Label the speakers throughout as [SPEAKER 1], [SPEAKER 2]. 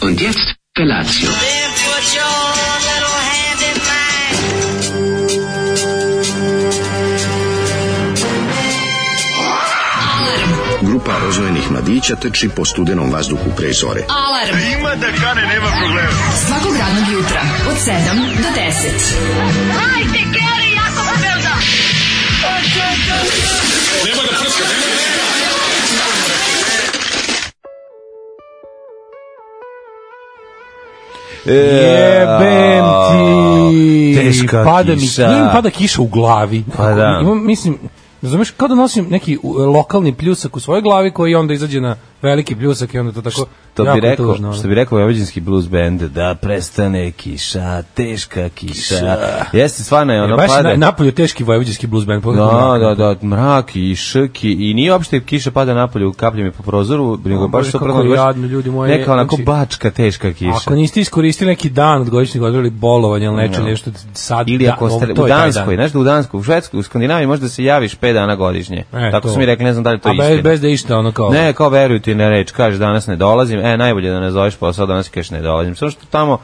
[SPEAKER 1] Und jetzt Felatio.
[SPEAKER 2] Then put your little hand in mine.
[SPEAKER 3] Grupa rozvojenih mladića trči po studenom vazduhu pre zore.
[SPEAKER 4] Alarm. Ima da kane, nema problema. Svakog radnog jutra, od 7 do 10.
[SPEAKER 5] Jebem ti.
[SPEAKER 6] Teška
[SPEAKER 5] pada
[SPEAKER 6] kiša.
[SPEAKER 5] Mi, njim pada kiša u glavi.
[SPEAKER 6] Pa da.
[SPEAKER 5] Imam, mislim, razumeš, kao da nosim neki u, lokalni pljusak u svojoj glavi koji onda izađe na veliki pljusak i onda to tako
[SPEAKER 6] To
[SPEAKER 5] jako
[SPEAKER 6] bi rekao,
[SPEAKER 5] tužno, ono.
[SPEAKER 6] što bi rekao Vojvođanski blues band, da prestane kiša, teška kiša. Jeste, stvarno je, ono
[SPEAKER 5] E, Baš je
[SPEAKER 6] pada.
[SPEAKER 5] na, napolju teški vojvođanski blues band.
[SPEAKER 6] Da, da, da, mrak i šrki i nije uopšte kiša pada napolju, kaplje mi po prozoru, nego
[SPEAKER 5] O,
[SPEAKER 6] baš
[SPEAKER 5] Bože, kako
[SPEAKER 6] suprotno, baš
[SPEAKER 5] jadno, ljudi moji,
[SPEAKER 6] neka onako
[SPEAKER 5] znači-
[SPEAKER 6] bačka teška kiša.
[SPEAKER 5] Ako niste iskoristili neki dan od godišnjeg odmora ili bolovanja ili nečeg, nešto sad,
[SPEAKER 6] Ili
[SPEAKER 5] da,
[SPEAKER 6] ako
[SPEAKER 5] ovo-
[SPEAKER 6] ste
[SPEAKER 5] to
[SPEAKER 6] u
[SPEAKER 5] je taj
[SPEAKER 6] Danskoj,
[SPEAKER 5] dan.
[SPEAKER 6] znaš da u Danskoj, u Švedskoj, u Skandinaviji možda se javiš 5 dana godišnje.
[SPEAKER 5] E,
[SPEAKER 6] Tako
[SPEAKER 5] to.
[SPEAKER 6] su mi rekli, ne znam da li to
[SPEAKER 5] A
[SPEAKER 6] istina.
[SPEAKER 5] bez, bez da išta ono kao...
[SPEAKER 6] Ne, kao veruju ti na reč, kažeš danas ne dolazim, e, najbolje da ne zoveš posao, danas kažeš ne dolazim. Samo što tamo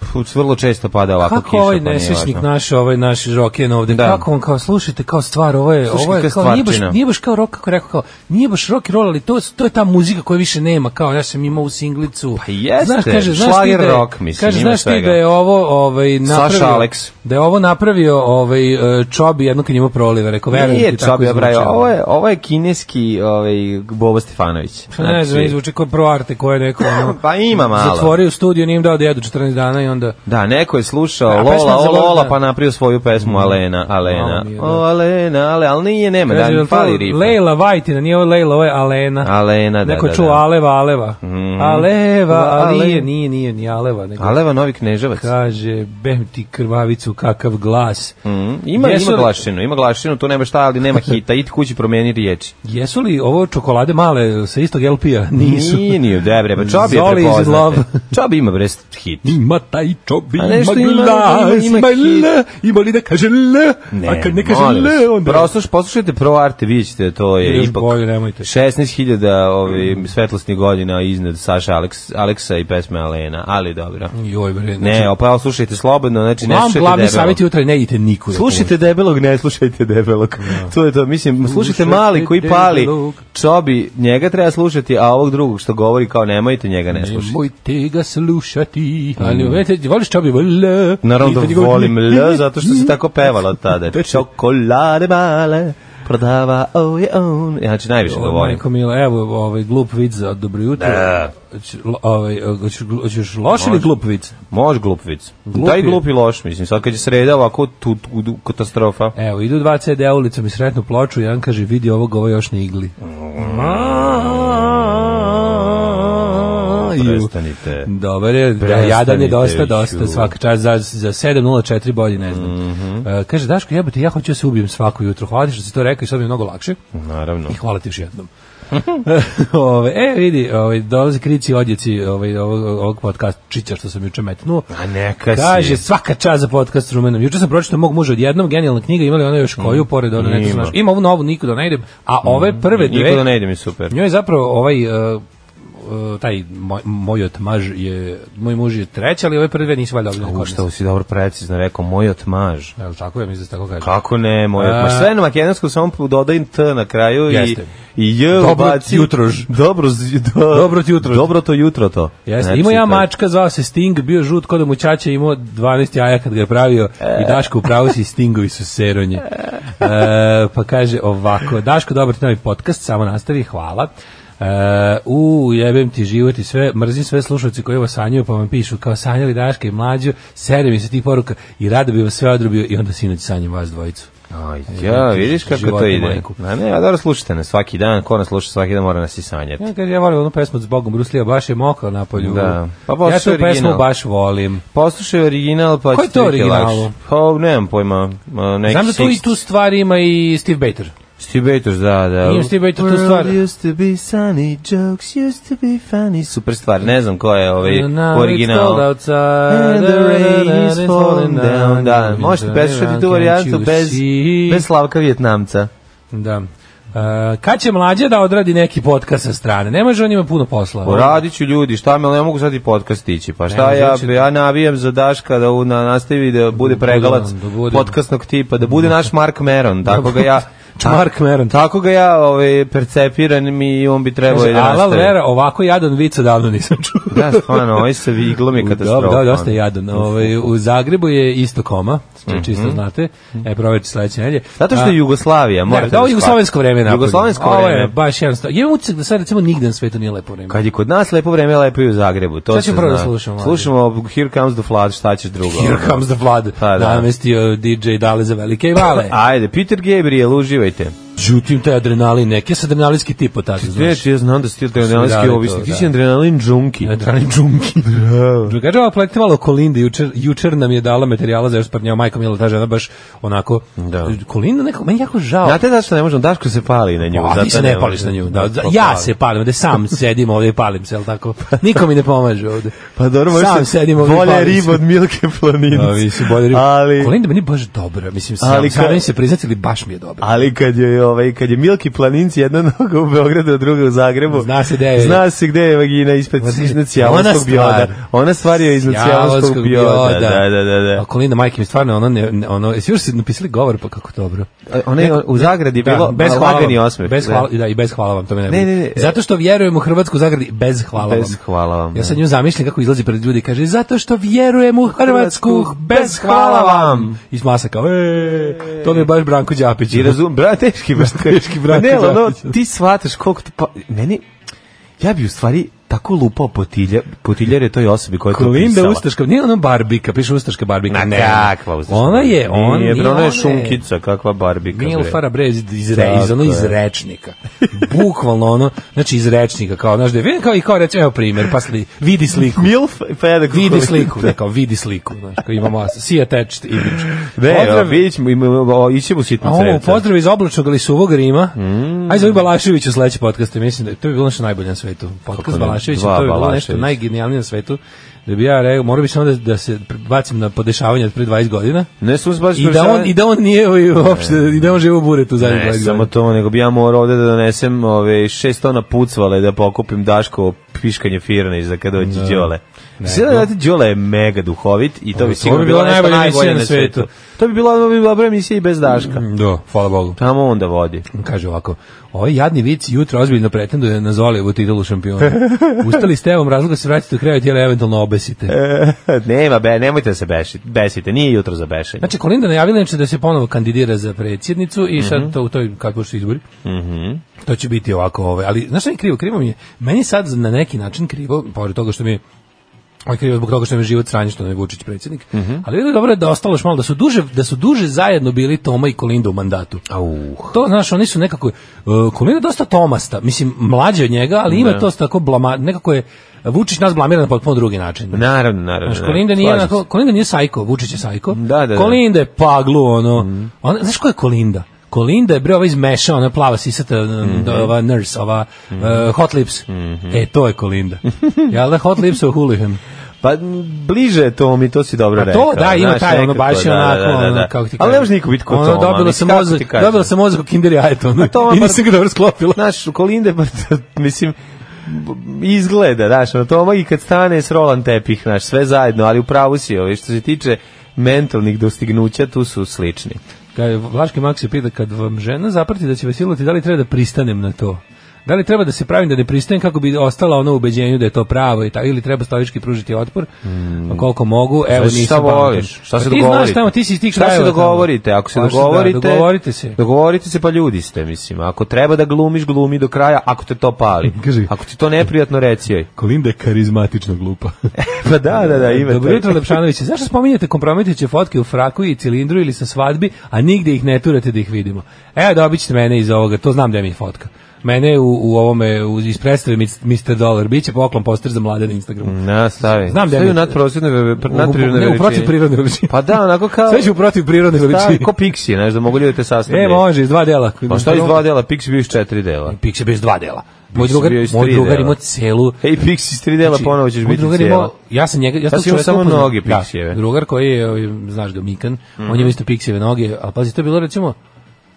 [SPEAKER 6] pf, vrlo često pada ovako
[SPEAKER 5] Kako
[SPEAKER 6] kiša,
[SPEAKER 5] ovaj
[SPEAKER 6] pa nije
[SPEAKER 5] nesrećnik
[SPEAKER 6] važno.
[SPEAKER 5] naš, ovaj naš roken ovde,
[SPEAKER 6] Da.
[SPEAKER 5] kako on kao, slušajte, kao stvar, ovo je,
[SPEAKER 6] Slušajte,
[SPEAKER 5] ovo je
[SPEAKER 6] kao
[SPEAKER 5] kao, nije baš,
[SPEAKER 6] stvarčina.
[SPEAKER 5] nije baš kao rock, kako je rekao, kao, nije baš rock and roll, ali to, to je ta muzika koja više nema, kao, ja sam imao u singlicu.
[SPEAKER 6] Pa jeste,
[SPEAKER 5] znaš, kaže, znaš ti
[SPEAKER 6] šlager
[SPEAKER 5] da je,
[SPEAKER 6] rock, mislim,
[SPEAKER 5] kaže,
[SPEAKER 6] ima
[SPEAKER 5] znaš ti
[SPEAKER 6] svega.
[SPEAKER 5] da je ovo, ovaj, napravio,
[SPEAKER 6] Alex.
[SPEAKER 5] da je ovo napravio, ovaj, e, čobi jedno kad njemu prolive, rekao, verujem
[SPEAKER 6] Nije
[SPEAKER 5] ti, tako
[SPEAKER 6] čobija,
[SPEAKER 5] zvuči,
[SPEAKER 6] braj,
[SPEAKER 5] ono.
[SPEAKER 6] ovo je, ovo je kineski ovaj, Bobo Stefanović.
[SPEAKER 5] Pa ne znam,
[SPEAKER 6] Znači,
[SPEAKER 5] izvuče koje proarte, koje neko, ono,
[SPEAKER 6] Pa ima malo.
[SPEAKER 5] zatvorio u studiju, nije im dao da jedu 14 dana i onda...
[SPEAKER 6] Da, neko je slušao
[SPEAKER 5] Da, pesma
[SPEAKER 6] Lola,
[SPEAKER 5] za
[SPEAKER 6] o
[SPEAKER 5] Lola,
[SPEAKER 6] Lola,
[SPEAKER 5] da. Mm.
[SPEAKER 6] pa napravio svoju pesmu Alena, Alena.
[SPEAKER 5] Malo mi je, da.
[SPEAKER 6] O, Alena, Ale, ali nije, nema, da
[SPEAKER 5] Kaže,
[SPEAKER 6] mi
[SPEAKER 5] jel to
[SPEAKER 6] fali riba.
[SPEAKER 5] Lejla Vajtina, nije ovo Lejla, ovo je Alena.
[SPEAKER 6] Alena, da,
[SPEAKER 5] Neko
[SPEAKER 6] da, Mhm.
[SPEAKER 5] čuo
[SPEAKER 6] da.
[SPEAKER 5] Aleva, Aleva. Aleva,
[SPEAKER 6] Ale-
[SPEAKER 5] ali nije, nije, nije, ni Aleva. Nego
[SPEAKER 6] Aleva Novi Kneževac.
[SPEAKER 5] Kaže, bem ti krvavicu, kakav glas.
[SPEAKER 6] Mhm, Ima,
[SPEAKER 5] Jesu
[SPEAKER 6] ima
[SPEAKER 5] li-
[SPEAKER 6] glašinu, ima glašinu, tu nema šta, ali nema hita, idi kući promijeni riječi.
[SPEAKER 5] Jesu li ovo čokolade male sa istog LP-a? Nisu.
[SPEAKER 6] Nije, nije, da bre, pa Čobi je
[SPEAKER 5] Zoli iz
[SPEAKER 6] prepoznat.
[SPEAKER 5] Love.
[SPEAKER 6] Čobi ima bre hit.
[SPEAKER 5] Ima taj čobi,
[SPEAKER 6] A
[SPEAKER 5] ima
[SPEAKER 6] nešto
[SPEAKER 5] glas,
[SPEAKER 6] ima,
[SPEAKER 5] ima,
[SPEAKER 6] ima, ima hit.
[SPEAKER 5] l, ima li da kaže l, a kad ne kaže
[SPEAKER 6] molim vas.
[SPEAKER 5] l, onda...
[SPEAKER 6] Prosluš, poslušajte pro arte, vidjet ćete, da to je
[SPEAKER 5] Još
[SPEAKER 6] ipak...
[SPEAKER 5] bolje, nemojte.
[SPEAKER 6] 16.000 ovaj, svetlosnih godina iznad Saša Aleks, Aleksa i pesme Alena, ali dobro.
[SPEAKER 5] Joj, bre, znači,
[SPEAKER 6] Ne, opao slušajte slobodno, znači ne
[SPEAKER 5] Vam
[SPEAKER 6] slušajte
[SPEAKER 5] glavni
[SPEAKER 6] debelo.
[SPEAKER 5] savjet jutra je ne idite nikuda.
[SPEAKER 6] Slušajte debelog, ne slušajte debelog. To je to, mislim, slušajte
[SPEAKER 5] Slušajte
[SPEAKER 6] mali koji pali,
[SPEAKER 5] debelog.
[SPEAKER 6] čobi, njega treba slušati, a ovog drugog što govori kao nemojte njega ne slušati.
[SPEAKER 5] Nemojte ga slušati. Ali, vete, voliš čobi, l.
[SPEAKER 6] Mm. Naravno
[SPEAKER 5] Vidite
[SPEAKER 6] da
[SPEAKER 5] njegov-
[SPEAKER 6] volim L, zato što se tako pevala tada. Čokolade male, prodava oje on. Ja znači najviše
[SPEAKER 5] O,
[SPEAKER 6] ga volim.
[SPEAKER 5] Pa Majko Mila, evo ovaj glup vic za dobro jutro.
[SPEAKER 6] Da.
[SPEAKER 5] Hoće- lo- Ovaj hoćeš glu- hoćeš loš ili glup vic?
[SPEAKER 6] Može glupic.
[SPEAKER 5] Glup
[SPEAKER 6] Taj
[SPEAKER 5] je.
[SPEAKER 6] glup i loš, mislim. Sad kad je sreda ovako tu, tu, tu katastrofa.
[SPEAKER 5] Evo, idu dva CD ulicom i sretnu ploču, jedan kaže vidi ovog, ovo još na igli. Ju.
[SPEAKER 6] Prestanite.
[SPEAKER 5] Dobar je, da,
[SPEAKER 6] Prestanite
[SPEAKER 5] jadan je dosta,
[SPEAKER 6] više.
[SPEAKER 5] dosta, svaka čast, za, za 7.04 bolje, ne znam.
[SPEAKER 6] Mhm.
[SPEAKER 5] E, kaže, Daško, jebote, ja hoću da se ubijem svako jutro, hvala ti što si to rekao i sad mi je mnogo lakše.
[SPEAKER 6] Naravno.
[SPEAKER 5] I hvala ti još jednom. ove, e, vidi, ove, dolaze krici i odjeci ovaj, ovog, ovog podcast čića što sam juče metnuo.
[SPEAKER 6] A neka si.
[SPEAKER 5] Kaže, svaka čast za podcast s rumenom. Juče sam pročitao mog muža odjednom, genijalna knjiga, imali ona još koju, pored ona
[SPEAKER 6] Mm, Ima.
[SPEAKER 5] neka znaš. Ima ovu novu, nikuda ne idem, a ove prve dve...
[SPEAKER 6] Niko da ne ide mi super.
[SPEAKER 5] Njoj je zapravo ovaj uh, uh, taj moj, moj otmaž je, moj muž je treći, ali ove prve dve nisu valjda obljene
[SPEAKER 6] U,
[SPEAKER 5] kod
[SPEAKER 6] šta
[SPEAKER 5] nas.
[SPEAKER 6] si dobro precizno rekao, moj otmaž.
[SPEAKER 5] Jel tako, ja mislim da se tako kaže.
[SPEAKER 6] Kako ne, moj
[SPEAKER 5] A-
[SPEAKER 6] otmaž. Sve na makedonsku samo dodaj t na kraju i,
[SPEAKER 5] Jeste.
[SPEAKER 6] i j
[SPEAKER 5] Dobro
[SPEAKER 6] ubaci.
[SPEAKER 5] jutrož.
[SPEAKER 6] Dobro, z- do,
[SPEAKER 5] Dobro ti jutrož.
[SPEAKER 6] Dobro to jutro to.
[SPEAKER 5] Jeste,
[SPEAKER 6] Znači,
[SPEAKER 5] imao ja
[SPEAKER 6] to-
[SPEAKER 5] mačka, zvao se Sting, bio žut kod mu čača, imao 12 jaja kad ga je pravio
[SPEAKER 6] E.
[SPEAKER 5] i Daško u pravu si Stingovi su seronje. E, pa kaže ovako, Daško, dobar ti novi podcast, samo nastavi, hvala. E, u, jebem ti život i sve, mrzim sve slušalci koji vas sanjaju pa vam pišu kao sanjali Daška i mlađu, sere mi se tih poruka i rado bi vas sve odrubio i onda sinoć sanjam vas dvojicu.
[SPEAKER 6] Aj, ja, vidiš kako to
[SPEAKER 5] Živote
[SPEAKER 6] ide.
[SPEAKER 5] majku.
[SPEAKER 6] A ne, a dobro slušajte nas svaki dan, ko nas sluša svaki dan mora nas i sanjati.
[SPEAKER 5] Ja, kaže, ja volim onu pesmu s Bogom Bruslija, baš je mokro napolju.
[SPEAKER 6] Da. Pa
[SPEAKER 5] ja tu
[SPEAKER 6] poslušaj
[SPEAKER 5] pesmu
[SPEAKER 6] original.
[SPEAKER 5] baš volim.
[SPEAKER 6] Poslušaj original pa
[SPEAKER 5] Ko je
[SPEAKER 6] će ti
[SPEAKER 5] to
[SPEAKER 6] biti
[SPEAKER 5] original?
[SPEAKER 6] lakše. Pa, nemam pojma, a, neki
[SPEAKER 5] Znam da tu i
[SPEAKER 6] Six-
[SPEAKER 5] tu stvar ima i Steve Bater.
[SPEAKER 6] Steve Bators, da, da.
[SPEAKER 5] Imam Steve Bators, tu stvar.
[SPEAKER 6] World used to be sunny, jokes used to be funny. Super stvar, ne znam ko je ovaj original. And the rain is falling down. Da, možete pesati tu varijantu bez, bez Slavka Vjetnamca.
[SPEAKER 5] Da. E, kad će mlađe da odradi neki podcast sa strane? Ne može on ima puno posla.
[SPEAKER 6] Radit ću ljudi, šta me, ne mogu sad i podcast ići. Pa šta
[SPEAKER 5] Ne,
[SPEAKER 6] ja,
[SPEAKER 5] znači-
[SPEAKER 6] ja navijam za Daška da u- na, nastavi da bude pregalac
[SPEAKER 5] da bude.
[SPEAKER 6] podcastnog tipa, da bude naš Mark Meron, tako ga ja... ta-
[SPEAKER 5] Mark Meron.
[SPEAKER 6] Tako ga ja ovaj, percepiram i on bi trebao i
[SPEAKER 5] Kaže,
[SPEAKER 6] da
[SPEAKER 5] Alal
[SPEAKER 6] nastavi.
[SPEAKER 5] Vera, ovako jadan vica davno nisam čuo.
[SPEAKER 6] Da, stvarno, ovaj sa viglom je katastrofa. ono.
[SPEAKER 5] Dobro, da, dosta je jadan. Ovaj, u Zagrebu je isto koma, či- čisto znate. E, proveći sledeće nedelje.
[SPEAKER 6] Mhm. Zato što
[SPEAKER 5] A-
[SPEAKER 6] je Jugoslavija,
[SPEAKER 5] Ne,
[SPEAKER 6] morate
[SPEAKER 5] da, ovo je jugoslovensko vreme
[SPEAKER 6] napravljeno.
[SPEAKER 5] napravljeno.
[SPEAKER 6] Jugoslovensko
[SPEAKER 5] Ovo je
[SPEAKER 6] vreme.
[SPEAKER 5] baš jednostavno. Imam utisak da sad recimo nigde na svetu nije lepo vreme.
[SPEAKER 6] Kad je kod nas lepo vreme, lepo je i u Zagrebu. To
[SPEAKER 5] Šta
[SPEAKER 6] se
[SPEAKER 5] ćemo prvo da
[SPEAKER 6] zna.
[SPEAKER 5] slušamo, mlađe?
[SPEAKER 6] Slušamo Here Comes the Flood, šta ćeš drugo?
[SPEAKER 5] Here comes the flood.
[SPEAKER 6] Pa, da.
[SPEAKER 5] Namestio DJ Dale za velike i male.
[SPEAKER 6] Ajde, Peter Gabriel, uživajte.
[SPEAKER 5] Žutim taj adrenalin, neki sam adrenalinski tip od tada, znaš.
[SPEAKER 6] Znaš, ja znam da si ti
[SPEAKER 5] Dali
[SPEAKER 6] adrenalinski
[SPEAKER 5] to,
[SPEAKER 6] ovisnik. Ti
[SPEAKER 5] da.
[SPEAKER 6] si adrenalin džunki.
[SPEAKER 5] Adrenalin džunki. Drugače, ova plekte malo Kolinda, jučer, jučer nam je dala materijala za još par njeva, majka Mila, ta žena baš onako,
[SPEAKER 6] Da.
[SPEAKER 5] Kolinda nekako, meni je jako žao.
[SPEAKER 6] Znate zašto ne možemo? Daško se pali na nju.
[SPEAKER 5] A, Pa,
[SPEAKER 6] zato
[SPEAKER 5] ti se ne
[SPEAKER 6] može.
[SPEAKER 5] pališ na nju. Da, da,
[SPEAKER 6] Pa,
[SPEAKER 5] ja
[SPEAKER 6] pali.
[SPEAKER 5] se palim, da sam sedim ovde i palim se, jel tako? Niko mi ne pomaže ovde.
[SPEAKER 6] Pa dobro, možda
[SPEAKER 5] Sam sedim ovde i
[SPEAKER 6] Bolja je
[SPEAKER 5] palim se.
[SPEAKER 6] riba od Milke Planince.
[SPEAKER 5] Da, mislim, bolje riba.
[SPEAKER 6] Ali-
[SPEAKER 5] Kolinda meni baš dobra, mislim, sam,
[SPEAKER 6] Ali
[SPEAKER 5] ali,
[SPEAKER 6] ka-
[SPEAKER 5] se priznati, ali baš mi je dobra.
[SPEAKER 6] Ali kad je ovaj kad je Milki Planinci jedna noga u Beogradu, a druga u Zagrebu.
[SPEAKER 5] Zna se gde je-
[SPEAKER 6] Zna se gde je vagina ispred
[SPEAKER 5] Vagina.
[SPEAKER 6] iznad
[SPEAKER 5] Ona
[SPEAKER 6] Cijalovskog
[SPEAKER 5] stvar.
[SPEAKER 6] bioda. Ona stvar je iznad Cijalovskog bioda. Da, da, da, da.
[SPEAKER 5] A Kolinda, majke mi stvarno, ono, ne, ne- ono, jesi još si napisali govor, pa kako dobro.
[SPEAKER 6] A Ona je u Zagradi je bilo bez
[SPEAKER 5] hvala vam.
[SPEAKER 6] lagani osmeh.
[SPEAKER 5] Bez
[SPEAKER 6] Da.
[SPEAKER 5] hvala, da, i bez hvala vam, to me ne,
[SPEAKER 6] Ne,
[SPEAKER 5] budi.
[SPEAKER 6] ne, ne.
[SPEAKER 5] Zato što vjerujem u Hrvatsku Zagradi, bez hvala vam.
[SPEAKER 6] Bez hvala vam,
[SPEAKER 5] Ja sad
[SPEAKER 6] da.
[SPEAKER 5] nju zamišljam kako izlazi pred ljudi i kaže, zato što vjerujem u Hrvatsku, bez hvala vam. Iz masa kao, e, to mi je baš Branko Đapić.
[SPEAKER 6] I razum, bra, teški brak. teški
[SPEAKER 5] brak,
[SPEAKER 6] Ne, ali ono,
[SPEAKER 5] Đakić.
[SPEAKER 6] ti shvataš koliko to, pa, meni, ja bi u stvari tako lupao potilja, potiljere toj osobi koja je to
[SPEAKER 5] Kolinda
[SPEAKER 6] pisala.
[SPEAKER 5] Ustaška, nije ona Barbika, piše Ustaška Barbika.
[SPEAKER 6] Na
[SPEAKER 5] ne.
[SPEAKER 6] kakva ustaška?
[SPEAKER 5] Ona je, ona,
[SPEAKER 6] Nije, bre, ona je
[SPEAKER 5] ona
[SPEAKER 6] šunkica, kakva barbika. bre.
[SPEAKER 5] Milfara bre iz iz,
[SPEAKER 6] Tako
[SPEAKER 5] iz, ono, iz
[SPEAKER 6] je.
[SPEAKER 5] rečnika. Bukvalno ono, znači iz rečnika kao znaš da je- vidim kao i kao reći evo primer, pa sli, vidi sliku.
[SPEAKER 6] Milf, pa ja da
[SPEAKER 5] Vidi sliku, ne, kao vidi sliku, znaš, kao imamo sija text image.
[SPEAKER 6] Ne, evo,
[SPEAKER 5] Pozdrav-
[SPEAKER 6] vidit ćemo, im- o, ićemo u
[SPEAKER 5] A
[SPEAKER 6] sitnu
[SPEAKER 5] ovo,
[SPEAKER 6] crevca.
[SPEAKER 5] pozdrav iz oblačnog ali suvog Rima.
[SPEAKER 6] Mm.
[SPEAKER 5] Aj za Balašević u sledeći podcast, mislim da to bi bilo nešto najbolje na svetu.
[SPEAKER 6] Kako
[SPEAKER 5] Podcast
[SPEAKER 6] ne,
[SPEAKER 5] Balaševića,
[SPEAKER 6] dva
[SPEAKER 5] to bi bilo
[SPEAKER 6] Balaševića.
[SPEAKER 5] nešto najgenijalnije na svetu. Da bi ja rekao, moram bi samo da, da se bacim na podešavanje od pre 20 godina.
[SPEAKER 6] Ne, su baš
[SPEAKER 5] I da on, i da on nije ovaj uopšte, i da on živi u buretu zadnjih 20
[SPEAKER 6] Ne,
[SPEAKER 5] godina.
[SPEAKER 6] samo to, nego bi ja morao ovde da donesem ove, šest tona pucvale da pokupim Daško piškanje firne za kada dođe Đole. Sve da znate, Đole je mega duhovit i to bi
[SPEAKER 5] to
[SPEAKER 6] sigurno
[SPEAKER 5] bi
[SPEAKER 6] bilo
[SPEAKER 5] bila
[SPEAKER 6] nešto
[SPEAKER 5] najbolja
[SPEAKER 6] najbolje
[SPEAKER 5] emisija
[SPEAKER 6] na
[SPEAKER 5] na Mm.
[SPEAKER 6] svetu.
[SPEAKER 5] svetu.
[SPEAKER 6] To bi bila, bi bila dobra emisija i bez Daška.
[SPEAKER 5] Da, hvala Bogu.
[SPEAKER 6] Tamo onda vodi.
[SPEAKER 5] Kaže ovako, ovaj jadni vic jutro ozbiljno pretenduje na Zolijevu titulu šampiona. Ustali ste evom razloga se vratite u krevet ili eventualno obesite.
[SPEAKER 6] Nema, be, nemojte da se bešite, besite, nije jutro za bešenje.
[SPEAKER 5] Znači, Kolinda najavila inače da se ponovo kandidira za predsjednicu i sad to u toj, kako su izbori, to će biti ovako, ovaj, ali znaš šta mi je krivo? Krivo mi je, meni je sad na neki način krivo, pored toga što mi je on je krivo zbog toga što mi je život sranje što nam je Vučić predsjednik. Ali bilo je dobro da je ostalo još malo da su duže da su duže zajedno bili Toma i Kolinda u mandatu. To znaš, oni su nekako uh, Kolinda je dosta Tomasta, mislim mlađi od njega, ali ima to tako blama, nekako je Vučić nas blamira na potpuno drugi način.
[SPEAKER 6] Naravno, naravno.
[SPEAKER 5] Znaš,
[SPEAKER 6] naravno.
[SPEAKER 5] Kolinda nije,
[SPEAKER 6] E, Slažem
[SPEAKER 5] onako,
[SPEAKER 6] se.
[SPEAKER 5] Kolinda nije sajko, Vučić je sajko.
[SPEAKER 6] Da, Mhm. da, da.
[SPEAKER 5] Kolinda je paglu, ono. Ona, znaš ko je Kolinda? Kolinda je bre ova izmešao, ona plava sisata,
[SPEAKER 6] Mhm.
[SPEAKER 5] da, ova nurse, ova eh, Hot Lips. E, to je Kolinda. Jel da Hot Lips u Hulihan?
[SPEAKER 6] Pa m, bliže je to mi, to si dobro
[SPEAKER 5] A
[SPEAKER 6] rekao.
[SPEAKER 5] Pa to da, ima
[SPEAKER 6] znaš,
[SPEAKER 5] taj ono
[SPEAKER 6] nekako,
[SPEAKER 5] baš je
[SPEAKER 6] da,
[SPEAKER 5] onako,
[SPEAKER 6] da, da, da.
[SPEAKER 5] ono, kako ti kažem.
[SPEAKER 6] Ali ne može niko biti ko
[SPEAKER 5] Ono,
[SPEAKER 6] Toma,
[SPEAKER 5] Dobila
[SPEAKER 6] mislim,
[SPEAKER 5] sam
[SPEAKER 6] kako
[SPEAKER 5] mozak,
[SPEAKER 6] ti kažem?
[SPEAKER 5] dobila sam mozak u kinder jajetu, ono,
[SPEAKER 6] Toma
[SPEAKER 5] i
[SPEAKER 6] bar-
[SPEAKER 5] nisam ga dobro sklopila.
[SPEAKER 6] Znaš, Kolinda, pa, mislim, b- izgleda, znaš, ono, Toma i kad stane s Roland tepih, znaš, sve zajedno, ali u pravu si, ovaj, što se tiče mentalnih dostignuća, tu su slični.
[SPEAKER 5] Kaže, Vlaški Mak se pita, kad vam žena zaprati da će vas silovati, da li treba da pristanem na to? Da li treba da se pravim da ne pristajem kako bi ostala ono ubeđenju da je to pravo i ta, ili treba stojički pružiti otpor? A koliko mogu, evo
[SPEAKER 6] Znači,
[SPEAKER 5] nisam
[SPEAKER 6] Hmm. šta
[SPEAKER 5] pametan.
[SPEAKER 6] voliš? Šta
[SPEAKER 5] Pa
[SPEAKER 6] se
[SPEAKER 5] ti
[SPEAKER 6] dogovorite?
[SPEAKER 5] Znaš, tamo, ti si iz tih
[SPEAKER 6] šta se
[SPEAKER 5] krajeva tamo.
[SPEAKER 6] dogovorite? Ako se
[SPEAKER 5] Pa šta da,
[SPEAKER 6] dogovorite,
[SPEAKER 5] dogovorite se.
[SPEAKER 6] Dogovorite se pa ljudi ste, mislim. Ako treba da glumiš, glumi do kraja, ako te to pali.
[SPEAKER 5] Kaži.
[SPEAKER 6] Ako ti to neprijatno reci joj.
[SPEAKER 5] Kolinda je karizmatično glupa.
[SPEAKER 6] Pa da, da, da, ima.
[SPEAKER 5] Dobro
[SPEAKER 6] to.
[SPEAKER 5] jutro, Lepšanoviće. Zašto spominjate kompromitujuće fotke u fraku i cilindru ili sa svadbi, a nigde ih ne turate da ih vidimo? Evo, dobit ćete mene iz ovoga, to znam da mi je fotka. Mene u, u ovome, u, iz predstave Mr. Dollar, bit će poklon poster za mlade na Instagramu.
[SPEAKER 6] Na, stavi.
[SPEAKER 5] Znam da je
[SPEAKER 6] Stavi u
[SPEAKER 5] mi-
[SPEAKER 6] nadprosjednoj ve- pr- nadprirodnoj
[SPEAKER 5] Ne, u
[SPEAKER 6] veličini.
[SPEAKER 5] protiv prirodne veličine.
[SPEAKER 6] Pa da, onako kao...
[SPEAKER 5] Sve ću u protiv prirodne veličine.
[SPEAKER 6] Stavi, ko piksi, znaš, da mogu ljudi te sastavljati.
[SPEAKER 5] E, može, iz dva dela.
[SPEAKER 6] Pa šta iz dva dela? Pixi bio iz četiri dela.
[SPEAKER 5] Pix je bez dva dela. Moj
[SPEAKER 6] Pix je
[SPEAKER 5] drugar,
[SPEAKER 6] bio iz
[SPEAKER 5] moj
[SPEAKER 6] tri
[SPEAKER 5] drugar
[SPEAKER 6] dela.
[SPEAKER 5] imao celu...
[SPEAKER 6] Ej, Pixi iz tri dela,
[SPEAKER 5] Znači,
[SPEAKER 6] ponovo ćeš
[SPEAKER 5] moj
[SPEAKER 6] biti
[SPEAKER 5] drugar
[SPEAKER 6] cijela.
[SPEAKER 5] imao- Ja sam njega, ja sam,
[SPEAKER 6] Ja sam imao
[SPEAKER 5] čoveka
[SPEAKER 6] samo
[SPEAKER 5] upoznao-
[SPEAKER 6] noge Mhm.
[SPEAKER 5] Da,
[SPEAKER 6] Pixijeve.
[SPEAKER 5] drugar koji je, ovaj, znaš ga, Mikan, on je imao isto piksijeve noge, ali pazi, to je bilo recimo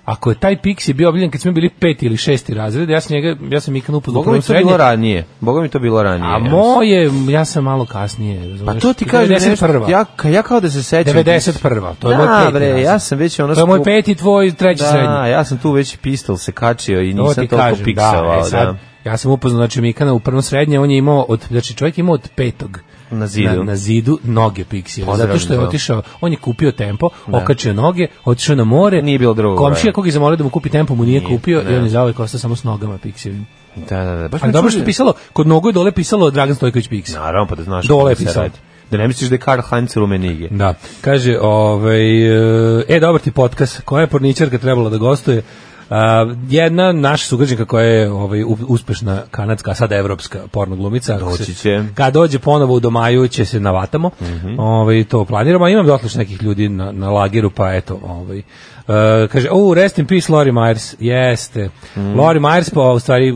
[SPEAKER 5] Ako je taj Pixi bio objavljen kad smo bili peti ili šesti razred, ja sam njega, ja sam Mikan upoznao u
[SPEAKER 6] Boga mi
[SPEAKER 5] prvom
[SPEAKER 6] to bilo
[SPEAKER 5] srednje,
[SPEAKER 6] ranije. Boga mi to bilo ranije.
[SPEAKER 5] a
[SPEAKER 6] ja mislim.
[SPEAKER 5] moje, ja sam malo kasnije.
[SPEAKER 6] Pa
[SPEAKER 5] razumeš?
[SPEAKER 6] to ti kažem nešto,
[SPEAKER 5] 91..
[SPEAKER 6] ja, ka- ja kao da se sećam.
[SPEAKER 5] 91., to je
[SPEAKER 6] da,
[SPEAKER 5] moj peti
[SPEAKER 6] bre,
[SPEAKER 5] razred.
[SPEAKER 6] ja sam već ono...
[SPEAKER 5] To je moj
[SPEAKER 6] spu-
[SPEAKER 5] peti, tvoj, treći
[SPEAKER 6] da,
[SPEAKER 5] srednji.
[SPEAKER 6] ja sam tu već pistol se kačio i
[SPEAKER 5] To
[SPEAKER 6] nisam
[SPEAKER 5] ti
[SPEAKER 6] toliko
[SPEAKER 5] kažem,
[SPEAKER 6] piksovao.
[SPEAKER 5] e, sad, Ja sam upoznao, znači, Mikana u prvom srednje, on je imao, od, znači, čovjek je imao od petog
[SPEAKER 6] Na zidu.
[SPEAKER 5] Na, na zidu noge Pixija.
[SPEAKER 6] Pozdravljam
[SPEAKER 5] Zato što je
[SPEAKER 6] ga.
[SPEAKER 5] otišao, on je kupio tempo, okačio noge, otišao na more.
[SPEAKER 6] Nije bilo drugog
[SPEAKER 5] Komšija
[SPEAKER 6] broja.
[SPEAKER 5] koga je zamolio da mu kupi tempo, mu nije,
[SPEAKER 6] Nije,
[SPEAKER 5] kupio i
[SPEAKER 6] ne.
[SPEAKER 5] on je zauvek ostao samo s nogama Pixijevim.
[SPEAKER 6] Da, da, da. Baš
[SPEAKER 5] Ali
[SPEAKER 6] me čudi.
[SPEAKER 5] dobro što je pisalo, kod nogu je dole pisalo Dragan Stojković Pixi.
[SPEAKER 6] Naravno, pa da znaš.
[SPEAKER 5] Dole
[SPEAKER 6] kako se
[SPEAKER 5] pisao.
[SPEAKER 6] radi. Da ne misliš da je Karl Heinz Rumenige.
[SPEAKER 5] Da, kaže, ovaj, e, e, dobar ti podcast, koja je porničarka trebala da gostuje? A, jedna naša sugrađenka koja je ovaj, u- uspešna kanadska, a sada evropska porno glumica. ako
[SPEAKER 6] Doći
[SPEAKER 5] se-
[SPEAKER 6] će. Mhm.
[SPEAKER 5] Kad dođe ponovo u Domaju će se navatamo, ovaj, to planiramo, a imam dotliš nekih ljudi na, na lageru, pa eto, ovaj, e, kaže, u, rest in peace Lori Myers, jeste.
[SPEAKER 6] Mhm.
[SPEAKER 5] Lori Myers, pa u stvari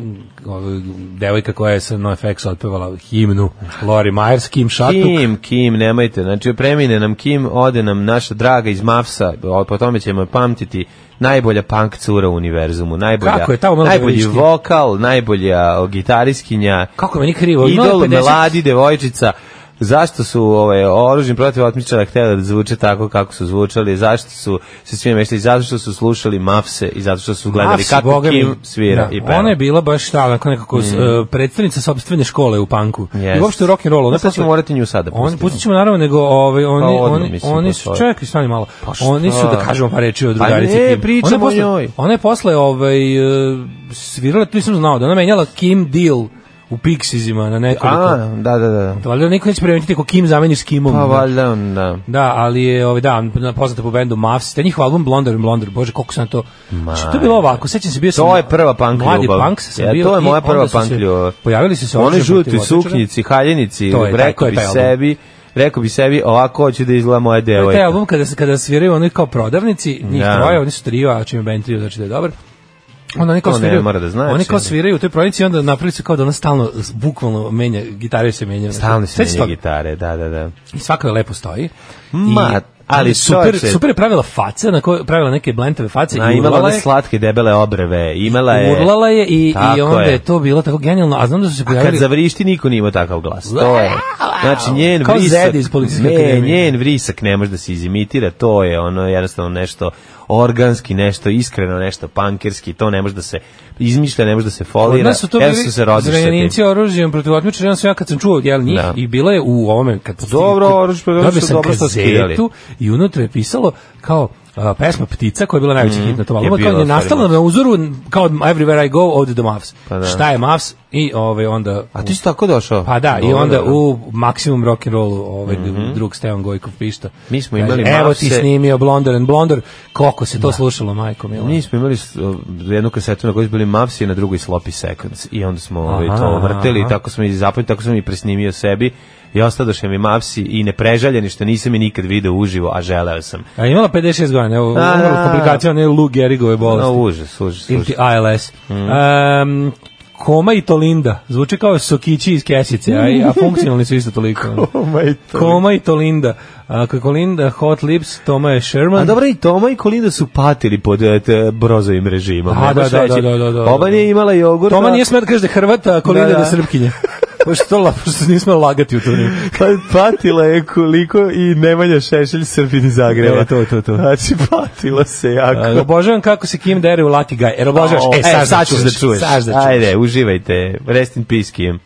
[SPEAKER 5] ovaj, devojka koja je sa NoFX otpevala himnu Lori Myers, Kim Šatuk.
[SPEAKER 6] Kim, Kim, nemojte, znači premine nam Kim, ode nam naša draga iz Mafsa, o- po tome ćemo je pamtiti, najbolja punk cura u univerzumu, najbolja,
[SPEAKER 5] Kako je tamo malo
[SPEAKER 6] najbolji
[SPEAKER 5] devojčki?
[SPEAKER 6] vokal, najbolja o, gitariskinja,
[SPEAKER 5] Kako je meni krivo? imala je
[SPEAKER 6] idol,
[SPEAKER 5] 50
[SPEAKER 6] mladi, devojčica, zašto su ove, oružni protiv otmičara htjeli da zvuče tako kako su zvučali, zašto su se svi meštali, zato što su slušali Mafse i zato što su gledali
[SPEAKER 5] Mavs,
[SPEAKER 6] kako
[SPEAKER 5] Ah, boga mi,
[SPEAKER 6] Kim svira
[SPEAKER 5] da,
[SPEAKER 6] i peva. Mm.
[SPEAKER 5] Ona je bila baš ta onako nekako s- e, predstavnica sopstvene škole u panku.
[SPEAKER 6] Yes.
[SPEAKER 5] I uopšte u rock and rollu.
[SPEAKER 6] Da, Pa sad ćemo morati nju sada
[SPEAKER 5] On
[SPEAKER 6] pustiti.
[SPEAKER 5] pustit ćemo naravno nego ovaj oni
[SPEAKER 6] Pa odmah,
[SPEAKER 5] oni
[SPEAKER 6] mislim,
[SPEAKER 5] oni
[SPEAKER 6] pa
[SPEAKER 5] su
[SPEAKER 6] to je.
[SPEAKER 5] čekaj stani malo.
[SPEAKER 6] šta?
[SPEAKER 5] oni su da kažemo pa reči o
[SPEAKER 6] Pa
[SPEAKER 5] drugarici
[SPEAKER 6] ne,
[SPEAKER 5] Kim.
[SPEAKER 6] pričamo
[SPEAKER 5] ona je
[SPEAKER 6] o
[SPEAKER 5] posle,
[SPEAKER 6] njoj.
[SPEAKER 5] Ona je posle ovaj e, svirala, tu nisam znao da ona menjala Kim Deal u Pixizima na nekoliko.
[SPEAKER 6] A, da, da, da.
[SPEAKER 5] To valjda niko neće primetiti ko Kim zameniš s Kimom.
[SPEAKER 6] Pa
[SPEAKER 5] znaš.
[SPEAKER 6] valjda, da.
[SPEAKER 5] Da, ali je ovaj da, poznata po bendu Mavs, te njihov album Blonder and Blonder, bože koliko sam to. Što to je bilo ovako, sećam se bio sam.
[SPEAKER 6] To je prva punk
[SPEAKER 5] mladi
[SPEAKER 6] ljubav.
[SPEAKER 5] Punks sam
[SPEAKER 6] Ja,
[SPEAKER 5] bio.
[SPEAKER 6] to je
[SPEAKER 5] i
[SPEAKER 6] moja
[SPEAKER 5] onda
[SPEAKER 6] prva
[SPEAKER 5] su
[SPEAKER 6] punk
[SPEAKER 5] se-
[SPEAKER 6] ljubav.
[SPEAKER 5] Pojavili su se
[SPEAKER 6] One
[SPEAKER 5] oružani
[SPEAKER 6] žuti
[SPEAKER 5] protiv otmičara.
[SPEAKER 6] suknjici, haljenici,
[SPEAKER 5] To je, taj, to
[SPEAKER 6] rekao
[SPEAKER 5] je
[SPEAKER 6] bi
[SPEAKER 5] taj album.
[SPEAKER 6] sebi, rekao bi sebi, ovako hoću da izgleda moja
[SPEAKER 5] To je E, taj
[SPEAKER 6] devojka.
[SPEAKER 5] album kada, se- kada sviraju oni kao prodavnici, njih
[SPEAKER 6] Da.
[SPEAKER 5] troje, oni su trio, a čim je band trio, znači da je dobar. Onda oni kao
[SPEAKER 6] To ne
[SPEAKER 5] sviraju,
[SPEAKER 6] mora da znači,
[SPEAKER 5] oni kao
[SPEAKER 6] ali.
[SPEAKER 5] sviraju u toj prodavnici i onda napravili su kao da ona stalno, s- bukvalno menja, gitare se menja.
[SPEAKER 6] Stalno se
[SPEAKER 5] Sećaš
[SPEAKER 6] menja
[SPEAKER 5] toga?
[SPEAKER 6] gitare, da, da, da.
[SPEAKER 5] I svako je lepo stoji.
[SPEAKER 6] Ma,
[SPEAKER 5] I-
[SPEAKER 6] ali
[SPEAKER 5] super,
[SPEAKER 6] čovječe-
[SPEAKER 5] super je pravila face, na kojoj pravila neke blentave face
[SPEAKER 6] Na,
[SPEAKER 5] i
[SPEAKER 6] imala
[SPEAKER 5] urlala
[SPEAKER 6] one
[SPEAKER 5] je.
[SPEAKER 6] slatke debele obreve, imala Pa je...
[SPEAKER 5] Urlala je i, i
[SPEAKER 6] Tako
[SPEAKER 5] onda je. to bilo tako genijalno, a znam da su se
[SPEAKER 6] A kad
[SPEAKER 5] pojavili...
[SPEAKER 6] zavrišti, niko nije imao takav glas. To je. Znači, njen
[SPEAKER 5] Kao
[SPEAKER 6] vrisak...
[SPEAKER 5] Zed iz Policijske
[SPEAKER 6] Ne,
[SPEAKER 5] akademije.
[SPEAKER 6] njen vrisak ne može da se izimitira, to je ono jednostavno nešto organski, nešto iskreno, nešto pankerski, to ne može da se izmišlja, ne može da se folira.
[SPEAKER 5] Kod nas su to
[SPEAKER 6] jednostavno se
[SPEAKER 5] bili
[SPEAKER 6] rodiš sa tim.
[SPEAKER 5] zrenjenici oružjem protiv otmičara, ja kad sam čuo jel, njih
[SPEAKER 6] Da.
[SPEAKER 5] i bila je u ovome kad sam
[SPEAKER 6] Dobro,
[SPEAKER 5] stigao-
[SPEAKER 6] oružje protiv
[SPEAKER 5] dobio
[SPEAKER 6] otmičara,
[SPEAKER 5] sam
[SPEAKER 6] dobro što skidali.
[SPEAKER 5] kazetu i unutra je pisalo kao a, pesma Ptica koja je bila najveći hit na tom albumu,
[SPEAKER 6] Mhm, je
[SPEAKER 5] kao
[SPEAKER 6] bila,
[SPEAKER 5] je nastala
[SPEAKER 6] stvarno.
[SPEAKER 5] na uzoru kao od Everywhere I Go od The Mavs.
[SPEAKER 6] Pa da.
[SPEAKER 5] Šta je Mavs i ovaj onda
[SPEAKER 6] A ti si tako došao?
[SPEAKER 5] Pa da, i
[SPEAKER 6] Dobro,
[SPEAKER 5] onda
[SPEAKER 6] dobro. Mhm.
[SPEAKER 5] u maksimum rock and rollu ovaj drug Stevan Gojkov pišta.
[SPEAKER 6] Mi smo
[SPEAKER 5] Kaže,
[SPEAKER 6] imali
[SPEAKER 5] Evo
[SPEAKER 6] Mavse-
[SPEAKER 5] ti snimio Blonder and Blonder, koliko se to slušalo, majko mila.
[SPEAKER 6] Mi smo imali uh, jednu kasetu na kojoj su bili Mavsi, na drugoj Sloppy Seconds i onda smo ovaj, to vrteli i tako smo i zapamtili, tako sam i presnimio sebi i ostadoše mi Mavsi i neprežaljeni što nisam je nikad video uživo, a želeo sam.
[SPEAKER 5] A imala 56 godina, evo,
[SPEAKER 6] A,
[SPEAKER 5] umrla
[SPEAKER 6] da.
[SPEAKER 5] od komplikacija one Lou Gehrigove
[SPEAKER 6] No, Mhm.
[SPEAKER 5] bolesti.
[SPEAKER 6] užas, užas,
[SPEAKER 5] Ili
[SPEAKER 6] užas.
[SPEAKER 5] ti ALS. Em, koma i Tolinda. Zvuči kao Sokići iz Kesice, a, a funkcionalni su isto toliko.
[SPEAKER 6] Toma i Tolinda.
[SPEAKER 5] Koma i Tolinda. Ako je Kolinda Hot Lips, Toma je Sherman.
[SPEAKER 6] A dobro i Toma i Kolinda su patili pod e, te, brozovim režimom.
[SPEAKER 5] A,
[SPEAKER 6] ne
[SPEAKER 5] da,
[SPEAKER 6] možeš
[SPEAKER 5] da,
[SPEAKER 6] reći.
[SPEAKER 5] da, da, da, da.
[SPEAKER 6] Oba nije imala jogurt.
[SPEAKER 5] Toma nije smela da kaže da je Hrvata, a Kolinda
[SPEAKER 6] Da,
[SPEAKER 5] da,
[SPEAKER 6] da.
[SPEAKER 5] da. je Srpkinja. Pošto to la- pošto se nismo lagati u to vrijeme.
[SPEAKER 6] Pa patila je koliko i Nemanja Šešelj Srbin iz Zagreba.
[SPEAKER 5] E, to, to, to.
[SPEAKER 6] Znači, patila se
[SPEAKER 5] A,
[SPEAKER 6] jako.
[SPEAKER 5] Obožavam kako se Kim dere u Lucky Guy. Er obožavaš?
[SPEAKER 6] O,
[SPEAKER 5] E, sad,
[SPEAKER 6] sad ćeš da čuješ.
[SPEAKER 5] Sad da čuješ.
[SPEAKER 6] Ajde, uživajte. Rest in peace, Kim.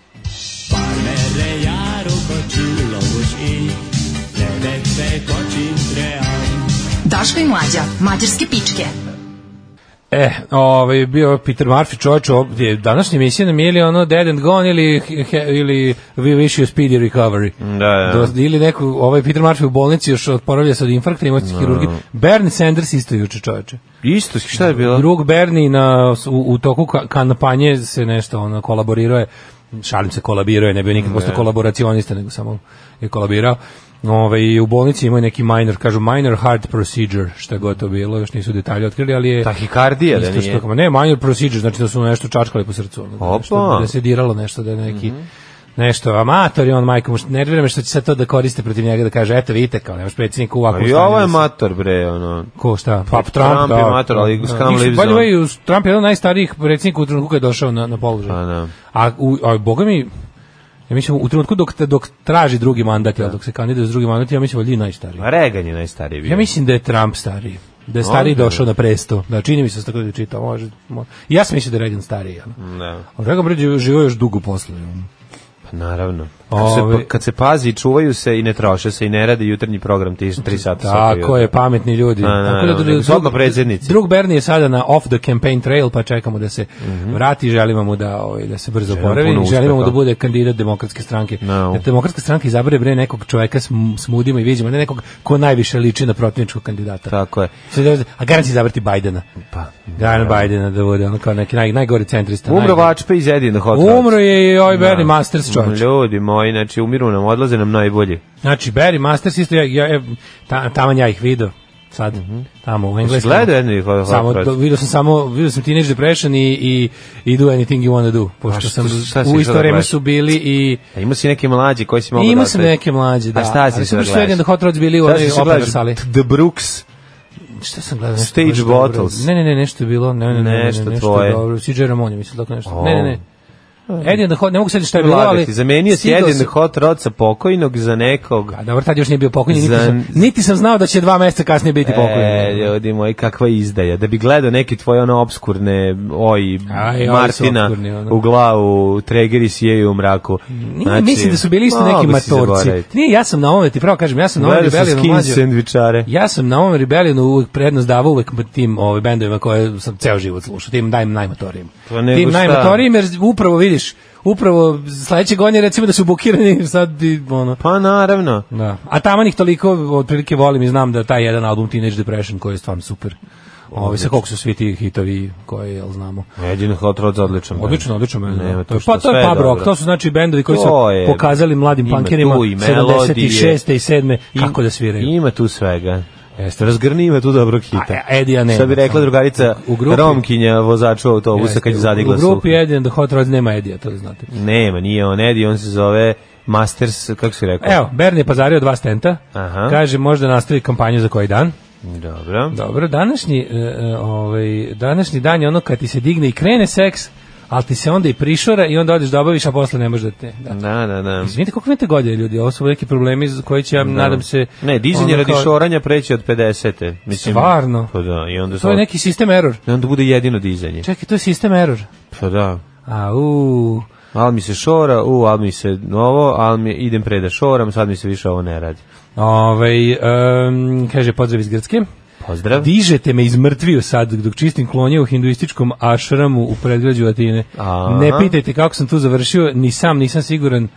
[SPEAKER 4] Daško i mlađa, mađarske pičke.
[SPEAKER 5] E, ovaj, bio je Peter Murphy čovječ, ovdje, današnja emisija nam je ili ono Dead and Gone ili, he- ili We Wish You Speedy Recovery.
[SPEAKER 6] da.
[SPEAKER 5] Do- ili neko, ovaj Peter Murphy u bolnici još odporavlja se od infarkta i moćni hirurgi. Bernie Sanders isto juče čovječe.
[SPEAKER 6] Isto, šta je bilo?
[SPEAKER 5] Drug Bernie na, u, u toku ka- kampanje se nešto ono, kolaborirao je, šalim se kolaboriro je, ne bio nikad posto kolaboracionista, nego samo je kolabirao. Ove, i u bolnici imao je neki minor, kažu minor heart procedure, šta god to bilo, još nisu detalje otkrili, ali je...
[SPEAKER 6] Tahikardija da
[SPEAKER 5] Isto što
[SPEAKER 6] nije.
[SPEAKER 5] kao- ne, minor procedure, znači da su mu nešto čačkali po srcu. ono, da
[SPEAKER 6] Opa. Mhm.
[SPEAKER 5] nešto- Da se diralo nešto, da je neki... nešto amator i on majkom nervira me što će sad to da koriste protiv njega da kaže eto vidite kao nemaš predsjednika u ovakvom
[SPEAKER 6] Pa I ovo je
[SPEAKER 5] da se-
[SPEAKER 6] mator, bre, ono.
[SPEAKER 5] Ko šta?
[SPEAKER 6] Pa, Trump je mator, ali s Kam lives
[SPEAKER 5] By the
[SPEAKER 6] on.
[SPEAKER 5] way, us- Trump je jedan od najstarijih predsjednika u trenutku kada je došao na, na položaj.
[SPEAKER 6] Pa, da.
[SPEAKER 5] A, u, a boga mi, ja mislim, u trenutku dok, dok traži drugi mandat, jel, dok se kandiduje za drugi mandat, ja mislim, valjda i najstariji.
[SPEAKER 6] A Reagan Pa je najstariji bio.
[SPEAKER 5] Ja mislim da je Trump stariji. Da je stariji
[SPEAKER 6] Ozbiljno?
[SPEAKER 5] došao na presto. Da, čini mi se da se tako da čitao. Može, mo- Ja sam mislio da je Reagan stariji. Jel?
[SPEAKER 6] Da.
[SPEAKER 5] A Reagan Brđe živo još dugo posle. jel?
[SPEAKER 6] Pa naravno. Kad se, pa-
[SPEAKER 5] Ovi-
[SPEAKER 6] kad se pazi, čuvaju se i ne troše se i ne rade jutarnji program ti 3 sata svakog
[SPEAKER 5] Tako
[SPEAKER 6] jutra.
[SPEAKER 5] je, pametni ljudi.
[SPEAKER 6] A, naravno,
[SPEAKER 5] Tako
[SPEAKER 6] nego su odmah predsjednici.
[SPEAKER 5] Drug Bernie je sada na off the campaign trail, pa čekamo da se vrati, želimo mu da, ovaj, da se brzo
[SPEAKER 6] Mhm. Želimo
[SPEAKER 5] oporavi,
[SPEAKER 6] puno
[SPEAKER 5] želimo mu da
[SPEAKER 6] uspeha.
[SPEAKER 5] bude kandidat demokratske stranke.
[SPEAKER 6] No.
[SPEAKER 5] Da demokratska stranka izabere bre nekog čoveka s, m- s mudima i vidimo, ne nekog ko najviše liči na protivničkog kandidata.
[SPEAKER 6] Tako je.
[SPEAKER 5] Sad da- A garant će izabrati Bajdena.
[SPEAKER 6] Pa,
[SPEAKER 5] Garant Bajdena da bude on kao neki naj, najgori centrista.
[SPEAKER 6] Umro
[SPEAKER 5] najgori-
[SPEAKER 6] Vačpe iz Edina Hot Rods.
[SPEAKER 5] Umro je i ovaj
[SPEAKER 6] Da.
[SPEAKER 5] Barry Masters čovječ.
[SPEAKER 6] Ljudi moji, znači umiru nam, odlaze nam najbolji.
[SPEAKER 5] Znači, Barry Masters isto, ja, ja, ja- ta, taman ja ih vidio sad,
[SPEAKER 6] Mhm.
[SPEAKER 5] tamo u Engleskom.
[SPEAKER 6] gledao Andy Hot- Hot
[SPEAKER 5] Samo,
[SPEAKER 6] Rods?
[SPEAKER 5] do, vidio sam samo, vidio sam Teenage Depression i, i, i Do Anything You Wanna Do, pošto
[SPEAKER 6] šta-
[SPEAKER 5] sam
[SPEAKER 6] šta si
[SPEAKER 5] u
[SPEAKER 6] išao
[SPEAKER 5] isto
[SPEAKER 6] da
[SPEAKER 5] vreme
[SPEAKER 6] gledaš?
[SPEAKER 5] su bili i...
[SPEAKER 6] A ima si neke mlađe koji si mogu
[SPEAKER 5] I
[SPEAKER 6] da
[SPEAKER 5] imao sam
[SPEAKER 6] otvoriš?
[SPEAKER 5] neke mlađe, da.
[SPEAKER 6] A šta
[SPEAKER 5] Ali
[SPEAKER 6] si se
[SPEAKER 5] super
[SPEAKER 6] da
[SPEAKER 5] što je
[SPEAKER 6] gledaš?
[SPEAKER 5] da Hot Rods bili u
[SPEAKER 6] Šta
[SPEAKER 5] onoj
[SPEAKER 6] si se
[SPEAKER 5] opera
[SPEAKER 6] gledaš?
[SPEAKER 5] sali.
[SPEAKER 6] The Brooks.
[SPEAKER 5] Šta sam gledao? Nešto
[SPEAKER 6] Stage
[SPEAKER 5] baš dobro.
[SPEAKER 6] Bottles.
[SPEAKER 5] Ne, ne, ne, nešto je bilo. Ne, ne, ne, ne, ne,
[SPEAKER 6] Nešto
[SPEAKER 5] nešto
[SPEAKER 6] tvoje.
[SPEAKER 5] tvoje. Dobro. CJ Ramon je mislio tako nešto.
[SPEAKER 6] O.
[SPEAKER 5] Ne, ne, ne. Eddie and the Hot, ne mogu sad šta je bilo, ali...
[SPEAKER 6] Lagati. Zamenio si
[SPEAKER 5] stigao
[SPEAKER 6] Edin
[SPEAKER 5] sam-
[SPEAKER 6] Hot Rodsa pokojnog za nekog.
[SPEAKER 5] A dobro, tad još nije bio pokojni, niti,
[SPEAKER 6] Za-
[SPEAKER 5] sam, niti sam znao da će dva meseca kasnije biti pokojni.
[SPEAKER 6] E, ljudi moji, kakva izdaja. Da bi gledao neke tvoje ono obskurne, oj,
[SPEAKER 5] Aj, ovi su
[SPEAKER 6] Martina
[SPEAKER 5] opskurni, ono.
[SPEAKER 6] u glavu, tregeri sijeju u mraku. Znači,
[SPEAKER 5] Nije, mislim da su bili isto neki
[SPEAKER 6] mogu si
[SPEAKER 5] matorci. ono,
[SPEAKER 6] zaboraviti.
[SPEAKER 5] Nije, ja sam na ovome, ti pravo kažem, ja sam na ovome
[SPEAKER 6] Gledao sam
[SPEAKER 5] Rebellionu
[SPEAKER 6] skin
[SPEAKER 5] mlađo.
[SPEAKER 6] sandvičare.
[SPEAKER 5] Ja sam na ovom Rebellionu uvek prednost davao uvek tim ovaj, bendovima koje sam ceo život slušao, tim daj najmatorijim.
[SPEAKER 6] Pa nego
[SPEAKER 5] tim
[SPEAKER 6] šta?
[SPEAKER 5] najmatorijim, jer upravo vidiš, upravo sledeće godine recimo da su bukirani sad bi, ono,
[SPEAKER 6] Pa naravno.
[SPEAKER 5] da. A tamo ih toliko otprilike volim i znam da taj jedan album Teenage Depression koji je stvarno super. Ovaj sa koliko su svi ti hitovi koje jel znamo.
[SPEAKER 6] Edin Hot Rods odličan. band.
[SPEAKER 5] Pa, Odlično, odlično meni.
[SPEAKER 6] Nema
[SPEAKER 5] to je,
[SPEAKER 6] šta,
[SPEAKER 5] pa to
[SPEAKER 6] sve
[SPEAKER 5] je pub rock,
[SPEAKER 6] dobro.
[SPEAKER 5] to su znači bendovi koji su
[SPEAKER 6] To je-
[SPEAKER 5] pokazali mladim
[SPEAKER 6] ima
[SPEAKER 5] pankerima
[SPEAKER 6] tu i
[SPEAKER 5] 76.
[SPEAKER 6] melodije.
[SPEAKER 5] i 7. kako da sviraju.
[SPEAKER 6] Ima tu svega.
[SPEAKER 5] Jeste.
[SPEAKER 6] Jeste, razgrni ima tu dobrog hita.
[SPEAKER 5] A, e, Edija nema.
[SPEAKER 6] Šta bi rekla drugarica
[SPEAKER 5] U grupi-
[SPEAKER 6] Romkinja vozaču autobusa kad je zadigla
[SPEAKER 5] U grupi
[SPEAKER 6] sluha.
[SPEAKER 5] Edija, da Hot Rods nema Edija, to da znate.
[SPEAKER 6] Nema, nije on Edi, on se zove Masters, kako si rekao?
[SPEAKER 5] Evo, Bern je pazario dva stenta.
[SPEAKER 6] Aha.
[SPEAKER 5] Kaže, možda nastavi kampanju za koji dan.
[SPEAKER 6] Dobro.
[SPEAKER 5] Dobro, današnji, e, e, ovaj, današnji dan je ono kad ti se digne i krene seks, ali ti se onda i prišora i onda odeš da obaviš, a posle ne možeš da te... Da.
[SPEAKER 6] Da, da, da.
[SPEAKER 5] Izvinite, koliko imate godine ljudi? Ovo su neki problemi za koje će, ja nadam se...
[SPEAKER 6] Ne, dizanje
[SPEAKER 5] ono
[SPEAKER 6] radi
[SPEAKER 5] kao-
[SPEAKER 6] šoranja preći od 50. Mislim,
[SPEAKER 5] Stvarno?
[SPEAKER 6] Pa da, i onda,
[SPEAKER 5] To je neki sistem error.
[SPEAKER 6] i onda bude jedino dizanje.
[SPEAKER 5] Čekaj, to je sistem error.
[SPEAKER 6] Pa da.
[SPEAKER 5] A, u,
[SPEAKER 6] Al mi se šora, u, al mi se ovo, al mi idem pre da šoram, sad mi se više ovo ne radi.
[SPEAKER 5] ovaj, em, kaže pozdrav iz Grcke.
[SPEAKER 6] Pozdrav.
[SPEAKER 5] Dižete me iz mrtviju sad dok čistim klonje u hinduističkom ašramu u predgrađu Atine.
[SPEAKER 6] Aha.
[SPEAKER 5] Ne pitajte kako sam tu završio, ni sam nisam siguran.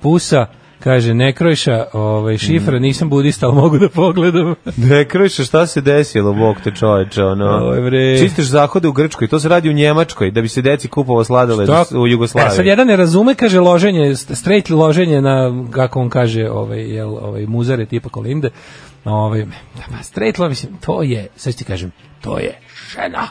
[SPEAKER 5] Pusa, kaže Nekrojša, ovaj,
[SPEAKER 6] Mm.
[SPEAKER 5] šifra, nisam budista, ali mogu da pogledam.
[SPEAKER 6] Ne, krviše, šta se desilo, bog te čoveče, ono.
[SPEAKER 5] Oj, bre.
[SPEAKER 6] Čistiš zahode u Grčkoj, to se radi u Njemačkoj, da bi se deci kupovao sladoled
[SPEAKER 5] To-
[SPEAKER 6] u Jugoslaviji.
[SPEAKER 5] E, sad jedan ne razume, kaže loženje, st- straight loženje na, kako on kaže, ovaj, jel, ovaj, muzare tipa kolinde. Ovaj, da, pa straight lo, mislim, to je, sad ću ti kažem, to je žena.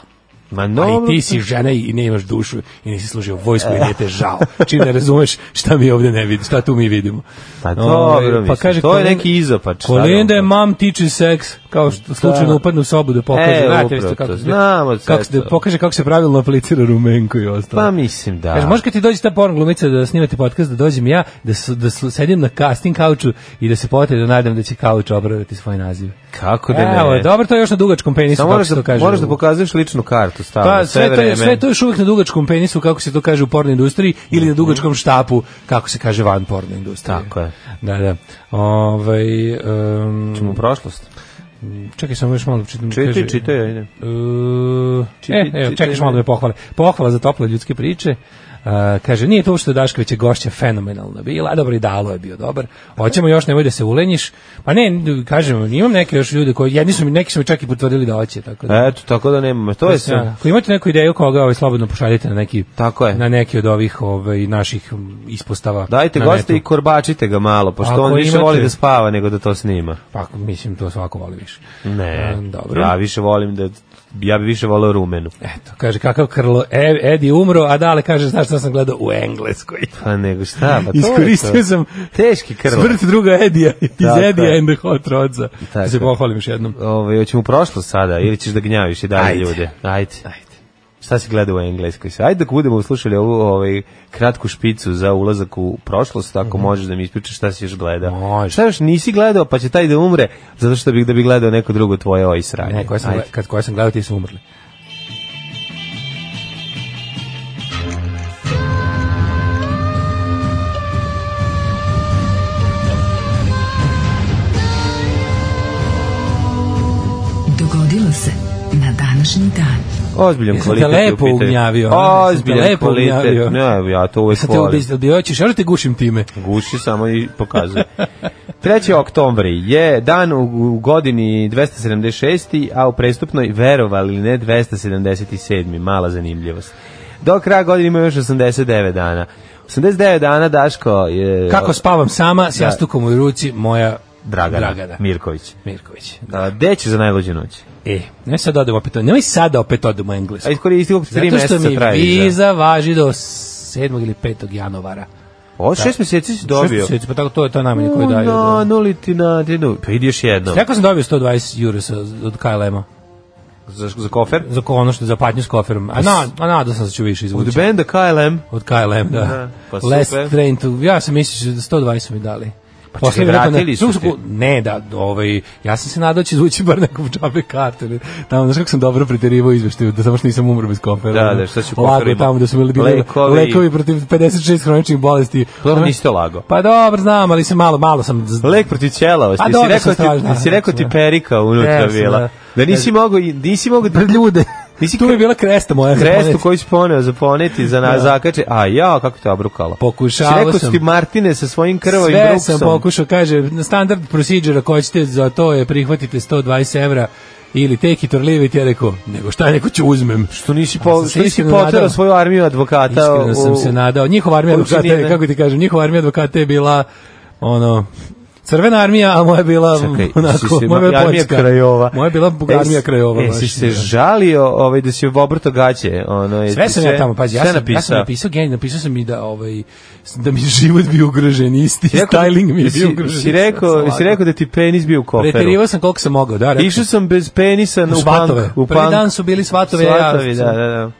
[SPEAKER 6] Ma
[SPEAKER 5] Ali
[SPEAKER 6] no,
[SPEAKER 5] ti si žena i ne imaš dušu i nisi služio vojsku i nije te žao. Čim ne razumeš šta mi ovdje ne vidimo, šta tu mi vidimo.
[SPEAKER 6] Pa
[SPEAKER 5] Ovaj,
[SPEAKER 6] dobro, mislim, to je
[SPEAKER 5] Kolin-
[SPEAKER 6] neki izopač. šta
[SPEAKER 5] Kolinda
[SPEAKER 6] da ono.
[SPEAKER 5] je
[SPEAKER 6] vam-
[SPEAKER 5] mom teaches sex, kao što slučajno upadne u sobu da pokaže.
[SPEAKER 6] E,
[SPEAKER 5] Znate,
[SPEAKER 6] upravo
[SPEAKER 5] isto kako
[SPEAKER 6] to,
[SPEAKER 5] se-
[SPEAKER 6] znamo sve
[SPEAKER 5] kako se-
[SPEAKER 6] to.
[SPEAKER 5] Da pokaže kako se pravilno aplicira rumenko i ostalo.
[SPEAKER 6] Pa mislim da.
[SPEAKER 5] Kaže, može kad ti dođe ta porn glumica da snimate podcast, da dođem ja, da, su, da su, sedim na casting kauču i da se potre da nadam da će kauč obraviti svoj naziv.
[SPEAKER 6] Kako da ne?
[SPEAKER 5] Evo, dobro, to je još na dugačkom penisu,
[SPEAKER 6] Samo
[SPEAKER 5] kako
[SPEAKER 6] moraš
[SPEAKER 5] se to
[SPEAKER 6] da,
[SPEAKER 5] kaže.
[SPEAKER 6] moraš da pokazuješ ličnu kartu stalno, sve,
[SPEAKER 5] Pa, sve, to
[SPEAKER 6] vreme.
[SPEAKER 5] je, sve to je još uvijek na dugačkom penisu, kako se to kaže u porno industriji, ili na dugačkom štapu, kako se kaže van porno industrije.
[SPEAKER 6] Tako je.
[SPEAKER 5] Da, da. Ovaj, em,
[SPEAKER 6] U prošlost.
[SPEAKER 5] čekaj samo još malo da čitam. kaže-
[SPEAKER 6] Čitaj, čitaj, ajde.
[SPEAKER 5] Uh,
[SPEAKER 6] Čiti-
[SPEAKER 5] e, evo,
[SPEAKER 6] čiti-
[SPEAKER 5] čekaš malo da me pohvale. Pohvala za tople ljudske priče. Uh, kaže, nije to što je Dašković je gošća fenomenalna bila, a dobro i Dalo je bio dobar. Hoćemo još, nemoj da se ulenjiš. Pa ne, kažem, imam neke još ljude koji, jedni su mi, neki su mi čak i potvrdili da hoće, tako da.
[SPEAKER 6] Eto, tako da nemamo. To je E, sve.
[SPEAKER 5] Ako imate neku ideju koga, ovaj, slobodno pošaljite na neki,
[SPEAKER 6] Tako je.
[SPEAKER 5] na neki od ovih ovaj, naših m, ispostava.
[SPEAKER 6] Dajte
[SPEAKER 5] na
[SPEAKER 6] goste
[SPEAKER 5] netu.
[SPEAKER 6] i korbačite ga malo, pošto
[SPEAKER 5] Ako
[SPEAKER 6] on više
[SPEAKER 5] imate-
[SPEAKER 6] voli da spava nego da to snima.
[SPEAKER 5] Pa, mislim, to svako voli više.
[SPEAKER 6] Ne,
[SPEAKER 5] E, dobro.
[SPEAKER 6] ja više volim da ja bi više voleo rumenu.
[SPEAKER 5] Eto, kaže, kakav krlo, e, Edi umro, a Dale kaže, znaš šta šta sam gledao u Engleskoj.
[SPEAKER 6] Pa nego šta, pa to je
[SPEAKER 5] Iskoristio
[SPEAKER 6] to.
[SPEAKER 5] sam
[SPEAKER 6] Teški krv.
[SPEAKER 5] smrt druga Edija iz
[SPEAKER 6] Tako je.
[SPEAKER 5] Edija and the Hot Rodsa. Da
[SPEAKER 6] Tako
[SPEAKER 5] se
[SPEAKER 6] je.
[SPEAKER 5] pohvalim još jednom.
[SPEAKER 6] Ove, Ovaj, hoćemo u prošlost sada ili ćeš da gnjaviš i dalje ljude? Ajde. Ajde. Šta si gledao u engleskoj? Ajde dok budemo slušali ovu ovaj, kratku špicu za ulazak u prošlost, ako možeš da mi ispričaš šta si još gledao.
[SPEAKER 5] Mhm. Može.
[SPEAKER 6] Šta još nisi gledao, pa će taj da umre, zato što bih da bi gledao neko drugo tvoje oj sranje.
[SPEAKER 5] Ne, koje sam,
[SPEAKER 6] Ajde.
[SPEAKER 5] gleda- kad koje sam gledao ti su umrli.
[SPEAKER 4] Dogodilo se na današnji dan.
[SPEAKER 6] Ozbiljan
[SPEAKER 5] Jesam te
[SPEAKER 6] kvalitet. je u
[SPEAKER 5] lepo
[SPEAKER 6] pitanju.
[SPEAKER 5] ugnjavio, a? Jesam te
[SPEAKER 6] Ozbiljan
[SPEAKER 5] lepo ugnjavio.
[SPEAKER 6] kvalitet. Ne, ja to uvek
[SPEAKER 5] Sad te
[SPEAKER 6] volim.
[SPEAKER 5] obi- obijoćiš, ja te gušim time.
[SPEAKER 6] Guši samo i pokazuje. 3. oktobri je dan u, u godini 276. a u prestupnoj verovali ili ne 277. Mala zanimljivost. Do kraja godine ima još 89 dana. 89 dana Daško je
[SPEAKER 5] Kako spavam sama, s jastukom u ruci, moja
[SPEAKER 6] Dragana,
[SPEAKER 5] Dragana.
[SPEAKER 6] Mirković.
[SPEAKER 5] Mirković.
[SPEAKER 6] A, gde će za najluđu noć?
[SPEAKER 5] E, ne sad odem opet, nemoj sada opet odem u Englesku.
[SPEAKER 6] A iskoristi koliko 3
[SPEAKER 5] Zato što
[SPEAKER 6] meseca
[SPEAKER 5] mi
[SPEAKER 6] traje. viza.
[SPEAKER 5] viza važi do 7. ili 5. januara.
[SPEAKER 6] O, 6 meseci si dobio.
[SPEAKER 5] Šest mjeseci, pa tako to je to najmanje koje daju. da.
[SPEAKER 6] No, nuli ti na dinu. Pa idi još jednom.
[SPEAKER 5] Rekao sam dobio 120 euro sa, od KLM-a.
[SPEAKER 6] Za, za kofer?
[SPEAKER 5] Za ko, ono što za patnju s koferom. A, na, a nadao sam da ću više izvući.
[SPEAKER 6] Pa Od benda KLM.
[SPEAKER 5] Od KLM, da.
[SPEAKER 6] Da, pa super.
[SPEAKER 5] Last train to... Ja sam mislio da 120 su mi dali. Pa
[SPEAKER 6] čekaj, vratili su ti?
[SPEAKER 5] Ne, da, ovaj, ja sam se nadao da će izvući bar neku džabe kartu. Ne? Tamo, znaš kako sam dobro preterivao izveštaju, da samo što nisam umro bez kofera.
[SPEAKER 6] Da,
[SPEAKER 5] ono.
[SPEAKER 6] da, šta si u
[SPEAKER 5] Lago
[SPEAKER 6] koferima?
[SPEAKER 5] tamo da su bili bili lekovi,
[SPEAKER 6] Lekovi.
[SPEAKER 5] lekovi protiv 56 hroničnih bolesti.
[SPEAKER 6] Dobro,
[SPEAKER 5] Ono-
[SPEAKER 6] niste lago.
[SPEAKER 5] Pa dobro, znam, ali sam malo, malo sam... z-
[SPEAKER 6] Lek protiv ćelava,
[SPEAKER 5] A
[SPEAKER 6] ti si
[SPEAKER 5] Pa dobro sam
[SPEAKER 6] rekao ti,
[SPEAKER 5] strašno,
[SPEAKER 6] ti si rekao ti
[SPEAKER 5] da.
[SPEAKER 6] perika unutra
[SPEAKER 5] Jesam, da.
[SPEAKER 6] bila. Da nisi mogao, i- nisi mogao
[SPEAKER 5] Pred ljude.
[SPEAKER 6] Nisi
[SPEAKER 5] tu bi bila kresta moja.
[SPEAKER 6] krestu koju si poneo za poneti, za na zakače, a ja, kako te obrukalo.
[SPEAKER 5] Pokušavao
[SPEAKER 6] si rekao
[SPEAKER 5] sam.
[SPEAKER 6] ti Martine sa svojim krvavim
[SPEAKER 5] Sve
[SPEAKER 6] bruksom.
[SPEAKER 5] sam pokušao, kaže, na standard procedure ako hoćete za to je prihvatite 120 evra ili take it or leave it, ja rekao, nego šta neko ću uzmem.
[SPEAKER 6] Što nisi,
[SPEAKER 5] A
[SPEAKER 6] po,
[SPEAKER 5] sam se
[SPEAKER 6] što nisi
[SPEAKER 5] iskreno nadao.
[SPEAKER 6] poterao svoju armiju advokata.
[SPEAKER 5] Iskreno
[SPEAKER 6] u-
[SPEAKER 5] sam se nadao. Njihova armija advokata, je,
[SPEAKER 6] Učinjene.
[SPEAKER 5] kako ti kažem, njihova armija advokata je bila, ono, crvena armija, a moja je bila
[SPEAKER 6] Čekaj,
[SPEAKER 5] onako,
[SPEAKER 6] si se,
[SPEAKER 5] moja je bila
[SPEAKER 6] armija
[SPEAKER 5] poljska.
[SPEAKER 6] krajova.
[SPEAKER 5] Moja je bila
[SPEAKER 6] E,
[SPEAKER 5] armija krajova.
[SPEAKER 6] E,
[SPEAKER 5] baš,
[SPEAKER 6] si se
[SPEAKER 5] da.
[SPEAKER 6] žalio ovaj, da si obrto gaće. Ono, je
[SPEAKER 5] Sve
[SPEAKER 6] ti
[SPEAKER 5] sam ja tamo, pazi, ja
[SPEAKER 6] sve
[SPEAKER 5] sam, ja sam napisao genij, napisao sam i da, ovaj, da mi je život bio ugrožen isti,
[SPEAKER 6] Si rekao-
[SPEAKER 5] styling mi je
[SPEAKER 6] si-
[SPEAKER 5] bio ugrožen.
[SPEAKER 6] Si rekao, si rekao da ti penis bio u koferu.
[SPEAKER 5] Preterivao sam koliko sam mogao, da, rekao
[SPEAKER 6] Išao sam bez penisa na
[SPEAKER 5] U
[SPEAKER 6] u
[SPEAKER 5] svatove.
[SPEAKER 6] punk. U
[SPEAKER 5] Prvi
[SPEAKER 6] punk.
[SPEAKER 5] dan su bili svatovi,
[SPEAKER 6] Svatovi, da,
[SPEAKER 5] ja-
[SPEAKER 6] da, da.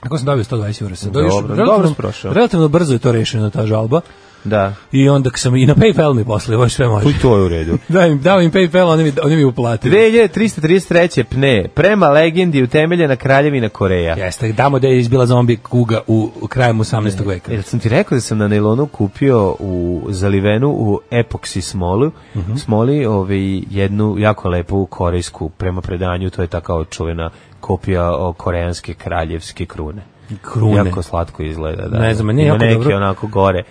[SPEAKER 5] Ako sam dobio 120 eura sam.
[SPEAKER 6] Dobro,
[SPEAKER 5] Još
[SPEAKER 6] dobro
[SPEAKER 5] relativno-
[SPEAKER 6] si prošao.
[SPEAKER 5] Relativno brzo je to rešeno, ta žalba.
[SPEAKER 6] Da.
[SPEAKER 5] I onda k- sam i na PayPal mi poslao, baš sve može.
[SPEAKER 6] I to je u redu.
[SPEAKER 5] Da im, dao im PayPal, oni mi, oni mi uplatili.
[SPEAKER 6] 2333. pne. Prema legendi utemeljena kraljevina Koreja.
[SPEAKER 5] Jeste, damo da je izbila zombi kuga u, u krajem 18. veka.
[SPEAKER 6] E, Jel sam ti rekao da sam na nailonu kupio u zalivenu u epoksi smolu,
[SPEAKER 5] Mhm.
[SPEAKER 6] smoli ovaj, jednu jako lepu korejsku prema predanju, to je ta kao čuvena kopija o koreanske kraljevske krune.
[SPEAKER 5] Krune.
[SPEAKER 6] Jako slatko izgleda, da.
[SPEAKER 5] Ne znam, ne,
[SPEAKER 6] Ima
[SPEAKER 5] jako
[SPEAKER 6] neke
[SPEAKER 5] dobro.
[SPEAKER 6] onako gore.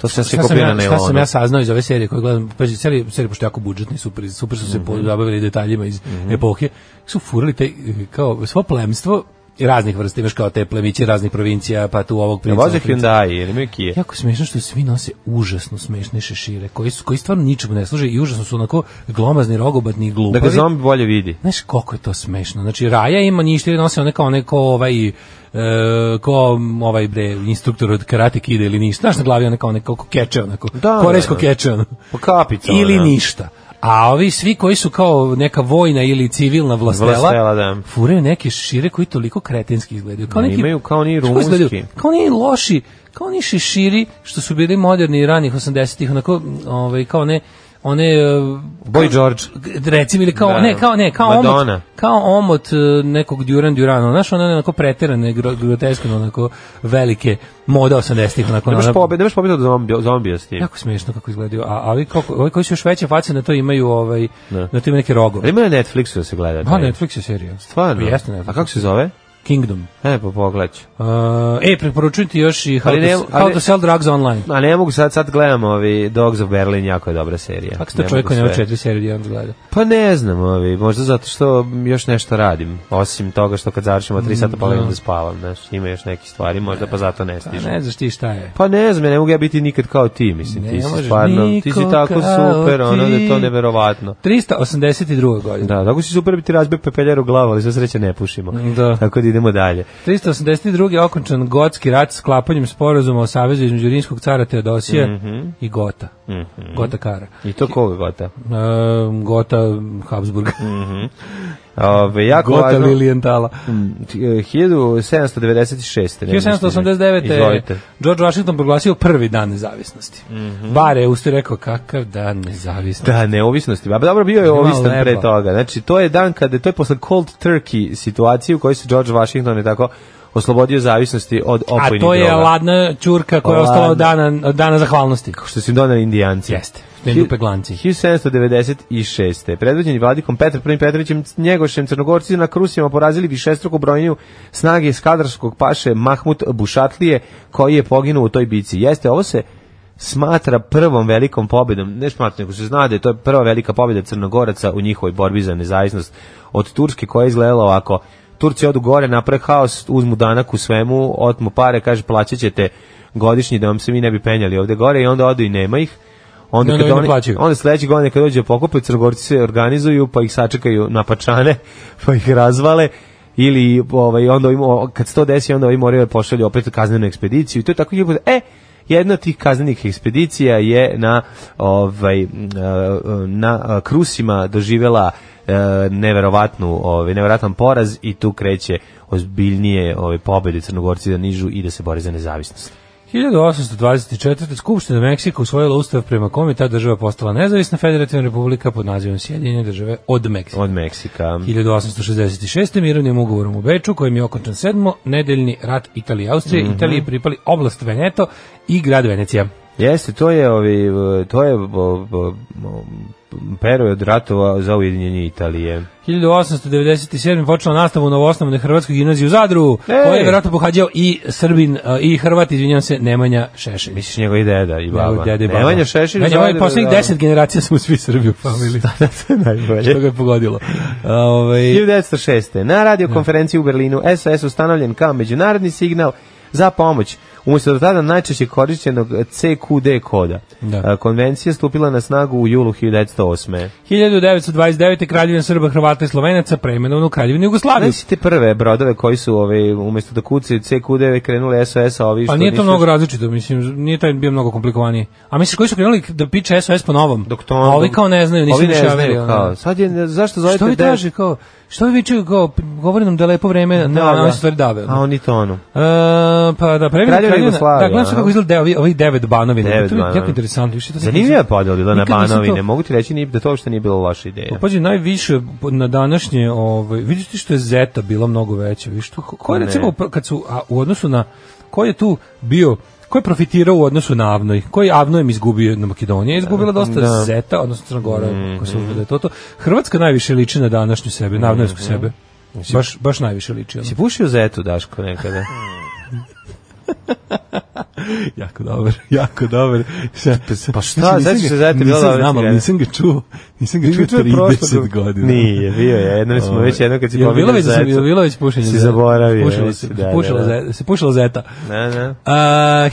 [SPEAKER 6] To sam se
[SPEAKER 5] Šta sam,
[SPEAKER 6] kupio na
[SPEAKER 5] ja, šta
[SPEAKER 6] nailonu.
[SPEAKER 5] sam ja saznao iz ove serije koju gledam, pa je serija, serija pošto je jako budžetna i super, super su se
[SPEAKER 6] Mhm.
[SPEAKER 5] mm detaljima iz epohe, su furali taj, kao, svo plemstvo raznih vrsta, imaš kao te plemiće raznih provincija, pa tu ovog
[SPEAKER 6] Ja
[SPEAKER 5] princa.
[SPEAKER 6] voze
[SPEAKER 5] ovog princa.
[SPEAKER 6] Hyundai ili imaju Kia.
[SPEAKER 5] Jako smešno što svi nose užasno smešne šešire, koji su koji stvarno ničemu ne služe i užasno su onako glomazni, rogobatni i glupavi.
[SPEAKER 6] Da ga zombi bolje vidi.
[SPEAKER 5] Znaš koliko je to smešno. Znači Raja ima ništa ili nosi one kao neko ovaj e, ko m, ovaj bre instruktor od karate kida ili ništa. Znaš na glavi one kao neko keče onako.
[SPEAKER 6] Da,
[SPEAKER 5] korejsko
[SPEAKER 6] da, Pa da.
[SPEAKER 5] keče ono.
[SPEAKER 6] Po kapicama,
[SPEAKER 5] Ili
[SPEAKER 6] da.
[SPEAKER 5] ništa. A ovi svi koji su kao neka vojna ili civilna vlastela,
[SPEAKER 6] Vlastela, da.
[SPEAKER 5] furaju neke šire koji toliko kretenski izgledaju. Kao
[SPEAKER 6] Ne,
[SPEAKER 5] neki,
[SPEAKER 6] imaju kao oni
[SPEAKER 5] Znaš kako izgledaju?
[SPEAKER 6] rumunski.
[SPEAKER 5] Kao oni loši, kao oni šeširi što su bili moderni ranih 80-ih, onako ovaj, kao ne one e,
[SPEAKER 6] Boy George.
[SPEAKER 5] recimo ili kao
[SPEAKER 6] Da.
[SPEAKER 5] ne kao ne kao
[SPEAKER 6] Madonna.
[SPEAKER 5] omot kao omot e, nekog Duran Durana znaš one onako preterane gro- groteskno onako velike moda 80-ih onako
[SPEAKER 6] Ne
[SPEAKER 5] ona-
[SPEAKER 6] možeš pobediti, ne možeš pobediti od zombi, zombija s tim.
[SPEAKER 5] jako smiješno kako izgledaju a ali kako ovi koji su još veće face na to imaju ovaj
[SPEAKER 6] Da.
[SPEAKER 5] na to imaju neke rogove
[SPEAKER 6] Ali ima na Netflixu da se gleda.
[SPEAKER 5] Pa
[SPEAKER 6] taj?
[SPEAKER 5] Netflix je serija. Pa
[SPEAKER 6] Stvarno?
[SPEAKER 5] Jeste Netflix.
[SPEAKER 6] A kako se zove?
[SPEAKER 5] Kingdom.
[SPEAKER 6] E, pa pogledaj ću.
[SPEAKER 5] Uh, e, preporučujem ti još i How,
[SPEAKER 6] Ali ne-
[SPEAKER 5] to, How
[SPEAKER 6] ali-
[SPEAKER 5] to Sell Drugs Online.
[SPEAKER 6] A ne mogu sad, sad gledam ovi Dogs of Berlin, jako je dobra serija.
[SPEAKER 5] Kako ste
[SPEAKER 6] Ne
[SPEAKER 5] čovjek
[SPEAKER 6] mogu
[SPEAKER 5] koji nema
[SPEAKER 6] sve.
[SPEAKER 5] četiri serije odjednom da gleda?
[SPEAKER 6] Pa ne znam, ovi, možda zato što još nešto radim. Osim toga što kad završimo 3 sata pa legam da spavam, znaš, ima još nekih stvari, možda pa zato ne
[SPEAKER 5] Mm, Pa
[SPEAKER 6] stižem.
[SPEAKER 5] ne znaš ti šta je.
[SPEAKER 6] Pa ne znam, ja ne mogu ja biti nikad kao ti, mislim,
[SPEAKER 5] Ne
[SPEAKER 6] ti si
[SPEAKER 5] možeš
[SPEAKER 6] stvarno, ti
[SPEAKER 5] niko
[SPEAKER 6] si tako
[SPEAKER 5] kao
[SPEAKER 6] super, ono da je to
[SPEAKER 5] ti.
[SPEAKER 6] neverovatno.
[SPEAKER 5] 382. godina.
[SPEAKER 6] Da, tako si super biti razbio pepeljaru glavu, ali sve sreće ne pušimo.
[SPEAKER 5] Da.
[SPEAKER 6] Tako da idemo dalje.
[SPEAKER 5] 382. je okončan gotski rat s klapanjem sporazuma o savezu između rimskog cara Teodosije
[SPEAKER 6] Mhm.
[SPEAKER 5] i Gota. Gota Kara.
[SPEAKER 6] I to koga gota?
[SPEAKER 5] Ehm, Gota Habsburga.
[SPEAKER 6] Ove, jako
[SPEAKER 5] Gota
[SPEAKER 6] Mhm. važno.
[SPEAKER 5] Lilijentala.
[SPEAKER 6] Mm, t- 1796. ne mislim.
[SPEAKER 5] 1789. je
[SPEAKER 6] Izvolite. Mhm.
[SPEAKER 5] George Washington proglasio prvi dan nezavisnosti. Bare je usti rekao kakav dan nezavisnosti.
[SPEAKER 6] Da, neovisnosti. A dobro, bio je
[SPEAKER 5] Malo
[SPEAKER 6] ovisan
[SPEAKER 5] lepo.
[SPEAKER 6] pre toga. Znači, to je dan kada, to je posle Cold Turkey situacije u kojoj se George Washington je tako oslobodio zavisnosti od
[SPEAKER 5] A
[SPEAKER 6] opojnih droga.
[SPEAKER 5] to je ladna čurka koja je ostala od dana, od dana zahvalnosti.
[SPEAKER 6] što su im donali indijanci.
[SPEAKER 5] Jeste, Nendupe glanci.
[SPEAKER 6] 1796. Predvođeni vladikom Petar I Petrovićem Njegošem Crnogorci na Krusima porazili višestruku brojnju snage skadarskog paše Mahmut Bušatlije koji je poginuo u toj bici. Jeste, ovo se smatra prvom velikom pobedom, ne smatra, nego se zna da je to prva velika pobeda Crnogoraca u njihovoj borbi za nezavisnost od Turske koja je izgledala ovako. Turci odu gore, napre haos, uzmu danak u svemu, otmu pare, kaže plaćat ćete godišnji da vam se mi ne bi penjali ovde gore i onda odu i nema ih. Onda,
[SPEAKER 5] I onda
[SPEAKER 6] kad
[SPEAKER 5] ovi ne
[SPEAKER 6] oni,
[SPEAKER 5] plaćaju.
[SPEAKER 6] onda sledeće godine kad dođe pokupe, crnogorci se organizuju, pa ih sačekaju na pačane, pa ih razvale ili ovaj onda im, kad se to desi onda ovi moraju da pošalju opet kaznenu ekspediciju i to je tako ljubav. E, jedna od tih kaznenih ekspedicija je na ovaj na, na e, Krusima doživela e, neverovatnu ovaj neverovatan poraz i tu kreće ozbiljnije ove pobede crnogorci da nižu i da se bore za nezavisnost.
[SPEAKER 5] 1824. Skupština Meksika usvojila ustav prema kom je ta država postala nezavisna federativna republika pod nazivom Sjedinjene države od Meksika.
[SPEAKER 6] Od Meksika.
[SPEAKER 5] 1866. mirovnim ugovorom u Beču kojim je okončan sedmo nedeljni rat Italije i Austrije. Italiji pripali oblast Veneto i grad Venecija.
[SPEAKER 6] Jeste, to je ovi, v- to je bo- bo- bo- period ratova za ujedinjenje Italije.
[SPEAKER 5] 1897. počela nastavu u novoosnovne Hrvatskoj gimnaziji u Zadru,
[SPEAKER 6] Ej!
[SPEAKER 5] koju je vjerojatno pohađao i Srbin, a, i Hrvat, izvinjam se, Nemanja Šešelj.
[SPEAKER 6] Misliš njegov i deda i baba.
[SPEAKER 5] Evo, dede i baba.
[SPEAKER 6] Nemanja Šešir.
[SPEAKER 5] Znači,
[SPEAKER 6] Zadar,
[SPEAKER 5] ovaj poslednjih
[SPEAKER 6] da.
[SPEAKER 5] deset generacija smo svi Srbi u familiji.
[SPEAKER 6] To je najbolje.
[SPEAKER 5] Što ga je pogodilo. A, ovaj,
[SPEAKER 6] 1906. Na radiokonferenciji u Berlinu SOS ustavljen kao međunarodni signal za pomoć umjesto do tada najčešće korišćenog CQD koda.
[SPEAKER 5] Da.
[SPEAKER 6] A, Konvencija je stupila na snagu u julu 1908.
[SPEAKER 5] 1929. kraljevina Srba, Hrvata i Slovenaca preimenovana u kraljevinu Jugoslaviju.
[SPEAKER 6] Znači te prve brodove koji su ove, umjesto da kucaju CQD krenule SOS, a ovi što
[SPEAKER 5] Pa nije to
[SPEAKER 6] nisu-
[SPEAKER 5] mnogo različito, mislim, nije taj bio mnogo komplikovaniji. A misliš koji su krenuli da piče SOS po novom?
[SPEAKER 6] Doktor,
[SPEAKER 5] A ovi kao ne znaju, nisu
[SPEAKER 6] ono- ovi ne
[SPEAKER 5] ni šavili,
[SPEAKER 6] znaju
[SPEAKER 5] ono.
[SPEAKER 6] kao. Sad je, zašto zovete
[SPEAKER 5] Što vi
[SPEAKER 6] de-
[SPEAKER 5] traži, kao, što vi vičuju, kao, p- govori nam da je lepo vreme, da,
[SPEAKER 6] Da,
[SPEAKER 5] na,
[SPEAKER 6] da.
[SPEAKER 5] na ove stvari dave.
[SPEAKER 6] A
[SPEAKER 5] ono.
[SPEAKER 6] oni to ono.
[SPEAKER 5] E, pa da, previm
[SPEAKER 6] Kraljevina Jugoslavija,
[SPEAKER 5] Da, gledam se
[SPEAKER 6] aha.
[SPEAKER 5] kako izgleda ovi, ovi devet banovina.
[SPEAKER 6] Devet
[SPEAKER 5] to je
[SPEAKER 6] banovina.
[SPEAKER 5] jako interesantno. više to nikad
[SPEAKER 6] Zanimljivo je
[SPEAKER 5] nisam-
[SPEAKER 6] podelila na
[SPEAKER 5] nikad nisam to-
[SPEAKER 6] banovine. Mogu ti reći ni- da to uopšte nije bila loša ideja.
[SPEAKER 5] Pazi, najviše po- na današnje, ovaj, vidite što je Zeta bila mnogo veća, viš to, ko, ko je
[SPEAKER 6] Ne.
[SPEAKER 5] recimo, pr- kad su, a, u odnosu na, ko je tu bio, ko je profitirao u odnosu na Avnoj, koji Avnoj im izgubio na Makedonija, je izgubila dosta
[SPEAKER 6] Da. Mhm.
[SPEAKER 5] Zeta, odnosno Crnogora, ako se uzme da je to to. Hrvatska najviše liči na današnju sebe, na Avnojsku sebe. Baš, baš najviše liči. Ono.
[SPEAKER 6] Si pušio zetu, Daško, nekada?
[SPEAKER 5] Jako dobar, jako dobar.
[SPEAKER 6] pa šta, sećaš se Zete, bila dobra cijena.
[SPEAKER 5] ga čuo, nisam ga
[SPEAKER 6] Čuo je prošlo- Nije, bio je. Jednom smo
[SPEAKER 5] Ovaj,
[SPEAKER 6] već jednom kad si
[SPEAKER 5] jel bilo
[SPEAKER 6] pominjao
[SPEAKER 5] već da sam-
[SPEAKER 6] zetu.
[SPEAKER 5] jel bilo već pušenje?
[SPEAKER 6] Si
[SPEAKER 5] zeta?
[SPEAKER 6] zaboravio,
[SPEAKER 5] Pušilo
[SPEAKER 6] već,
[SPEAKER 5] se,
[SPEAKER 6] da,
[SPEAKER 5] pušila
[SPEAKER 6] da, da.
[SPEAKER 5] ze- se pušila zeta.
[SPEAKER 6] Ne, ne.
[SPEAKER 5] A,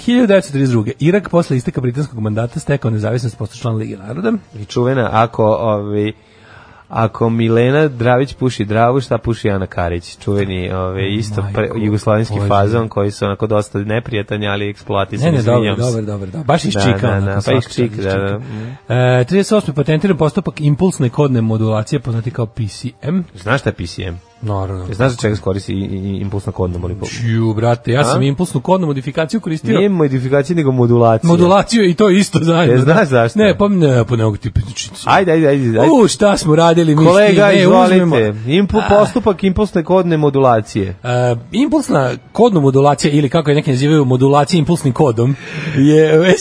[SPEAKER 5] 1932. Irak posle isteka britanskog mandata stekao nezavisnost posto član Lige naroda.
[SPEAKER 6] I čuvena, ako, ovi, ako Milena Dravić puši Dravu, šta puši Ana Karić? Čuveni ove, isto
[SPEAKER 5] Majko,
[SPEAKER 6] pre, jugoslavenski
[SPEAKER 5] Bože.
[SPEAKER 6] fazon koji su onako dosta neprijatan, ali
[SPEAKER 5] Ne,
[SPEAKER 6] eksploatisan.
[SPEAKER 5] ne, dobro, dobro, dobro. Da. Baš iz
[SPEAKER 6] Da, da,
[SPEAKER 5] čika. onako,
[SPEAKER 6] da, pa
[SPEAKER 5] svaka
[SPEAKER 6] iz čika,
[SPEAKER 5] čast, iz
[SPEAKER 6] da,
[SPEAKER 5] čika.
[SPEAKER 6] da.
[SPEAKER 5] E, 38. patentiran postupak impulsne kodne modulacije, poznati kao PCM.
[SPEAKER 6] Znaš šta je PCM?
[SPEAKER 5] Naravno.
[SPEAKER 6] Znaš za čega se koristi i- i- i impulsna kodna manipulacija?
[SPEAKER 5] Čiju, brate, ja sam
[SPEAKER 6] A?
[SPEAKER 5] impulsnu kodnu modifikaciju koristio.
[SPEAKER 6] Nije modifikacija, nego modulacija.
[SPEAKER 5] modulaciju i to isto zajedno.
[SPEAKER 6] E, znaš zašto?
[SPEAKER 5] Ne, pa ne, pa nego ti pričnici.
[SPEAKER 6] Ajde, ajde, ajde. ajde.
[SPEAKER 5] U, šta smo radili mi
[SPEAKER 6] Kolega,
[SPEAKER 5] s tim? Ne, uzmemo.
[SPEAKER 6] izvolite. Impu, postupak impulsne kodne modulacije.
[SPEAKER 5] E, impulsna kodna modulacija ili kako je neki nazivaju modulacija impulsnim kodom je već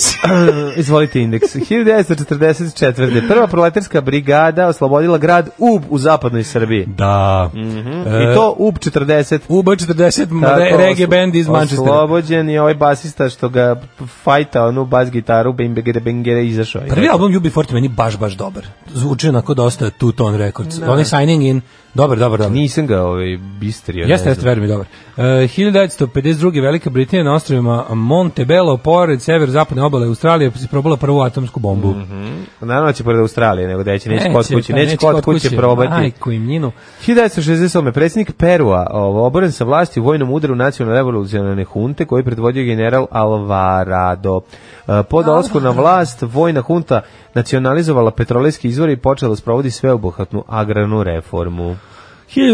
[SPEAKER 6] Izvolite indeks. 1944. Prva proletarska brigada oslobodila grad Ub u zapadnoj Srbiji.
[SPEAKER 5] da
[SPEAKER 6] I to Ub 40.
[SPEAKER 5] UB40
[SPEAKER 6] Tako,
[SPEAKER 5] re, E. reggae
[SPEAKER 6] oslo-
[SPEAKER 5] band iz Manchestera
[SPEAKER 6] Oslobođen je ovaj basista što ga fajta onu bas gitaru, bengere, bengere, izašao je.
[SPEAKER 5] prvi album UB40 meni baš baš dobar zvuči onako dosta two tone records onaj signing in Dobar, dobar, dobar.
[SPEAKER 6] Nisam ga ovaj, bistrio. ne
[SPEAKER 5] Jeste,
[SPEAKER 6] znam.
[SPEAKER 5] jeste, verujem je dobar. E, 1952. Velika Britanija na ostrovima Montebello, pored sever-zapadne obale Australije, se probala prvu atomsku bombu.
[SPEAKER 6] Naravno će pored Australije, nego da će, Mhm, neće kod kuće,
[SPEAKER 5] pa,
[SPEAKER 6] neće kod kuće probati.
[SPEAKER 5] Majku im njinu.
[SPEAKER 6] 1968. predsjednik Perua ovo, oboren sa vlasti u vojnom udaru nacionalne revolucionarne hunte koji je predvodio general Alvarado. E, Po dolasku na vlast, vojna hunta nacionalizovala petrolejski izvor i počela da sprovodi sveobuhvatnu agrarnu reformu.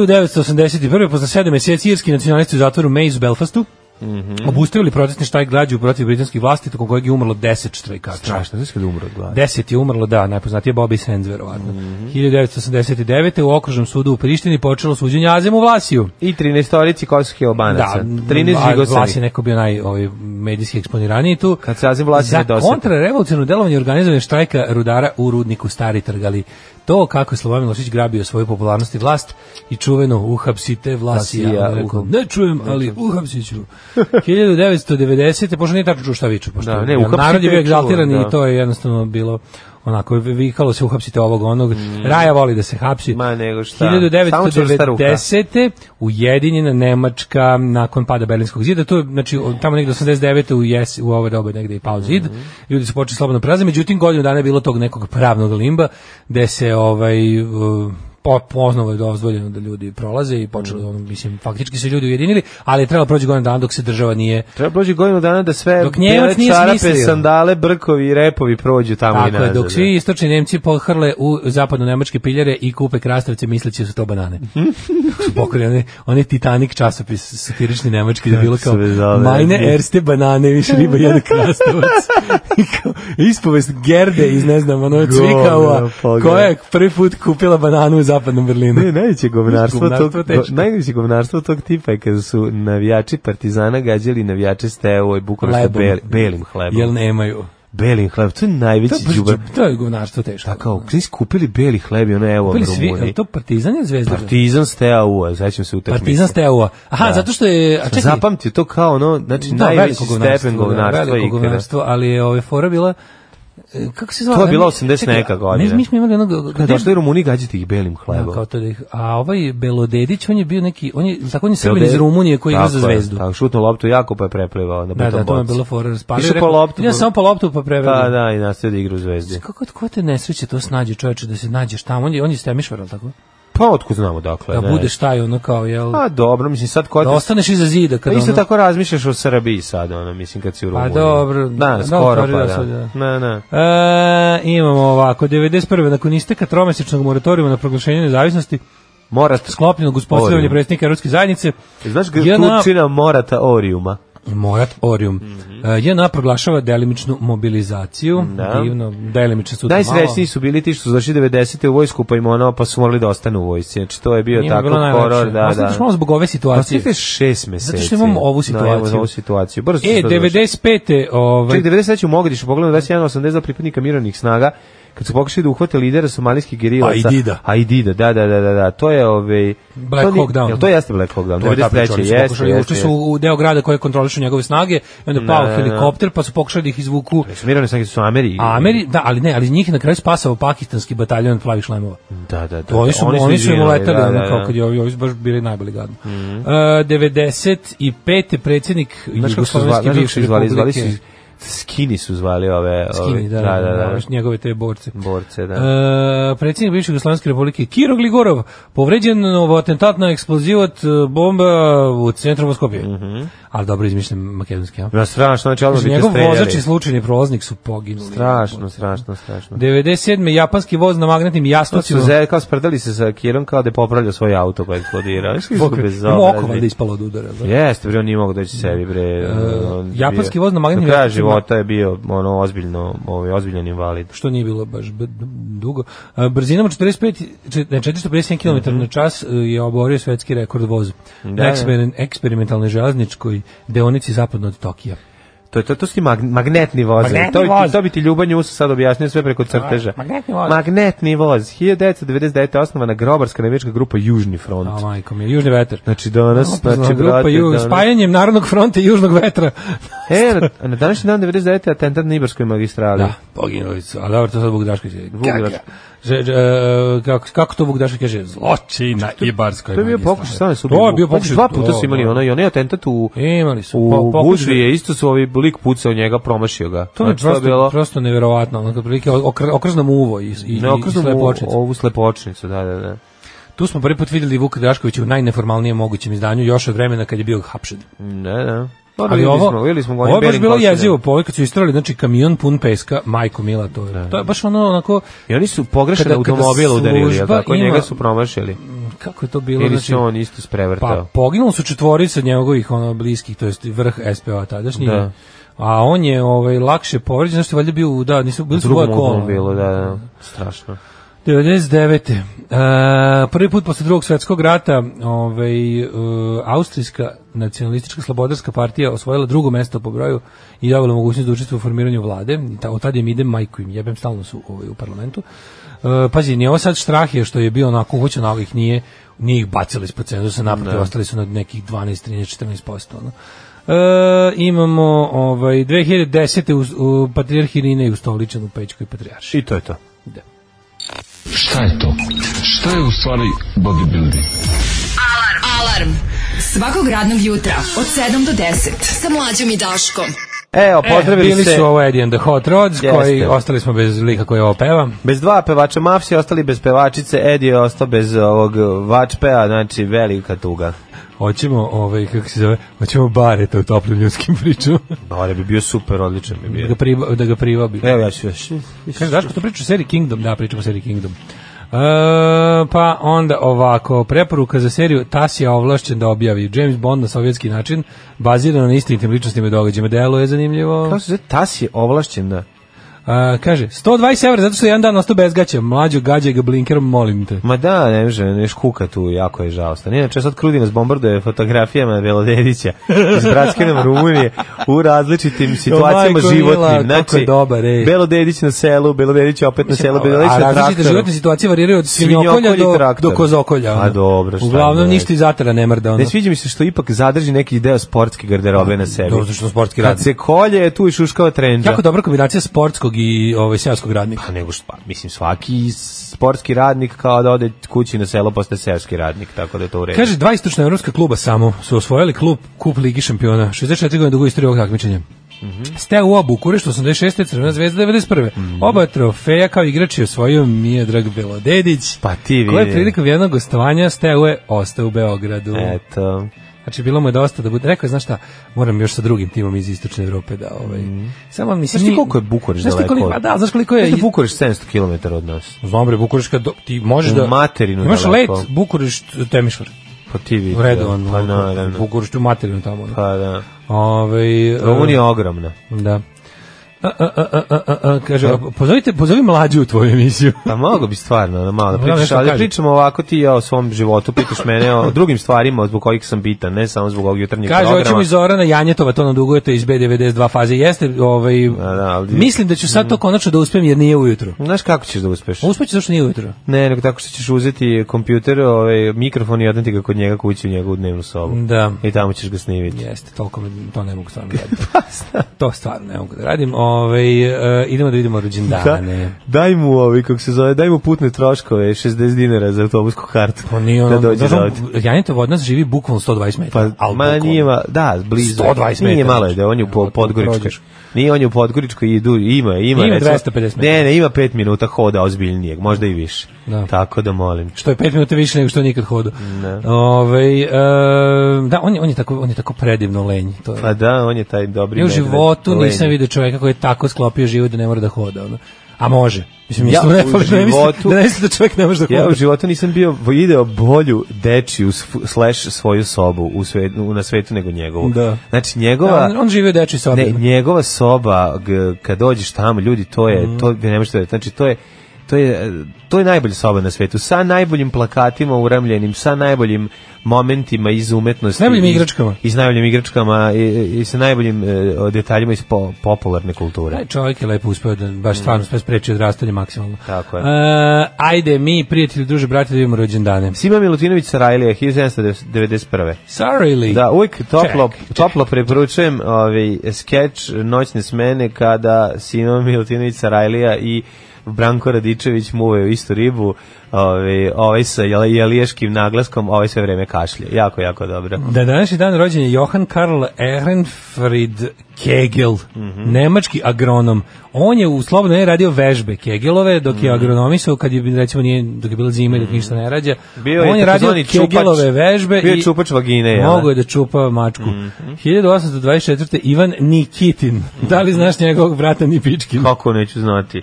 [SPEAKER 5] 1981. posle 7 meseci irski nacionalisti u zatvoru Mays u Belfastu Mm
[SPEAKER 6] Mhm.
[SPEAKER 5] -hmm. obustavili protestni štajk glađu protiv britanskih vlasti, tokom kojeg je umrlo 10 štrajkača.
[SPEAKER 6] znaš kada umro od glada?
[SPEAKER 5] 10 je umrlo, da, najpoznatije Bobby Sands, verovatno.
[SPEAKER 6] Mhm.
[SPEAKER 5] 1989. u okružnom sudu u Prištini počelo suđenje Azemu Vlasiju.
[SPEAKER 6] I 13 orici kosovskih albanaca.
[SPEAKER 5] Da,
[SPEAKER 6] 13
[SPEAKER 5] a Vlas je
[SPEAKER 6] žigosanih.
[SPEAKER 5] neko bio naj ovaj, medijski eksponiraniji tu.
[SPEAKER 6] Kad se Azim Vlas je
[SPEAKER 5] Za
[SPEAKER 6] nedosjetan.
[SPEAKER 5] kontrarevolucionno delovanje organizovanje štrajka rudara u rudniku Stari Trgali. To kako je Slobodan Milošić grabio svoju popularnost i vlast i čuveno uhapsite Vlasija.
[SPEAKER 6] Vlasija,
[SPEAKER 5] Vlasija rekao,
[SPEAKER 6] uhap-
[SPEAKER 5] ne čujem, ali uhapsit ću. 1990. pošto nije tačno čuo šta viču. Pošto
[SPEAKER 6] Da, ne,
[SPEAKER 5] je
[SPEAKER 6] uhapsite
[SPEAKER 5] narod je bio
[SPEAKER 6] je čuo,
[SPEAKER 5] egzaltiran
[SPEAKER 6] da.
[SPEAKER 5] i to je jednostavno bilo onako vikalo se uhapsite ovog onog.
[SPEAKER 6] Mm.
[SPEAKER 5] Raja voli da se hapsi.
[SPEAKER 6] Ma, nego šta. Samo čvrsta ruka.
[SPEAKER 5] 1990. Ujedinjena Nemačka nakon pada Berlinskog zida, to je znači od tamo negde 89. u jes u ovo doba negde i pao zid. Ljudi su počeli slobodno prelaziti, međutim godinu dana je bilo tog nekog pravnog limba gde se ovaj uh, po, ponovo je dozvoljeno da ljudi prolaze i počelo
[SPEAKER 6] Mm.
[SPEAKER 5] ono, mislim faktički se ljudi ujedinili, ali je trebalo proći godinu dana dok se država nije
[SPEAKER 6] Treba prođe godinu dana da sve
[SPEAKER 5] Dok
[SPEAKER 6] bele
[SPEAKER 5] Nijemac nije
[SPEAKER 6] čarape,
[SPEAKER 5] smislio.
[SPEAKER 6] sandale, brkovi i repovi prođu tamo i
[SPEAKER 5] Tako
[SPEAKER 6] nazad.
[SPEAKER 5] je, dok svi istočni Nemci pohrle u zapadno nemačke piljare i kupe krastavce misleći da su to banane. Pokrili oni, oni Titanic časopis satirični nemački da je bilo kao
[SPEAKER 6] se zove?
[SPEAKER 5] Meine erste banane, više riba jedu krastavac. I kao, Ispovest Gerde iz ne znam, ono Cvikava,
[SPEAKER 6] pogled.
[SPEAKER 5] koja je prvi put kupila bananu u zapadnom Berlinu.
[SPEAKER 6] Ne, najveće govnarstvo
[SPEAKER 5] Govnarstvo
[SPEAKER 6] tog
[SPEAKER 5] teško.
[SPEAKER 6] go- najveće govnarstvo tog tipa je kada su navijači Partizana gađali navijače Steaua i Bukurešta
[SPEAKER 5] Hlebom.
[SPEAKER 6] bel, belim hlebom.
[SPEAKER 5] Jel nemaju.
[SPEAKER 6] Belim hlebom, to je
[SPEAKER 5] To,
[SPEAKER 6] najveći Pa
[SPEAKER 5] je baš
[SPEAKER 6] đubar.
[SPEAKER 5] džub- to je govnarstvo teško.
[SPEAKER 6] Tako, kada si kupili beli hleb i ono evo
[SPEAKER 5] Kupili
[SPEAKER 6] vam
[SPEAKER 5] svi, je li
[SPEAKER 6] Rumuni.
[SPEAKER 5] to Partizan ili Zvezda?
[SPEAKER 6] Partizan Steaua, sećam se utakmice.
[SPEAKER 5] Partizan Steaua. Aha, zato što je... A čekaj,
[SPEAKER 6] Zapamti to kao ono, znači
[SPEAKER 5] Da,
[SPEAKER 6] najveći
[SPEAKER 5] veliko govnarstvo,
[SPEAKER 6] stepen
[SPEAKER 5] da,
[SPEAKER 6] govnarstva
[SPEAKER 5] veliko
[SPEAKER 6] ikada.
[SPEAKER 5] govnarstvo, ali je ove fora bila e, kako se zvala?
[SPEAKER 6] To je bila
[SPEAKER 5] Ne,
[SPEAKER 6] 80
[SPEAKER 5] čekaj,
[SPEAKER 6] neka godina. Pa
[SPEAKER 5] Ne, mi smo imali onog
[SPEAKER 6] Kada došli i Rumuni gađati ih belim
[SPEAKER 5] Da,
[SPEAKER 6] hlebom.
[SPEAKER 5] kao to da ih, a ovaj Belodedić, on je bio neki, on je, tako on je Srbin
[SPEAKER 6] Jel da-
[SPEAKER 5] iz Rumunije koji igra za
[SPEAKER 6] Tako je,
[SPEAKER 5] zvezdu.
[SPEAKER 6] Tako, šutno loptu jako pa je preplivao na
[SPEAKER 5] Da,
[SPEAKER 6] putom
[SPEAKER 5] da, to je
[SPEAKER 6] bocu.
[SPEAKER 5] bilo fora raspalio.
[SPEAKER 6] Išao po
[SPEAKER 5] Rekao,
[SPEAKER 6] loptu,
[SPEAKER 5] Ja
[SPEAKER 6] po-
[SPEAKER 5] samo po loptu pa preveo.
[SPEAKER 6] Pa da, i nastavio da igra u zvezdi.
[SPEAKER 5] Kako tko te nesreće to snađe čoveče da se nađeš tamo, on je, on je Stemišvar, ali tako?
[SPEAKER 6] Pa otkud znamo dakle.
[SPEAKER 5] Da
[SPEAKER 6] ne.
[SPEAKER 5] budeš taj ono kao, jel,
[SPEAKER 6] Pa dobro, mislim sad ko
[SPEAKER 5] da
[SPEAKER 6] te...
[SPEAKER 5] ostaneš iza zida.
[SPEAKER 6] Pa
[SPEAKER 5] Kada
[SPEAKER 6] isto
[SPEAKER 5] ono, Pa
[SPEAKER 6] tako razmišljaš o Srbiji sad, ono, mislim, kad si u Rumuniji.
[SPEAKER 5] dobro,
[SPEAKER 6] Da,
[SPEAKER 5] da,
[SPEAKER 6] skoro
[SPEAKER 5] stvari
[SPEAKER 6] pa
[SPEAKER 5] da
[SPEAKER 6] da.
[SPEAKER 5] su, da.
[SPEAKER 6] Na, na.
[SPEAKER 5] E, imamo ovako, 91. nakon isteka tromesečnog moratorijuma na proglašenje nezavisnosti,
[SPEAKER 6] Morat.
[SPEAKER 5] sklopljenog uz postavljanje
[SPEAKER 6] Orium.
[SPEAKER 5] predsjednika Europske zajednice.
[SPEAKER 6] Znaš ga
[SPEAKER 5] JNA
[SPEAKER 6] Turčina Morata Orijuma?
[SPEAKER 5] Morat Orium. E, JNA proglašava delimičnu mobilizaciju.
[SPEAKER 6] Mhm. Da.
[SPEAKER 5] Divno, delimično su to
[SPEAKER 6] Najsrećniji su bili ti što su došli 90. u vojsku, pa im ono, pa su morali da ostanu u vojsci. Znači, to je bio
[SPEAKER 5] Njima je
[SPEAKER 6] tako
[SPEAKER 5] bilo najlepše.
[SPEAKER 6] horor, da,
[SPEAKER 5] Ostanite još
[SPEAKER 6] da.
[SPEAKER 5] malo zbog ove situacije.
[SPEAKER 6] Ostavite šest meseci.
[SPEAKER 5] Zato što imamo ovu
[SPEAKER 6] Da, imamo
[SPEAKER 5] situaciju.
[SPEAKER 6] ovu situaciju. Brzo
[SPEAKER 5] E,
[SPEAKER 6] se to završi.
[SPEAKER 5] 95. Ovaj,
[SPEAKER 6] Čak 93. u Mogadišu pogledamo 21.82 pripadnika mirovnih snaga kad su pokušali da uhvate lidera somalijskih gerilaca.
[SPEAKER 5] Aidida.
[SPEAKER 6] Aidida, da, da, da, da, da. To je ovaj...
[SPEAKER 5] Black
[SPEAKER 6] to ni-
[SPEAKER 5] Hawk Down.
[SPEAKER 6] Jel to jeste Black Hawk Down?
[SPEAKER 5] To je ta priča,
[SPEAKER 6] 93.
[SPEAKER 5] oni su
[SPEAKER 6] Jeste,
[SPEAKER 5] pokušali,
[SPEAKER 6] jeste.
[SPEAKER 5] ušli su
[SPEAKER 6] jeste.
[SPEAKER 5] u deo grada koji kontrolišu njegove snage, i onda je pao
[SPEAKER 6] Da, da, da.
[SPEAKER 5] helikopter, pa su pokušali da ih izvuku
[SPEAKER 6] Znači, mirovne snage su u Ameri.
[SPEAKER 5] A Ameri, da, ali ne, ali njih je na kraju spasao pakistanski bataljon plavih šlemova.
[SPEAKER 6] Da, da, da. da.
[SPEAKER 5] To oni su, oni su, im
[SPEAKER 6] izvinuli,
[SPEAKER 5] uletali,
[SPEAKER 6] da, da,
[SPEAKER 5] ono kao
[SPEAKER 6] da. Mhm.
[SPEAKER 5] kad je ovi, ovi su baš bili najbolji gadno. Mm -hmm. uh, 95. predsjednik
[SPEAKER 6] Znaš kako su zvali? Znaš
[SPEAKER 5] Jugoslovenske
[SPEAKER 6] kako su
[SPEAKER 5] bivše
[SPEAKER 6] zvali? Zvali
[SPEAKER 5] republike.
[SPEAKER 6] su... Skini su zvali ove...
[SPEAKER 5] Skini, da,
[SPEAKER 6] ove-
[SPEAKER 5] da, da,
[SPEAKER 6] da.
[SPEAKER 5] baš njegove te borce.
[SPEAKER 6] Borce, da.
[SPEAKER 5] E, predsjednik bivše Jugoslovenske republike Kiro Gligorov povređen u atentat na eksplozivat e, bomba u centru Moskopije. Ali dobro izmišljam makedonski, ja?
[SPEAKER 6] Da, strašno, znači odmah Mhm. bi te
[SPEAKER 5] Njegov vozač i
[SPEAKER 6] streljali.
[SPEAKER 5] slučajni prolaznik su poginuli.
[SPEAKER 6] Strašno, strašno, strašno.
[SPEAKER 5] 97. japanski voz na magnetnim
[SPEAKER 6] To su
[SPEAKER 5] jastucima.
[SPEAKER 6] ze, kao sprdali se sa Kirom kao da je popravljao svoj auto pa je eksplodirao. Znaš kako su
[SPEAKER 5] Bok-
[SPEAKER 6] bezobrazni.
[SPEAKER 5] Ima oko valjda ispalo od udara. Da?
[SPEAKER 6] Jeste, bre, on nije mogao doći sebi, bre. on je
[SPEAKER 5] E, japanski
[SPEAKER 6] bio-
[SPEAKER 5] voz na magnetnim
[SPEAKER 6] Do kraja
[SPEAKER 5] jastucima.
[SPEAKER 6] života je bio ono, ozbiljno, ovaj, ozbiljan invalid.
[SPEAKER 5] što nije bilo baš b- dugo. A, Brzinom od 45, čet- ne, 457 km na čas e, je oborio svetski rekord voz na
[SPEAKER 6] Mhm. da.
[SPEAKER 5] eksper- eksperimentalnoj železničkoj deonici zapadno od Tokija.
[SPEAKER 6] To je to, to su ti mag, magnetni voz.
[SPEAKER 5] Magnetni
[SPEAKER 6] to, bi ti-
[SPEAKER 5] voz.
[SPEAKER 6] to bi ti Ljubanj Usa sad objasnio sve preko crteža.
[SPEAKER 5] magnetni voz.
[SPEAKER 6] Magnetni voz. 1999. osnovana grobarska navijačka grupa Južni front.
[SPEAKER 5] A majko mi je, južni vetar.
[SPEAKER 6] Znači danas, znači
[SPEAKER 5] pa grupa
[SPEAKER 6] brate,
[SPEAKER 5] ju,
[SPEAKER 6] danas-
[SPEAKER 5] spajanjem Narodnog fronta i Južnog vetra.
[SPEAKER 6] E, na, na današnji dan 99. atentat na Ibarskoj magistrali.
[SPEAKER 5] Da, poginuli su. A dobro, to sad Vuk Drašković je. Vuk e,
[SPEAKER 6] Drašković.
[SPEAKER 5] kako, kako to Vuk Drašković kaže? Zločin na Ibarskoj
[SPEAKER 6] To je bio
[SPEAKER 5] magistrali.
[SPEAKER 6] pokušaj stavljanja
[SPEAKER 5] To je bio pokušaj.
[SPEAKER 6] Dva puta su imali
[SPEAKER 5] to,
[SPEAKER 6] ono i onaj atentat u...
[SPEAKER 5] Imali su.
[SPEAKER 6] U
[SPEAKER 5] Po- pokušaj-
[SPEAKER 6] Budvi je isto su ovi lik pucao njega, promašio ga.
[SPEAKER 5] To je
[SPEAKER 6] Znači,
[SPEAKER 5] prosto, prosto neverovatno, ono kad prilike okr, okrznom uvo i, i,
[SPEAKER 6] Ne, okrznu
[SPEAKER 5] i
[SPEAKER 6] mu
[SPEAKER 5] slepočnicu.
[SPEAKER 6] Ovu slepočnicu, da, da, da.
[SPEAKER 5] Tu smo prvi put videli Vuka Draškovića u najneformalnijem mogućem izdanju, još od vremena kad je bio hapšen.
[SPEAKER 6] Ne, da. Dobro,
[SPEAKER 5] Ali
[SPEAKER 6] vidjeli
[SPEAKER 5] ovo,
[SPEAKER 6] Pa smo, vidjeli smo ga, on
[SPEAKER 5] ovo je baš
[SPEAKER 6] Bering
[SPEAKER 5] bilo
[SPEAKER 6] Kosovo.
[SPEAKER 5] jezivo, po ovoj kad su istrali, znači kamion pun peska, majko mila, to je, to je baš ono onako,
[SPEAKER 6] I oni su pogrešan
[SPEAKER 5] Kada- kada
[SPEAKER 6] automobil udarili, jel
[SPEAKER 5] služba
[SPEAKER 6] tako?
[SPEAKER 5] ima-
[SPEAKER 6] Njega su promašili.
[SPEAKER 5] mm, kako je to bilo,
[SPEAKER 6] Ili
[SPEAKER 5] znači,
[SPEAKER 6] se on isto
[SPEAKER 5] pa
[SPEAKER 6] sprevrtao.
[SPEAKER 5] poginuli su četvorica njegovih ono, bliskih, to jest vrh SPO tadašnji,
[SPEAKER 6] Da.
[SPEAKER 5] a on je ovaj, lakše povređen, znači valjda bio, u- da, nisu, bili su
[SPEAKER 6] Drugom
[SPEAKER 5] dvoje kola.
[SPEAKER 6] automobilu, da, da. Strašno.
[SPEAKER 5] 99. E, prvi put posle drugog svetskog rata ovaj, e, Austrijska nacionalistička slobodarska partija osvojila drugo mesto po broju i dobila mogućnost da učestvuje u formiranju vlade. I Ta, od tad im idem majku im jebem, stalno su ovaj, u parlamentu. E, pazi, nije ovo sad strah je što je bio onako hoće onako ih nije, nije ih bacili ispod cenzusa, naprotiv, ostali su na nekih 12, 13, 14%. Ono. E, imamo ovaj, 2010. U, u Patriarh Irine je ustoličen u Pećkoj Patriarši.
[SPEAKER 6] I to je to.
[SPEAKER 1] Šta je to? Šta je u stvari bodybuilding?
[SPEAKER 4] Alarm. Svakog radnog jutra od 7 do 10 sa Mlađom i Daškom.
[SPEAKER 6] Evo,
[SPEAKER 5] E,
[SPEAKER 6] pozdravili
[SPEAKER 5] bili
[SPEAKER 6] se.
[SPEAKER 5] su ovo Eddie and the Hot Rods,
[SPEAKER 6] Jeste.
[SPEAKER 5] koji ostali smo bez lika koji ovo peva.
[SPEAKER 6] Bez dva pevača Mafsi ostali bez pevačice, Edi je ostao bez ovog e, vačpea, znači velika tuga.
[SPEAKER 5] Hoćemo, ovaj, kako se zove, hoćemo bareta u toplim ljudskim pričama.
[SPEAKER 6] Bore bi bio super, odličan bi
[SPEAKER 5] da,
[SPEAKER 6] bio.
[SPEAKER 5] ga priba, da ga privabi.
[SPEAKER 6] Evo ja ću još.
[SPEAKER 5] Kaže, Daško, to priča o seriji Kingdom? Da, pričamo o seriji Kingdom. E, pa onda ovako, preporuka za seriju Tas je ovlašćen da objavi James Bond na sovjetski način, bazirano na istinitim ličnostima i događajima. Delo je zanimljivo.
[SPEAKER 6] Kako se zove, tas je ovlašćen da...
[SPEAKER 5] E, kaže, 120 evra, zato što je jedan dan ostao bez gaća. Mlađo, gađaj ga blinkerom, molim te.
[SPEAKER 6] Ma da, ne može, ne škuka tu, jako je žalostan. Inače, sad Krudinac bombarduje fotografijama Velodedića iz Bratske nam Rumunije u različitim situacijama
[SPEAKER 5] majko mila,
[SPEAKER 6] životnim.
[SPEAKER 5] kako je dobar, ej.
[SPEAKER 6] Belodedić na selu, Belodedić opet na selu, Belodedić na
[SPEAKER 5] A različite
[SPEAKER 6] traktoru.
[SPEAKER 5] životne situacije variraju od
[SPEAKER 6] Svinjokolja
[SPEAKER 5] svinjokolja
[SPEAKER 6] i
[SPEAKER 5] do,
[SPEAKER 6] traktor.
[SPEAKER 5] do kozokolja.
[SPEAKER 6] A
[SPEAKER 5] ono.
[SPEAKER 6] dobro, šta
[SPEAKER 5] Uglavnom
[SPEAKER 6] da je.
[SPEAKER 5] ništa iz zatara ne mrda. Ono.
[SPEAKER 6] Ne sviđa mi se što ipak zadrži neki deo sportske garderobe na sebi.
[SPEAKER 5] Dobro, zato što sportski
[SPEAKER 6] Kad
[SPEAKER 5] radnik.
[SPEAKER 6] se kolje, tu i šuškava trendža.
[SPEAKER 5] Jako dobra kombinacija sportskog i ovaj, seoskog radnika.
[SPEAKER 6] Pa nego što, pa, mislim, svaki sportski radnik kao da ode kući na selo postaje seoski radnik, tako da je to u redu.
[SPEAKER 5] Kaže, dva istočna evropska kluba samo su osvojili klub Kup Ligi šampiona. 64 godine dugo istorije ovog takmičenja. Mm
[SPEAKER 6] Mhm.
[SPEAKER 5] -hmm. Ste u obu, Kurešt 86. Crvena zvezda 91. Oba trofeja kao igrač je osvojio Mijedrag Belodedić.
[SPEAKER 6] Pa ti vidi.
[SPEAKER 5] Koja je prilikom jednog gostovanja Steu je ostao u Beogradu.
[SPEAKER 6] E, Eto.
[SPEAKER 5] Znači bilo mu je dosta da bude rekao je, znaš šta, moram još sa drugim timom iz istočne Evrope da ovaj. Samo mislim
[SPEAKER 6] Mhm. Znaš ti koliko je Bukurešt
[SPEAKER 5] Znaš ti
[SPEAKER 6] daleko
[SPEAKER 5] koliko,
[SPEAKER 6] od-
[SPEAKER 5] pa da, znaš koliko je
[SPEAKER 6] Znaš da Bukurešt 700 km od nas?
[SPEAKER 5] Znam bre Bukurešt kad do- ti možeš
[SPEAKER 6] U
[SPEAKER 5] da
[SPEAKER 6] materinu
[SPEAKER 5] Imaš let
[SPEAKER 6] daleko.
[SPEAKER 5] Bukurešt Temišvar.
[SPEAKER 6] Pa ti vidi.
[SPEAKER 5] U redu on.
[SPEAKER 6] Pa naravno.
[SPEAKER 5] Bukurešt u materinu tamo. ono.
[SPEAKER 6] Pa da.
[SPEAKER 5] Ovaj
[SPEAKER 6] Rumunija je ogromna.
[SPEAKER 5] e, Da. A, a, a, a, a, a, kaže, a, pozovite, pozovi mlađu u tvoju emisiju.
[SPEAKER 6] Pa mogo bi stvarno, ono, malo da
[SPEAKER 5] Moram
[SPEAKER 6] pričaš,
[SPEAKER 5] nešto
[SPEAKER 6] ali
[SPEAKER 5] kažem.
[SPEAKER 6] pričamo ovako ti i ja o svom životu, pitaš mene o drugim stvarima zbog kojih sam bitan, ne samo zbog ovog jutarnjeg
[SPEAKER 5] Kaže, hoćemo
[SPEAKER 6] programa.
[SPEAKER 5] iz Zorana Janjetova, to nam dugujete iz B92 faze. Jeste, ovaj,
[SPEAKER 6] Da, da, ali-
[SPEAKER 5] mislim da ću sad to konačno da uspem jer nije ujutro.
[SPEAKER 6] Znaš kako ćeš da uspeš?
[SPEAKER 5] Uspeću zašto nije ujutro.
[SPEAKER 6] Ne, nego tako što ćeš uzeti kompjuter, ovaj, mikrofon i odneti ga kod njega kući u njegovu dnevnu sobu.
[SPEAKER 5] Da.
[SPEAKER 6] I tamo ćeš ga snimiti.
[SPEAKER 5] Jeste, toliko mi to ne mogu stvarno da radim. to stvarno ne mogu da radim. Ovaj e, idemo da vidimo
[SPEAKER 6] Da,
[SPEAKER 5] rođendane.
[SPEAKER 6] daj mu ovi, kako se zove, daj mu putne troškove, 60 dinara za autobusku kartu.
[SPEAKER 5] Pa nije
[SPEAKER 6] da
[SPEAKER 5] ono,
[SPEAKER 6] dođe
[SPEAKER 5] znaš,
[SPEAKER 6] da
[SPEAKER 5] on,
[SPEAKER 6] ovdje.
[SPEAKER 5] Janjetov od nas živi bukvalno 120
[SPEAKER 6] Pa,
[SPEAKER 5] metara.
[SPEAKER 6] ali
[SPEAKER 5] al
[SPEAKER 6] ma
[SPEAKER 5] bukvalno.
[SPEAKER 6] nije, ma, da, blizu.
[SPEAKER 5] 120
[SPEAKER 6] Nije
[SPEAKER 5] metara,
[SPEAKER 6] malo,
[SPEAKER 5] znači.
[SPEAKER 6] da on je u po,
[SPEAKER 5] Evo, tu
[SPEAKER 6] Podgoričkoj.
[SPEAKER 5] prođeš.
[SPEAKER 6] Nije on je u Podgoričkoj, idu, ima, ima.
[SPEAKER 5] Ima
[SPEAKER 6] recimo-
[SPEAKER 5] 250 metara.
[SPEAKER 6] Ne, ne, ima 5 minuta hoda ozbiljnijeg, možda i više.
[SPEAKER 5] Da.
[SPEAKER 6] Tako da molim.
[SPEAKER 5] Što je 5 minuta više nego što je nikad hodao.
[SPEAKER 6] Ne.
[SPEAKER 5] Ovaj e, da, on je, on je tako, on je tako predivno lenj. To je.
[SPEAKER 6] Pa da, on je taj dobri
[SPEAKER 5] Ja u
[SPEAKER 6] medved,
[SPEAKER 5] životu
[SPEAKER 6] lenji.
[SPEAKER 5] nisam video čoveka koji je tako sklopio život da ne mora da hoda. Ono. A može. Mislim,
[SPEAKER 6] Ja
[SPEAKER 5] mislim, ne,
[SPEAKER 6] u
[SPEAKER 5] fali- ne,
[SPEAKER 6] životu-
[SPEAKER 5] mislim, da ne mislim da čovek ne može da
[SPEAKER 6] Ja
[SPEAKER 5] hoda.
[SPEAKER 6] u životu nisam bio video bolju dečiju sf- slash svoju sobu u svet, u- na svetu nego njegovu.
[SPEAKER 5] Da.
[SPEAKER 6] Znači njegova
[SPEAKER 5] on, on živi u dečoj sobi. Mhm.
[SPEAKER 6] Ne, njegova soba, g- kad dođeš tamo, ljudi, to je, to ne možete, da- znači to je To je, to je najbolja soba na svetu, sa najboljim plakatima uramljenim, sa najboljim momentima iz umetnosti.
[SPEAKER 5] najboljim
[SPEAKER 6] iz-
[SPEAKER 5] igračkama.
[SPEAKER 6] I s najboljim igračkama i, i sa najboljim e, detaljima iz po- popularne kulture.
[SPEAKER 5] Taj čovjek je lepo uspeo da baš stvarno sve spreči odrastanje maksimalno.
[SPEAKER 6] Mm. Tako je.
[SPEAKER 5] E, ajde, mi, prijatelji, druže, brate, da vidimo rođendane.
[SPEAKER 6] Sima Milutinović Sarajlija, 1791.
[SPEAKER 5] Sorry li?
[SPEAKER 6] Da, uvijek toplo,
[SPEAKER 5] Ček,
[SPEAKER 6] toplo preporučujem ovaj, skeč Noćne smene kada Sima Milutinović Sarajlija i Branko Radičević muvaju istu ribu, ovaj, ovaj sa jel- jeliješkim naglaskom, ovaj sve vreme kašlje. Jako, jako dobro.
[SPEAKER 5] Da današnji dan rođen je Johan Karl Ehrenfried Kegel,
[SPEAKER 6] Mhm.
[SPEAKER 5] nemački agronom. On je u slobodno je radio vežbe Kegelove dok
[SPEAKER 6] Mhm.
[SPEAKER 5] je agronomisao kad je recimo nije dok je bila zima i dok ništa ne rađa.
[SPEAKER 6] Bio
[SPEAKER 5] on je, radio
[SPEAKER 6] takozvani čupač-
[SPEAKER 5] Kegelove vežbe
[SPEAKER 6] bio je
[SPEAKER 5] i
[SPEAKER 6] čupač vagine, jel da? Mhm.
[SPEAKER 5] Mogu je da čupa mačku. 1824. Ivan Nikitin. Da li znaš njegovog brata Nipičkin?
[SPEAKER 6] Kako neću znati.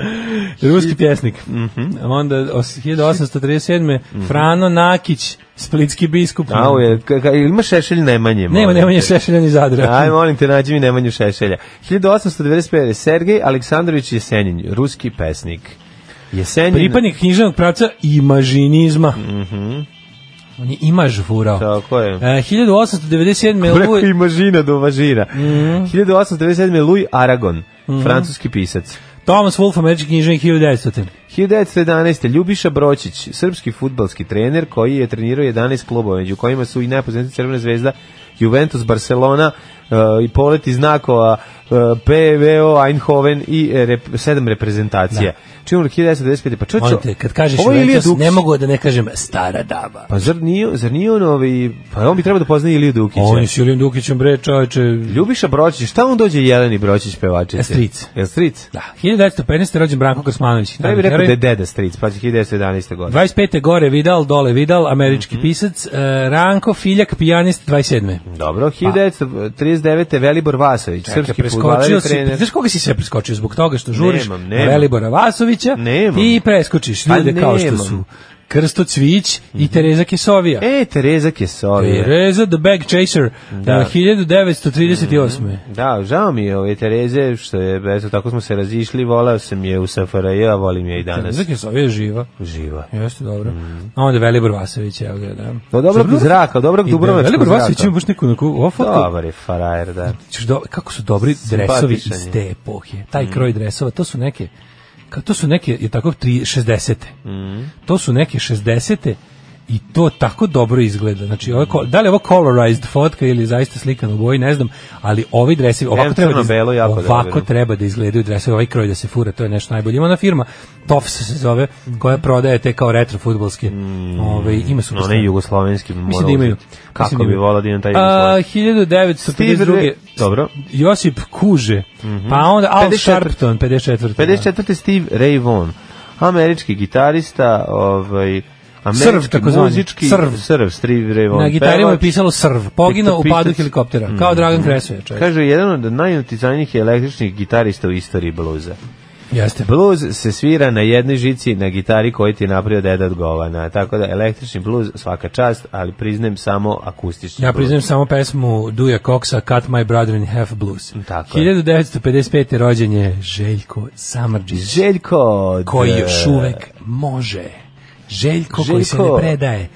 [SPEAKER 5] Ruski pjesnik.
[SPEAKER 6] Mhm.
[SPEAKER 5] Onda os- 1837. Frano Nakić, splitski biskup.
[SPEAKER 6] Au je, ka- ka- ima šešelj Nemanje.
[SPEAKER 5] Nema,
[SPEAKER 6] molim
[SPEAKER 5] nema je
[SPEAKER 6] te.
[SPEAKER 5] Šešelja ni Zadra.
[SPEAKER 6] Aj, molim te, nađi mi Nemanju Šešelja. 1895. Sergej Aleksandrović Jesenjin, ruski pesnik. Jesenjin...
[SPEAKER 5] pripadnik književnog pravca imažinizma. Mhm. On je imaž furao.
[SPEAKER 6] Tako je.
[SPEAKER 5] E, 1897.
[SPEAKER 6] Preko
[SPEAKER 5] Louis,
[SPEAKER 6] imažina do važira.
[SPEAKER 5] Mhm.
[SPEAKER 6] 1897. je Louis Aragon, francuski pisac.
[SPEAKER 5] Thomas Wolfe, američki književnik 1900.
[SPEAKER 6] Znači, 1911. Ljubiša Bročić, srpski futbalski trener koji je trenirao 11 klubova, među kojima su i najpoznatiji Crvena zvezda, Juventus, Barcelona, e, i poleti znakova e, PVO, Eindhoven i e, rep, sedam reprezentacija. Čim 1995. Pa čoče,
[SPEAKER 5] Molim te, kad kažeš
[SPEAKER 6] ovo je Ilija
[SPEAKER 5] Juventus,
[SPEAKER 6] Dukić.
[SPEAKER 5] ne mogu da ne kažem stara daba.
[SPEAKER 6] Pa zar nije, zar nije on ovaj, pa on bi trebao da poznaje Iliju Dukića.
[SPEAKER 5] On je s Julijem Dukićem, bre, čoveče.
[SPEAKER 6] Ljubiša Bročić, šta on dođe Jeleni Bročić pevačice?
[SPEAKER 5] E, Stric.
[SPEAKER 6] Jel stric?
[SPEAKER 5] Da, 1915. rođen Branko Krsmanović.
[SPEAKER 6] Ja bih
[SPEAKER 5] narodni
[SPEAKER 6] rekao da
[SPEAKER 5] heroj.
[SPEAKER 6] je deda stric, pa će 1911. godine.
[SPEAKER 5] 25. gore Vidal, dole Vidal, američki
[SPEAKER 6] Mhm.
[SPEAKER 5] pisac. E, Ranko Filjak, pijanist, 27.
[SPEAKER 6] Dobro, 1939. Velibor Vasović,
[SPEAKER 5] Pa. Čekaj,
[SPEAKER 6] srpski futbaler
[SPEAKER 5] preskočio
[SPEAKER 6] i
[SPEAKER 5] si,
[SPEAKER 6] trener.
[SPEAKER 5] znaš koga si sve preskočio zbog toga što žuriš
[SPEAKER 6] Nemam, nemam.
[SPEAKER 5] Velibora Vasovića
[SPEAKER 6] Nemam.
[SPEAKER 5] i preskočiš
[SPEAKER 6] Pa
[SPEAKER 5] ljude kao što
[SPEAKER 6] nemam. Mhm.
[SPEAKER 5] su Krsto Cvić i Tereza Kesovija.
[SPEAKER 6] E, Tereza Kesovije.
[SPEAKER 5] Tereza the Bag Chaser
[SPEAKER 6] Da. Mhm.
[SPEAKER 5] eh, 1938.
[SPEAKER 6] Da, žao mi je ove Tereze, što je, eto, tako smo se razišli, voleo sam je u SFRJ, a volim je i danas.
[SPEAKER 5] Tereza Kesovija je živa.
[SPEAKER 6] Živa. Mhm. Pa
[SPEAKER 5] Jeste dobro. A onda Velibor Vasović, evo ga, da.
[SPEAKER 6] Do dobrog
[SPEAKER 5] Dobro.
[SPEAKER 6] zraka, dobrog
[SPEAKER 5] I
[SPEAKER 6] dubrovačkog
[SPEAKER 5] Velibor Vasović ima
[SPEAKER 6] zraka.
[SPEAKER 5] baš neku, neku ovo foto,
[SPEAKER 6] Dobar je frajer, da.
[SPEAKER 5] ćeš do- kako su dobri dresovi
[SPEAKER 6] Simpatičan
[SPEAKER 5] iz
[SPEAKER 6] je. Mm.
[SPEAKER 5] te epohe. Taj kroj dresova, to su neke kao to su neke, je tako, tri- 60-te.
[SPEAKER 6] Mm.
[SPEAKER 5] To su neke 60-te i to tako dobro izgleda. Znači, ovo je ko- da li je ovo colorized fotka ili zaista slikano u boji, ne znam, ali ovi dresovi, ovako,
[SPEAKER 6] Em,
[SPEAKER 5] treba da, iz-
[SPEAKER 6] crno-belo jako
[SPEAKER 5] ovako
[SPEAKER 6] dobro.
[SPEAKER 5] treba da izgledaju dresovi, ovaj kroj da se fura, to je nešto najbolje. Ima ona firma, Tofs se zove, koja
[SPEAKER 6] Mhm.
[SPEAKER 5] prodaje te kao retro fudbalske
[SPEAKER 6] Mm.
[SPEAKER 5] Ovaj, ima super
[SPEAKER 6] Onaj
[SPEAKER 5] stvari.
[SPEAKER 6] jugoslovenski mora
[SPEAKER 5] Mislim da imaju.
[SPEAKER 6] uzeti. Kako
[SPEAKER 5] Mislim da
[SPEAKER 6] bi
[SPEAKER 5] imaju.
[SPEAKER 6] volao da imam taj
[SPEAKER 5] A,
[SPEAKER 6] jugoslovenski?
[SPEAKER 5] 1952.
[SPEAKER 6] ovaj- Dobro. Mhm.
[SPEAKER 5] Josip Kuže. Pa onda Al
[SPEAKER 6] 54..
[SPEAKER 5] Sharpton, 54.
[SPEAKER 6] 54. Steve Ray Vaughan, američki gitarista, ovaj američki
[SPEAKER 5] Srv, takozvani.
[SPEAKER 6] muzički
[SPEAKER 5] Srv.
[SPEAKER 6] Srv, Steve Ray
[SPEAKER 5] Da.
[SPEAKER 6] Vaughan.
[SPEAKER 5] Na gitari mu je
[SPEAKER 6] pevač.
[SPEAKER 5] pisalo Srv. Poginuo u
[SPEAKER 6] Viktor
[SPEAKER 5] padu
[SPEAKER 6] Pitac.
[SPEAKER 5] helikoptera. Kao Dragan Kresović. čovjek.
[SPEAKER 6] Kaže, jedan od najuticajnijih električnih gitarista u istoriji bluza.
[SPEAKER 5] Jeste.
[SPEAKER 6] Bluz se svira na jednoj žici na gitari koju ti je napravio deda od govana. Tako da, električni bluz, svaka čast, ali priznajem samo akustični
[SPEAKER 5] Ja
[SPEAKER 6] bluz.
[SPEAKER 5] priznajem samo pesmu Duja Koksa Cut My Brother in Half Blues.
[SPEAKER 6] Mm, Tako je.
[SPEAKER 5] 1955. rođen je Željko Samrđić,
[SPEAKER 6] Željko... d-
[SPEAKER 5] koji još uvek može. Željko, koji se ne
[SPEAKER 6] Željko-
[SPEAKER 5] predaje.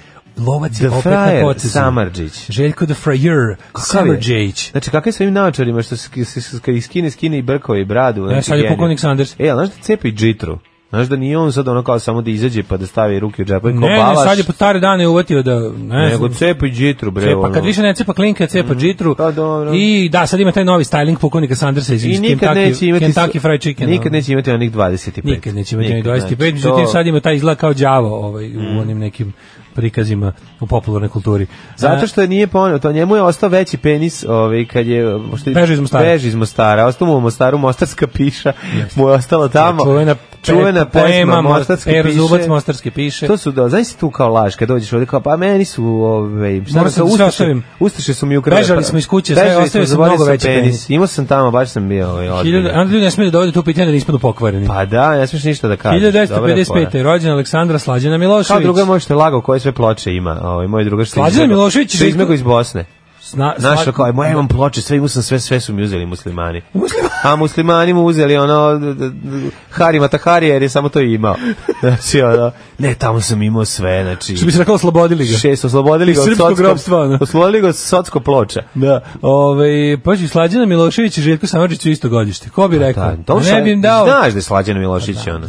[SPEAKER 5] Lovac je
[SPEAKER 6] The
[SPEAKER 5] opet na
[SPEAKER 6] Fryer
[SPEAKER 5] potezu.
[SPEAKER 6] Samardžić.
[SPEAKER 5] Željko the Frajer
[SPEAKER 6] Kakav je?
[SPEAKER 5] Samrđić.
[SPEAKER 6] Znači, kakve svojim naočarima što se sk- sk- sk- skine, skine i brkove i bradu.
[SPEAKER 5] E,
[SPEAKER 6] znači,
[SPEAKER 5] sad je
[SPEAKER 6] genije.
[SPEAKER 5] pukovnik Sanders.
[SPEAKER 6] E, ali znaš da cepi džitru? Znaš da nije on sad ono kao samo da izađe pa da stavi ruke u džepa i ko
[SPEAKER 5] Ne, ne,
[SPEAKER 6] balaš,
[SPEAKER 5] sad je po stare dane uvatio da... Ne,
[SPEAKER 6] nego
[SPEAKER 5] znam,
[SPEAKER 6] cepi džitru, bre.
[SPEAKER 5] cepa,
[SPEAKER 6] ono.
[SPEAKER 5] kad više ne cepa klinka, cepa džitru.
[SPEAKER 6] pa dobro.
[SPEAKER 5] I da, sad ima taj novi styling pukovnika Sandersa iz,
[SPEAKER 6] I
[SPEAKER 5] iz
[SPEAKER 6] nikad neće
[SPEAKER 5] Kentucky,
[SPEAKER 6] imati...
[SPEAKER 5] Kentucky Fried Chicken.
[SPEAKER 6] Nikad
[SPEAKER 5] ono.
[SPEAKER 6] neće imati onih 25.
[SPEAKER 5] Nikad neće imati onih 25,
[SPEAKER 6] znači,
[SPEAKER 5] međutim
[SPEAKER 6] to- Mhm.
[SPEAKER 5] sad ima taj izgled kao đavo ovaj, u onim nekim prikazima u popularnoj kulturi.
[SPEAKER 6] Zato što je nije poneo, to njemu je ostao veći penis, ovaj kad je što je-
[SPEAKER 5] Beži iz Mostara.
[SPEAKER 6] Beži iz Mostara, ostao mu u Mostaru mostarska piša, mu je ostalo tamo.
[SPEAKER 5] čuvena,
[SPEAKER 6] čuvena pesma mostarske
[SPEAKER 5] mostarske
[SPEAKER 6] piše.
[SPEAKER 5] Zubac mostarske piše.
[SPEAKER 6] To su da, znaš si tu kao laš, kad dođeš ovde kao, pa meni su, ovaj, šta
[SPEAKER 5] Moram
[SPEAKER 6] nam
[SPEAKER 5] sam
[SPEAKER 6] kao
[SPEAKER 5] da sve
[SPEAKER 6] ustaše-
[SPEAKER 5] ostavim.
[SPEAKER 6] Ustaše su mi ukrali.
[SPEAKER 5] Bežali
[SPEAKER 6] pa-
[SPEAKER 5] smo iz kuće, sve,
[SPEAKER 6] bežali smo,
[SPEAKER 5] ostavio sam
[SPEAKER 6] zaboravio
[SPEAKER 5] mnogo
[SPEAKER 6] sam
[SPEAKER 5] veći penis.
[SPEAKER 6] Imao sam tamo, baš sam bio ovaj,
[SPEAKER 5] Hiljadu,
[SPEAKER 6] odbiljen.
[SPEAKER 5] onda ljudi ne smiju da dovode tu pitanje da ne ispadu pokvareni.
[SPEAKER 6] Pa da, ne smiješ ništa da kažeš. dobra je fora.
[SPEAKER 5] 1955. je rođena Aleksandra Slađana
[SPEAKER 6] Kao
[SPEAKER 5] Milošević.
[SPEAKER 6] druga moj što je lagao koje sve ploče ima, ovaj moj drugar što je
[SPEAKER 5] Slađana
[SPEAKER 6] izmego-
[SPEAKER 5] Milošević i
[SPEAKER 6] što je
[SPEAKER 5] Željko-
[SPEAKER 6] izmego iz Bosne.
[SPEAKER 5] Sna,
[SPEAKER 6] Našao
[SPEAKER 5] sva-
[SPEAKER 6] kao, moja imam ploče, sve imao sam sve, sve su mi uzeli muslimani.
[SPEAKER 5] Muslimani?
[SPEAKER 6] A muslimani mu uzeli ono, d- d- d- Harima Taharija, jer je samo to imao. Znači, ono, ne, tamo sam imao sve, znači...
[SPEAKER 5] Što bi se rekao, oslobodili ga.
[SPEAKER 6] Šest, oslobodili
[SPEAKER 5] Iz
[SPEAKER 6] ga od
[SPEAKER 5] srpskog
[SPEAKER 6] socko,
[SPEAKER 5] ropstva, ono.
[SPEAKER 6] oslobodili ga od socko ploča.
[SPEAKER 5] Da, ovaj paži Slađana Milošević i Željko Samardžić su isto godište. Ko bi rekao?
[SPEAKER 6] Pa Da, to
[SPEAKER 5] Pa, ne
[SPEAKER 6] šta-
[SPEAKER 5] bi im dao. Pa,
[SPEAKER 6] Znaš da je Slađana Milošić, ono.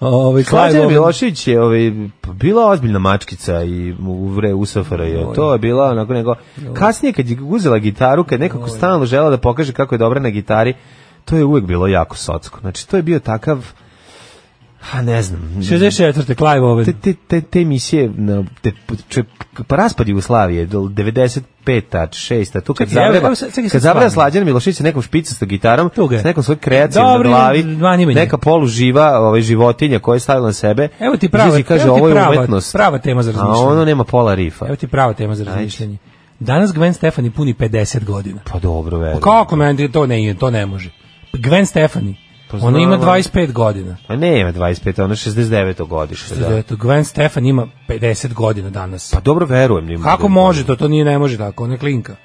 [SPEAKER 5] Ovaj
[SPEAKER 6] Slađana
[SPEAKER 5] Milošević
[SPEAKER 6] Milošić je ovaj, pa bila ozbiljna mačkica i u vre u SFRJ. To je bila onako nego kasnije kad je uzela gitaru, kad nekako stalno žela da pokaže kako je dobra na gitari, to je uvek bilo jako socsko. Znači to je bio takav a ne znam.
[SPEAKER 5] 64. Clive Owen.
[SPEAKER 6] Te, te, te, te emisije, na, te, če, pa raspad Jugoslavije, do 95 6 tu kad
[SPEAKER 5] Čekaj, evo,
[SPEAKER 6] zavreba,
[SPEAKER 5] evo, sad- čekaj, sad
[SPEAKER 6] kad zavreba
[SPEAKER 5] stvarno.
[SPEAKER 6] Slađana Milošić sa nekom špicastom gitarom,
[SPEAKER 5] Tu ga je.
[SPEAKER 6] sa nekom svoj kreacijom
[SPEAKER 5] Dobro,
[SPEAKER 6] na glavi,
[SPEAKER 5] dva njimanja.
[SPEAKER 6] neka poluživa ovaj, životinja koja je stavila na sebe,
[SPEAKER 5] Evo ti prava,
[SPEAKER 6] izađe i kaže,
[SPEAKER 5] evo ti
[SPEAKER 6] ovo je
[SPEAKER 5] prava,
[SPEAKER 6] umetnost,
[SPEAKER 5] prava tema za
[SPEAKER 6] a
[SPEAKER 5] razmišljanje.
[SPEAKER 6] ono nema pola rifa.
[SPEAKER 5] Evo ti prava tema za razmišljanje. Danas Gwen Stefani puni 50 godina.
[SPEAKER 6] Pa dobro, verujem.
[SPEAKER 5] Pa kako meni to ne to ne može. Gwen Stefani.
[SPEAKER 6] Pa
[SPEAKER 5] ona ima
[SPEAKER 6] znam,
[SPEAKER 5] 25 godina.
[SPEAKER 6] Pa ne, ima 25, ono je 69. godište. Da.
[SPEAKER 5] Eto, Gwen Stefani ima 50 godina danas.
[SPEAKER 6] Pa dobro, verujem. njima.
[SPEAKER 5] Kako može to? To nije ne može tako, ona je klinka.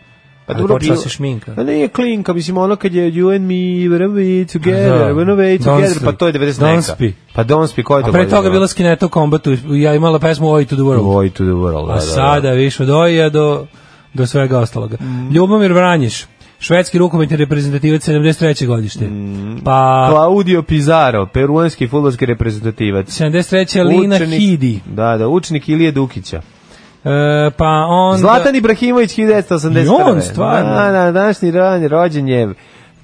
[SPEAKER 6] Pa
[SPEAKER 5] Ali
[SPEAKER 6] dobro
[SPEAKER 5] počela
[SPEAKER 6] bilo.
[SPEAKER 5] se šminka.
[SPEAKER 6] Pa nije klinka, mislim ono kad je you and me, we're away together,
[SPEAKER 5] Da.
[SPEAKER 6] we're away
[SPEAKER 5] Don't
[SPEAKER 6] together, pa
[SPEAKER 5] sleep.
[SPEAKER 6] to je 90
[SPEAKER 5] Don't
[SPEAKER 6] neka.
[SPEAKER 5] speak.
[SPEAKER 6] Pa Don't Speak, koja je
[SPEAKER 5] A
[SPEAKER 6] to
[SPEAKER 5] pre
[SPEAKER 6] godina
[SPEAKER 5] toga
[SPEAKER 6] bila?
[SPEAKER 5] bila Skineta u kombatu, ja imala pesmu Oi to the World.
[SPEAKER 6] Boy to the world, da,
[SPEAKER 5] A
[SPEAKER 6] da, da.
[SPEAKER 5] sada više od Oija do, do svega ostaloga.
[SPEAKER 6] Mm.
[SPEAKER 5] Ljubomir Vranjiš, švedski rukometni reprezentativac 73. godište.
[SPEAKER 6] Mm.
[SPEAKER 5] Pa
[SPEAKER 6] Claudio Pizarro, peruanski fudbalski reprezentativac.
[SPEAKER 5] 73. Lina
[SPEAKER 6] Učenik-
[SPEAKER 5] Hidi.
[SPEAKER 6] Da, da, učnik Ilije Dukića.
[SPEAKER 5] E, pa onda...
[SPEAKER 6] Zlatan Ibrahimović 1981.
[SPEAKER 5] I on, stvarno?
[SPEAKER 6] Da, da, današnji rođen, rođen je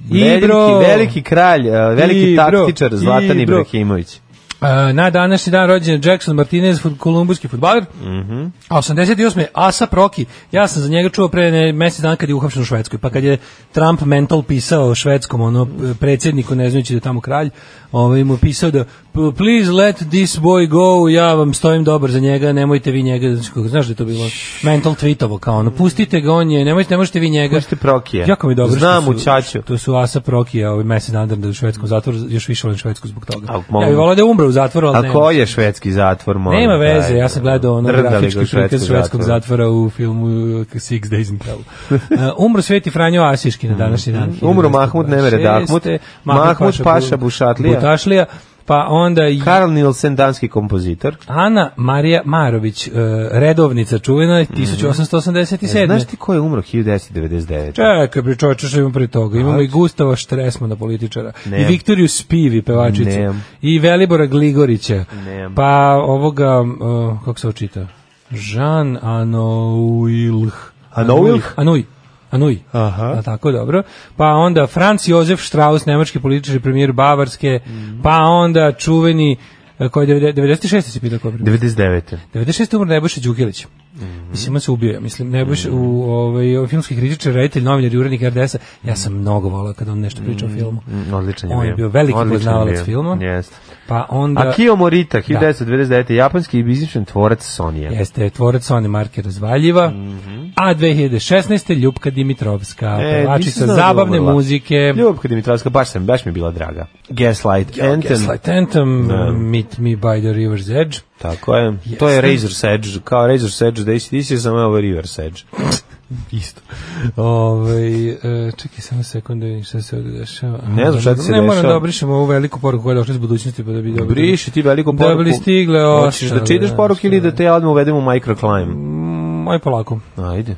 [SPEAKER 6] veliki,
[SPEAKER 5] Ibro.
[SPEAKER 6] veliki kralj, e, veliki
[SPEAKER 5] Ibro.
[SPEAKER 6] taktičar Zlatan
[SPEAKER 5] Ibro.
[SPEAKER 6] Ibrahimović.
[SPEAKER 5] E, na današnji dan rođen je Jackson Martinez, fut- kolumbuski futbaler. A 88. Asap Rocky. Ja sam za njega čuo pre ne, mesec dana kad je uhapšen u Švedskoj. Pa kad je Trump mental pisao švedskom ono, p- predsjedniku, ne znajući da je tamo kralj, ovaj, mu pisao da "P- please let this boy go, ja vam stojim dobar za njega, nemojte vi njega, znači, kako- znaš da je to bilo mental tweetovo, kao ono, pustite ga, on je, nemojte, ne možete vi njega.
[SPEAKER 6] Možete Prokije.
[SPEAKER 5] Jako mi je dobro
[SPEAKER 6] Znam
[SPEAKER 5] što
[SPEAKER 6] u
[SPEAKER 5] su,
[SPEAKER 6] Čaču.
[SPEAKER 5] To su Asap Rocky, a ovaj mesec dana da je u švedskom zatvoru, još više volim švedsku zbog toga.
[SPEAKER 6] A,
[SPEAKER 5] ja
[SPEAKER 6] molim.
[SPEAKER 5] bih volao da je umro u zatvoru, ali
[SPEAKER 6] A
[SPEAKER 5] ne.
[SPEAKER 6] ko je švedski zatvor? molim?
[SPEAKER 5] Nema veze,
[SPEAKER 6] Daj,
[SPEAKER 5] ja sam gledao ono
[SPEAKER 6] drdali ga u
[SPEAKER 5] grafički prikaz švedskog zatvora u filmu uh, Six Days in Hell. Uh, umro Sveti Franjo Asiški na današnji dan.
[SPEAKER 6] Mm. Umro Mahmud Nemere Dahmut,
[SPEAKER 5] 1926.,
[SPEAKER 6] Mahmud Paša Bušatlija.
[SPEAKER 5] Butašlija, pa onda i
[SPEAKER 6] Karl Nielsen, danski kompozitor.
[SPEAKER 5] Ana Marija Marović, uh, redovnica čuvena, 1887.
[SPEAKER 6] Mhm. E, Znaš ti ko je umro 1999?
[SPEAKER 5] Čekaj, bre čoveče, što imamo pre toga? Imamo i Gustava Štresmana, političara, i
[SPEAKER 6] Znači? Nemam.
[SPEAKER 5] Viktoriju Spivi, pevačicu,
[SPEAKER 6] Nemam.
[SPEAKER 5] i Velibora Gligorića,
[SPEAKER 6] Nemam.
[SPEAKER 5] pa ovoga, uh, kako se očita? Jean Anoilh.
[SPEAKER 6] Anoilh?
[SPEAKER 5] Anuj. Anuj.
[SPEAKER 6] Aha.
[SPEAKER 5] A, tako, dobro. Pa onda Franz Josef Strauss, nemački političar i premijer Bavarske,
[SPEAKER 6] Mhm.
[SPEAKER 5] pa onda čuveni, e, koji je devede- 96. se pitao ko je premijer?
[SPEAKER 6] 99.
[SPEAKER 5] 96. umro Nebojša Đukilić.
[SPEAKER 6] Mhm.
[SPEAKER 5] Mislim, on se ubio, ja mislim, Nebojša u ovaj, ovaj, filmski kritičar, reditelj, novinar i urednik RDS-a. Ja sam mnogo volao kad on nešto priča o filmu.
[SPEAKER 6] Mm, Odličan je
[SPEAKER 5] On je bio veliki
[SPEAKER 6] Odličan je
[SPEAKER 5] poznavalac
[SPEAKER 6] bio.
[SPEAKER 5] filma.
[SPEAKER 6] Jeste.
[SPEAKER 5] Pa onda...
[SPEAKER 6] Akio Morita, 1999. Japanski i bizničan tvorac Sonija.
[SPEAKER 5] Jeste tvorac Sony Marke Razvaljiva, a 2016. Ljubka Dimitrovska,
[SPEAKER 6] Mhm. E,
[SPEAKER 5] pevačica
[SPEAKER 6] nisam znao da je
[SPEAKER 5] zabavne
[SPEAKER 6] umrla.
[SPEAKER 5] muzike.
[SPEAKER 6] Ljubka Dimitrovska, baš sam, baš mi je bila draga. Gaslight Anthem.
[SPEAKER 5] Gaslight Anthem, Meet Me by the River's Edge.
[SPEAKER 6] Tako je. To je
[SPEAKER 5] Jeste.
[SPEAKER 6] Razor's Edge. Kao Razor's Edge, da isti disi, samo je ovo River's Edge.
[SPEAKER 5] Isto. Ovaj e, čekaj samo sekundu, vidim šta se ovde dešava.
[SPEAKER 6] Ne znam šta ti se
[SPEAKER 5] Ne moram
[SPEAKER 6] dešava.
[SPEAKER 5] da obrišem ovu veliku poruku koja je došla iz budućnosti pa da bi dobro.
[SPEAKER 6] Briši ti veliku
[SPEAKER 5] Da
[SPEAKER 6] poruku.
[SPEAKER 5] bi li stigle
[SPEAKER 6] Hoćeš da
[SPEAKER 5] ostale,
[SPEAKER 6] čitaš
[SPEAKER 5] da,
[SPEAKER 6] poruku ili
[SPEAKER 5] šta
[SPEAKER 6] da te ja odmah uvedem u microclimb?
[SPEAKER 5] Moj polako.
[SPEAKER 6] Ajde.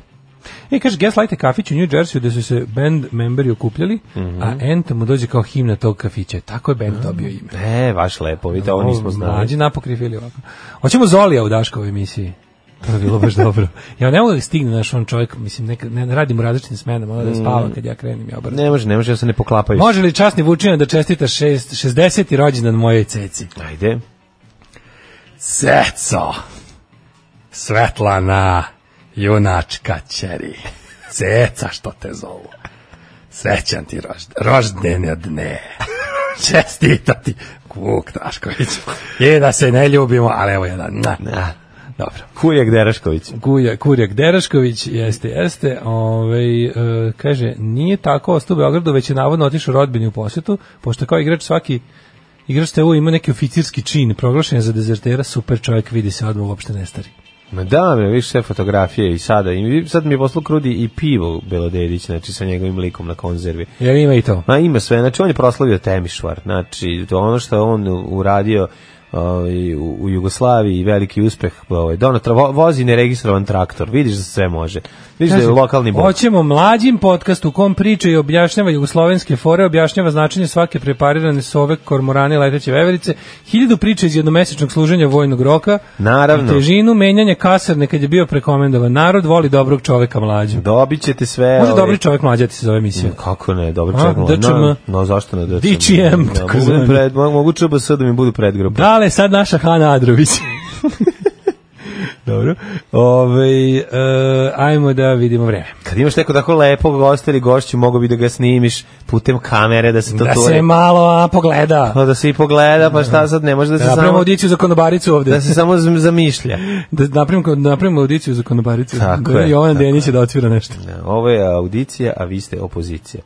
[SPEAKER 5] E, kaže, Gaslight je kafić u New Jersey gde su se band memberi okupljali,
[SPEAKER 6] Mhm.
[SPEAKER 5] a Anthem mu dođe kao himna tog kafića. Tako je band dobio ime.
[SPEAKER 6] E, baš lepo, vidite, ovo nismo znali.
[SPEAKER 5] Mlađi napokrif ili ovako. Hoćemo Zolija u Daškovoj emisiji. To je bilo baš dobro. Ja ne mogu da stigne naš on čovjek, mislim, neka, ne, radim u različitim smenama, ono
[SPEAKER 6] Mhm.
[SPEAKER 5] da spava kad ja krenim, ja obrnem.
[SPEAKER 6] Ne može, ne može, ja se ne poklapaju.
[SPEAKER 5] Može li časni Vučina da čestita šest, 60. rođendan mojoj ceci?
[SPEAKER 6] Ajde.
[SPEAKER 5] Ceco! Svetlana, junačka čeri. Ceca što te zovu. Srećan ti rožd, roždene dne. Čestita ti, Vuk Dašković. I da se ne ljubimo, ali evo jedan. Na. Dobro.
[SPEAKER 6] Kurijak Derašković.
[SPEAKER 5] Kuja, Kurjak Derašković, jeste, jeste. Ovaj e, kaže, nije tako ostao u Beogradu, već je navodno otišao rodbini u posetu, pošto kao igrač svaki igrač te ima neki oficirski čin, proglašen je za dezertera, super čovjek, vidi se odmah uopšte ne stari.
[SPEAKER 6] Ma da, bre, vidiš sve fotografije i sada. I sad mi je poslao krudi i pivo Belodedić, znači sa njegovim likom na konzervi.
[SPEAKER 5] Jer ima i to.
[SPEAKER 6] Ma ima sve, znači on je proslavio Temišvar, znači to ono što je on uradio ovaj, u, u Jugoslaviji veliki uspeh ovaj dono tra- vozi neregistrovan traktor vidiš da se sve može vidiš da je
[SPEAKER 5] Kaže,
[SPEAKER 6] lokalni bog
[SPEAKER 5] Hoćemo mlađim podcast u kom priča i objašnjava jugoslovenske fore, objašnjava značenje svake preparirane sove, kormorane, i leteće veverice, hiljadu priča iz jednomesečnog služenja vojnog roka,
[SPEAKER 6] Naravno.
[SPEAKER 5] i težinu menjanja kasarne kad je bio prekomendovan. Narod voli dobrog čoveka mlađu.
[SPEAKER 6] dobit ćete sve
[SPEAKER 5] Može
[SPEAKER 6] ovaj,
[SPEAKER 5] dobri čovek mlađa ti se zove emisija.
[SPEAKER 6] Kako ne, dobro
[SPEAKER 5] A,
[SPEAKER 6] čovjek.
[SPEAKER 5] DČM.
[SPEAKER 6] No, no, zašto ne DČM?
[SPEAKER 5] DČM,
[SPEAKER 6] Da,
[SPEAKER 5] tako
[SPEAKER 6] mogu
[SPEAKER 5] zvani.
[SPEAKER 6] pred, mo- mogu ČBS da mi budu predgrupa.
[SPEAKER 5] Da li je sad naša Hana Adrović?
[SPEAKER 6] dobro.
[SPEAKER 5] Ove, e, ajmo da vidimo vreme.
[SPEAKER 6] Kad imaš neko tako lepog gosta ili gošću, mogu bi da ga snimiš putem kamere, da se to
[SPEAKER 5] Da
[SPEAKER 6] to-
[SPEAKER 5] se malo a, pogleda.
[SPEAKER 6] Pa da se i pogleda, pa šta sad, ne može da se
[SPEAKER 5] Da napravimo
[SPEAKER 6] samo...
[SPEAKER 5] audiciju za konobaricu ovde.
[SPEAKER 6] Da se samo zam- zamišlja.
[SPEAKER 5] Da napravimo, da napravimo audiciju za konobaricu.
[SPEAKER 6] Tako
[SPEAKER 5] da
[SPEAKER 6] je,
[SPEAKER 5] Jovan
[SPEAKER 6] tako
[SPEAKER 5] Denić je da otvira nešto.
[SPEAKER 6] Ne, Ovo je audicija, a vi ste opozicija.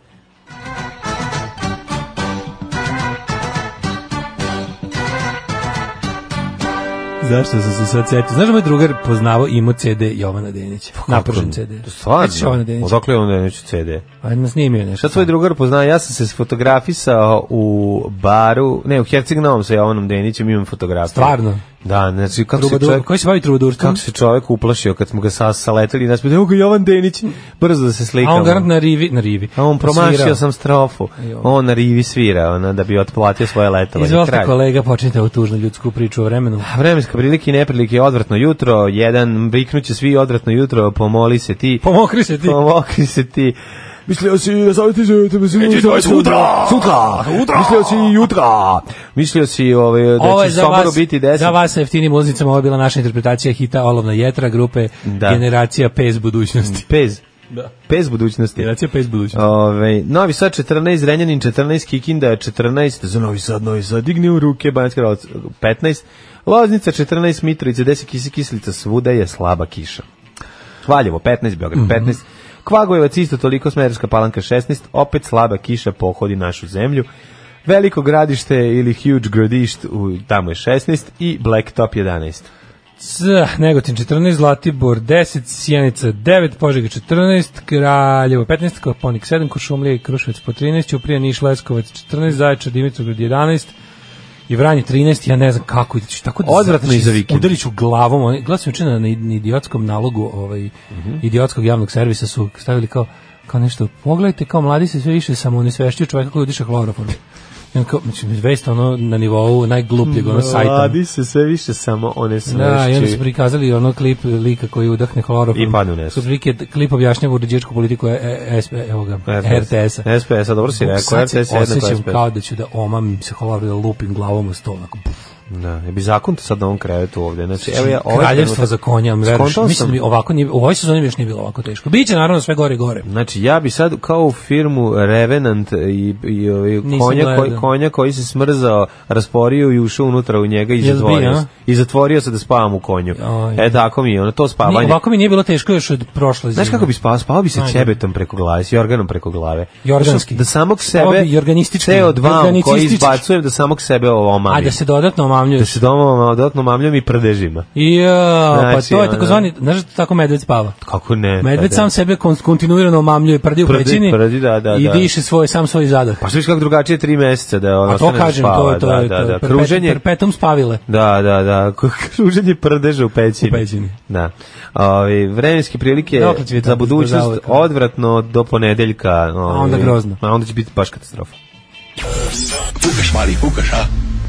[SPEAKER 5] Zašto sam se sad setio? Znaš da moj drugar poznavo imao CD Jovana Denića. Napržen CD.
[SPEAKER 6] Pa Stvarno?
[SPEAKER 5] Sećaš Jovana Denića.
[SPEAKER 6] Odakle je on Denić CD?
[SPEAKER 5] Ajde nas snimio je
[SPEAKER 6] Šta
[SPEAKER 5] nešto.
[SPEAKER 6] tvoj drugar pozna? Ja sam se sfotografisao u baru, ne, u Herceg Novom sa Jovanom Denićem, imam fotografiju.
[SPEAKER 5] Stvarno?
[SPEAKER 6] Da, znači, kako se
[SPEAKER 5] Trubadur,
[SPEAKER 6] čovjek...
[SPEAKER 5] koji se bavi trubadurstvom?
[SPEAKER 6] Kako se čovjek uplašio kad smo ga sa saleteli i nas pitao, evo ga Jovan Denić, brzo da se
[SPEAKER 5] A
[SPEAKER 6] slikamo.
[SPEAKER 5] on garant na rivi, na rivi.
[SPEAKER 6] A on promašio
[SPEAKER 5] Svirao.
[SPEAKER 6] sam strofu.
[SPEAKER 5] Ejo.
[SPEAKER 6] On na rivi svira, ona, da bi otplatio svoje letovanje.
[SPEAKER 5] Izvolite
[SPEAKER 6] Kraj.
[SPEAKER 5] kolega, počnite ovu tužnu ljudsku priču o vremenu.
[SPEAKER 6] A Vremenska prilike i neprilike je odvratno jutro, jedan viknuće svi odvratno jutro, pomoli se ti.
[SPEAKER 5] Pomokri se ti.
[SPEAKER 6] Pomokri se ti. Mislio si, da savjeti se, tebe si
[SPEAKER 5] Neće to je sutra.
[SPEAKER 6] sutra, mislio si jutra, mislio si ovaj, da
[SPEAKER 5] Ovo je
[SPEAKER 6] će
[SPEAKER 5] za
[SPEAKER 6] soboru
[SPEAKER 5] vas,
[SPEAKER 6] biti deset.
[SPEAKER 5] za vas sa jeftinim muznicama, ovo je bila naša interpretacija hita Olovna jetra grupe
[SPEAKER 6] Da.
[SPEAKER 5] Generacija PES budućnosti.
[SPEAKER 6] Pez,
[SPEAKER 5] Da.
[SPEAKER 6] pez budućnosti.
[SPEAKER 5] Generacija PES budućnosti.
[SPEAKER 6] Ove, Novi Sad 14, Renjanin 14, Kikinda 14, za Novi Sad, Novi Sad, digni u ruke, Banjska Rolac 15, Loznica 14, Mitrovica 10, Kisi Kislica, svuda je slaba kiša. Valjevo 15, Beograd
[SPEAKER 5] Mhm.
[SPEAKER 6] 15, Kvagojevac isto toliko, Smerska palanka 16, opet slaba kiša pohodi našu zemlju, Veliko gradište ili huge gradišt, u, tamo je 16 i Blacktop 11.
[SPEAKER 5] C, Negotin 14, Zlatibor 10, Sjenica 9, Požega 14, Kraljevo 15, Koponik 7, Košumlija i Kruševac po 13, Uprije Niš Leskovac 14, Zaječar Dimitrovgrad 11, i Vranje 13, ja ne znam kako ideš. Tako da
[SPEAKER 6] Odvratno i za vikend.
[SPEAKER 5] Udarić u glavom, oni glasom učina na, na idiotskom nalogu ovaj
[SPEAKER 6] Mhm.
[SPEAKER 5] idiotskog javnog servisa su stavili kao kao nešto. Pogledajte kao mladi se sve više samo unesvešćuju čovjeka koji udiše hloropor. I on kao, mislim, vest ono na nivou najglupljeg ono sajta.
[SPEAKER 6] Mladi se sve više samo one
[SPEAKER 5] Da, i onda su
[SPEAKER 6] smešćuju.
[SPEAKER 5] prikazali ono klip lika koji udahne hloroform.
[SPEAKER 6] I padne u nesu.
[SPEAKER 5] Su prilike klip objašnjava uređičku politiku e, e, SP, evo ga, RTS-a.
[SPEAKER 6] SPS-a, dobro si rekao,
[SPEAKER 5] Sad se
[SPEAKER 6] RTS je jednako
[SPEAKER 5] osjećam
[SPEAKER 6] SPS.
[SPEAKER 5] kao da ću da omamim se hlor, da lupim glavom u sto, onako, puf.
[SPEAKER 6] Da, ja bi zakon to sad na ovom krevetu ovde. Znači, evo ja, ovaj
[SPEAKER 5] Kraljevstvo
[SPEAKER 6] trenutak-
[SPEAKER 5] za konja, ali veruješ,
[SPEAKER 6] Skontao
[SPEAKER 5] mislim
[SPEAKER 6] sam-
[SPEAKER 5] da mi ovako nije, u ovoj sezoni mi još nije bilo ovako teško. Biće naravno sve gore i gore.
[SPEAKER 6] Znači, ja bi sad kao u firmu Revenant i, i, ovaj
[SPEAKER 5] Nisam
[SPEAKER 6] konja, koji,
[SPEAKER 5] gledao.
[SPEAKER 6] konja koji se smrzao, rasporio i ušao unutra u njega i
[SPEAKER 5] Jel bi,
[SPEAKER 6] zatvorio,
[SPEAKER 5] a?
[SPEAKER 6] se, i zatvorio se da spavam u konju.
[SPEAKER 5] Aj.
[SPEAKER 6] E, tako mi je, ono, to
[SPEAKER 5] Nije,
[SPEAKER 6] spavanje.
[SPEAKER 5] ovako mi nije bilo teško još od prošle zime.
[SPEAKER 6] Znaš kako bi spao? Spao bi se
[SPEAKER 5] Ajde.
[SPEAKER 6] ćebetom preko glave, s jorganom preko glave.
[SPEAKER 5] Jorganski.
[SPEAKER 6] Da samog
[SPEAKER 5] Spavao
[SPEAKER 6] sebe,
[SPEAKER 5] bi jorganistički,
[SPEAKER 6] CO2 koji
[SPEAKER 5] jorganicistički.
[SPEAKER 6] izbacujem, da samog sebe
[SPEAKER 5] A
[SPEAKER 6] omamim.
[SPEAKER 5] da se dodatno omamljuješ.
[SPEAKER 6] da se doma dodatno mamljam i prdežima.
[SPEAKER 5] Ja, pa
[SPEAKER 6] Znači,
[SPEAKER 5] to je
[SPEAKER 6] ono-
[SPEAKER 5] takozvani, znaš da tako medved spava?
[SPEAKER 6] Kako ne?
[SPEAKER 5] Medved
[SPEAKER 6] Pa da.
[SPEAKER 5] sam sebe kon- kontinuirano omamljuje, prdi u
[SPEAKER 6] Prdi,
[SPEAKER 5] pećini
[SPEAKER 6] prdi, da, da,
[SPEAKER 5] i
[SPEAKER 6] da.
[SPEAKER 5] diše svoj, sam svoj zadah.
[SPEAKER 6] Pa što viš kako drugačije tri meseca da ono
[SPEAKER 5] A to
[SPEAKER 6] ostane da
[SPEAKER 5] kažem,
[SPEAKER 6] spava,
[SPEAKER 5] to je to,
[SPEAKER 6] da,
[SPEAKER 5] je
[SPEAKER 6] da, da.
[SPEAKER 5] to.
[SPEAKER 6] Kruženje,
[SPEAKER 5] perpetum spavile.
[SPEAKER 6] da, da, da, kruženje prdeža u pećini.
[SPEAKER 5] U pećini.
[SPEAKER 6] Da. Ovi, vremenske prilike
[SPEAKER 5] Dokle će biti
[SPEAKER 6] za
[SPEAKER 5] tako za
[SPEAKER 6] budućnost
[SPEAKER 5] zauvek?
[SPEAKER 6] odvratno do ponedeljka. ovi,
[SPEAKER 5] onda grozno.
[SPEAKER 6] A onda će biti baš katastrofa.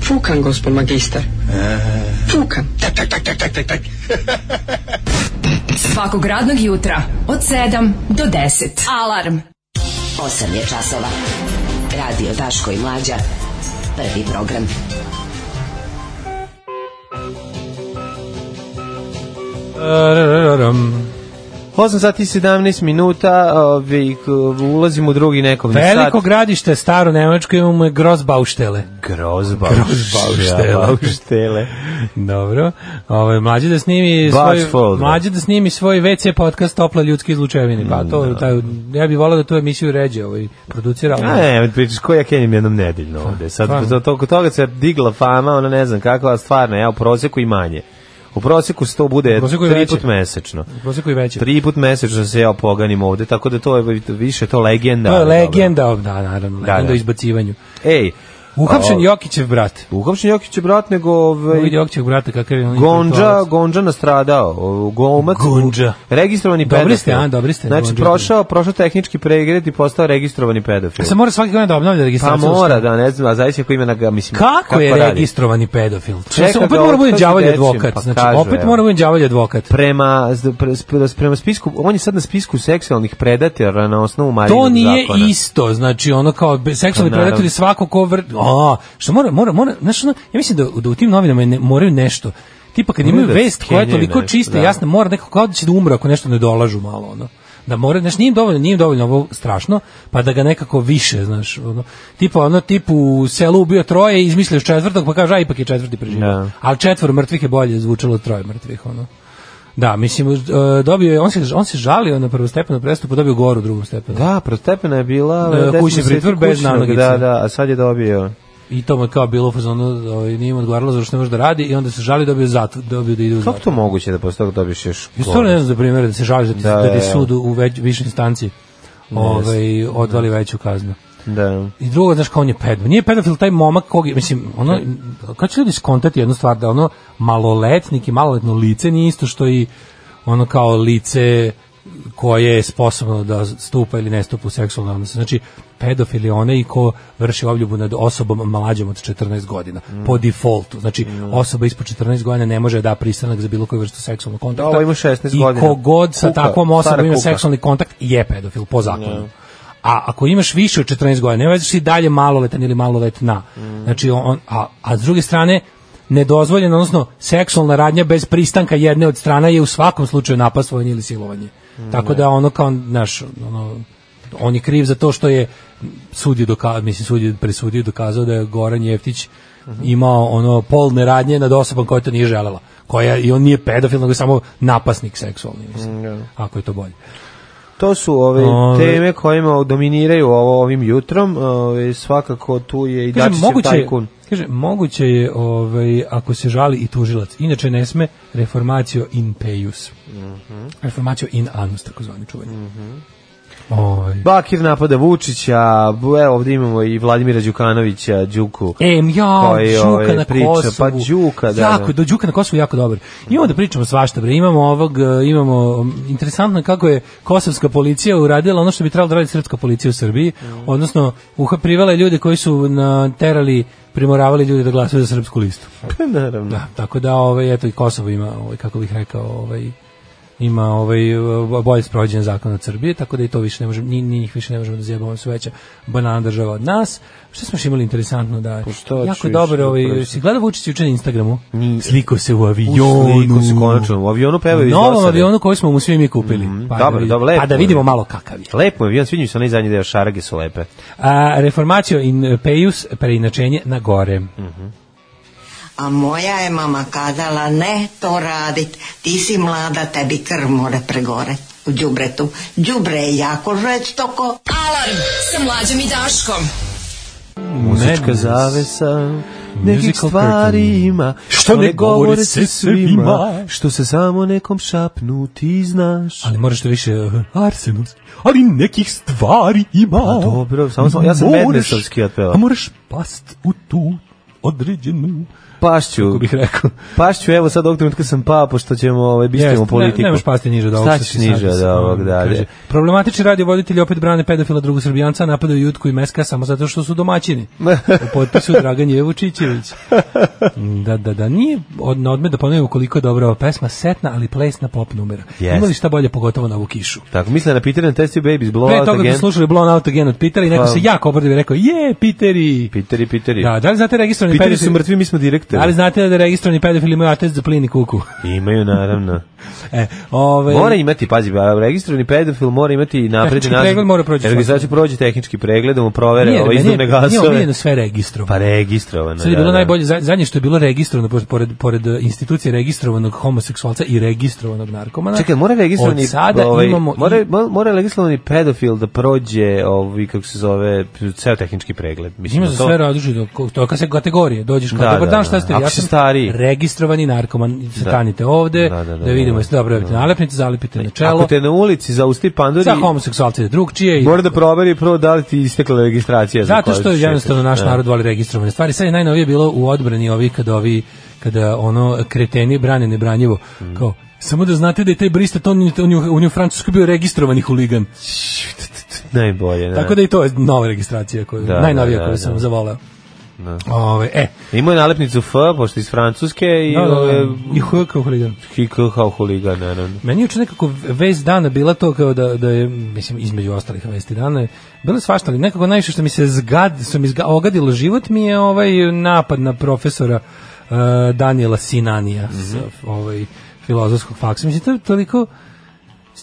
[SPEAKER 7] Fukan, gospod magister. Fukan.
[SPEAKER 4] Svakog radnog jutra od 7 do 10.
[SPEAKER 8] Alarm. 8 je časova. Radio Daško i Mlađa. Prvi program.
[SPEAKER 5] Rarararam.
[SPEAKER 6] 8 sati i 17 minuta, ovi, k- ulazimo u drugi nekovni sat.
[SPEAKER 5] Veliko gradište, staro nemačko, imamo grozbauštele.
[SPEAKER 6] Grozba.
[SPEAKER 5] Grozbauštele.
[SPEAKER 6] Grozbauštele.
[SPEAKER 5] Dobro. Ovaj mlađi da snimi svoj
[SPEAKER 6] Bačfold.
[SPEAKER 5] mlađi da snimi svoj WC podcast Topla ljudski izlučevine. Pa to taj, ja bih voleo da tu emisiju ređe ovaj producira. ali-
[SPEAKER 6] Ne, ne, pričaš ko ja kenjem jednom nedeljno ovde. Sad,
[SPEAKER 5] Stvarno.
[SPEAKER 6] za toliko toga se digla fama, ono ne znam kako, a stvarno, ja u proseku i manje. U proseku 100 bude
[SPEAKER 5] proseku je
[SPEAKER 6] tri
[SPEAKER 5] veće.
[SPEAKER 6] put mesečno.
[SPEAKER 5] U proseku je veće.
[SPEAKER 6] Tri put mesečno se ja poganim ovde, tako da to je više to legenda.
[SPEAKER 5] to je
[SPEAKER 6] ali dobro.
[SPEAKER 5] legenda, o, da, naravno, legenda
[SPEAKER 6] da.
[SPEAKER 5] o izbacivanju.
[SPEAKER 6] Ej,
[SPEAKER 5] Uhapšen
[SPEAKER 6] O.
[SPEAKER 5] Jokićev brat.
[SPEAKER 6] uhapšen Jokić je brat, nego ovaj,
[SPEAKER 5] Vidi Jokićev brata kakav je on.
[SPEAKER 6] Gonđa,
[SPEAKER 5] intelektualac.
[SPEAKER 6] Gonđa nastradao, o, glumac,
[SPEAKER 5] Gonđa.
[SPEAKER 6] registrovani
[SPEAKER 5] Dobri
[SPEAKER 6] pedofil.
[SPEAKER 5] ste, a, dobri ste,
[SPEAKER 6] Znači,
[SPEAKER 5] Gonđa.
[SPEAKER 6] prošao, prošao tehnički pregled i postao registrovani pedofil.
[SPEAKER 5] Pa Se mora svaki godin da obnavlja
[SPEAKER 6] Pa
[SPEAKER 5] registraciju.
[SPEAKER 6] mora, da, ne znam, a zavisi ako imena ga, mislim,
[SPEAKER 5] Kako, je
[SPEAKER 6] radi.
[SPEAKER 5] registrovani pedofil?
[SPEAKER 6] Čeka
[SPEAKER 5] Čeka, opet
[SPEAKER 6] ga,
[SPEAKER 5] mora bude
[SPEAKER 6] otkazi
[SPEAKER 5] đavolji
[SPEAKER 6] dečim,
[SPEAKER 5] advokat.
[SPEAKER 6] pa
[SPEAKER 5] znači,
[SPEAKER 6] kažu,
[SPEAKER 5] opet
[SPEAKER 6] evo.
[SPEAKER 5] mora bude đavolji advokat.
[SPEAKER 6] Prema, pre- pre- prema spisku, on je sad na spisku seksualnih predatora na osnovu Marinog
[SPEAKER 5] To nije
[SPEAKER 6] zakona.
[SPEAKER 5] isto, znači ono kao be- seksualni
[SPEAKER 6] Pa,
[SPEAKER 5] predator
[SPEAKER 6] naravno.
[SPEAKER 5] je svako ko vr... A, što mora, mora, mora, znaš, ono, ja mislim da, da u tim novinama ne, moraju nešto, tipa kad
[SPEAKER 6] Moraju
[SPEAKER 5] imaju
[SPEAKER 6] da
[SPEAKER 5] vest koja je
[SPEAKER 6] skenjaju
[SPEAKER 5] toliko
[SPEAKER 6] nešto,
[SPEAKER 5] čista i
[SPEAKER 6] da.
[SPEAKER 5] jasna, mora nekako kao da će da umre ako nešto ne dolažu malo, ono. Da mora, znaš, nije im dovoljno, nije im dovoljno ovo strašno, pa da ga nekako više, znaš, ono, tipa ono, tipu u selu ubio troje i izmislio četvrtog, pa kaže, a ipak je četvrti preživio.
[SPEAKER 6] Da.
[SPEAKER 5] Ali četvor mrtvih je bolje zvučalo od troje mrtvih, ono. Da, mislim, e, dobio je, on se, on se žalio na prvostepenu prestupu, dobio goru u drugom stepenu.
[SPEAKER 6] Da, prostepena je bila...
[SPEAKER 5] Da,
[SPEAKER 6] deset
[SPEAKER 5] kućni
[SPEAKER 6] meseci
[SPEAKER 5] pritvor bez
[SPEAKER 6] kućnog,
[SPEAKER 5] nanogice.
[SPEAKER 6] Da, da, a sad je dobio...
[SPEAKER 5] I to mu je kao bilo u fazonu, ovaj, nije mu odgovaralo zašto ne može da radi i onda se žali dobio zatvor, dobio da ide u
[SPEAKER 6] Kako
[SPEAKER 5] zatvor.
[SPEAKER 6] to moguće da posle toga dobiješ još...
[SPEAKER 5] Ja stvarno ne znam za primjer da se žali da ti, da,
[SPEAKER 6] Da,
[SPEAKER 5] ti
[SPEAKER 6] ja.
[SPEAKER 5] sud u već, višoj instanci ovaj, odvali veću kaznu.
[SPEAKER 6] Da.
[SPEAKER 5] I drugo, znaš, kao on je pedofil. Nije pedofil taj momak kog je, mislim, ono, kad će ljudi skontati jednu stvar, da ono maloletnik i maloletno lice nije isto što i ono kao lice koje je sposobno da stupa ili ne stupa u seksualno odnose. Znači, pedofil je onaj ko vrši obljubu nad osobom mlađom od 14 godina,
[SPEAKER 6] Mm.
[SPEAKER 5] po defaultu. Znači, osoba ispod 14 godina ne može da da pristanak za bilo koju vrstu seksualnog kontakta.
[SPEAKER 6] Ovo ima 16
[SPEAKER 5] I
[SPEAKER 6] godina.
[SPEAKER 5] kogod sa
[SPEAKER 6] Kuka,
[SPEAKER 5] takvom osobom
[SPEAKER 6] stara
[SPEAKER 5] ima
[SPEAKER 6] kuka.
[SPEAKER 5] seksualni kontakt je pedofil po zakonu. A ako imaš više od 14 godina, nema veze što si dalje maloletan ili maloletna. Znači, on, a, a s druge strane, nedozvoljena, odnosno seksualna radnja bez pristanka jedne od strana je u svakom slučaju napastvovanje ili silovanje. Tako da ono kao, naš, ono, on je kriv za to što je sud je doka, mislim, sud je presudio i dokazao da je Goran Jeftić imao ono polne radnje nad osobom koja to nije želela. Koja, I on nije pedofil, nego je samo napasnik seksualni, mislim, ako je to bolje.
[SPEAKER 6] To su ove
[SPEAKER 5] Ove.
[SPEAKER 6] teme kojima dominiraju ovo ovim jutrom. Ove, svakako tu je i
[SPEAKER 5] Kaže,
[SPEAKER 6] Dačićev
[SPEAKER 5] moguće, je-
[SPEAKER 6] tajkun.
[SPEAKER 5] kaže, moguće je ovaj, ako se žali i tužilac. Inače ne sme reformacio in peius.
[SPEAKER 6] Mhm.
[SPEAKER 5] Reformacio in anus, tako zvani čuvanje. Ovaj.
[SPEAKER 6] Bakir napada Vučića, bu- evo ovdje imamo i Vladimira Đukanovića, Đuku.
[SPEAKER 5] E, ja,
[SPEAKER 6] Koji,
[SPEAKER 5] Đuka
[SPEAKER 6] ovaj,
[SPEAKER 5] na
[SPEAKER 6] priča,
[SPEAKER 5] Kosovu.
[SPEAKER 6] pa Đuka, da,
[SPEAKER 5] Jako,
[SPEAKER 6] da.
[SPEAKER 5] do Đuka na Kosovu je jako dobar. Imamo da pričamo svašta, bre. Imamo ovog, eh, imamo, mm, interesantno je kako je kosovska policija uradila ono što bi trebalo da radi srpska policija u Srbiji,
[SPEAKER 6] Mhm.
[SPEAKER 5] odnosno uha privela je ljude koji su naterali, primoravali ljude da glasuju za srpsku listu.
[SPEAKER 6] Pa, Naravno.
[SPEAKER 5] Da, tako da ovaj eto i Kosovo ima ovaj kako bih rekao ovaj ima ovaj eh, bolje sprovođen zakon od Srbije, tako da i to više ne možemo ni, ni ih više ne možemo da zjebamo, oni su veća banana država od nas. Šta smo još imali interesantno da
[SPEAKER 6] Pa šta pa ću
[SPEAKER 5] jako
[SPEAKER 6] još
[SPEAKER 5] dobro
[SPEAKER 6] da
[SPEAKER 5] ovaj
[SPEAKER 6] prosim.
[SPEAKER 5] si gledao Vučić juče na Instagramu? Sliko se u avionu.
[SPEAKER 6] Sliku se konačno. U avionu pevaju iz
[SPEAKER 5] Novom
[SPEAKER 6] dosade.
[SPEAKER 5] avionu koji smo mu svi mi kupili.
[SPEAKER 6] Mhm,
[SPEAKER 5] da
[SPEAKER 6] dobro,
[SPEAKER 5] vidimo-
[SPEAKER 6] dobro, lepo
[SPEAKER 5] Pa da
[SPEAKER 6] je.
[SPEAKER 5] vidimo malo kakav je.
[SPEAKER 6] Lepo je, avion, sviđa mi se onaj zadnji deo, šarage su lepe.
[SPEAKER 5] A, reformacio in peius, preinačenje na gore.
[SPEAKER 2] A moja je mama kazala, ne to radit, ti si mlada, tebi krv more pregore u džubretu. Džubre je jako žestoko.
[SPEAKER 4] Alarm sa mlađom i Daškom.
[SPEAKER 6] Muzička
[SPEAKER 5] Madness.
[SPEAKER 6] zavesa, nekih
[SPEAKER 5] Musical
[SPEAKER 6] stvari
[SPEAKER 5] curtain.
[SPEAKER 6] ima,
[SPEAKER 5] Što ne govore se svima,
[SPEAKER 6] što se samo nekom šapnu ti znaš.
[SPEAKER 5] Ali moraš to više eh, arsenovski. Ali nekih stvari ima.
[SPEAKER 6] A Pa dobro, samo sam- ja sam
[SPEAKER 5] Moraš-
[SPEAKER 6] Madnessovski otpevao.
[SPEAKER 5] A moraš past u tu određenu. Kako
[SPEAKER 6] Pašću,
[SPEAKER 5] bih rekao.
[SPEAKER 6] pašću, evo sad ovog trenutka sam pao, pošto ćemo, ovaj, bistrimo
[SPEAKER 5] Jeste,
[SPEAKER 6] politiku.
[SPEAKER 5] Ne, nemaš pasti niže od ovog.
[SPEAKER 6] Šta
[SPEAKER 5] što
[SPEAKER 6] ćeš
[SPEAKER 5] si sad
[SPEAKER 6] niže od
[SPEAKER 5] sa-
[SPEAKER 6] ovog, da,
[SPEAKER 5] kaže.
[SPEAKER 6] da.
[SPEAKER 5] Problematični radiovoditelji opet brane pedofila drugosrbijanca, napadaju Jutku i Meska samo zato što su domaćini. U potpisu Dragan Jevo Čičević. Da, da, da, nije od, na odmet da ponovimo koliko je dobra ova pesma, setna, ali plesna pop numera.
[SPEAKER 6] Jeste.
[SPEAKER 5] Ima li šta bolje, pogotovo na ovu kišu?
[SPEAKER 6] Tako, misle na Peter and Testy Babies, Blow
[SPEAKER 5] Pre
[SPEAKER 6] Out
[SPEAKER 5] toga
[SPEAKER 6] Again. Pa-
[SPEAKER 5] smo slušali Blown Out Again od Pitera i neko
[SPEAKER 6] Hvala.
[SPEAKER 5] se jako obrdio i rekao, je, Piteri!
[SPEAKER 6] Piteri, Piteri.
[SPEAKER 5] Da, da li znate registrovani
[SPEAKER 6] Piteri
[SPEAKER 5] pedofili?
[SPEAKER 6] su mrtvi, mi smo direktori.
[SPEAKER 5] Da li znate da registrovani pedofili imaju atest za plin i kuku?
[SPEAKER 6] Imaju, naravno.
[SPEAKER 5] E, ovaj
[SPEAKER 6] Mora imati, pazi, ba, registrovani pedofil mora imati i napred
[SPEAKER 5] Tehnički znači, pregled mora proći
[SPEAKER 6] Registraciju prođe tehnički pregled, da mu provere
[SPEAKER 5] Nije,
[SPEAKER 6] ove
[SPEAKER 5] nije-
[SPEAKER 6] izduvne
[SPEAKER 5] Nije
[SPEAKER 6] gasove.
[SPEAKER 5] omiljeno sve registrovano.
[SPEAKER 6] Pa registrovano.
[SPEAKER 5] Sad je
[SPEAKER 6] da,
[SPEAKER 5] bilo
[SPEAKER 6] da.
[SPEAKER 5] najbolje, za- zadnje što je bilo registrovano, pored- pored, pored eh, institucije registrovanog homoseksualca i registrovanog narkomana.
[SPEAKER 6] Čekaj, mora registrovani
[SPEAKER 5] Od sada
[SPEAKER 6] ovaj,
[SPEAKER 5] imamo
[SPEAKER 6] mora,
[SPEAKER 5] i-
[SPEAKER 6] mo- mora registrovani pedofil da prođe ovaj kako se zove ceo tehnički pregled. Mislim
[SPEAKER 5] Ima
[SPEAKER 6] da
[SPEAKER 5] za
[SPEAKER 6] to-
[SPEAKER 5] sve različito, ko- to kad se kategorije, dođeš kao,
[SPEAKER 6] Da,
[SPEAKER 5] dobar
[SPEAKER 6] da,
[SPEAKER 5] dan,
[SPEAKER 6] da.
[SPEAKER 5] šta ste,
[SPEAKER 6] Ako
[SPEAKER 5] ja
[SPEAKER 6] si
[SPEAKER 5] sam
[SPEAKER 6] stariji."
[SPEAKER 5] registrovani narkoman, satanite ovde, da,
[SPEAKER 6] Da, da, da,
[SPEAKER 5] vidimo
[SPEAKER 6] da.
[SPEAKER 5] jeste dobro, radite nalepnice, zalipite na čelo,
[SPEAKER 6] Ako te na ulici zausti panduri,
[SPEAKER 5] za homoseksualce je drugčije i
[SPEAKER 6] mora da proveri prvo da li ti istekla registracija. za
[SPEAKER 5] Zato
[SPEAKER 6] koju
[SPEAKER 5] što
[SPEAKER 6] se
[SPEAKER 5] jednostavno
[SPEAKER 6] šetaš.
[SPEAKER 5] naš
[SPEAKER 6] Da.
[SPEAKER 5] narod voli registrovane stvari. Sad je najnovije bilo u odbrani ovi kada ovi kada ono kreteni brane nebranjivo.
[SPEAKER 6] Mm.
[SPEAKER 5] Kao Samo da znate da je taj Brista, to on, je- on, je u- on je u Francuskoj bio registrovani huligan.
[SPEAKER 6] Najbolje, da.
[SPEAKER 5] Tako da i to je nova registracija, koju,
[SPEAKER 6] Da,
[SPEAKER 5] najnovija
[SPEAKER 6] da, da,
[SPEAKER 5] koju
[SPEAKER 6] da.
[SPEAKER 5] sam zavoleo. Ove, e,
[SPEAKER 6] Imao je nalepnicu F, pošto je iz Francuske i ovaj,
[SPEAKER 5] da, da, da,
[SPEAKER 6] ove,
[SPEAKER 5] i H kao huligan.
[SPEAKER 6] Hiko kao huligan, naravno.
[SPEAKER 5] Meni je juče nekako vez dana bila to kao da, da je, mislim, između ostalih vesti dana, je- bilo je svašta, ali nekako najviše što mi se zgad, što mi zga, ogadilo život mi je ovaj napad na profesora uh, Daniela Sinanija, s,
[SPEAKER 6] Mhm.
[SPEAKER 5] ovaj, filozofskog faksa. Mislim, to je toliko...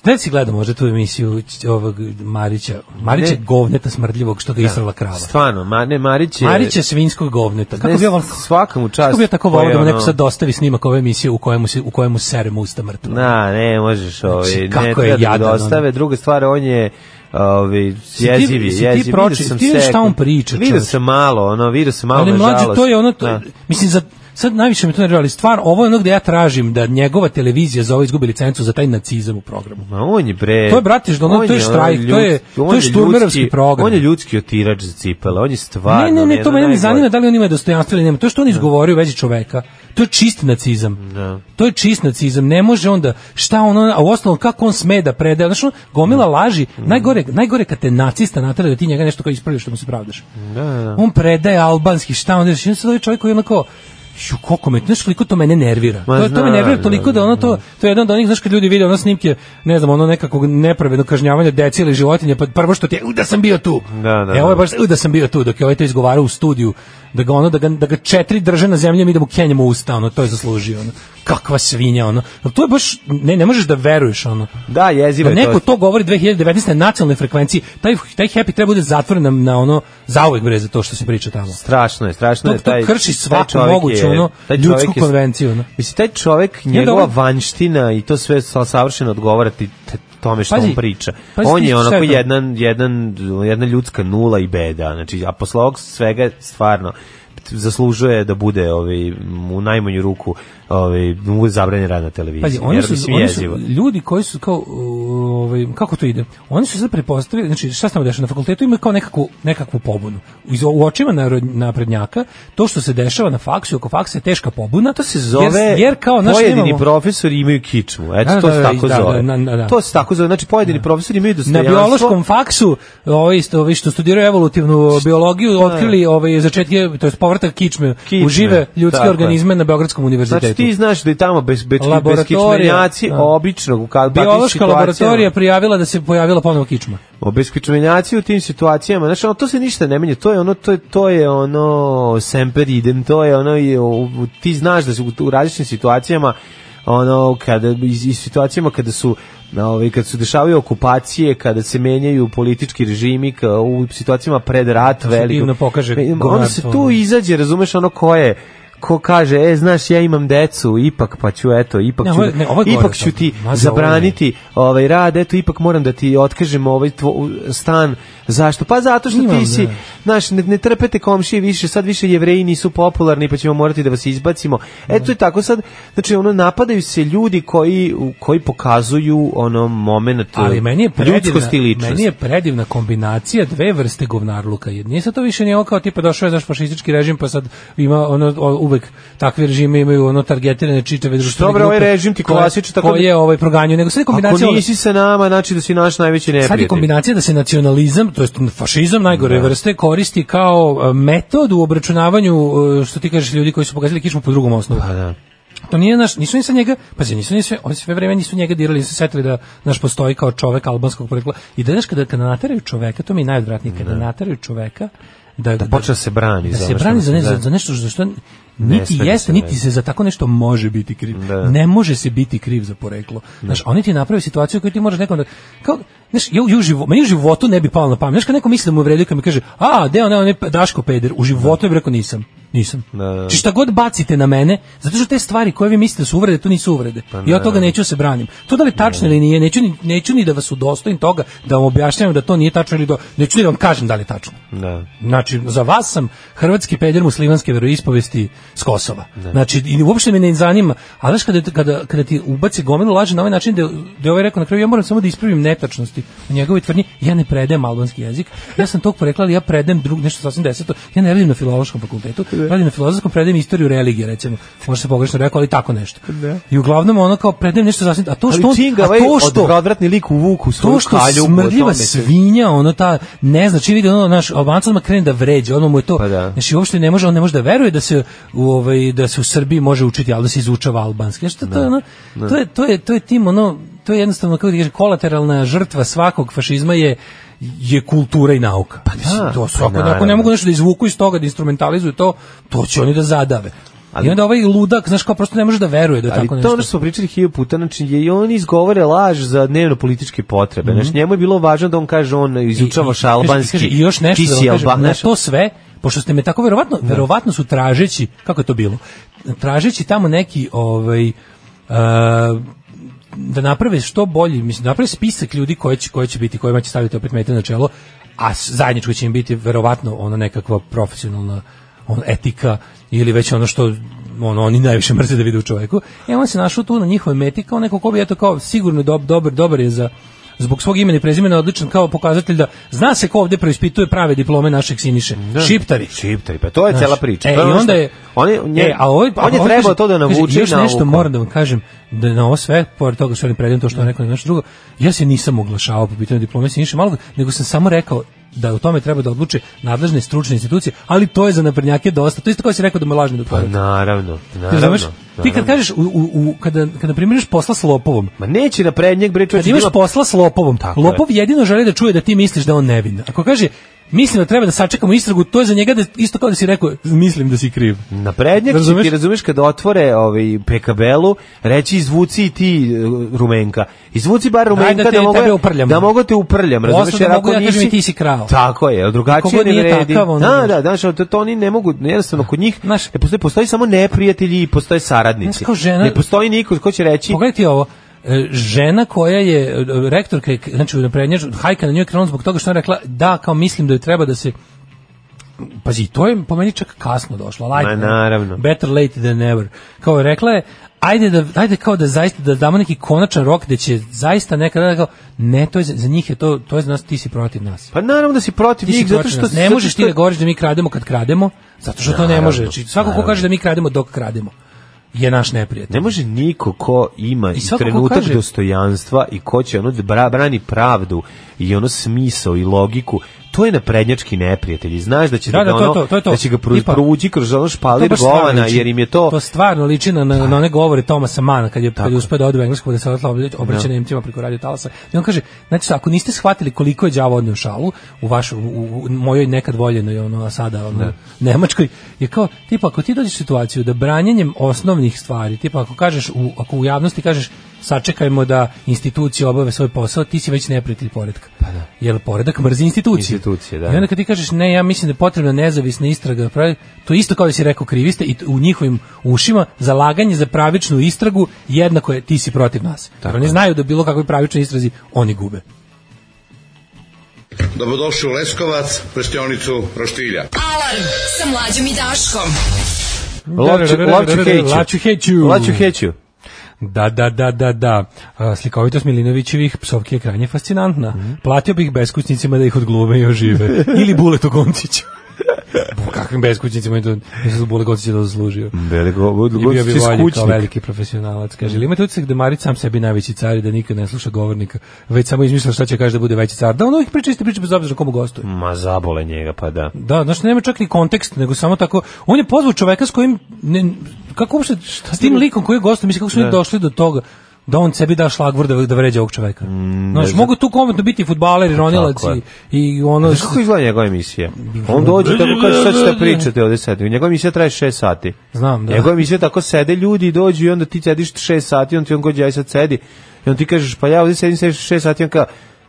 [SPEAKER 5] Ne si gledao možda tu emisiju ć- ovog Marića, Marića
[SPEAKER 6] Ne.
[SPEAKER 5] govneta smrdljivog što ga israla krava.
[SPEAKER 6] Stvarno, ma, ne, Marić je...
[SPEAKER 5] Marić je svinjskog govneta. Kako
[SPEAKER 6] Ne,
[SPEAKER 5] bi ja volao-
[SPEAKER 6] svakamu čast.
[SPEAKER 5] Kako bi ja tako
[SPEAKER 6] koji
[SPEAKER 5] volao da mu
[SPEAKER 6] ono-
[SPEAKER 5] neko sad dostavi snimak ove emisije u kojemu, se, u kojemu seremo usta mrtva.
[SPEAKER 6] Na, ne, možeš, ovaj,
[SPEAKER 5] Znači,
[SPEAKER 6] ne
[SPEAKER 5] kako je
[SPEAKER 6] treba da
[SPEAKER 5] jadan,
[SPEAKER 6] dostave.
[SPEAKER 5] ono.
[SPEAKER 6] Druga stvar, on je ovaj
[SPEAKER 5] ti-
[SPEAKER 6] jezivi,
[SPEAKER 5] si ti
[SPEAKER 6] jezivi.
[SPEAKER 5] proči-
[SPEAKER 6] Vidio sam
[SPEAKER 5] ti vidiš
[SPEAKER 6] sekund.
[SPEAKER 5] šta on priča,
[SPEAKER 6] Vidio
[SPEAKER 5] čoveče.
[SPEAKER 6] sam malo, ono, vidio sam malo,
[SPEAKER 5] Ali
[SPEAKER 6] nažalost.
[SPEAKER 5] mlađe, to je ono, to,
[SPEAKER 6] Da.
[SPEAKER 5] mislim, za, sad najviše mi to nervira, ali stvar, ovo je ono gde ja tražim da njegova televizija za ovo izgubi licencu za taj nacizam u programu.
[SPEAKER 6] Ma on je bre.
[SPEAKER 5] To je, brate, što ono,
[SPEAKER 6] on
[SPEAKER 5] to je štrajk,
[SPEAKER 6] ono
[SPEAKER 5] to je-
[SPEAKER 6] ljudski-
[SPEAKER 5] to je
[SPEAKER 6] on
[SPEAKER 5] šturmerovski
[SPEAKER 6] ljudski-
[SPEAKER 5] program.
[SPEAKER 6] On je ljudski otirač za cipele, on je
[SPEAKER 5] ne,
[SPEAKER 6] stvarno.
[SPEAKER 5] ne, ne,
[SPEAKER 6] jedan
[SPEAKER 5] to mene ne
[SPEAKER 6] najgori.
[SPEAKER 5] zanima da li on ima dostojanstvo ili nema. To što on izgovorio u vezi čoveka, to je čist nacizam. To je čist nacizam. Ne može onda, šta on, on- a u osnovu kako on sme da predaje. Znaš, on gomila laži. Najgore, najgore kad te nacista natara da ti njega nešto kao ispraviš što mu se pravdaš. On predaje albanski, šta on reši. Onda se ovaj čovjek koji je onako, Ju, koliko me, znaš koliko to mene nervira.
[SPEAKER 6] Ma
[SPEAKER 5] to, to me
[SPEAKER 6] znam,
[SPEAKER 5] nervira toliko da ono to, to je jedan od onih, znaš kad ljudi vide ono snimke, ne znam, ono nekakvog nepravednog kažnjavanja dece ili životinja, pa prvo što ti je, "U, da sam bio tu.
[SPEAKER 6] Da, da,
[SPEAKER 5] e, ovo je
[SPEAKER 6] da.
[SPEAKER 5] baš, "U, da sam bio tu, dok je ovaj to izgovarao u studiju, da ga ono, da ga, da ga četiri drže na zemlji, mi da mu kenjamo usta, ono, to je zaslužio, ono. Kakva svinja, ono. Ali to je baš, ne, ne možeš da veruješ, ono.
[SPEAKER 6] Da, jezivo
[SPEAKER 5] Da
[SPEAKER 6] je
[SPEAKER 5] neko
[SPEAKER 6] to.
[SPEAKER 5] to govori 2019. na nacionalnoj frekvenciji, taj, taj happy treba bude zatvoren na, na ono, zauvek bre za to što se priča tamo.
[SPEAKER 6] Strašno je, strašno je.
[SPEAKER 5] To- to
[SPEAKER 6] taj-
[SPEAKER 5] krši
[SPEAKER 6] taj
[SPEAKER 5] svaku
[SPEAKER 6] čovjek
[SPEAKER 5] moguću,
[SPEAKER 6] je-
[SPEAKER 5] ono,
[SPEAKER 6] taj
[SPEAKER 5] ljudsku
[SPEAKER 6] čovjek je-
[SPEAKER 5] konvenciju, ono.
[SPEAKER 6] Mislim, taj čovjek,
[SPEAKER 5] da
[SPEAKER 6] njegova
[SPEAKER 5] on-
[SPEAKER 6] vanština i to sve sa- savršeno odgovarati t- tome što
[SPEAKER 5] Pazi,
[SPEAKER 6] on priča.
[SPEAKER 5] pazi
[SPEAKER 6] on
[SPEAKER 5] ti
[SPEAKER 6] je
[SPEAKER 5] šta je
[SPEAKER 6] onako
[SPEAKER 5] to?
[SPEAKER 6] jedan, jedan, jedna ljudska nula i beda. Znači, a posle ovog svega stvarno t- zaslužuje da bude ovaj, u najmanju ruku ovaj, mu zabranjen rad na televiziji.
[SPEAKER 5] Pazi, oni
[SPEAKER 6] Jer,
[SPEAKER 5] su,
[SPEAKER 6] mislim,
[SPEAKER 5] oni
[SPEAKER 6] jezivo.
[SPEAKER 5] su ljudi koji su kao, uh, ovaj, kako to ide? Oni su sad prepostavili, znači šta se tamo dešava na fakultetu, imaju kao nekakvu, nekakvu pobunu. U, iz- u očima narod, naprednjaka, to što se dešava na faksu, oko faksa je teška pobuna.
[SPEAKER 6] To se zove
[SPEAKER 5] jer, jer kao, znaš,
[SPEAKER 6] pojedini
[SPEAKER 5] nemamo-
[SPEAKER 6] profesori imaju kičmu. Eto
[SPEAKER 5] Da,
[SPEAKER 6] to
[SPEAKER 5] da,
[SPEAKER 6] se
[SPEAKER 5] da,
[SPEAKER 6] tako
[SPEAKER 5] da, da,
[SPEAKER 6] zove.
[SPEAKER 5] da, da, da.
[SPEAKER 6] To se tako zove. Znači pojedini profesori imaju
[SPEAKER 5] Na
[SPEAKER 6] dostojanstvo.
[SPEAKER 5] biološkom faksu, ovi isto ovi što studiraju evolutivnu biologiju, otkrili ovaj začetke, to jest povratak kičme,
[SPEAKER 6] Kičme,
[SPEAKER 5] u žive ljudske
[SPEAKER 6] tako je.
[SPEAKER 5] organizme na Beogradskom univerzitetu.
[SPEAKER 6] Znači ti znaš da je tamo bez bez, bez
[SPEAKER 5] Laboratorija,
[SPEAKER 6] kičmenjaci
[SPEAKER 5] da.
[SPEAKER 6] obično u kad
[SPEAKER 5] Biološka
[SPEAKER 6] ono.
[SPEAKER 5] laboratorija prijavila da se pojavila ponovo kičma.
[SPEAKER 6] O bez kičmenjaci u tim situacijama, znači ono, to se ništa ne menja, to je ono to je, to je ono semper idem, to je ono i, u- ti znaš da su u, u različitim situacijama ono kada iz, iz situacijama kada su na ovaj kad su dešavaju okupacije, kada se menjaju politički režimi ka, u situacijama pred rat
[SPEAKER 5] se
[SPEAKER 6] veliko.
[SPEAKER 5] divno pokaže
[SPEAKER 6] Onda se
[SPEAKER 5] govnarstvo,
[SPEAKER 6] tu
[SPEAKER 5] ono.
[SPEAKER 6] izađe, razumeš ono ko je ko kaže, e, znaš, ja imam decu, ipak pa ću, eto, ipak
[SPEAKER 5] Ne,
[SPEAKER 6] ću,
[SPEAKER 5] ovo je- ne, ovo je gore
[SPEAKER 6] ipak ću
[SPEAKER 5] sad.
[SPEAKER 6] ti
[SPEAKER 5] Mazi, ovo je-
[SPEAKER 6] zabraniti ovaj rad, eto, ipak moram da ti otkažem ovaj tvo- stan. Zašto? Pa zato što
[SPEAKER 5] Imam,
[SPEAKER 6] ti si,
[SPEAKER 5] da.
[SPEAKER 6] znaš, ne, ne trpete komšije više, sad više jevreji nisu popularni, pa ćemo morati da vas izbacimo. Eto je tako sad, znači, ono, napadaju se ljudi koji, u- koji pokazuju ono moment
[SPEAKER 5] Ali meni je predivna,
[SPEAKER 6] ljudskosti i ličnosti.
[SPEAKER 5] meni je predivna kombinacija dve vrste govnarluka. Jer nije sad to više nije ovo kao tipa došao je naš fašistički režim pa sad ima ono o- uvek takvi režimi imaju ono targetirane čitave društvene
[SPEAKER 6] Dobro,
[SPEAKER 5] grupe.
[SPEAKER 6] ovaj režim ti
[SPEAKER 5] koje-
[SPEAKER 6] klasično, tako da-
[SPEAKER 5] koje ovaj proganjaju, nego sad je kombinacija
[SPEAKER 6] Ako
[SPEAKER 5] ono-
[SPEAKER 6] nisi sa nama, znači da si naš najveći
[SPEAKER 5] Sad je
[SPEAKER 6] neprijatelj.
[SPEAKER 5] kombinacija da se nacionalizam, to jest fašizam najgore vrste, koristi kao e, metod u obračunavanju, e, što ti kažeš, ljudi koji su pokazali kičmu po drugom osnovu.
[SPEAKER 6] Pa da.
[SPEAKER 5] To nije naš, nisu ni sa njega, pazi, nisu ni sve, oni sve vreme nisu njega dirali, nisu se setili da naš postoji kao čovek albanskog porekla. I da znaš kada, kada nateraju čoveka, to mi je najodvratnije, kada nateraju čoveka da, da,
[SPEAKER 6] počne da se brani
[SPEAKER 5] da
[SPEAKER 6] za
[SPEAKER 5] se
[SPEAKER 6] ono što
[SPEAKER 5] brani
[SPEAKER 6] misli,
[SPEAKER 5] za, ne,
[SPEAKER 6] da.
[SPEAKER 5] za, za nešto za što
[SPEAKER 6] Ne
[SPEAKER 5] niti
[SPEAKER 6] sme da
[SPEAKER 5] jeste,
[SPEAKER 6] se
[SPEAKER 5] niti
[SPEAKER 6] radi.
[SPEAKER 5] se za tako nešto može biti kriv.
[SPEAKER 6] Da.
[SPEAKER 5] Ne može se biti kriv za poreklo. Znaš, oni ti naprave situaciju koju ti možeš nekom da... Kao, znaš, ja u, ja u živo, meni u životu ne bi palo na pamet. Znaš, kad neko misli da mu je vredio, kad mi kaže, a, deo, ne, on je Daško peder, u životu ja bih rekao nisam. Nisam.
[SPEAKER 6] Da, da, da.
[SPEAKER 5] Znači šta god bacite na mene, zato što te stvari koje vi mislite da su uvrede, to nisu uvrede.
[SPEAKER 6] Pa
[SPEAKER 5] I od toga neću da se branim. To da li je tačno ili nije, neću ni, neću ni da vas udostojim toga, da vam objašnjavam da to nije tačno ili do, neću ni da vam kažem da li je tačno.
[SPEAKER 6] Da.
[SPEAKER 5] Znači, za vas sam hrvatski peder muslimanske veroispovesti s Kosova. Znači, i uopšte me ne zanima, ali znaš kada, kada, kada ti ubaci gomilu laže na ovaj način da, da je ovaj rekao na kraju, ja moram samo da ispravim netačnosti u njegovoj tvrdnji, ja ne predajem albanski jezik, ja sam tog porekla, ali ja predajem drug, nešto sasvim deseto, ja ne radim na filološkom fakultetu, radim na filozofskom, predajem istoriju religije, recimo, možda se pogrešno rekao, ali tako nešto. I uglavnom ono kao predajem nešto sasvim, a to što,
[SPEAKER 6] Ali
[SPEAKER 5] on-
[SPEAKER 6] činga
[SPEAKER 5] a
[SPEAKER 6] ovaj
[SPEAKER 5] to što,
[SPEAKER 6] odvratni lik u vuku svoju
[SPEAKER 5] to što
[SPEAKER 6] kalju.
[SPEAKER 5] smrdljiva svinja, ono ta, ne znači vidi ono naš Albanac odmah krene da vređa, ono mu je to.
[SPEAKER 6] Pa da.
[SPEAKER 5] Znači uopšte ne može, on ne može da veruje da se u ovaj da se u Srbiji može učiti, al da se izučava albanski. Šta to je ono? To je to je to je tim ono to je jednostavno kako ti kažem kolateralna žrtva svakog fašizma je je kultura i nauka. Pa
[SPEAKER 6] da,
[SPEAKER 5] to
[SPEAKER 6] pa
[SPEAKER 5] svako, ako ne
[SPEAKER 6] naravno.
[SPEAKER 5] mogu nešto da izvuku iz toga, da instrumentalizuju to, to će oni da zadave.
[SPEAKER 6] Ali-
[SPEAKER 5] I onda ovaj ludak, znaš, kao prosto ne može da veruje da je
[SPEAKER 6] ali
[SPEAKER 5] tako
[SPEAKER 6] to
[SPEAKER 5] nešto.
[SPEAKER 6] ono što smo pričali hiljadu puta, znači je i oni izgovore laž za dnevno političke potrebe. Znači njemu je bilo važno da on kaže on izučava
[SPEAKER 5] Mhm. I- i-
[SPEAKER 6] šalbanski.
[SPEAKER 5] kaže, I još nešto
[SPEAKER 6] ti si
[SPEAKER 5] da
[SPEAKER 6] Znači,
[SPEAKER 5] vam kažem,
[SPEAKER 6] Alban-
[SPEAKER 5] na
[SPEAKER 6] znaš,
[SPEAKER 5] to sve, pošto ste me tako verovatno, verovatno su tražeći, kako je to bilo, tražeći tamo neki ovaj, uh, da naprave što bolji, mislim, da naprave spisak ljudi koji će, koji će biti, kojima će staviti opet mete na čelo, a s- zajedničko će im biti verovatno ona nekakva profesionalna on, etika ili već ono što ono, oni najviše mrze da vide u čoveku. E, on se našao tu na njihovoj meti kao neko ko bi, eto, kao sigurno dob, dobar, dobar je za zbog svog imena i prezimena odličan kao pokazatelj da zna se ko ovde preispituje prave diplome našeg Siniše. Šiptari.
[SPEAKER 6] ono, Šiptari, pa to je
[SPEAKER 5] Znaš,
[SPEAKER 6] cela priča.
[SPEAKER 5] E,
[SPEAKER 6] To
[SPEAKER 5] i
[SPEAKER 6] ono
[SPEAKER 5] onda
[SPEAKER 6] što-
[SPEAKER 5] je
[SPEAKER 6] on je, nje-
[SPEAKER 5] e, a ovaj- a
[SPEAKER 6] on je trebao
[SPEAKER 5] ovaj kaže-
[SPEAKER 6] to da
[SPEAKER 5] kaže,
[SPEAKER 6] navuče
[SPEAKER 5] Još
[SPEAKER 6] na
[SPEAKER 5] nešto
[SPEAKER 6] oko.
[SPEAKER 5] moram da vam kažem da na ovo sve pored toga što oni predajem to što on rekao i nešto drugo, ja se nisam oglašavao po pitanju diplome Siniše Malog, nego sam samo rekao da o tome treba da odluče nadležne stručne institucije, ali to je za naprednjake dosta. To je isto kao si rekao da mu je lažni
[SPEAKER 6] Pa
[SPEAKER 5] doktorat.
[SPEAKER 6] naravno,
[SPEAKER 5] Ti
[SPEAKER 6] naravno.
[SPEAKER 5] razumeš? Ti kad
[SPEAKER 6] naravno.
[SPEAKER 5] kažeš, u, u, u, kada, kada primjeriš posla s lopovom,
[SPEAKER 6] Ma neće na prednjeg bre čovjek.
[SPEAKER 5] kad imaš posla s lopovom,
[SPEAKER 6] Tako je.
[SPEAKER 5] lopov jedino želi da čuje da ti misliš da je on nevin. Ako kaže, mislim da treba da sačekamo istragu, to je za njega da, isto kao da si rekao, mislim da si kriv.
[SPEAKER 6] Na prednjak će
[SPEAKER 5] Razumeš?
[SPEAKER 6] ti, razumeš, kada otvore ovaj PKB-lu, reći izvuci i ti e, rumenka. Izvuci bar rumenka
[SPEAKER 5] da
[SPEAKER 6] da,
[SPEAKER 5] te-
[SPEAKER 6] mogu,
[SPEAKER 5] tebe uprljam.
[SPEAKER 6] da mogu te uprljam, razumeš?
[SPEAKER 5] Osnovno
[SPEAKER 6] jer
[SPEAKER 5] mogu
[SPEAKER 6] ako
[SPEAKER 5] ja kažem
[SPEAKER 6] nisi-
[SPEAKER 5] i ti si krao.
[SPEAKER 6] Tako je, ali drugačije
[SPEAKER 5] Kako god
[SPEAKER 6] ne
[SPEAKER 5] nije
[SPEAKER 6] vredi.
[SPEAKER 5] takav, ono,
[SPEAKER 6] da,
[SPEAKER 5] znaš.
[SPEAKER 6] da, znaš, to, to oni ne mogu, jednostavno, kod njih
[SPEAKER 5] Znaš-
[SPEAKER 6] ne postoji, postoji samo neprijatelji i postoje saradnici.
[SPEAKER 5] Znaš, kao žena-
[SPEAKER 6] Ne postoji niko ko će reći,
[SPEAKER 5] Pogledaj ti ovo. E, žena koja je e, rektorka, je, znači na prednje, hajka na njoj je krenula zbog toga što je ona rekla da, kao mislim da joj treba da se pazi, to je po meni čak kasno došlo. ali ajde,
[SPEAKER 6] Ma, naravno.
[SPEAKER 5] Better late than never. Kao je rekla je, ajde, da, ajde kao da zaista da damo neki konačan rok da će zaista nekada kao, ne, to je, za- za njih je to, to je za nas, ti si protiv nas.
[SPEAKER 6] pa naravno da si protiv
[SPEAKER 5] Ti si
[SPEAKER 6] njih, zato
[SPEAKER 5] protiv
[SPEAKER 6] što...
[SPEAKER 5] nas. ne
[SPEAKER 6] zato
[SPEAKER 5] možeš ti
[SPEAKER 6] što-
[SPEAKER 5] da govoriš da mi krademo kad krademo, zato što to ne
[SPEAKER 6] Naravno,
[SPEAKER 5] može. Znači, svako ko
[SPEAKER 6] naravno.
[SPEAKER 5] kaže da mi krademo dok krademo je naš neprijatelj.
[SPEAKER 6] Ne može niko ko ima i,
[SPEAKER 5] I svako ko
[SPEAKER 6] trenutak
[SPEAKER 5] kaže-
[SPEAKER 6] dostojanstva i ko će ono da bra- brani pravdu i ono smisao i logiku, to je naprednjački neprijatelj i znaš da će
[SPEAKER 5] Da,
[SPEAKER 6] da,
[SPEAKER 5] da,
[SPEAKER 6] ga
[SPEAKER 5] to je
[SPEAKER 6] ono,
[SPEAKER 5] to, to je to.
[SPEAKER 6] da će ga pru-
[SPEAKER 5] Tipa-
[SPEAKER 6] provući kroz ono špalir
[SPEAKER 5] baš stvarno
[SPEAKER 6] govana
[SPEAKER 5] liči-
[SPEAKER 6] jer im je to,
[SPEAKER 5] To stvarno liči na, na, na one govore Tomasa Mana kad je, kad je uspio da ode u Englesku da se odla obraća Nemcima preko radio talasa. I on kaže, znači šta, ako niste shvatili koliko je đavo odneo šalu u vašu, u, u mojoj nekad voljenoj, ono, a sada ono, Nemačkoj, je kao, tipa, ako ti dođeš u situaciju da branjenjem osnovnih stvari, tipa, ako kažeš, u, ako u javnosti kažeš, sačekajmo da institucije obave svoj posao, ti si već neprijatelj poredka. Pa da. Jer poredak mrzi institucije.
[SPEAKER 6] Institucije, da.
[SPEAKER 5] I onda onda kad ti kažeš ne, ja mislim da je potrebna nezavisna istraga, pravi, to je isto kao da si rekao krivi ste i t- u njihovim ušima zalaganje za pravičnu istragu jednako je ti si protiv nas. Jer oni znaju da bilo kakve pravične istrazi oni gube.
[SPEAKER 9] Dobrodošli u Leskovac, prštionicu Roštilja.
[SPEAKER 4] Alarm sa mlađom i Daškom.
[SPEAKER 6] Lovću- Lovću Heću.
[SPEAKER 5] Laću heću.
[SPEAKER 6] Laću Heću.
[SPEAKER 5] Da, da, da, da, da. A, Slikovitost Milinovićevih psovki je krajnje fascinantna. Platio bih beskućnicima da ih odglume i ožive. Ili Buletu Gontiću. Bu, kakvim beskućnicima je to? Mislim da Bule Gontić je to zaslužio.
[SPEAKER 6] Veliko,
[SPEAKER 5] I bio bi valjen kao veliki profesionalac. Kaže, ili imate utisak da Marić sam sebi najveći car i da nikad ne sluša govornika, već samo izmišlja šta će kaže da bude veći car. Da, on uvijek priča iste priče bez obzira komu gostuje.
[SPEAKER 6] Ma zabole njega, pa da.
[SPEAKER 5] Da, znači nema čak ni kontekst, nego samo tako. On je pozvao čoveka s kojim ne, kako uopšte s tim likom koji je gostuje, mislim kako su oni došli do toga. da on sebi da šlagvor da, da vređa ovog čoveka. Mm, Znaš, mogu tu komentno biti fudbaler, ironilac
[SPEAKER 6] Pa Tako je.
[SPEAKER 5] i, i ono...
[SPEAKER 6] Znaš kako izgleda njegova emisija? On dođe tako kaže sad ćete pričati ovde sad. Njegova emisija traje 6 sati.
[SPEAKER 5] Znam, da.
[SPEAKER 6] Njegova emisija tako sede ljudi i dođu i onda ti sediš 6 sati i on ti on gođe aj sad sedi. I on ti kažeš pa ja ovde sedim sediš 6 sati i on kao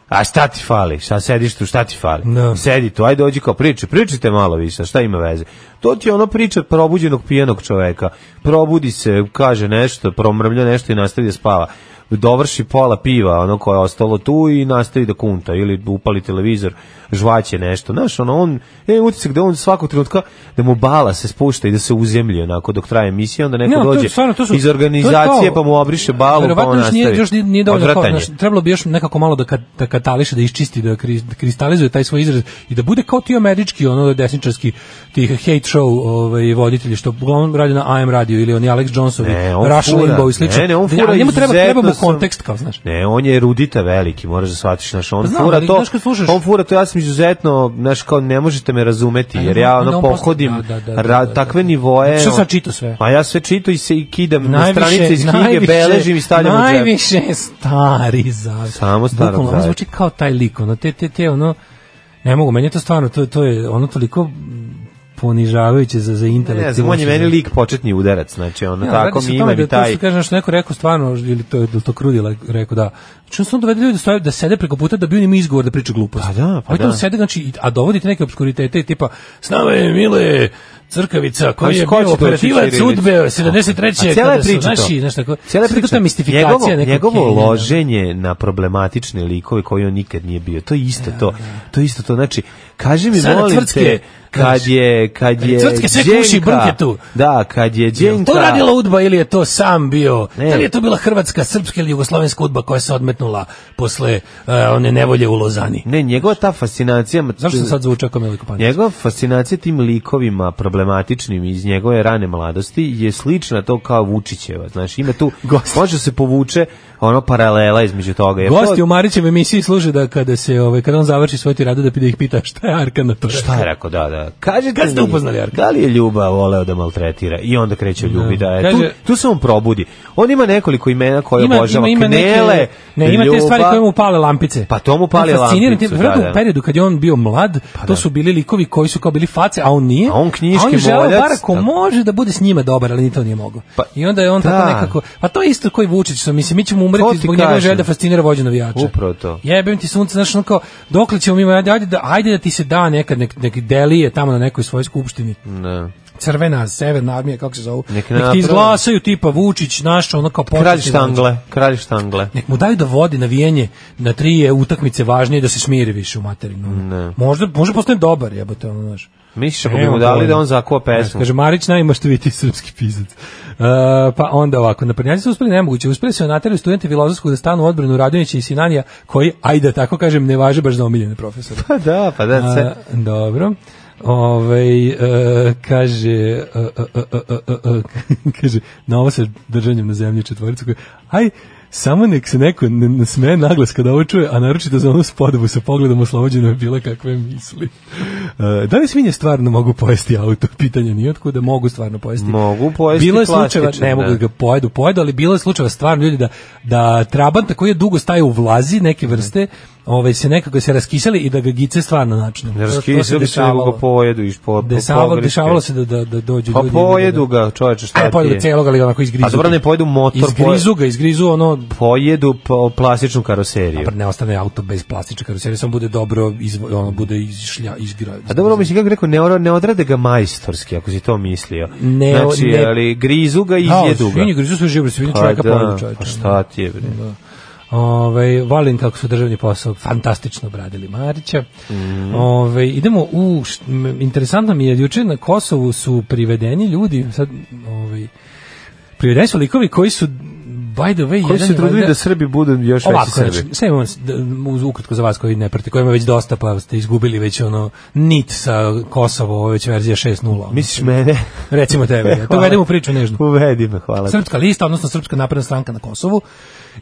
[SPEAKER 6] A šta ti fali? Šta sediš tu? Šta ti fali?
[SPEAKER 5] Da.
[SPEAKER 6] Sedi tu, ajde dođi kao priče, pričajte malo više, šta ima veze? To ti je ono priča probuđenog pijenog čoveka. Probudi se, kaže nešto, promrmlja nešto i nastavi da spava. Dovrši pola piva, ono koje je ostalo tu i nastavi da kunta ili upali televizor, žvaće nešto. Znaš, ono, on, je utisak da on svakog trenutka da mu bala se spušta i da se uzemlje onako dok traje emisija, onda neko
[SPEAKER 5] Ne, to je
[SPEAKER 6] dođe
[SPEAKER 5] stvarno, to su-
[SPEAKER 6] iz
[SPEAKER 5] to je
[SPEAKER 6] organizacije
[SPEAKER 5] kao-
[SPEAKER 6] pa mu obriše balu pa
[SPEAKER 5] Verovatno
[SPEAKER 6] on
[SPEAKER 5] još
[SPEAKER 6] nastavi.
[SPEAKER 5] nije, još nije, nije dovoljno kao,
[SPEAKER 6] Odvratan je.
[SPEAKER 5] znaš, trebalo bi još nekako malo da, ka, da katališe, da isčisti, da kri, da kristalizuje taj svoj izraz i da bude kao ti američki, ono desničarski ti hate show ovaj, voditelji, što uglavnom radi na AM radio ili oni Alex Johnsovi,
[SPEAKER 6] Ne, on
[SPEAKER 5] Rush
[SPEAKER 6] fura.
[SPEAKER 5] Limbaugh i slično.
[SPEAKER 6] Ne, ne, on fura
[SPEAKER 5] ali njemu treba, treba mu
[SPEAKER 6] izuzetno sam-
[SPEAKER 5] kontekst, kao znaš.
[SPEAKER 6] Ne, on je erudita veliki, moraš da shvatiš, znaš, on
[SPEAKER 5] Pa znam,
[SPEAKER 6] fura
[SPEAKER 5] ali,
[SPEAKER 6] to,
[SPEAKER 5] znaš, kad slušaš-
[SPEAKER 6] on fura to, ja sam izuzetno, znaš, kao ne možete me razumeti,
[SPEAKER 5] A,
[SPEAKER 6] jer
[SPEAKER 5] Pa ne,
[SPEAKER 6] ja
[SPEAKER 5] onda
[SPEAKER 6] ono
[SPEAKER 5] on posle-
[SPEAKER 6] pohodim
[SPEAKER 5] da, da, da, da,
[SPEAKER 6] ra-
[SPEAKER 5] da,
[SPEAKER 6] takve
[SPEAKER 5] da.
[SPEAKER 6] nivoe.
[SPEAKER 5] Što
[SPEAKER 6] on-
[SPEAKER 5] sam čitao sve?
[SPEAKER 6] A ja sve čito i se i kidam na stranice iz knjige,
[SPEAKER 5] najviše-
[SPEAKER 6] beležim i stavljam u džep.
[SPEAKER 5] Najviše stari zavet.
[SPEAKER 6] Samo starog
[SPEAKER 5] Bukvalno, on
[SPEAKER 6] zaveta.
[SPEAKER 5] zvuči kao taj lik, ono, te, te, te, ono, ne mogu, meni je to stvarno, to, to je ono toliko ponižavajuće za, za intelekt.
[SPEAKER 6] Ne znam, on je meni lik početni udarac, znači, ono,
[SPEAKER 5] Ja,
[SPEAKER 6] tako
[SPEAKER 5] radi se o
[SPEAKER 6] mi ima
[SPEAKER 5] tome
[SPEAKER 6] i
[SPEAKER 5] da, To
[SPEAKER 6] taj...
[SPEAKER 5] što kažem, što neko rekao stvarno, ili to, ili to krudila rekao da. Čim su on dovede ljudi da, stoje, da sede preko puta da bi on ima izgovor da priča glupost.
[SPEAKER 6] Pa da, pa
[SPEAKER 5] Oni tamo
[SPEAKER 6] da.
[SPEAKER 5] sede, znači, i- a dovodite neke obskuritete, tipa, s nama je Mile Crkavica, koji
[SPEAKER 6] Koji
[SPEAKER 5] je
[SPEAKER 6] ko će
[SPEAKER 5] bio
[SPEAKER 6] doći
[SPEAKER 5] operativac
[SPEAKER 6] ćirilice?
[SPEAKER 5] udbe 73.
[SPEAKER 6] Pa, A cijela je
[SPEAKER 5] kada su
[SPEAKER 6] priča to.
[SPEAKER 5] naši, znaš, tako,
[SPEAKER 6] Cijela je
[SPEAKER 5] sve tako
[SPEAKER 6] priča.
[SPEAKER 5] ta mistifikacija
[SPEAKER 6] njegovo,
[SPEAKER 5] nekog
[SPEAKER 6] njegovo
[SPEAKER 5] Kenjana.
[SPEAKER 6] loženje na problematične likove koji on nikad nije bio. To je isto to. To je isto to. Znači, kaži mi,
[SPEAKER 5] Sada
[SPEAKER 6] molim
[SPEAKER 5] Cvrtke,
[SPEAKER 6] te, kad
[SPEAKER 5] znaš,
[SPEAKER 6] je, kad
[SPEAKER 5] kad
[SPEAKER 6] je
[SPEAKER 5] Cvrtke sve
[SPEAKER 6] Đenka-
[SPEAKER 5] kuši, brnke tu.
[SPEAKER 6] Da, kad je
[SPEAKER 5] Jel
[SPEAKER 6] Đenka...
[SPEAKER 5] to radila udba ili je to sam bio?
[SPEAKER 6] Ne.
[SPEAKER 5] Da li je to bila hrvatska, srpska ili jugoslovenska udba koja se odmetnula posle e, one nevolje u Lozani?
[SPEAKER 6] Ne, njegova ta fascinacija...
[SPEAKER 5] Zašto sam sad zvučao kao Miliko Pančić?
[SPEAKER 6] Njegova fascinacija tim likovima problematičnim iz njegove rane mladosti je slična to kao Vučićeva. Znači, ima tu... Može se povuče ono paralela između toga. jer to-
[SPEAKER 5] Gosti u Marićevoj emisiji služe da kada se ovaj kada on završi svoju tiradu da da ih pita šta je Arkan na to.
[SPEAKER 6] Šta je Pa, rekao, da, da. Kažete
[SPEAKER 5] Kad ste
[SPEAKER 6] mi,
[SPEAKER 5] upoznali Jarka?
[SPEAKER 6] Da li je Ljuba voleo da maltretira? I onda kreće o Ljubi, da. E, tu,
[SPEAKER 5] Kaže-
[SPEAKER 6] tu se on probudi. On ima nekoliko imena koje
[SPEAKER 5] Ima,
[SPEAKER 6] obožava.
[SPEAKER 5] ima, ima neke,
[SPEAKER 6] Knele,
[SPEAKER 5] ne, ima te
[SPEAKER 6] Ljuba.
[SPEAKER 5] stvari koje mu pale lampice.
[SPEAKER 6] Pa to mu pali
[SPEAKER 5] On fascinira te-
[SPEAKER 6] lampicu,
[SPEAKER 5] vjerojatno
[SPEAKER 6] da, da.
[SPEAKER 5] U periodu kad je on bio mlad, to su bili likovi koji su kao bili face, a on nije.
[SPEAKER 6] A on knjiški
[SPEAKER 5] je želeo
[SPEAKER 6] moljac,
[SPEAKER 5] bar ako
[SPEAKER 6] tako.
[SPEAKER 5] može da bude s njima dobar, ali ni to nije mogao.
[SPEAKER 6] Pa,
[SPEAKER 5] I onda je on
[SPEAKER 6] da.
[SPEAKER 5] tako nekako... Pa to je isto koji Vučić, što mislim, mi ćemo
[SPEAKER 6] To
[SPEAKER 5] umreti
[SPEAKER 6] ti
[SPEAKER 5] zbog njegove
[SPEAKER 6] kažem.
[SPEAKER 5] želje da fascinira vođu navijača.
[SPEAKER 6] Upravo to.
[SPEAKER 5] Jebem ti sunce, znaš, ono kao, dokle ćemo mi, ajde, ajde, da, ajde da ti se da nekad, nek, nek delije tamo na nekoj svojoj skupštini
[SPEAKER 6] Da.
[SPEAKER 5] crvena, severna armija, kako se zovu, nek,
[SPEAKER 6] Nek
[SPEAKER 5] ti
[SPEAKER 6] naprave.
[SPEAKER 5] izglasaju tipa Vučić, naš, ono kao početni
[SPEAKER 6] Kralj
[SPEAKER 5] vođa.
[SPEAKER 6] štangle,
[SPEAKER 5] znači.
[SPEAKER 6] kralj štangle.
[SPEAKER 5] Nek mu daju da vodi navijenje na tri je utakmice važnije da se smiri više u materinu.
[SPEAKER 6] Ne.
[SPEAKER 5] Možda, možda postane dobar, jebote, ono, znaš.
[SPEAKER 6] Misliš ako bi
[SPEAKER 5] Evo, ono.
[SPEAKER 6] mu dali
[SPEAKER 5] pojma.
[SPEAKER 6] da on zakuva pesmu?
[SPEAKER 5] Kaže, Marić najmaštovitiji srpski pisac. Uh, pa onda ovako, naprednjaci su uspeli nemoguće, uspeli su naterali studente filozofskog da stanu u odbranu Radonjića i Sinanija, koji, ajde da tako kažem, ne važe baš za omiljene profesore.
[SPEAKER 6] Pa da, pa da.
[SPEAKER 5] A,
[SPEAKER 6] Se,
[SPEAKER 5] dobro. Ovaj e, kaže e, e, e, e, e, e, kaže na ovo se držanjem na zemlji četvoricu koji aj samo nek se neko ne, ne sme naglas kada ovo čuje, a naročito za onu spodobu sa pogledom oslobođeno je bilo kakve misli. E, da li svinje stvarno mogu pojesti auto? Pitanje nije otkuda mogu stvarno pojesti.
[SPEAKER 6] Mogu pojesti
[SPEAKER 5] Bilo je slučajeva,
[SPEAKER 6] plastičan,
[SPEAKER 5] ne mogu
[SPEAKER 6] da.
[SPEAKER 5] ga pojedu, pojedu, ali bilo je slučajeva stvarno ljudi da, da trabanta koji je dugo staje u vlazi
[SPEAKER 6] Mhm.
[SPEAKER 5] neke vrste, ovaj, se nekako se raskisali i da ga gice stvarno načne. To- to se
[SPEAKER 6] Raskisali se nego
[SPEAKER 5] dešavalo.
[SPEAKER 6] ga pojedu i po, po
[SPEAKER 5] Dešavalo,
[SPEAKER 6] pogrešte.
[SPEAKER 5] dešavalo se da, da, da dođu
[SPEAKER 6] Pa
[SPEAKER 5] ljudi. i vide
[SPEAKER 6] pojedu
[SPEAKER 5] da-
[SPEAKER 6] ga, čoveče, šta ti
[SPEAKER 5] Ne
[SPEAKER 6] je?
[SPEAKER 5] pojedu ga celog, ali ga onako izgrizu.
[SPEAKER 6] A dobro, ne pojedu motor,
[SPEAKER 5] Izgrizu ga, izgrizu ono,
[SPEAKER 6] Pojedu po, plastičnu karoseriju.
[SPEAKER 5] pa ne ostane auto bez plastične karoserije, samo bude dobro, izvo, ono bude izšlja, izgra.
[SPEAKER 6] A Pa dobro, mislim, kako bi rekao, ne, ora- ne odrade ga majstorski, ako si to mislio.
[SPEAKER 5] Ne, o-
[SPEAKER 6] znači,
[SPEAKER 5] ne-
[SPEAKER 6] ali grizu ga i izjedu ga.
[SPEAKER 5] Svinje, grizu sve živo, svinje čoveka ono.
[SPEAKER 6] da,
[SPEAKER 5] pojedu čoveka.
[SPEAKER 6] Pa šta ti je, bre? Da.
[SPEAKER 5] Ove, volim Ovaj, kako su državni posao fantastično obradili Marića.
[SPEAKER 6] Mhm.
[SPEAKER 5] Ove, idemo u, št- m, interesantno mi je, juče na Kosovu su privedeni ljudi, sad, ove, privedeni su likovi koji su, by the
[SPEAKER 6] Koji
[SPEAKER 5] way, jedan
[SPEAKER 6] se
[SPEAKER 5] je
[SPEAKER 6] trudili
[SPEAKER 5] valjda-
[SPEAKER 6] da Srbi budu još veći
[SPEAKER 5] Ovako,
[SPEAKER 6] Srbi?
[SPEAKER 5] znači, sve imamo s- d- uz- ukratko za vas koji ne prate, koji ima već dosta, pa ste izgubili već ono nit sa Kosovo, ovo je već verzija 6.0. ono.
[SPEAKER 6] Misliš mene?
[SPEAKER 5] Recimo tebe, ja to
[SPEAKER 6] Hvala.
[SPEAKER 5] uvedemo u priču nežno.
[SPEAKER 6] Uvedi me, hvala. ti.
[SPEAKER 5] Srpska lista, odnosno Srpska napredna stranka na Kosovu,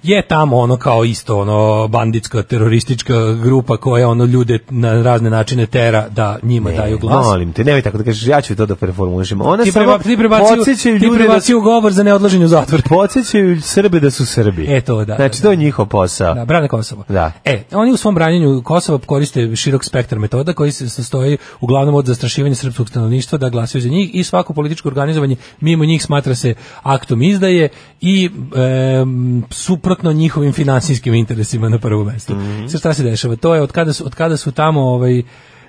[SPEAKER 5] je tamo ono kao isto ono banditska teroristička grupa koja ono ljude na razne načine tera da njima daju glas.
[SPEAKER 6] Molim te, nemoj tako da kažeš, ja ću to da preformulišem. Ona
[SPEAKER 5] Ti,
[SPEAKER 6] samo
[SPEAKER 5] preba, ti prebaci, u-
[SPEAKER 6] podsjećaju
[SPEAKER 5] ti
[SPEAKER 6] ljude da
[SPEAKER 5] prebaci u govor za neodlaženje u zatvor.
[SPEAKER 6] podsjećaju Srbe Srbe da su Srbi.
[SPEAKER 5] E, to, da,
[SPEAKER 6] Znači,
[SPEAKER 5] da,
[SPEAKER 6] to je njihov posao.
[SPEAKER 5] Da, brane Kosovo.
[SPEAKER 6] Da.
[SPEAKER 5] E, oni u svom branjenju Kosova koriste širok spektar metoda koji se sastoji uglavnom od zastrašivanja srpskog stanovništva da glasaju za njih i svako političko organizovanje mimo njih smatra se aktom izdaje i em, suprotno njihovim finansijskim interesima na prvo mesto.
[SPEAKER 6] Mhm.
[SPEAKER 5] Sad šta se dešava? To je od kada su, od kada su tamo ovaj,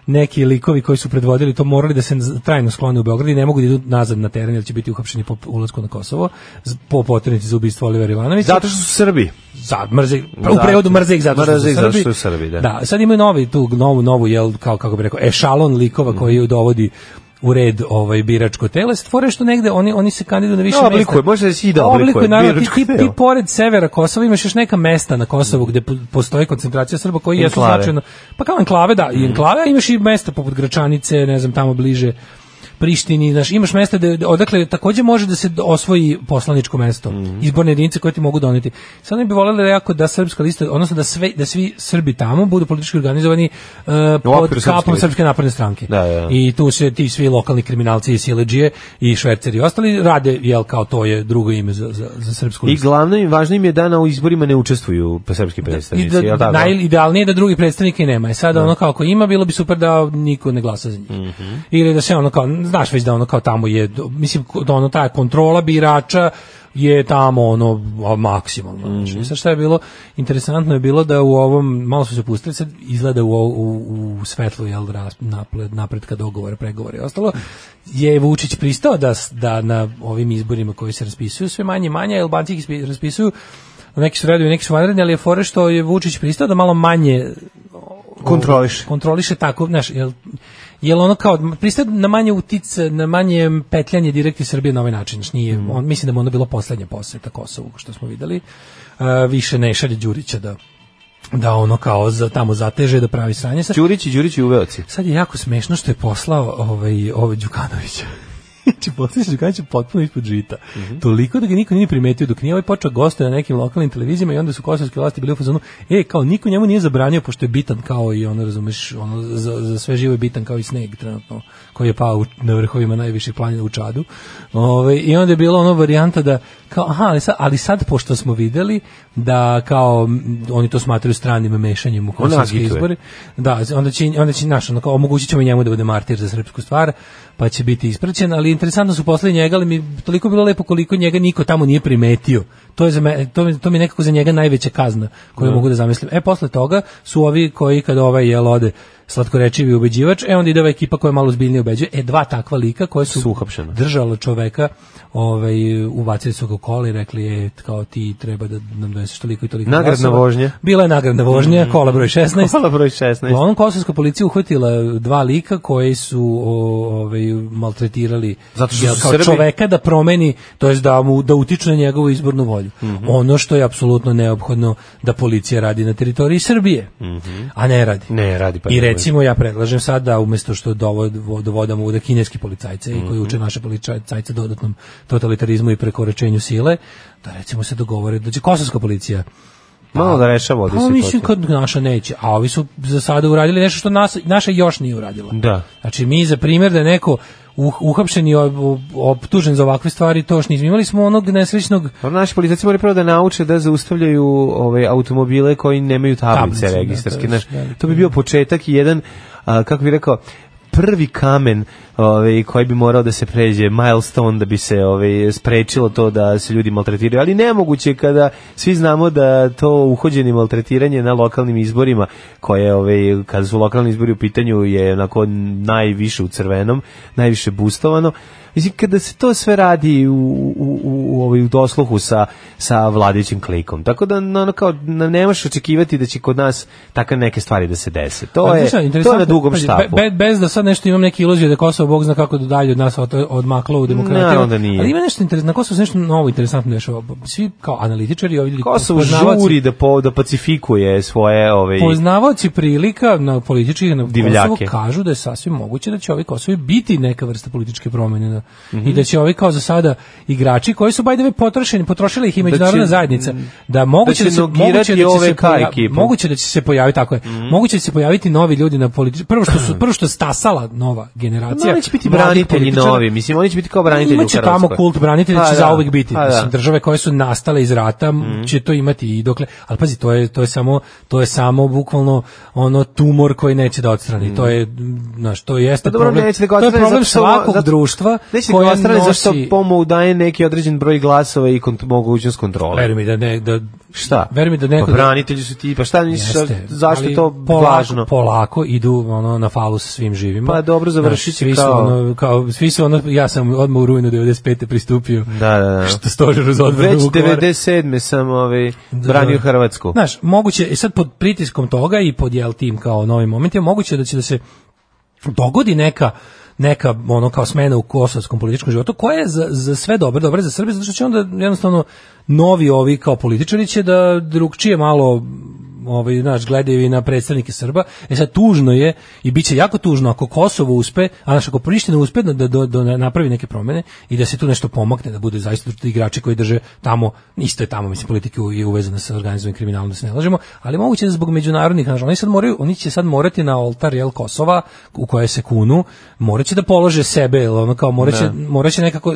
[SPEAKER 5] neki likovi koji su predvodili to morali da se trajno sklone u Beogradu i ne mogu da idu nazad na teren jer će biti uhapšeni po ulasku na Kosovo z- po potrebnici za ubistvo Olivera Ivanovića
[SPEAKER 6] Zato što su Srbi.
[SPEAKER 5] za mrze pa u
[SPEAKER 6] Zato-
[SPEAKER 5] prevodu mrze ih zato što
[SPEAKER 6] Mrze
[SPEAKER 5] su
[SPEAKER 6] ih zato
[SPEAKER 5] Srbi.
[SPEAKER 6] što su Srbi, da.
[SPEAKER 5] sad imaju novi tu novu novu jel kao kako bih rekao ešalon likova
[SPEAKER 6] Mhm.
[SPEAKER 5] koji ju dovodi u red ovaj biračko telo stvore što negde oni oni se kandiduju na više
[SPEAKER 6] Da,
[SPEAKER 5] mesta.
[SPEAKER 6] oblikuje, može da se i da oblikuje
[SPEAKER 5] naravno, ti,
[SPEAKER 6] biračko
[SPEAKER 5] ti, ti
[SPEAKER 6] telo.
[SPEAKER 5] pored severa Kosova imaš još neka mesta na Kosovu gde po- postoji koncentracija Srba koji jesu
[SPEAKER 6] Enklave.
[SPEAKER 5] značajno pa kao enklave da i enklave a imaš i mesta poput Gračanice ne znam tamo bliže Prištini, znaš, imaš mesta da, odakle takođe može da se osvoji poslaničko mesto,
[SPEAKER 6] Mhm.
[SPEAKER 5] izborne jedinice koje ti mogu doneti. Sad ne bi voljeli jako da srpska lista, odnosno da, sve, da svi Srbi tamo budu politički organizovani uh, pod
[SPEAKER 6] okviru srpske
[SPEAKER 5] kapom
[SPEAKER 6] liste.
[SPEAKER 5] Srpske napredne stranke.
[SPEAKER 6] Da, da.
[SPEAKER 5] I tu se ti svi lokalni kriminalci i sileđije i šverceri i ostali rade, jel kao to je drugo ime za, za, za srpsku
[SPEAKER 6] I
[SPEAKER 5] listu.
[SPEAKER 6] glavno i važno im je da na u izborima ne učestvuju pa srpski
[SPEAKER 5] I
[SPEAKER 6] predstavnici. jel
[SPEAKER 5] da,
[SPEAKER 6] tako?
[SPEAKER 5] najidealnije je da drugi predstavnika i nema. I sada ono kao ako ima, bilo bi super da niko ne glasa za njih. Ili da se ono kao, znaš već da ono kao tamo je, mislim da ono ta kontrola birača je tamo ono a, maksimalno. Mm Sad šta je bilo, interesantno je bilo da u ovom, malo su se pustili, sad izgleda u, ovo- u, u svetlu jel, ras- napred, napretka dogovora, pregovora i ostalo, je Vučić pristao da, s- da na ovim izborima koji se raspisuju sve manje i manje, a Albanci ih ispi- raspisuju neki su redovi, neki su vanredni, ali je fore što je Vučić pristao da malo manje
[SPEAKER 6] Kontroliše.
[SPEAKER 5] kontroliše tako, znaš, jel, jel ono kao, pristaje na manje utic, na manje petljanje direkti Srbije na ovaj način, znaš, nije, on, mislim da mu ono bilo poslednja poseta Kosovu, što smo videli, E, više ne šalje Đurića da, da ono kao za, tamo zateže, da pravi sranje. Sad,
[SPEAKER 6] Đurić i Đurić i uveoci.
[SPEAKER 5] sad je jako smešno što je poslao ovaj, ovaj Đukanovića. Znači, postojiš Đukanovića potpuno ispod žita. Toliko da ga niko nije primetio dok nije ovaj počeo goste na nekim lokalnim televizijama i onda su kosovske vlasti bili u fazonu, e, kao niko njemu nije zabranio, pošto je bitan kao i ono, razumeš, ono, za, za sve živo je bitan kao i sneg trenutno, koji je pao u, na vrhovima najviših planina u Čadu. Ove, I onda je bilo ono varijanta da, kao, aha, ali sad, ali sad pošto smo videli da kao m, oni to smatraju stranim mešanjem u kosovske
[SPEAKER 6] agituje.
[SPEAKER 5] izbore, da, onda će, onda će naš, ono, kao, omogućit ćemo i njemu da bude martir za srpsku stvar, pa će biti ispraćen, ali interesantno su posle njega, ali mi je toliko bilo lepo koliko njega niko tamo nije primetio. To je za me, to, mi- to mi je nekako za njega najveća kazna koju mogu da zamislim. E, posle toga su ovi koji kada ovaj jel ode slatkorečivi ubeđivač, e onda ide ova ekipa koja je malo zbiljnije ubeđuje, e dva takva lika koje su
[SPEAKER 6] Su uhapšena.
[SPEAKER 5] držala čoveka, ovaj, ubacili su ga u kola i rekli, e, kao ti treba da nam doneseš toliko i toliko
[SPEAKER 6] Nagradna
[SPEAKER 5] glasova.
[SPEAKER 6] vožnja.
[SPEAKER 5] Bila je nagradna vožnja, kola broj 16.
[SPEAKER 6] Hvala broj 16.
[SPEAKER 5] Uglavnom, kosovska policija uhvatila dva lika koji su o, ovaj, maltretirali
[SPEAKER 6] Zato što
[SPEAKER 5] jel,
[SPEAKER 6] su
[SPEAKER 5] kao
[SPEAKER 6] Srbi.
[SPEAKER 5] čoveka da promeni, to jest da, mu, da utiču na njegovu izbornu volju.
[SPEAKER 6] Mhm.
[SPEAKER 5] Ono što je apsolutno neophodno da policija radi na teritoriji Srbije, a ne radi.
[SPEAKER 6] Mhm. Ne, radi pa
[SPEAKER 5] I
[SPEAKER 6] ne radi.
[SPEAKER 5] recimo ja predlažem sad da umesto što dovod, vo- dovodamo u da kineski policajce i
[SPEAKER 6] Mhm.
[SPEAKER 5] koji uče naše policajce dodatnom totalitarizmu i prekoračenju sile, da recimo se dogovore da će kosovska policija
[SPEAKER 6] Malo da rešava ovde
[SPEAKER 5] pa mislim
[SPEAKER 6] situaciju.
[SPEAKER 5] kad naša neće, a ovi su za sada uradili nešto što nas, naša još nije uradila.
[SPEAKER 6] Da.
[SPEAKER 5] Znači mi za primjer da je neko uh, uhapšen i ob- ob- optužen za ovakve stvari, to još nismo imali smo onog nesrećnog
[SPEAKER 6] Dobro, naši Pa policajci moraju prvo da nauče da zaustavljaju ove automobile koji nemaju tablice,
[SPEAKER 5] Tablice, da,
[SPEAKER 6] registarske.
[SPEAKER 5] to je
[SPEAKER 6] znaš. to bi bio početak i jedan, a, kako bi rekao, prvi kamen ovaj, koji bi morao da se pređe, milestone da bi se ovaj, sprečilo to da se ljudi maltretiraju, ali nemoguće je kada svi znamo da to uhođenje i maltretiranje na lokalnim izborima koje ovaj, kada su lokalni izbori u pitanju je onako najviše u crvenom, najviše bustovano Mislim, kada se to sve radi u, u, u, u, ovaj, u dosluhu sa, sa vladajućim klikom. Tako da no, ono kao, na- ne možeš očekivati da će kod nas takve neke stvari da se dese. To,
[SPEAKER 5] Ali
[SPEAKER 6] je,
[SPEAKER 5] Pa, znaš šta,
[SPEAKER 6] to je
[SPEAKER 5] interesantno,
[SPEAKER 6] na dugom
[SPEAKER 5] pazi,
[SPEAKER 6] štapu.
[SPEAKER 5] Be, be- bez da sad nešto imam neke iluzije da je Kosovo Bog zna kako dalje od nas od, odmaklo u demokratiju.
[SPEAKER 6] Naravno da nije.
[SPEAKER 5] Ali ima nešto interesantno, na Kosovo se nešto novo interesantno dešava. Svi kao analitičari, ovi ljudi
[SPEAKER 6] Kosovo
[SPEAKER 5] poznavaoci-
[SPEAKER 6] žuri da, po, da pacifikuje svoje... Ovaj,
[SPEAKER 5] Poznavaoci prilika na političkih na
[SPEAKER 6] Divljake.
[SPEAKER 5] Kosovu kažu da je sasvim moguće da će ovi Kosovi biti neka vrsta političke promjene na
[SPEAKER 6] Mhm.
[SPEAKER 5] i da će ovi kao za sada igrači koji su by the way potrošeni, potrošila ih i međunarodna
[SPEAKER 6] će-
[SPEAKER 5] zajednica, da moguće
[SPEAKER 6] će
[SPEAKER 5] da, se
[SPEAKER 6] nogirati
[SPEAKER 5] moguće da će se
[SPEAKER 6] OVK
[SPEAKER 5] poja-
[SPEAKER 6] ekipu. Mhm.
[SPEAKER 5] moguće da će se pojaviti tako je. Moguće da će se pojaviti novi ljudi na politici. Prvo što su prvo što je stasala nova generacija.
[SPEAKER 6] Oni će biti
[SPEAKER 5] mladih
[SPEAKER 6] branitelji
[SPEAKER 5] političara.
[SPEAKER 6] novi, mislim, oni će biti kao branitelji u
[SPEAKER 5] Imaće
[SPEAKER 6] Hrvatskoj.
[SPEAKER 5] tamo kult branitelja
[SPEAKER 6] Pa
[SPEAKER 5] će
[SPEAKER 6] da,
[SPEAKER 5] zauvek biti.
[SPEAKER 6] pa da.
[SPEAKER 5] Mislim, države koje su nastale iz rata
[SPEAKER 6] Mhm.
[SPEAKER 5] će to imati i dokle. Ali pazi, to je to je samo to je samo bukvalno ono tumor koji neće da odstrani. To je mm, znaš, to jeste
[SPEAKER 6] Pa dobro,
[SPEAKER 5] problem.
[SPEAKER 6] neće da ga
[SPEAKER 5] to je
[SPEAKER 6] odstrane
[SPEAKER 5] problem
[SPEAKER 6] zato što-
[SPEAKER 5] svakog
[SPEAKER 6] zato-
[SPEAKER 5] društva
[SPEAKER 6] Neće da ga
[SPEAKER 5] koje
[SPEAKER 6] odstrane
[SPEAKER 5] nosi
[SPEAKER 6] zašto pomu daje neki određen broj glasova i kont mogućnost kontrole.
[SPEAKER 5] Veruj mi da ne da
[SPEAKER 6] Šta?
[SPEAKER 5] Veruj mi da neko
[SPEAKER 6] Pa branitelji su ti, pa šta misliš,
[SPEAKER 5] Jeste,
[SPEAKER 6] zašto
[SPEAKER 5] ali
[SPEAKER 6] je to
[SPEAKER 5] polako,
[SPEAKER 6] važno?
[SPEAKER 5] Polako idu ono na falu sa svim živima.
[SPEAKER 6] Pa dobro, završit
[SPEAKER 5] Znaš,
[SPEAKER 6] će
[SPEAKER 5] svi su
[SPEAKER 6] kao-
[SPEAKER 5] ono, kao svi su ono ja sam odmah u rujnu 95. pristupio.
[SPEAKER 6] Da, da, da.
[SPEAKER 5] Što stožeru za odbranu
[SPEAKER 6] Već
[SPEAKER 5] Vukovara.
[SPEAKER 6] 97. sam ovaj, branio Hrvatsku.
[SPEAKER 5] Znaš, moguće, i sad pod pritiskom toga i pod jel tim kao novim momentima, moguće da će da se dogodi neka neka ono kao smena u kosovskom političkom životu koja je za, za sve dobro, dobro je za Srbiju, zato što će onda jednostavno novi ovi kao političari će da drugčije malo ovaj, znaš, gledaju i na predstavnike Srba. E sad, tužno je i bit će jako tužno ako Kosovo uspe, a znaš, ako Priština uspe da, da, da napravi neke promene i da se tu nešto pomakne, da budu zaista ti igrači koji drže tamo, isto je tamo, mislim, politika je uvezana sa organizovanim kriminalom, da se ne lažemo, ali moguće da zbog međunarodnih, znaš, oni, sad moraju, oni će sad morati na oltar, jel, Kosova, u koje se kunu, morat će da polože sebe, jel, ono kao, morat će, morat će nekako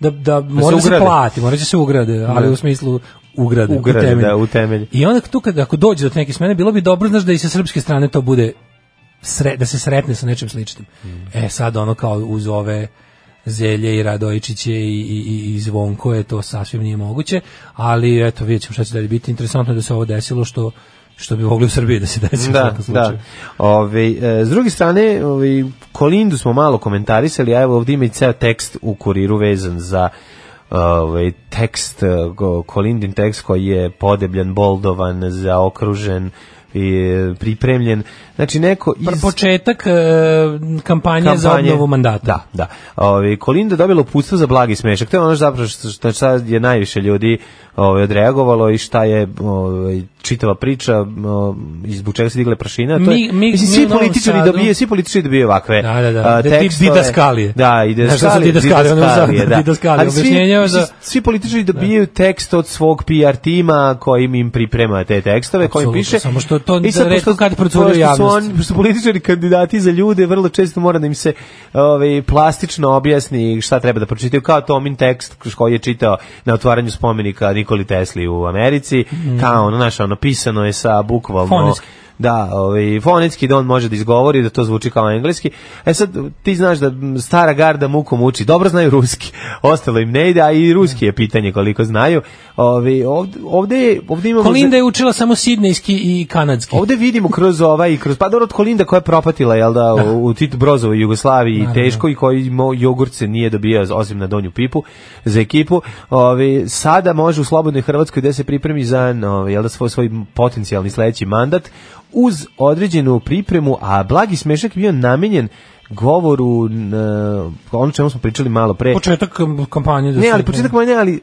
[SPEAKER 5] da, da, mora da se
[SPEAKER 6] ugrade.
[SPEAKER 5] plati, morat će se ugrade, ali u smislu ugrade, u
[SPEAKER 6] Ugrade,
[SPEAKER 5] temelj.
[SPEAKER 6] da, u temelj.
[SPEAKER 5] I onda tu kad ako dođe do te neke smene, bilo bi dobro znaš da i sa srpske strane to bude sre, da se sretne sa nečim sličnim. E sad ono kao uz ove Zelje i Radojičiće i, i, i, i Zvonko je to sasvim nije moguće, ali eto vidjet ćemo šta će dalje biti. Interesantno je da se ovo desilo što što bi mogli u Srbiji da se desi u
[SPEAKER 6] da,
[SPEAKER 5] svakom
[SPEAKER 6] da.
[SPEAKER 5] slučaju.
[SPEAKER 6] Ove, e, s druge strane, ove, Kolindu smo malo komentarisali, a evo ovdje ima i ceo tekst u kuriru vezan za ovaj tekst e, go- Kolindin tekst koji je podebljan, boldovan, zaokružen i e, pripremljen. Znači neko iz
[SPEAKER 5] Pr- Početak e, kampanje, za obnovu mandata.
[SPEAKER 6] Da, da. Ovi, Kolinda je dobila uputstvo za blagi smešak. To je ono zapravo što, što, šta je najviše ljudi ovaj, odreagovalo i šta je ovaj, čitava priča o, izbog čega se digle prašina. To je,
[SPEAKER 5] Mi- mi-
[SPEAKER 6] mislim,
[SPEAKER 5] mi
[SPEAKER 6] svi
[SPEAKER 5] u Novom
[SPEAKER 6] političari
[SPEAKER 5] Sadu-
[SPEAKER 6] dobije, svi političari dobije ovakve
[SPEAKER 5] Da, da, da.
[SPEAKER 6] a,
[SPEAKER 5] Da, di-
[SPEAKER 6] tekstove.
[SPEAKER 5] didaskalije.
[SPEAKER 6] Da, i
[SPEAKER 5] Znaš šta su
[SPEAKER 6] didaskalije,
[SPEAKER 5] didaskalije, ono za-
[SPEAKER 6] didaskalije, da.
[SPEAKER 5] didaskalije,
[SPEAKER 6] Ali svi-
[SPEAKER 5] objašnjenja za-
[SPEAKER 6] svi- Svi političari dobijaju tekst od svog PR tima kojim im priprema te tekstove, kojim
[SPEAKER 5] Apsolutno,
[SPEAKER 6] piše.
[SPEAKER 5] samo što to
[SPEAKER 6] I sad,
[SPEAKER 5] da retko
[SPEAKER 6] pošto-
[SPEAKER 5] kad procuri u
[SPEAKER 6] pošto su
[SPEAKER 5] javnosti.
[SPEAKER 6] oni- pošto su političari kandidati za ljude, vrlo često mora da im se ovaj, plastično objasni šta treba da pročitaju, kao Tomin tekst koji je čitao na otvaranju spomenika Nikoli Tesli u Americi, kao ono, naša, ono, pisano je sa bukvalno...
[SPEAKER 5] Mhm. Fonetski.
[SPEAKER 6] Da, ovaj, fonetski da on može da izgovori, da to zvuči kao engleski. E sad, ti znaš da m, stara garda mukom uči, dobro znaju ruski, ostalo im ne ide, a i ruski je pitanje koliko znaju. Ovaj, ovde, ovde, ovde imamo...
[SPEAKER 5] Kolinda je učila samo sidnejski i kanadski.
[SPEAKER 6] Ovde vidimo kroz ovaj i kroz pa dobro od Kolinda koja je propatila jel da u, u Tito Brozovoj Jugoslaviji i teško i koji mo, jogurt se nije dobijao osim na donju pipu za ekipu. Ovi sada može u slobodnoj Hrvatskoj da se pripremi za no, jel da svoj svoj potencijalni sledeći mandat uz određenu pripremu, a blagi smešak je bio namenjen govoru na, ono čemu smo pričali malo pre.
[SPEAKER 5] Početak um, kampanje. da
[SPEAKER 6] Ne,
[SPEAKER 5] se-
[SPEAKER 6] ali početak moj ne, ali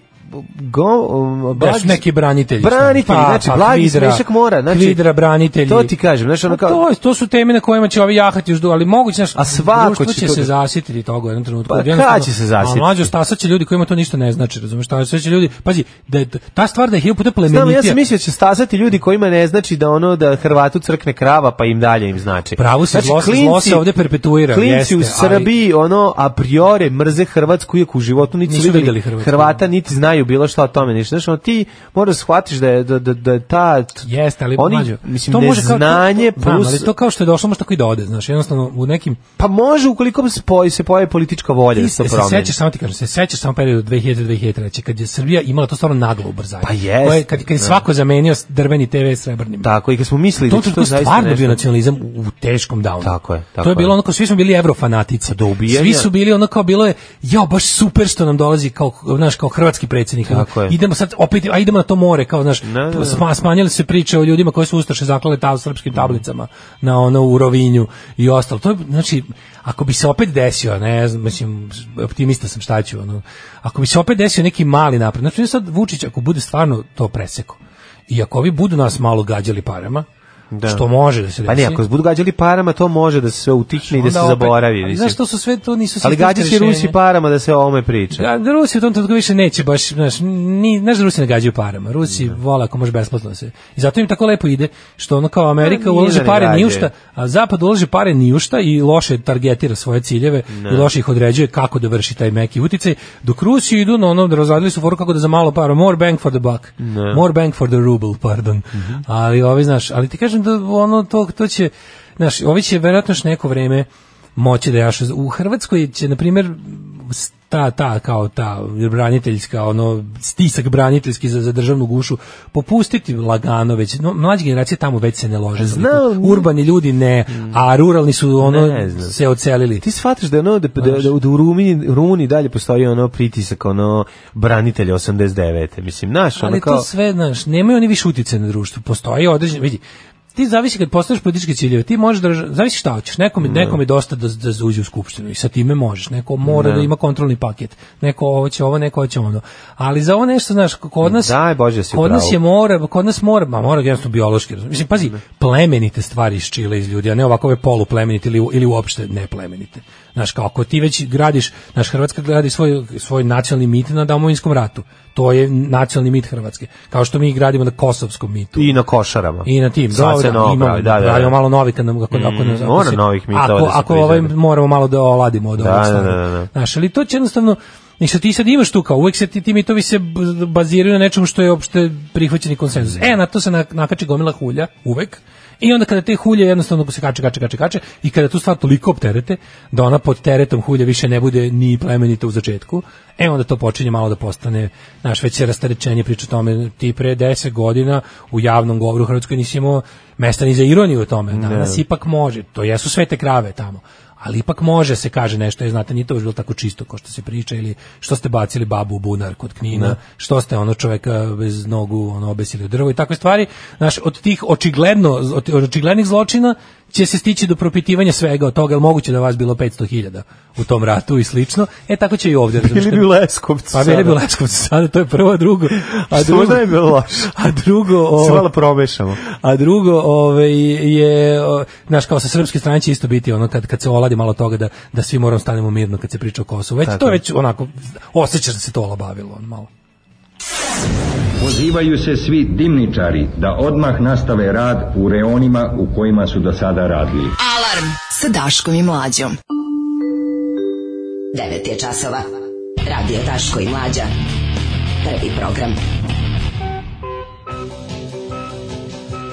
[SPEAKER 6] go, um,
[SPEAKER 5] Da su
[SPEAKER 6] blagi-
[SPEAKER 5] neki branitelji.
[SPEAKER 6] Branitelji,
[SPEAKER 5] Pa,
[SPEAKER 6] znači,
[SPEAKER 5] pa,
[SPEAKER 6] blagi
[SPEAKER 5] Kvidra,
[SPEAKER 6] smešak mora, znači,
[SPEAKER 5] Kvidra, branitelji.
[SPEAKER 6] to ti kažem, znaš, ono
[SPEAKER 5] Pa
[SPEAKER 6] kao-
[SPEAKER 5] To, to su teme na kojima će ovi jahati još dugo, ali moguće, znaš,
[SPEAKER 6] A svako
[SPEAKER 5] društvo
[SPEAKER 6] će
[SPEAKER 5] će
[SPEAKER 6] to
[SPEAKER 5] se
[SPEAKER 6] da-
[SPEAKER 5] zasititi toga u jednom trenutku.
[SPEAKER 6] Pa,
[SPEAKER 5] Jednostavno,
[SPEAKER 6] kad će se zasititi?
[SPEAKER 5] A mlađo stasa će ljudi kojima to ništa ne znači, razumeš, šta sve će ljudi, pazi, da je t- ta stvar da je hiljadu puta
[SPEAKER 6] Znam,
[SPEAKER 5] plemenitija.
[SPEAKER 6] ja sam mislio da će stasati ljudi kojima ne znači da ono da Hrvatu crkne krava pa im dalje im znači.
[SPEAKER 5] Pravo si, zlo se- zlo se ovde perpetuira,
[SPEAKER 6] Klinci
[SPEAKER 5] jeste,
[SPEAKER 6] u
[SPEAKER 5] ali-
[SPEAKER 6] Srbiji ono a priore mrze Hrvatsku iako u životu niti su
[SPEAKER 5] Nisu
[SPEAKER 6] videli,
[SPEAKER 5] videli Hrvatsku.
[SPEAKER 6] Hrvata niti znaju bilo šta o tome ništa. Znaš, ono, ti moraš da shvatiš da je da, da, da je ta
[SPEAKER 5] Jeste, ali
[SPEAKER 6] oni,
[SPEAKER 5] mlađo,
[SPEAKER 6] mislim, neznanje
[SPEAKER 5] to, to, znam,
[SPEAKER 6] plus-
[SPEAKER 5] ali to kao što je došlo, možda tako i da ode, znaš, jednostavno u nekim
[SPEAKER 6] pa može ukoliko se pojavi se pojavi politička volja da
[SPEAKER 5] Ti
[SPEAKER 6] se to
[SPEAKER 5] se
[SPEAKER 6] promeni.
[SPEAKER 5] sećaš, samo ti kažem, se sećaš samo periodu 2000-2003, kad je Srbija imala to stvarno naglo ubrzanje.
[SPEAKER 6] Pa jest.
[SPEAKER 5] Koje- Kad, kad je svako zamenio drveni TV srebrnim.
[SPEAKER 6] Tako i kad smo mislili
[SPEAKER 5] To
[SPEAKER 6] da će to
[SPEAKER 5] je
[SPEAKER 6] zaista
[SPEAKER 5] stvarno
[SPEAKER 6] nešto-
[SPEAKER 5] bio nacionalizam u u teškom downu.
[SPEAKER 6] Tako je, tako
[SPEAKER 5] to je bilo
[SPEAKER 6] je. Pa
[SPEAKER 5] ono kao svi smo bili evrofanatici.
[SPEAKER 6] do ubijanja.
[SPEAKER 5] svi su bili ono kao bilo je, jao, baš super što nam dolazi kao, znaš, kao hrvatski predsjednik. Ono,
[SPEAKER 6] Tako je.
[SPEAKER 5] Idemo sad opet, a idemo na to more, kao, znaš, pa
[SPEAKER 6] Da, da, da.
[SPEAKER 5] sma- smanjile su se priče o ljudima koji su Ustaše zaklale ta srpskim tablicama na ono u Rovinju i ostalo. To je, znači, ako bi se opet desio, ne znam, mislim, optimista sam šta ću, ono, ako bi se opet desio neki mali napred, znači sad Vučić ako bude stvarno to preseko i ako ovi budu nas malo gađali parama,
[SPEAKER 6] Da.
[SPEAKER 5] što može da se desi.
[SPEAKER 6] Pa ne, ako se budu gađali parama, to može da se sve utihne i da
[SPEAKER 5] onda
[SPEAKER 6] se
[SPEAKER 5] opet-
[SPEAKER 6] zaboravi.
[SPEAKER 5] Ali
[SPEAKER 6] mislim.
[SPEAKER 5] Znaš što su sve to nisu
[SPEAKER 6] Ali
[SPEAKER 5] sistemska
[SPEAKER 6] gađaš i
[SPEAKER 5] rešenja.
[SPEAKER 6] Rusi parama da se o ovome priča.
[SPEAKER 5] Da, da Rusi u tom trenutku više neće baš, znaš, ni, znaš da Rusi ne gađaju parama. Rusi vole ako može besplatno da se. I zato im tako lepo ide, što ono kao
[SPEAKER 6] Pa,
[SPEAKER 5] Amerika
[SPEAKER 6] nije da
[SPEAKER 5] uloži
[SPEAKER 6] ne
[SPEAKER 5] pare ni
[SPEAKER 6] gađaju.
[SPEAKER 5] u šta, a Zapad uloži pare ni u šta i loše targetira svoje ciljeve i loše ih određuje kako da vrši taj meki uticaj, dok Rusi idu na ono, razvadili su foru kako da za malo para, more bang for the buck, more bang for the ruble, pardon. Ali ovi, znaš, ali ti kažem da ono, to, to će, znaš, ovi će verovatno još neko vreme moći da jašu. U Hrvatskoj će, na primjer, ta, ta, kao ta braniteljska, ono, stisak braniteljski za, za državnu gušu, popustiti lagano već. No, mlađe generacije tamo već se ne lože.
[SPEAKER 6] Znam.
[SPEAKER 5] Urbani ljudi ne, a ruralni su, ono,
[SPEAKER 6] Ne znam.
[SPEAKER 5] se ocelili.
[SPEAKER 6] Ti shvataš da, ono, da, da, da, da u Rumuniji, Rumuniji dalje postoji ono pritisak, ono, branitelja 89. Mislim, naš, ono
[SPEAKER 5] ali
[SPEAKER 6] kao...
[SPEAKER 5] to sve, znaš, nemaju oni više utice na društvo. Postoji određen, vidi, ti zavisi kad postaviš političke ciljeve, ti možeš da zavisi šta hoćeš. Nekom, je-
[SPEAKER 6] Mm.
[SPEAKER 5] nekom je dosta da, da zauđe u skupštinu i sa time možeš. Neko mora da ima kontrolni paket. Neko ovo će ovo, neko hoće ono. Ali za ovo nešto, znaš, kod nas
[SPEAKER 6] Daj Bože, si u
[SPEAKER 5] kod nas
[SPEAKER 6] pravu.
[SPEAKER 5] je mora, kod nas mora, ma mora jednostavno biološki. razumiješ? Mislim, pazi, plemenite stvari iz Čile iz ljudi, a ne ovakove poluplemenite ili, ili uopšte neplemenite. Znaš, kao ako ti već gradiš, naš Hrvatska gradi svoj, svoj nacionalni mit na domovinskom ratu. To je nacionalni mit Hrvatske. Kao što mi gradimo na kosovskom mitu.
[SPEAKER 6] I na košarama.
[SPEAKER 5] I na tim,
[SPEAKER 6] Sad se novo
[SPEAKER 5] imamo,
[SPEAKER 6] pravi, da, da, da.
[SPEAKER 5] pravimo malo novi kad nam ako, ako nas- ako
[SPEAKER 6] mora
[SPEAKER 5] se-
[SPEAKER 6] novih mitova
[SPEAKER 5] ako,
[SPEAKER 6] da se
[SPEAKER 5] ako ovaj
[SPEAKER 6] proizvede.
[SPEAKER 5] moramo malo da oladimo od
[SPEAKER 6] Da,
[SPEAKER 5] ovog
[SPEAKER 6] da,
[SPEAKER 5] starog.
[SPEAKER 6] da, da.
[SPEAKER 5] Znaš, ali to će jednostavno I što ti sad imaš tu kao, uvek se ti, ti mitovi se b- baziraju na nečemu što je opšte prihvaćeni konsenzus. E, na to se na- nakači gomila hulja, uvek, i onda kada te hulje jednostavno se kače, kače, kače, kače, i kada tu stvar toliko opterete, da ona pod teretom hulja više ne bude ni plemenita u začetku, e, onda to počinje malo da postane, naš već je rasterečenje priča o tome, ti pre 10 godina u javnom govoru u Hrvatskoj nisi imao mesta ni za ironiju o tome, danas ipak može, to jesu sve te krave tamo, ali ipak može se kaže nešto, jer znate, nije to baš bilo tako čisto kao što se priča ili što ste bacili babu u bunar kod Knina, što ste ono čoveka bez nogu ono obesili u drvo i takve stvari. Znaš, od tih očigledno od od očiglednih zločina će se stići do propitivanja svega od toga, jer moguće da je vas bilo 500.000 u tom ratu i slično. E tako će i ovdje. razumiješ,
[SPEAKER 6] Bili
[SPEAKER 5] kad-
[SPEAKER 6] bi u Leskovcu.
[SPEAKER 5] Pa bili bi u Leskovcu sada, to je prvo, a drugo. A
[SPEAKER 6] Što
[SPEAKER 5] drugo,
[SPEAKER 6] možda je bilo loše.
[SPEAKER 5] a drugo,
[SPEAKER 6] Sve
[SPEAKER 5] ovaj,
[SPEAKER 6] malo promešamo.
[SPEAKER 5] a drugo, ovaj je o, znaš kao sa srpske strane će isto biti ono kad kad se oladi malo toga da da svi moramo stanemo mirno kad se priča o Kosovu. Već to je već onako osjećaš da se to olabavilo on malo.
[SPEAKER 10] Pozivaju se svi dimničari da odmah nastave rad u reonima u kojima su do sada radili.
[SPEAKER 4] Alarm sa Daškom i Mlađom.
[SPEAKER 8] 9 je časova. Radio Daško i Mlađa. Prvi program.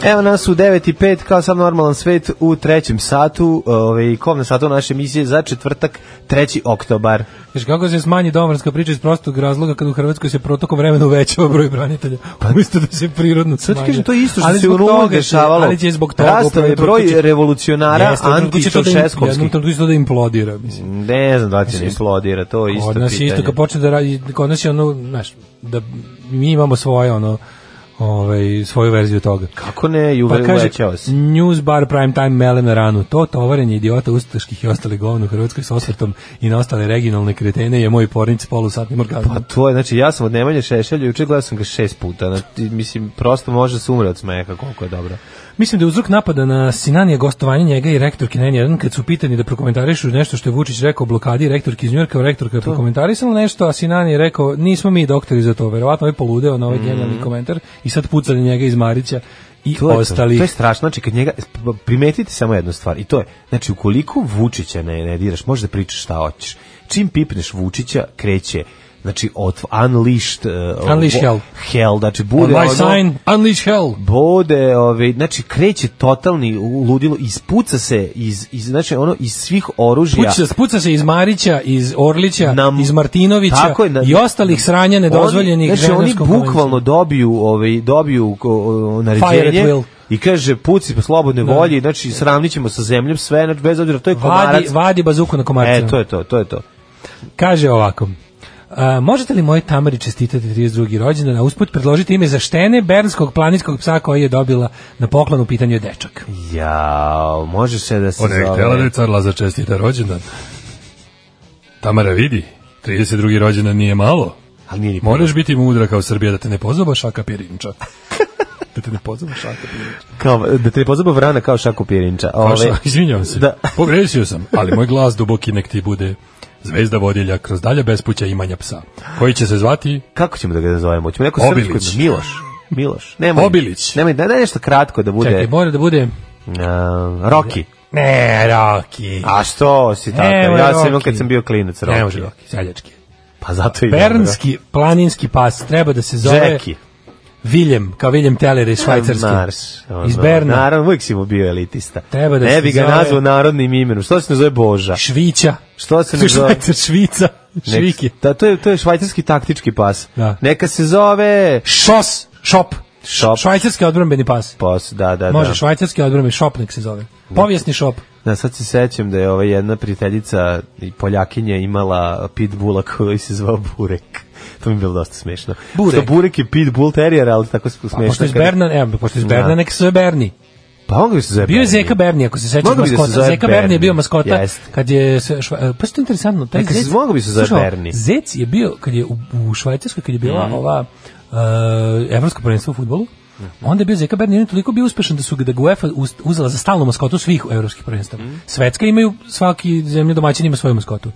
[SPEAKER 6] Evo nas u 9.05, kao sam normalan svet, u trećem satu, ovaj, kovne satu naše emisije za četvrtak, 3. oktobar.
[SPEAKER 5] Znaš kako se smanji domovinska priča iz prostog razloga kad u Hrvatskoj se protokom vremena uvećava broj branitelja. Umesto da se prirodno
[SPEAKER 6] Sad ti
[SPEAKER 5] smanjuje.
[SPEAKER 6] kažem, to je isto što
[SPEAKER 5] Ali
[SPEAKER 6] se u
[SPEAKER 5] zbog
[SPEAKER 6] Rumu
[SPEAKER 5] toga će-
[SPEAKER 6] dešavalo.
[SPEAKER 5] Ali će zbog toga.
[SPEAKER 6] Rastao je
[SPEAKER 5] upravo to
[SPEAKER 6] broj
[SPEAKER 5] će-
[SPEAKER 6] revolucionara
[SPEAKER 5] Jeste, u trenutku će to da im-
[SPEAKER 6] antičaušeskovskih.
[SPEAKER 5] Jednom trenutku će to da implodira, mislim.
[SPEAKER 6] Ne znam da li će da implodira, to je Pa isto
[SPEAKER 5] Kod nas je
[SPEAKER 6] pitanje.
[SPEAKER 5] isto kad počne da radi, kod nas je ono, znaš, da mi imamo svoje ono, ovaj, svoju verziju toga.
[SPEAKER 6] Kako ne, i
[SPEAKER 5] Pa
[SPEAKER 6] uve-
[SPEAKER 5] kaže,
[SPEAKER 6] uvećao se.
[SPEAKER 5] news bar prime time melem na ranu. To tovarenje idiota ustaških i ostali govno u Hrvatskoj s osvrtom i na ostale regionalne kretene je moj pornic polusatnim orgazmom.
[SPEAKER 6] Pa to je, znači ja sam od Nemanja Šešelja, juče gledao sam ga šest puta. Znači, mislim, prosto može se umre od smeha koliko je dobro.
[SPEAKER 5] Mislim da je uzrok napada na Sinanija gostovanje njega i rektorki na N1 kad su pitani da prokomentarišu nešto što je Vučić rekao o blokadi rektorki iz Njujorka, rektorka je prokomentarisala nešto, a Sinan je rekao nismo mi doktori za to, verovatno je poludeo na ovaj
[SPEAKER 6] Mm.
[SPEAKER 5] genijalni komentar i sad pucali njega iz Marića i
[SPEAKER 6] To je, to.
[SPEAKER 5] ostali.
[SPEAKER 6] to je strašno, znači kad njega, primetite samo jednu stvar i to je, znači ukoliko Vučića ne, ne diraš, možeš da pričaš šta hoćeš. Čim pipneš Vučića, kreće znači od unleashed uh,
[SPEAKER 5] Unleash
[SPEAKER 6] vo-
[SPEAKER 5] hell.
[SPEAKER 6] hell znači bude
[SPEAKER 5] My
[SPEAKER 6] ono,
[SPEAKER 5] sign, unleash hell.
[SPEAKER 6] bode, ove, znači kreće totalni ludilo, ispuca se iz, iz znači ono iz svih oružja.
[SPEAKER 5] Puca, puca se iz Marića, iz Orlića,
[SPEAKER 6] Na-
[SPEAKER 5] iz Martinovića
[SPEAKER 6] Tako je, na-
[SPEAKER 5] i ostalih sranja nedozvoljenih
[SPEAKER 6] Oni- znači oni
[SPEAKER 5] Ženevskom konvencijom.
[SPEAKER 6] bukvalno dobiju ovaj dobiju ko- o,
[SPEAKER 5] Fire at
[SPEAKER 6] naređenje
[SPEAKER 5] will.
[SPEAKER 6] i kaže puci po slobodnoj volji znači sravnićemo sa zemljom sve znači bez obzira to je komarac
[SPEAKER 5] Vadi, vadi bazuku na komarca.
[SPEAKER 6] e to je to to je to
[SPEAKER 5] Kaže ovako. A, možete li moje Tamari čestitati 32. rođendan, a usput predložiti ime za štene bernskog planinskog psa koji je dobila na poklon u pitanju je dečak.
[SPEAKER 6] ja može se da se
[SPEAKER 11] Ona je htjela da
[SPEAKER 6] zove
[SPEAKER 11] je car Lazar čestita rođendan. Tamara vidi, 32. rođendan nije malo.
[SPEAKER 6] ali nije ni
[SPEAKER 11] Moraš biti mudra kao Srbija da te ne pozobaš, a kapirinča. da te ne pozove šaka pirinča.
[SPEAKER 6] Kao, da te ne pozove vrana kao šaku pirinča.
[SPEAKER 11] Ove, Paša, izvinjavam se, da. pogrešio sam, ali moj glas duboki nek ti bude zvezda vodilja kroz dalje bespuća imanja psa, koji će se zvati
[SPEAKER 6] Kako ćemo da ga nazovemo? Ćemo neko
[SPEAKER 11] Obilić.
[SPEAKER 6] srpsko Miloš. Miloš. Nemoj.
[SPEAKER 11] Obilić.
[SPEAKER 6] Nemoj, da, da nešto kratko da bude.
[SPEAKER 5] Čekaj, mora da bude...
[SPEAKER 6] Uh, Rocky.
[SPEAKER 5] Ne, Roki.
[SPEAKER 6] A što si tako?
[SPEAKER 5] Evo je
[SPEAKER 6] ja sam imao
[SPEAKER 5] Rocky.
[SPEAKER 6] kad sam bio klinac Rocky.
[SPEAKER 5] Ne može Roki, seljački.
[SPEAKER 6] Pa zato i
[SPEAKER 5] Bernski planinski pas treba da se
[SPEAKER 6] dobro.
[SPEAKER 5] zove
[SPEAKER 6] Jackie.
[SPEAKER 5] Viljem, kao Viljem Teller iz Švajcarske.
[SPEAKER 6] Mars, ono,
[SPEAKER 5] iz Berna.
[SPEAKER 6] Naravno, uvijek si mu bio elitista.
[SPEAKER 5] Treba da se
[SPEAKER 6] ne bi ga
[SPEAKER 5] zove-
[SPEAKER 6] nazvao narodnim imenom. Što se ne zove Boža?
[SPEAKER 5] Švića.
[SPEAKER 6] Što se ne zove?
[SPEAKER 5] Švajcar, Švica,
[SPEAKER 6] Nek-
[SPEAKER 5] Šviki.
[SPEAKER 6] Da, to je, to je švajcarski taktički pas.
[SPEAKER 5] Da.
[SPEAKER 6] Neka se zove...
[SPEAKER 5] Šos, šop.
[SPEAKER 6] Šop.
[SPEAKER 5] Švajcarski odbrambeni pas.
[SPEAKER 6] Pas, da, da,
[SPEAKER 5] Može,
[SPEAKER 6] da.
[SPEAKER 5] švajcarski odbrambeni šop nek se zove. Povijesni šop.
[SPEAKER 6] Da, sad se sećam da je ova jedna prijateljica i Poljakinja imala pitbula koji se zvao Burek. To mi je bilo dosta smešno.
[SPEAKER 5] Burek.
[SPEAKER 6] Što Burek je pitbull terijer, ali tako smešno.
[SPEAKER 5] A pošto iz
[SPEAKER 6] kad-
[SPEAKER 5] Berna, evo, pošto iz Berna,
[SPEAKER 6] Da.
[SPEAKER 5] nek se zove Berni.
[SPEAKER 6] Pa on ga se zove
[SPEAKER 5] Bio je
[SPEAKER 6] Berni.
[SPEAKER 5] Zeka Berni, ako se sećaš
[SPEAKER 6] Mogao bi da se
[SPEAKER 5] maskota.
[SPEAKER 6] zove
[SPEAKER 5] Zeka Berni je bio
[SPEAKER 6] Berni,
[SPEAKER 5] maskota
[SPEAKER 6] jeste.
[SPEAKER 5] kad je se šva... pa što je interesantno, taj
[SPEAKER 6] Neka se-
[SPEAKER 5] zec.
[SPEAKER 6] mogao bi se zove
[SPEAKER 5] Slušaj,
[SPEAKER 6] Berni.
[SPEAKER 5] Zec je bio kad je u, u Švajcarskoj kad je bila
[SPEAKER 6] Mhm.
[SPEAKER 5] ova uh, evropsko prvenstvo u fudbalu. Onda je bio Zeka Berni on je toliko bio uspešan da su ga da ga UEFA uz- uzela za stalnu maskotu svih evropskih prvenstava.
[SPEAKER 6] Mhm.
[SPEAKER 5] Svetska imaju svaki zemlja domaćin ima svoju maskotu.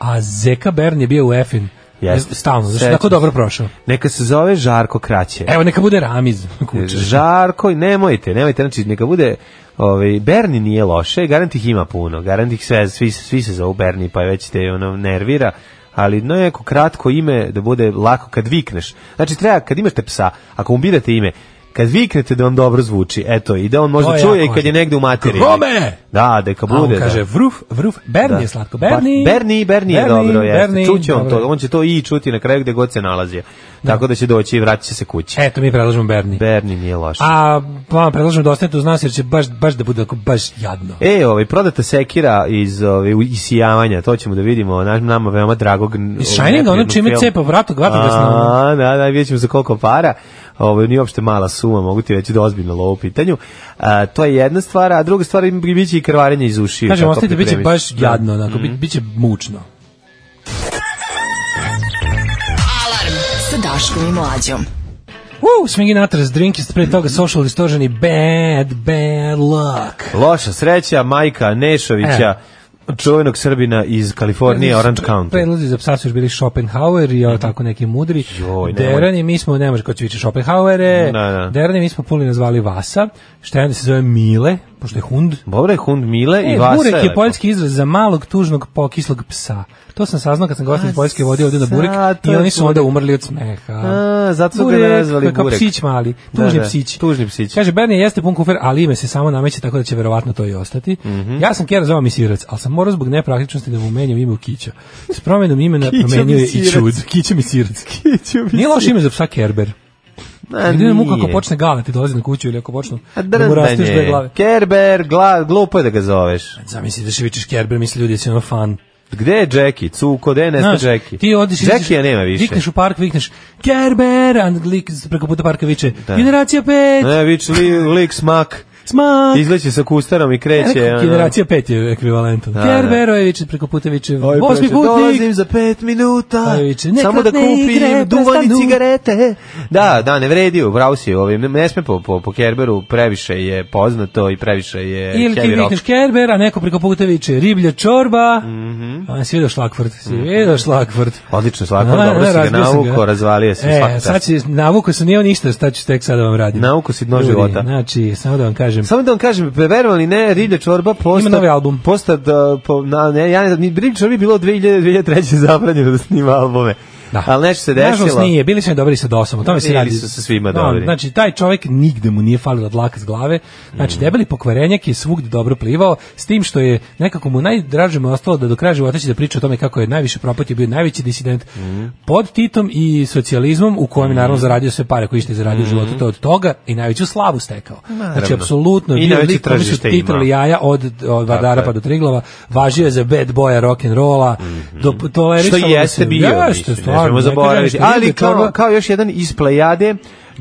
[SPEAKER 5] A Zeka Berni je bio UEFA-in.
[SPEAKER 6] Mhm. Jeste.
[SPEAKER 5] Stalno, zašto je
[SPEAKER 6] Sećam
[SPEAKER 5] tako
[SPEAKER 6] se.
[SPEAKER 5] dobro prošao.
[SPEAKER 6] Neka se zove Žarko Kraće.
[SPEAKER 5] Evo neka bude Ramiz kuće.
[SPEAKER 6] Žarko, nemojte, nemojte, znači neka bude ovaj Berni nije loše, garant ih ima puno. Garant ih sve svi svi se zovu Berni, pa već te ono nervira ali no neko kratko ime da bude lako kad vikneš. Znači treba kad imate psa, ako mu birate ime, kad viknete da vam dobro zvuči, eto, i da on
[SPEAKER 5] To
[SPEAKER 6] možda
[SPEAKER 5] je
[SPEAKER 6] čuje i
[SPEAKER 5] jako
[SPEAKER 6] kad je
[SPEAKER 5] važno.
[SPEAKER 6] negde u materiji.
[SPEAKER 5] Grome!
[SPEAKER 6] Da, da ka
[SPEAKER 5] A on
[SPEAKER 6] bude.
[SPEAKER 5] kaže
[SPEAKER 6] da.
[SPEAKER 5] vruf, vruf, Berni je slatko, Berni.
[SPEAKER 6] Ba- Berni, Berni je dobro, jeste. Čuće on
[SPEAKER 5] dobro
[SPEAKER 6] to,
[SPEAKER 5] je.
[SPEAKER 6] on će to i čuti na kraju gde god se nalazi. Tako da će doći i vratit će se kući.
[SPEAKER 5] Eto, mi predlažemo Berni.
[SPEAKER 6] Berni nije loš.
[SPEAKER 5] E. A vama predlažemo da ostanete uz nas jer će baš, baš da bude ako baš jadno.
[SPEAKER 6] E, ovaj prodata sekira iz ovaj u- isijavanja, to ćemo da vidimo, naš nama veoma dragog. ovaj,
[SPEAKER 5] Iz Shininga, ono čime cepa vrato, vatrogasno, ono.
[SPEAKER 6] A, da, da, vidjet ćemo za koliko para. Ovo nije uopšte mala suma, mogu ti reći da je ozbiljno lovo u pitanju. A, to je jedna stvar, a druga stvar im- bit će i krvarenje iz ušiju.
[SPEAKER 5] Kažem,
[SPEAKER 6] tako Mhm.
[SPEAKER 5] ostanite, bit će
[SPEAKER 6] pripremiti.
[SPEAKER 5] baš jadno, onako, bit, bit će mučno.
[SPEAKER 4] Alarm sa Daškom i Mlađom.
[SPEAKER 5] Uh, Swingin' Atlas, Drinkist, pre toga Social Distortion i Bad, Bad Luck.
[SPEAKER 6] Loša sreća, majka Nešovića,
[SPEAKER 5] E.
[SPEAKER 6] čuvenog Srbina iz Kalifornije, Orange County. Mhm.
[SPEAKER 5] Predlozi za psa su još bili Schopenhauer i mm tako neki mudri.
[SPEAKER 6] Joj, nemoj.
[SPEAKER 5] Derani, mi smo, ne može ko će više Schopenhauere,
[SPEAKER 6] Da, da.
[SPEAKER 5] Derani, mi smo puli nazvali Vasa, šta je onda se zove Mile, pošto je hund.
[SPEAKER 6] Dobro je Hund Mile i
[SPEAKER 5] E,
[SPEAKER 6] Vasa.
[SPEAKER 5] burek je
[SPEAKER 6] lepo.
[SPEAKER 5] poljski izraz za malog, tužnog, pokislog psa. To sam saznao kad sam gost iz
[SPEAKER 6] A,
[SPEAKER 5] Poljske vodio ovdje na burek
[SPEAKER 6] sad to
[SPEAKER 5] i
[SPEAKER 6] je
[SPEAKER 5] oni su
[SPEAKER 6] burek.
[SPEAKER 5] onda umrli od smeha.
[SPEAKER 6] A, zato su ga nazvali
[SPEAKER 5] kao
[SPEAKER 6] burek.
[SPEAKER 5] psić mali,
[SPEAKER 6] Da,
[SPEAKER 5] tužni
[SPEAKER 6] da,
[SPEAKER 5] psić.
[SPEAKER 6] tužni psić.
[SPEAKER 5] Kaže, Bernie jeste pun kufer, ali ime se samo nameće, tako da će verovatno to i ostati.
[SPEAKER 6] Mhm.
[SPEAKER 5] Ja sam Kjera zvao Misirac, ali sam morao zbog nepraktičnosti da mu menjam ime u Kića. S promenom imena
[SPEAKER 6] Kića
[SPEAKER 5] promenio je i
[SPEAKER 6] Misirac.
[SPEAKER 5] čud. Kića Misirac.
[SPEAKER 6] Kiću mi
[SPEAKER 5] Nije loš
[SPEAKER 6] se-
[SPEAKER 5] ime za psa Kerber.
[SPEAKER 6] A,
[SPEAKER 5] Gdje mu
[SPEAKER 6] nije.
[SPEAKER 5] kako počne gale, ti dolazi na kuću ili ako počnu
[SPEAKER 6] A
[SPEAKER 5] da mu rastiš dve
[SPEAKER 6] drndanje.
[SPEAKER 5] glave.
[SPEAKER 6] Kerber, gla, glupo je da ga zoveš.
[SPEAKER 5] Zamisli da se vičeš Kerber, misli ljudi da si ono fan.
[SPEAKER 6] Gde je Jackie? Cuko, gde je nesta
[SPEAKER 5] Znaš,
[SPEAKER 6] Jackie?
[SPEAKER 5] Ti odiš i
[SPEAKER 6] Jackie nema više.
[SPEAKER 5] Vikneš u park, vikneš Kerber, a lik preko puta parka viče
[SPEAKER 6] Da.
[SPEAKER 5] Generacija 5,
[SPEAKER 6] Ne, vič li, lik smak.
[SPEAKER 5] smak.
[SPEAKER 6] Izleće sa kustarom i kreće.
[SPEAKER 5] E,
[SPEAKER 6] ono.
[SPEAKER 5] generacija 5 je ekvivalentan.
[SPEAKER 6] Da,
[SPEAKER 5] Kerber, ovaj viče preko puta viče
[SPEAKER 6] Ovi
[SPEAKER 5] osmi
[SPEAKER 6] prođe,
[SPEAKER 5] Ovaj putnik.
[SPEAKER 6] Dolazim za pet minuta.
[SPEAKER 5] Ovi viče, "Ne
[SPEAKER 6] Samo da
[SPEAKER 5] kratne
[SPEAKER 6] kupim
[SPEAKER 5] igre,
[SPEAKER 6] duvan i
[SPEAKER 5] prestanu."
[SPEAKER 6] cigarete. Da, da, ne vredi, upravo si. Ovaj, ne, ne sme po, po, po Kerberu, previše je poznato i previše je
[SPEAKER 5] Ili ti
[SPEAKER 6] heavy rock.
[SPEAKER 5] vikneš Kerber, a neko preko puta viče riblja čorba. A si vidio šlakvrt, si vidio šlakvrt.
[SPEAKER 6] Mhm. Odlično, svako,
[SPEAKER 5] A,
[SPEAKER 6] dobro
[SPEAKER 5] ne,
[SPEAKER 6] si ga
[SPEAKER 5] razbio sam
[SPEAKER 6] navuko, razvalio si. svaka
[SPEAKER 5] E,
[SPEAKER 6] čast.
[SPEAKER 5] sad si, navuko sam nije on ništa, sad ću tek sad da vam radim.
[SPEAKER 6] Navuko si dno
[SPEAKER 5] Ljudi,
[SPEAKER 6] života.
[SPEAKER 5] Znači, samo da vam kažem,
[SPEAKER 6] Samo da vam kažem, verovali ili ne, Rilja Čorba posta...
[SPEAKER 5] Ima novi album.
[SPEAKER 6] Posta, da, po, na, ne, ja, ne- ni Rilja Čorbi je bilo 2000-2003 zabranjeno da snima albume.
[SPEAKER 5] Da.
[SPEAKER 6] Ali nešto se
[SPEAKER 5] Nažalost
[SPEAKER 6] desilo.
[SPEAKER 5] nije, bili su mi dobri sa dosom, o tome se
[SPEAKER 6] Bili
[SPEAKER 5] radi.
[SPEAKER 6] su sa svima
[SPEAKER 5] Da,
[SPEAKER 6] dobri.
[SPEAKER 5] Znači, taj čovjek nigde mu nije falio dlaka s glave,
[SPEAKER 6] Mm.
[SPEAKER 5] znači, debeli pokvarenjak je svugde dobro plivao, s tim što je nekako mu najdraže mu je ostalo da do kraja života će da priča o tome kako je najviše propatio, bio najveći disident
[SPEAKER 6] Mm.
[SPEAKER 5] pod Titom i socijalizmom, u kojem je naravno zaradio sve pare koje ište zaradio u životu, to od toga i najveću slavu stekao. Znači, apsolutno,
[SPEAKER 6] Mm. I
[SPEAKER 5] bio
[SPEAKER 6] najveće
[SPEAKER 5] lik kome su
[SPEAKER 6] tržište
[SPEAKER 5] titrali
[SPEAKER 6] ima.
[SPEAKER 5] jaja od, od Vardara
[SPEAKER 6] je.
[SPEAKER 5] pa do Triglava, važio je za bad boya rock'n'rolla, do,
[SPEAKER 6] Što
[SPEAKER 5] tolerisalo mu
[SPEAKER 6] jeste
[SPEAKER 5] se-
[SPEAKER 6] bio,
[SPEAKER 5] Jeste,
[SPEAKER 6] mislim, ne
[SPEAKER 5] stvarno,
[SPEAKER 6] smemo
[SPEAKER 5] neka
[SPEAKER 6] zaboraviti.
[SPEAKER 5] nešto,
[SPEAKER 6] Ali
[SPEAKER 5] Rilja
[SPEAKER 6] kao,
[SPEAKER 5] Čorba-
[SPEAKER 6] kao još jedan iz plejade,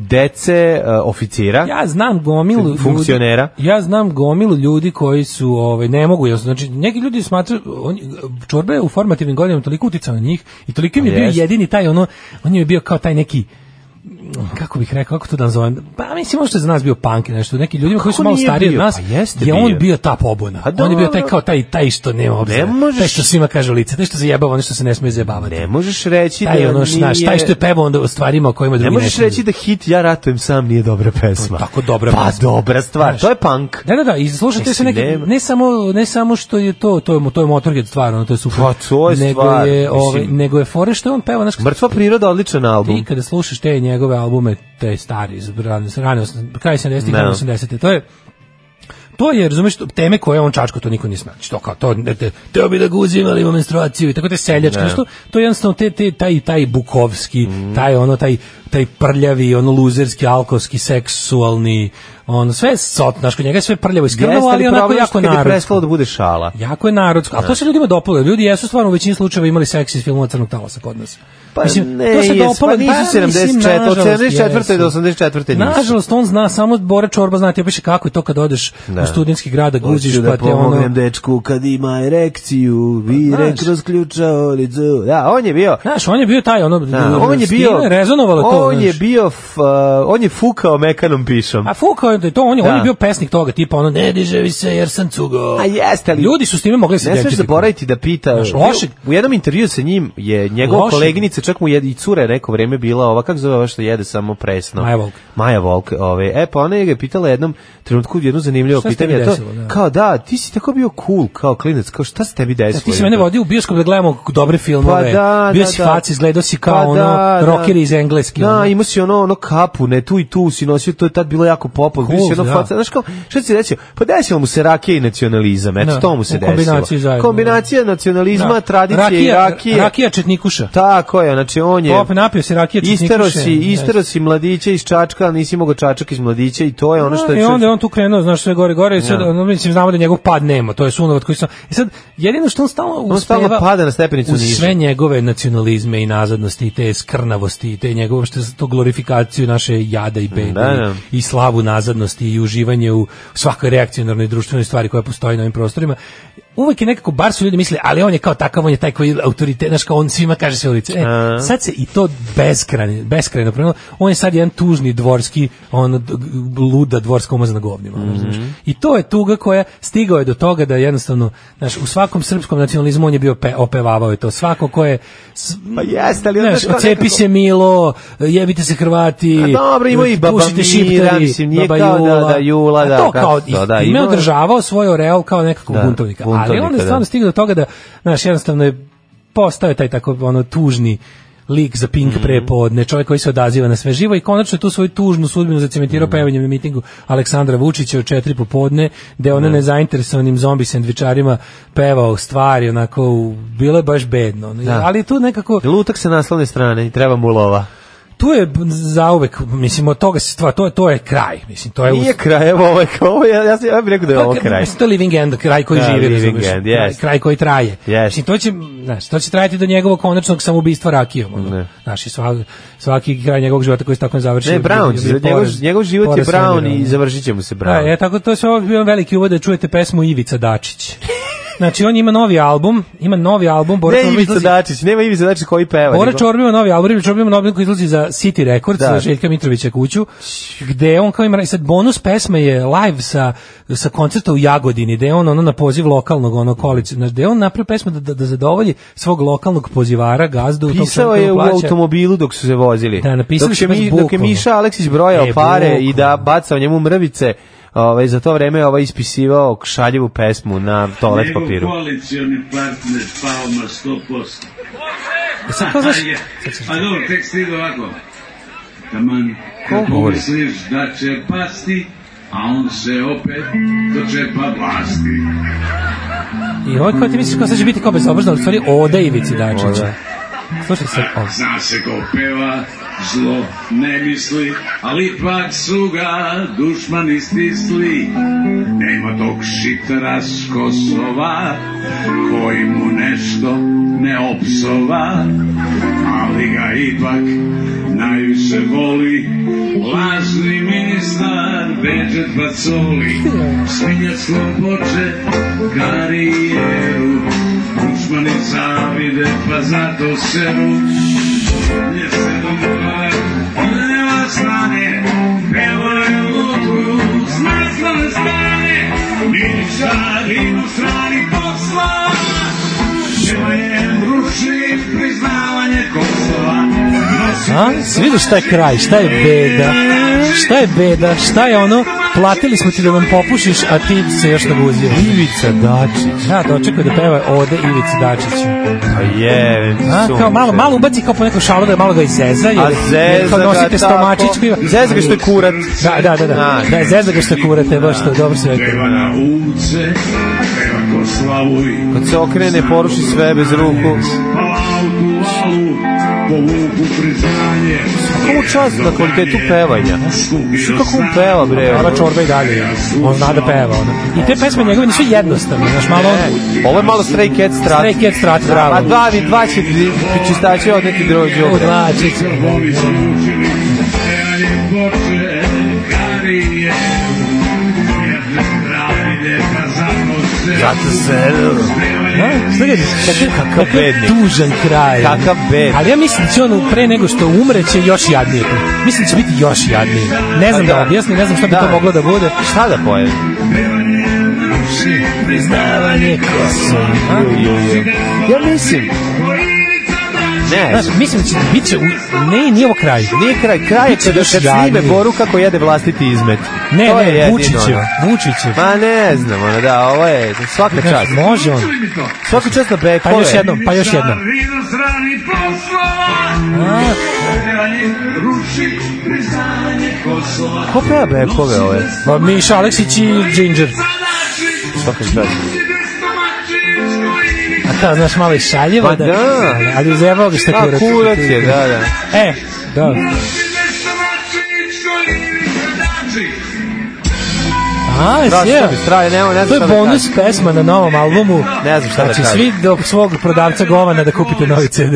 [SPEAKER 6] dece uh, oficira.
[SPEAKER 5] Ja znam gomilu ljudi-
[SPEAKER 6] Funkcionera.
[SPEAKER 5] ja znam gomilu ljudi koji su ovaj ne mogu jasno znači neki ljudi smatraju on čorbe u formativnim godinama toliko uticao na njih i toliko im je bio
[SPEAKER 6] Jest.
[SPEAKER 5] jedini taj ono on im je bio kao taj neki kako bih rekao, kako to da nazovem, pa mislim možda je za nas bio punk ili nešto, neki ljudima koji su malo
[SPEAKER 6] nije
[SPEAKER 5] stariji od
[SPEAKER 6] bio?
[SPEAKER 5] nas,
[SPEAKER 6] Pa jeste
[SPEAKER 5] je on
[SPEAKER 6] bio.
[SPEAKER 5] bio ta pobuna.
[SPEAKER 6] Pa
[SPEAKER 5] on je bio taj
[SPEAKER 6] dobro.
[SPEAKER 5] kao taj, taj što nema obzira,
[SPEAKER 6] možeš-
[SPEAKER 5] taj što svima kaže u lice, taj što se jebava, ono što se ne smije zajebavati.
[SPEAKER 6] Ne možeš reći
[SPEAKER 5] Taj
[SPEAKER 6] da
[SPEAKER 5] ono,
[SPEAKER 6] nije-
[SPEAKER 5] znaš, taj što je pevao onda o stvarima o kojima drugi
[SPEAKER 6] Ne možeš
[SPEAKER 5] smiju.
[SPEAKER 6] reći da hit Ja ratujem sam nije dobra pesma.
[SPEAKER 5] Tako dobra
[SPEAKER 6] pa
[SPEAKER 5] pesma.
[SPEAKER 6] dobra stvar,
[SPEAKER 5] Znaš.
[SPEAKER 6] to je punk.
[SPEAKER 5] Da, da, da, i slušajte se
[SPEAKER 6] Mislim,
[SPEAKER 5] neke,
[SPEAKER 6] nema-
[SPEAKER 5] ne samo, ne samo što je to, to je, mo- to je Motorhead stvar, ono, to je super.
[SPEAKER 6] Pa, to je
[SPEAKER 5] nego
[SPEAKER 6] stvar,
[SPEAKER 5] Je, ovaj,
[SPEAKER 6] mislim.
[SPEAKER 5] nego je fore što je on peva, znaš, kad-
[SPEAKER 6] Mrtva priroda, odličan
[SPEAKER 5] ti
[SPEAKER 6] album.
[SPEAKER 5] kada slušaš te njegove albume, te stari, iz rane, rane, osam- kraj 70-ih,
[SPEAKER 6] Da.
[SPEAKER 5] rane 80 to je to je, razumeš, to- teme koje je on čačko, to niko nije smela. Što kao, to, ne, te, teo bi da ga uzim, ali ima menstruaciju i tako te seljačke,
[SPEAKER 6] Ne.
[SPEAKER 5] znaš, to, to je jednostavno te, te, taj, taj bukovski, taj ono, taj, taj prljavi, ono luzerski, alkovski, seksualni, on sve je sot, znaš, kod njega je sve prljavo i skrnavo, ono, ali onako
[SPEAKER 6] problem
[SPEAKER 5] jako
[SPEAKER 6] što kad je
[SPEAKER 5] narodsko.
[SPEAKER 6] prestalo da bude šala?
[SPEAKER 5] Jako je narodsko, a to se ljudima dopalo. Ljudi jesu stvarno u većini slučajeva imali seks iz filmova Crnog talasa kod nas.
[SPEAKER 6] Pa ne, jes, pa nisu 74, od 74. do 84. nisu.
[SPEAKER 5] Nažalost, on zna, samo Bore Čorba zna, ti opiše kako je to kad odeš
[SPEAKER 6] Da.
[SPEAKER 5] u studentski grad, da guziš,
[SPEAKER 6] Hoću
[SPEAKER 5] pa
[SPEAKER 6] da
[SPEAKER 5] te ono... Pa,
[SPEAKER 6] pomognem dečku kad ima erekciju, vire
[SPEAKER 5] znaš.
[SPEAKER 6] kroz ključaonicu. Da, on je bio...
[SPEAKER 5] Znaš, on je bio taj, ono,
[SPEAKER 6] Da, on je bio...
[SPEAKER 5] stile, rezonovalo to.
[SPEAKER 6] On je
[SPEAKER 5] znaš.
[SPEAKER 6] bio... f- a, On je fukao mekanom pišom.
[SPEAKER 5] A fukao je da je to, on je, on je
[SPEAKER 6] Da.
[SPEAKER 5] bio pesnik toga, tipa ono, ne diževi se jer sam cugo.
[SPEAKER 6] A jeste, ali-
[SPEAKER 5] Ljudi su s time mogli se
[SPEAKER 6] Ne smeš
[SPEAKER 5] dečiti.
[SPEAKER 6] zaboraviti da pita.
[SPEAKER 5] Znaš, loše-
[SPEAKER 6] U jednom intervju sa njim je njegova
[SPEAKER 5] Loše.
[SPEAKER 6] koleginica, čak mu je i cura je rekao vreme bila ova, kako zove ova što jede samo presno?
[SPEAKER 5] Maja Volk.
[SPEAKER 6] Maja Volk. Ove. E, pa ona je ga pitala jednom trenutku jedno zanimljivo
[SPEAKER 5] Šta se
[SPEAKER 6] pitanje.
[SPEAKER 5] tebi
[SPEAKER 6] a to-
[SPEAKER 5] desilo, da.
[SPEAKER 6] Kao da, ti si tako bio cool, kao klinac, kao šta se tebi desilo?
[SPEAKER 5] Da, ti si mene vodio u bioskop da gledamo dobre filmove.
[SPEAKER 6] Pa da,
[SPEAKER 5] Bio
[SPEAKER 6] da,
[SPEAKER 5] si
[SPEAKER 6] da.
[SPEAKER 5] fac, izgledao si kao
[SPEAKER 6] Pa
[SPEAKER 5] ono,
[SPEAKER 6] da, da.
[SPEAKER 5] rocker iz engleski.
[SPEAKER 6] Da,
[SPEAKER 5] ono.
[SPEAKER 6] imao si ono, ono kapu, ne, tu i tu si nosio, to je tad bilo jako popov, bio
[SPEAKER 5] Cool,
[SPEAKER 6] si ono
[SPEAKER 5] da.
[SPEAKER 6] faca, znaš kao, šta si desio? Pa desilo mu se rakija i nacionalizam, eto,
[SPEAKER 5] Da,
[SPEAKER 6] to mu se
[SPEAKER 5] u
[SPEAKER 6] desilo.
[SPEAKER 5] kombinaciji zajedno,
[SPEAKER 6] Kombinacija nacionalizama,
[SPEAKER 5] Da.
[SPEAKER 6] tradicije i rakije.
[SPEAKER 5] Rakija četnikuša.
[SPEAKER 6] Tako je, znači on je...
[SPEAKER 5] Top, napio si rakije četnikuše.
[SPEAKER 6] Istero si, istero
[SPEAKER 5] Znaš.
[SPEAKER 6] si mladića iz Čačka, ali nisi mogao Čačak iz mladića i to je ono što je...
[SPEAKER 5] I
[SPEAKER 6] čovjek-
[SPEAKER 5] E, onda je on tu krenuo, znaš, sve gore, gore, i sad,
[SPEAKER 6] Ja.
[SPEAKER 5] ono, mislim, znamo da njegov pad nema, to je sunovod koji sam... I sad, jedino što on stalno uspeva...
[SPEAKER 6] On stalno pada na stepenicu
[SPEAKER 5] uz
[SPEAKER 6] niže.
[SPEAKER 5] sve njegove nacionalizme i nazadnosti, i te skrnavosti, i te njegove, što to glorifikaciju naše jada i bede,
[SPEAKER 6] Da, da.
[SPEAKER 5] i slavu nazadnosti, i uživanje u svakoj reakcionarnoj društvenoj stvari koja postoji na ovim prostorima, uvek je nekako, bar su ljudi mislili, ali on je kao takav, on je taj koji je autoritet, znaš, kao on svima kaže sve u lice. E,
[SPEAKER 6] A.
[SPEAKER 5] sad se i to beskrajno, beskrajno promenilo. On je sad jedan tužni dvorski, on d- g- luda dvorska umazana govnima. ono, znaš. I to je tuga koja stigao je do toga da jednostavno, znaš, u svakom srpskom nacionalizmu on je bio pe, opevavao je to. Svako ko je... s-
[SPEAKER 6] Pa jeste, ali onda
[SPEAKER 5] znaš,
[SPEAKER 6] što nekako-
[SPEAKER 5] ocepi se Milo, jebite se Hrvati,
[SPEAKER 6] A dobro, imao i Baba
[SPEAKER 5] pušite
[SPEAKER 6] Mira,
[SPEAKER 5] šiptari,
[SPEAKER 6] mislim, nije
[SPEAKER 5] Baba
[SPEAKER 6] kao da- da Jula,
[SPEAKER 5] A
[SPEAKER 6] da,
[SPEAKER 5] to
[SPEAKER 6] kako
[SPEAKER 5] kao,
[SPEAKER 6] se to, da,
[SPEAKER 5] ime
[SPEAKER 6] imao je-
[SPEAKER 5] održavao svoj oreol kao nekakvog
[SPEAKER 6] Da,
[SPEAKER 5] buntovnika. Ali
[SPEAKER 6] buntovnika,
[SPEAKER 5] onda je
[SPEAKER 6] da.
[SPEAKER 5] stvarno stigao do toga da, znaš, jednostavno je postao je taj tako ono tužni lik za Pink
[SPEAKER 6] Mhm.
[SPEAKER 5] prepodne, čovjek koji se odaziva na sve živo i konačno je tu svoju tužnu sudbinu zacementirao
[SPEAKER 6] Mhm.
[SPEAKER 5] pevanjem na mitingu Aleksandra Vučića u četiri popodne, gde ona nezainteresovanim zombi sendvičarima pevao stvari, onako, u- bilo je baš bedno. ono.
[SPEAKER 6] Da.
[SPEAKER 5] Ali tu nekako,
[SPEAKER 6] Lutak sa naslovne strane i treba mu lova.
[SPEAKER 5] tu je zauvek, mislim, od toga se stvar, to je, to je kraj, mislim, to je... u-
[SPEAKER 6] Nije kraj, evo ovo je, ovo je, ja, sam, ja bih rekao da je ovo
[SPEAKER 5] Pa,
[SPEAKER 6] kraj.
[SPEAKER 5] mislim, to je living end, kraj koji
[SPEAKER 6] Da,
[SPEAKER 5] živi,
[SPEAKER 6] living
[SPEAKER 5] razumeš,
[SPEAKER 6] end,
[SPEAKER 5] kraj-
[SPEAKER 6] jest.
[SPEAKER 5] kraj koji traje.
[SPEAKER 6] Jest.
[SPEAKER 5] Mislim, to će, znaš, to će trajati do njegovog konačnog samoubistva rakijom. ono.
[SPEAKER 6] Ne.
[SPEAKER 5] Znaš, i sva- svaki kraj njegovog života koji se tako ne završi.
[SPEAKER 6] Ne, Brown,
[SPEAKER 5] je bio
[SPEAKER 6] će, njegov,
[SPEAKER 5] poraz-
[SPEAKER 6] njegov život je
[SPEAKER 5] poraz
[SPEAKER 6] Brown
[SPEAKER 5] svemira,
[SPEAKER 6] i
[SPEAKER 5] ono.
[SPEAKER 6] završit će mu se
[SPEAKER 5] Da,
[SPEAKER 6] Brown.
[SPEAKER 5] e, tako to se ovo bio veliki uvod da čujete pesmu Ivica Dačić. Znači, on ima novi album, ima novi album, Bora
[SPEAKER 6] Ne
[SPEAKER 5] Čorba
[SPEAKER 6] Ivica
[SPEAKER 5] izlazi-
[SPEAKER 6] Dačić, nema Ivica Dačić koji peva.
[SPEAKER 5] Bora
[SPEAKER 6] nego-
[SPEAKER 5] Čorba ima novi album, Ivica Čorba ima novi album koji izlazi za City Records,
[SPEAKER 6] Da.
[SPEAKER 5] za Željka Mitrovića kuću, gde on kao ima, i sad bonus pesme je live sa, sa koncerta u Jagodini, gde je on ono na poziv lokalnog ono kolice, znaš, gde je on napravio pesmu da, da, da zadovolji svog lokalnog pozivara, gazdu, tog
[SPEAKER 6] Pisao
[SPEAKER 5] čovjeka
[SPEAKER 6] je
[SPEAKER 5] koji
[SPEAKER 6] u
[SPEAKER 5] plaća.
[SPEAKER 6] automobilu dok su se vozili.
[SPEAKER 5] Da, napisali
[SPEAKER 6] dok,
[SPEAKER 5] su
[SPEAKER 6] je
[SPEAKER 5] baš
[SPEAKER 6] mi, dok je
[SPEAKER 5] bukvalno.
[SPEAKER 6] Miša Aleksić brojao
[SPEAKER 5] E,
[SPEAKER 6] pare i da
[SPEAKER 5] bukvalno.
[SPEAKER 6] bacao njemu mrvice, ovaj, za to vreme ovaj ispisivao šaljivu pesmu na toalet papiru.
[SPEAKER 12] koalicijoni partner pao na 100%.
[SPEAKER 5] E sad to znaš,
[SPEAKER 12] Je. A dobro, tek stiga ovako. Taman,
[SPEAKER 5] Ko
[SPEAKER 12] kako
[SPEAKER 5] govori?
[SPEAKER 12] misliš da će pasti, a on se opet dočepa vlasti.
[SPEAKER 5] i ovaj kao ti misliš kao sad će biti kao bezobrazno, ali u stvari ode Ivici Dačiću.
[SPEAKER 6] Ode.
[SPEAKER 5] Slušaj sad, ovo.
[SPEAKER 12] Zna se ko peva, zlo ne misli, ali ipak su ga dušmani stisli. Nema tog šitara s Kosova, koji mu nešto ne opsova, ali ga ipak najviše voli. Lažni ministar Beđet Pacoli, svinjac lopoče karijeru, dušmani zavide pa zato seru. Yes, I don't mind. stane, pevajem u krug, s naslovne strane, ničar inostrani posla. Želim rušit priznavanje Kosova,
[SPEAKER 5] A? Si vidio šta je kraj, šta je beda, šta je beda, šta je ono, platili smo ti da nam popušiš, a ti se još naguzio.
[SPEAKER 6] Ivica Dačić.
[SPEAKER 5] Da, dočekuje da peva ode Ivici Dačiću.
[SPEAKER 6] Pa je,
[SPEAKER 5] A, kao malo, malo ubaci kao po neku šalu da malo ga i zeza, jer,
[SPEAKER 6] A
[SPEAKER 5] jer
[SPEAKER 6] zezga
[SPEAKER 5] kao nosite stomačić piva.
[SPEAKER 6] Zezga što je kurat.
[SPEAKER 5] Da, da, da, da.
[SPEAKER 6] Znaš.
[SPEAKER 5] Da, zezda ga što kurate, baš to, dobro si rekao.
[SPEAKER 12] treba na ulice, treba Koslavuj.
[SPEAKER 6] Kad se okrene, poruši sve bez ruku.
[SPEAKER 12] Pa Alku, alu, povuku priznanje.
[SPEAKER 6] Kako čast na kvalitetu pevanja. Što kako on peva, bre?
[SPEAKER 5] Ova čorba i dalje, on zna da peva. Ona. I te pesme njegove nisu jednostavne, znaš, malo...
[SPEAKER 6] Ne, E, Ovo je malo Stray Cat strat.
[SPEAKER 5] Stray Cat strat, bravo.
[SPEAKER 6] A dva, vi dva će čistače od neki drođe.
[SPEAKER 5] U dva
[SPEAKER 12] znači
[SPEAKER 5] čice.
[SPEAKER 6] Zato se...
[SPEAKER 5] Kakav
[SPEAKER 6] bednik.
[SPEAKER 5] tužan kraj.
[SPEAKER 6] Kakav bednik.
[SPEAKER 5] Ali ja mislim da će on pre nego što umre će još jadnije. biti. Mislim da će biti još jadnije. Ne znam da,
[SPEAKER 6] Pa Da.
[SPEAKER 5] objasnim, ne znam šta bi
[SPEAKER 6] Da.
[SPEAKER 5] to moglo da bude.
[SPEAKER 6] Šta da pojem?
[SPEAKER 5] Priznavanje Kosova.
[SPEAKER 6] Ja mislim... Ne,
[SPEAKER 5] Znaš, mislim da će bit će, u... ne, nije ovo kraj.
[SPEAKER 6] nije kraj. Kraj je
[SPEAKER 5] Biće
[SPEAKER 6] kad,
[SPEAKER 5] još
[SPEAKER 6] kad snime
[SPEAKER 5] jadnije.
[SPEAKER 6] Boru kako jede vlastiti izmet.
[SPEAKER 5] Ne,
[SPEAKER 6] To je
[SPEAKER 5] ne,
[SPEAKER 6] jedino
[SPEAKER 5] Vučićev,
[SPEAKER 6] ono.
[SPEAKER 5] Vučićev.
[SPEAKER 6] Ma ne znam, ono, da, ovo je svaka
[SPEAKER 5] Znaš,
[SPEAKER 6] čast.
[SPEAKER 5] može on.
[SPEAKER 6] Svaka čast na
[SPEAKER 5] Pa
[SPEAKER 6] bekove.
[SPEAKER 5] još jednom, pa još jednom.
[SPEAKER 12] Inostrani poslova,
[SPEAKER 5] A,
[SPEAKER 12] Prevanje ruši priznanje Kosova.
[SPEAKER 6] Ko peva bekove ove?
[SPEAKER 5] Pa Miša Aleksić i Ginger.
[SPEAKER 6] Svaka čast.
[SPEAKER 5] A ta, znaš, malo i šaljivo.
[SPEAKER 6] Pa da.
[SPEAKER 5] Ali uzevao ga šta
[SPEAKER 6] A
[SPEAKER 5] kurac.
[SPEAKER 6] kurac je, da, da.
[SPEAKER 5] E, da. A,
[SPEAKER 6] Strašno mi
[SPEAKER 5] sjeo.
[SPEAKER 6] straje, nema, ne
[SPEAKER 5] To
[SPEAKER 6] znam
[SPEAKER 5] je
[SPEAKER 6] šta da
[SPEAKER 5] bonus
[SPEAKER 6] kažem.
[SPEAKER 5] pesma na novom albumu.
[SPEAKER 6] Ne znam šta da
[SPEAKER 5] Znači,
[SPEAKER 6] kažem.
[SPEAKER 5] svi do svog prodavca govana da kupite novi CD.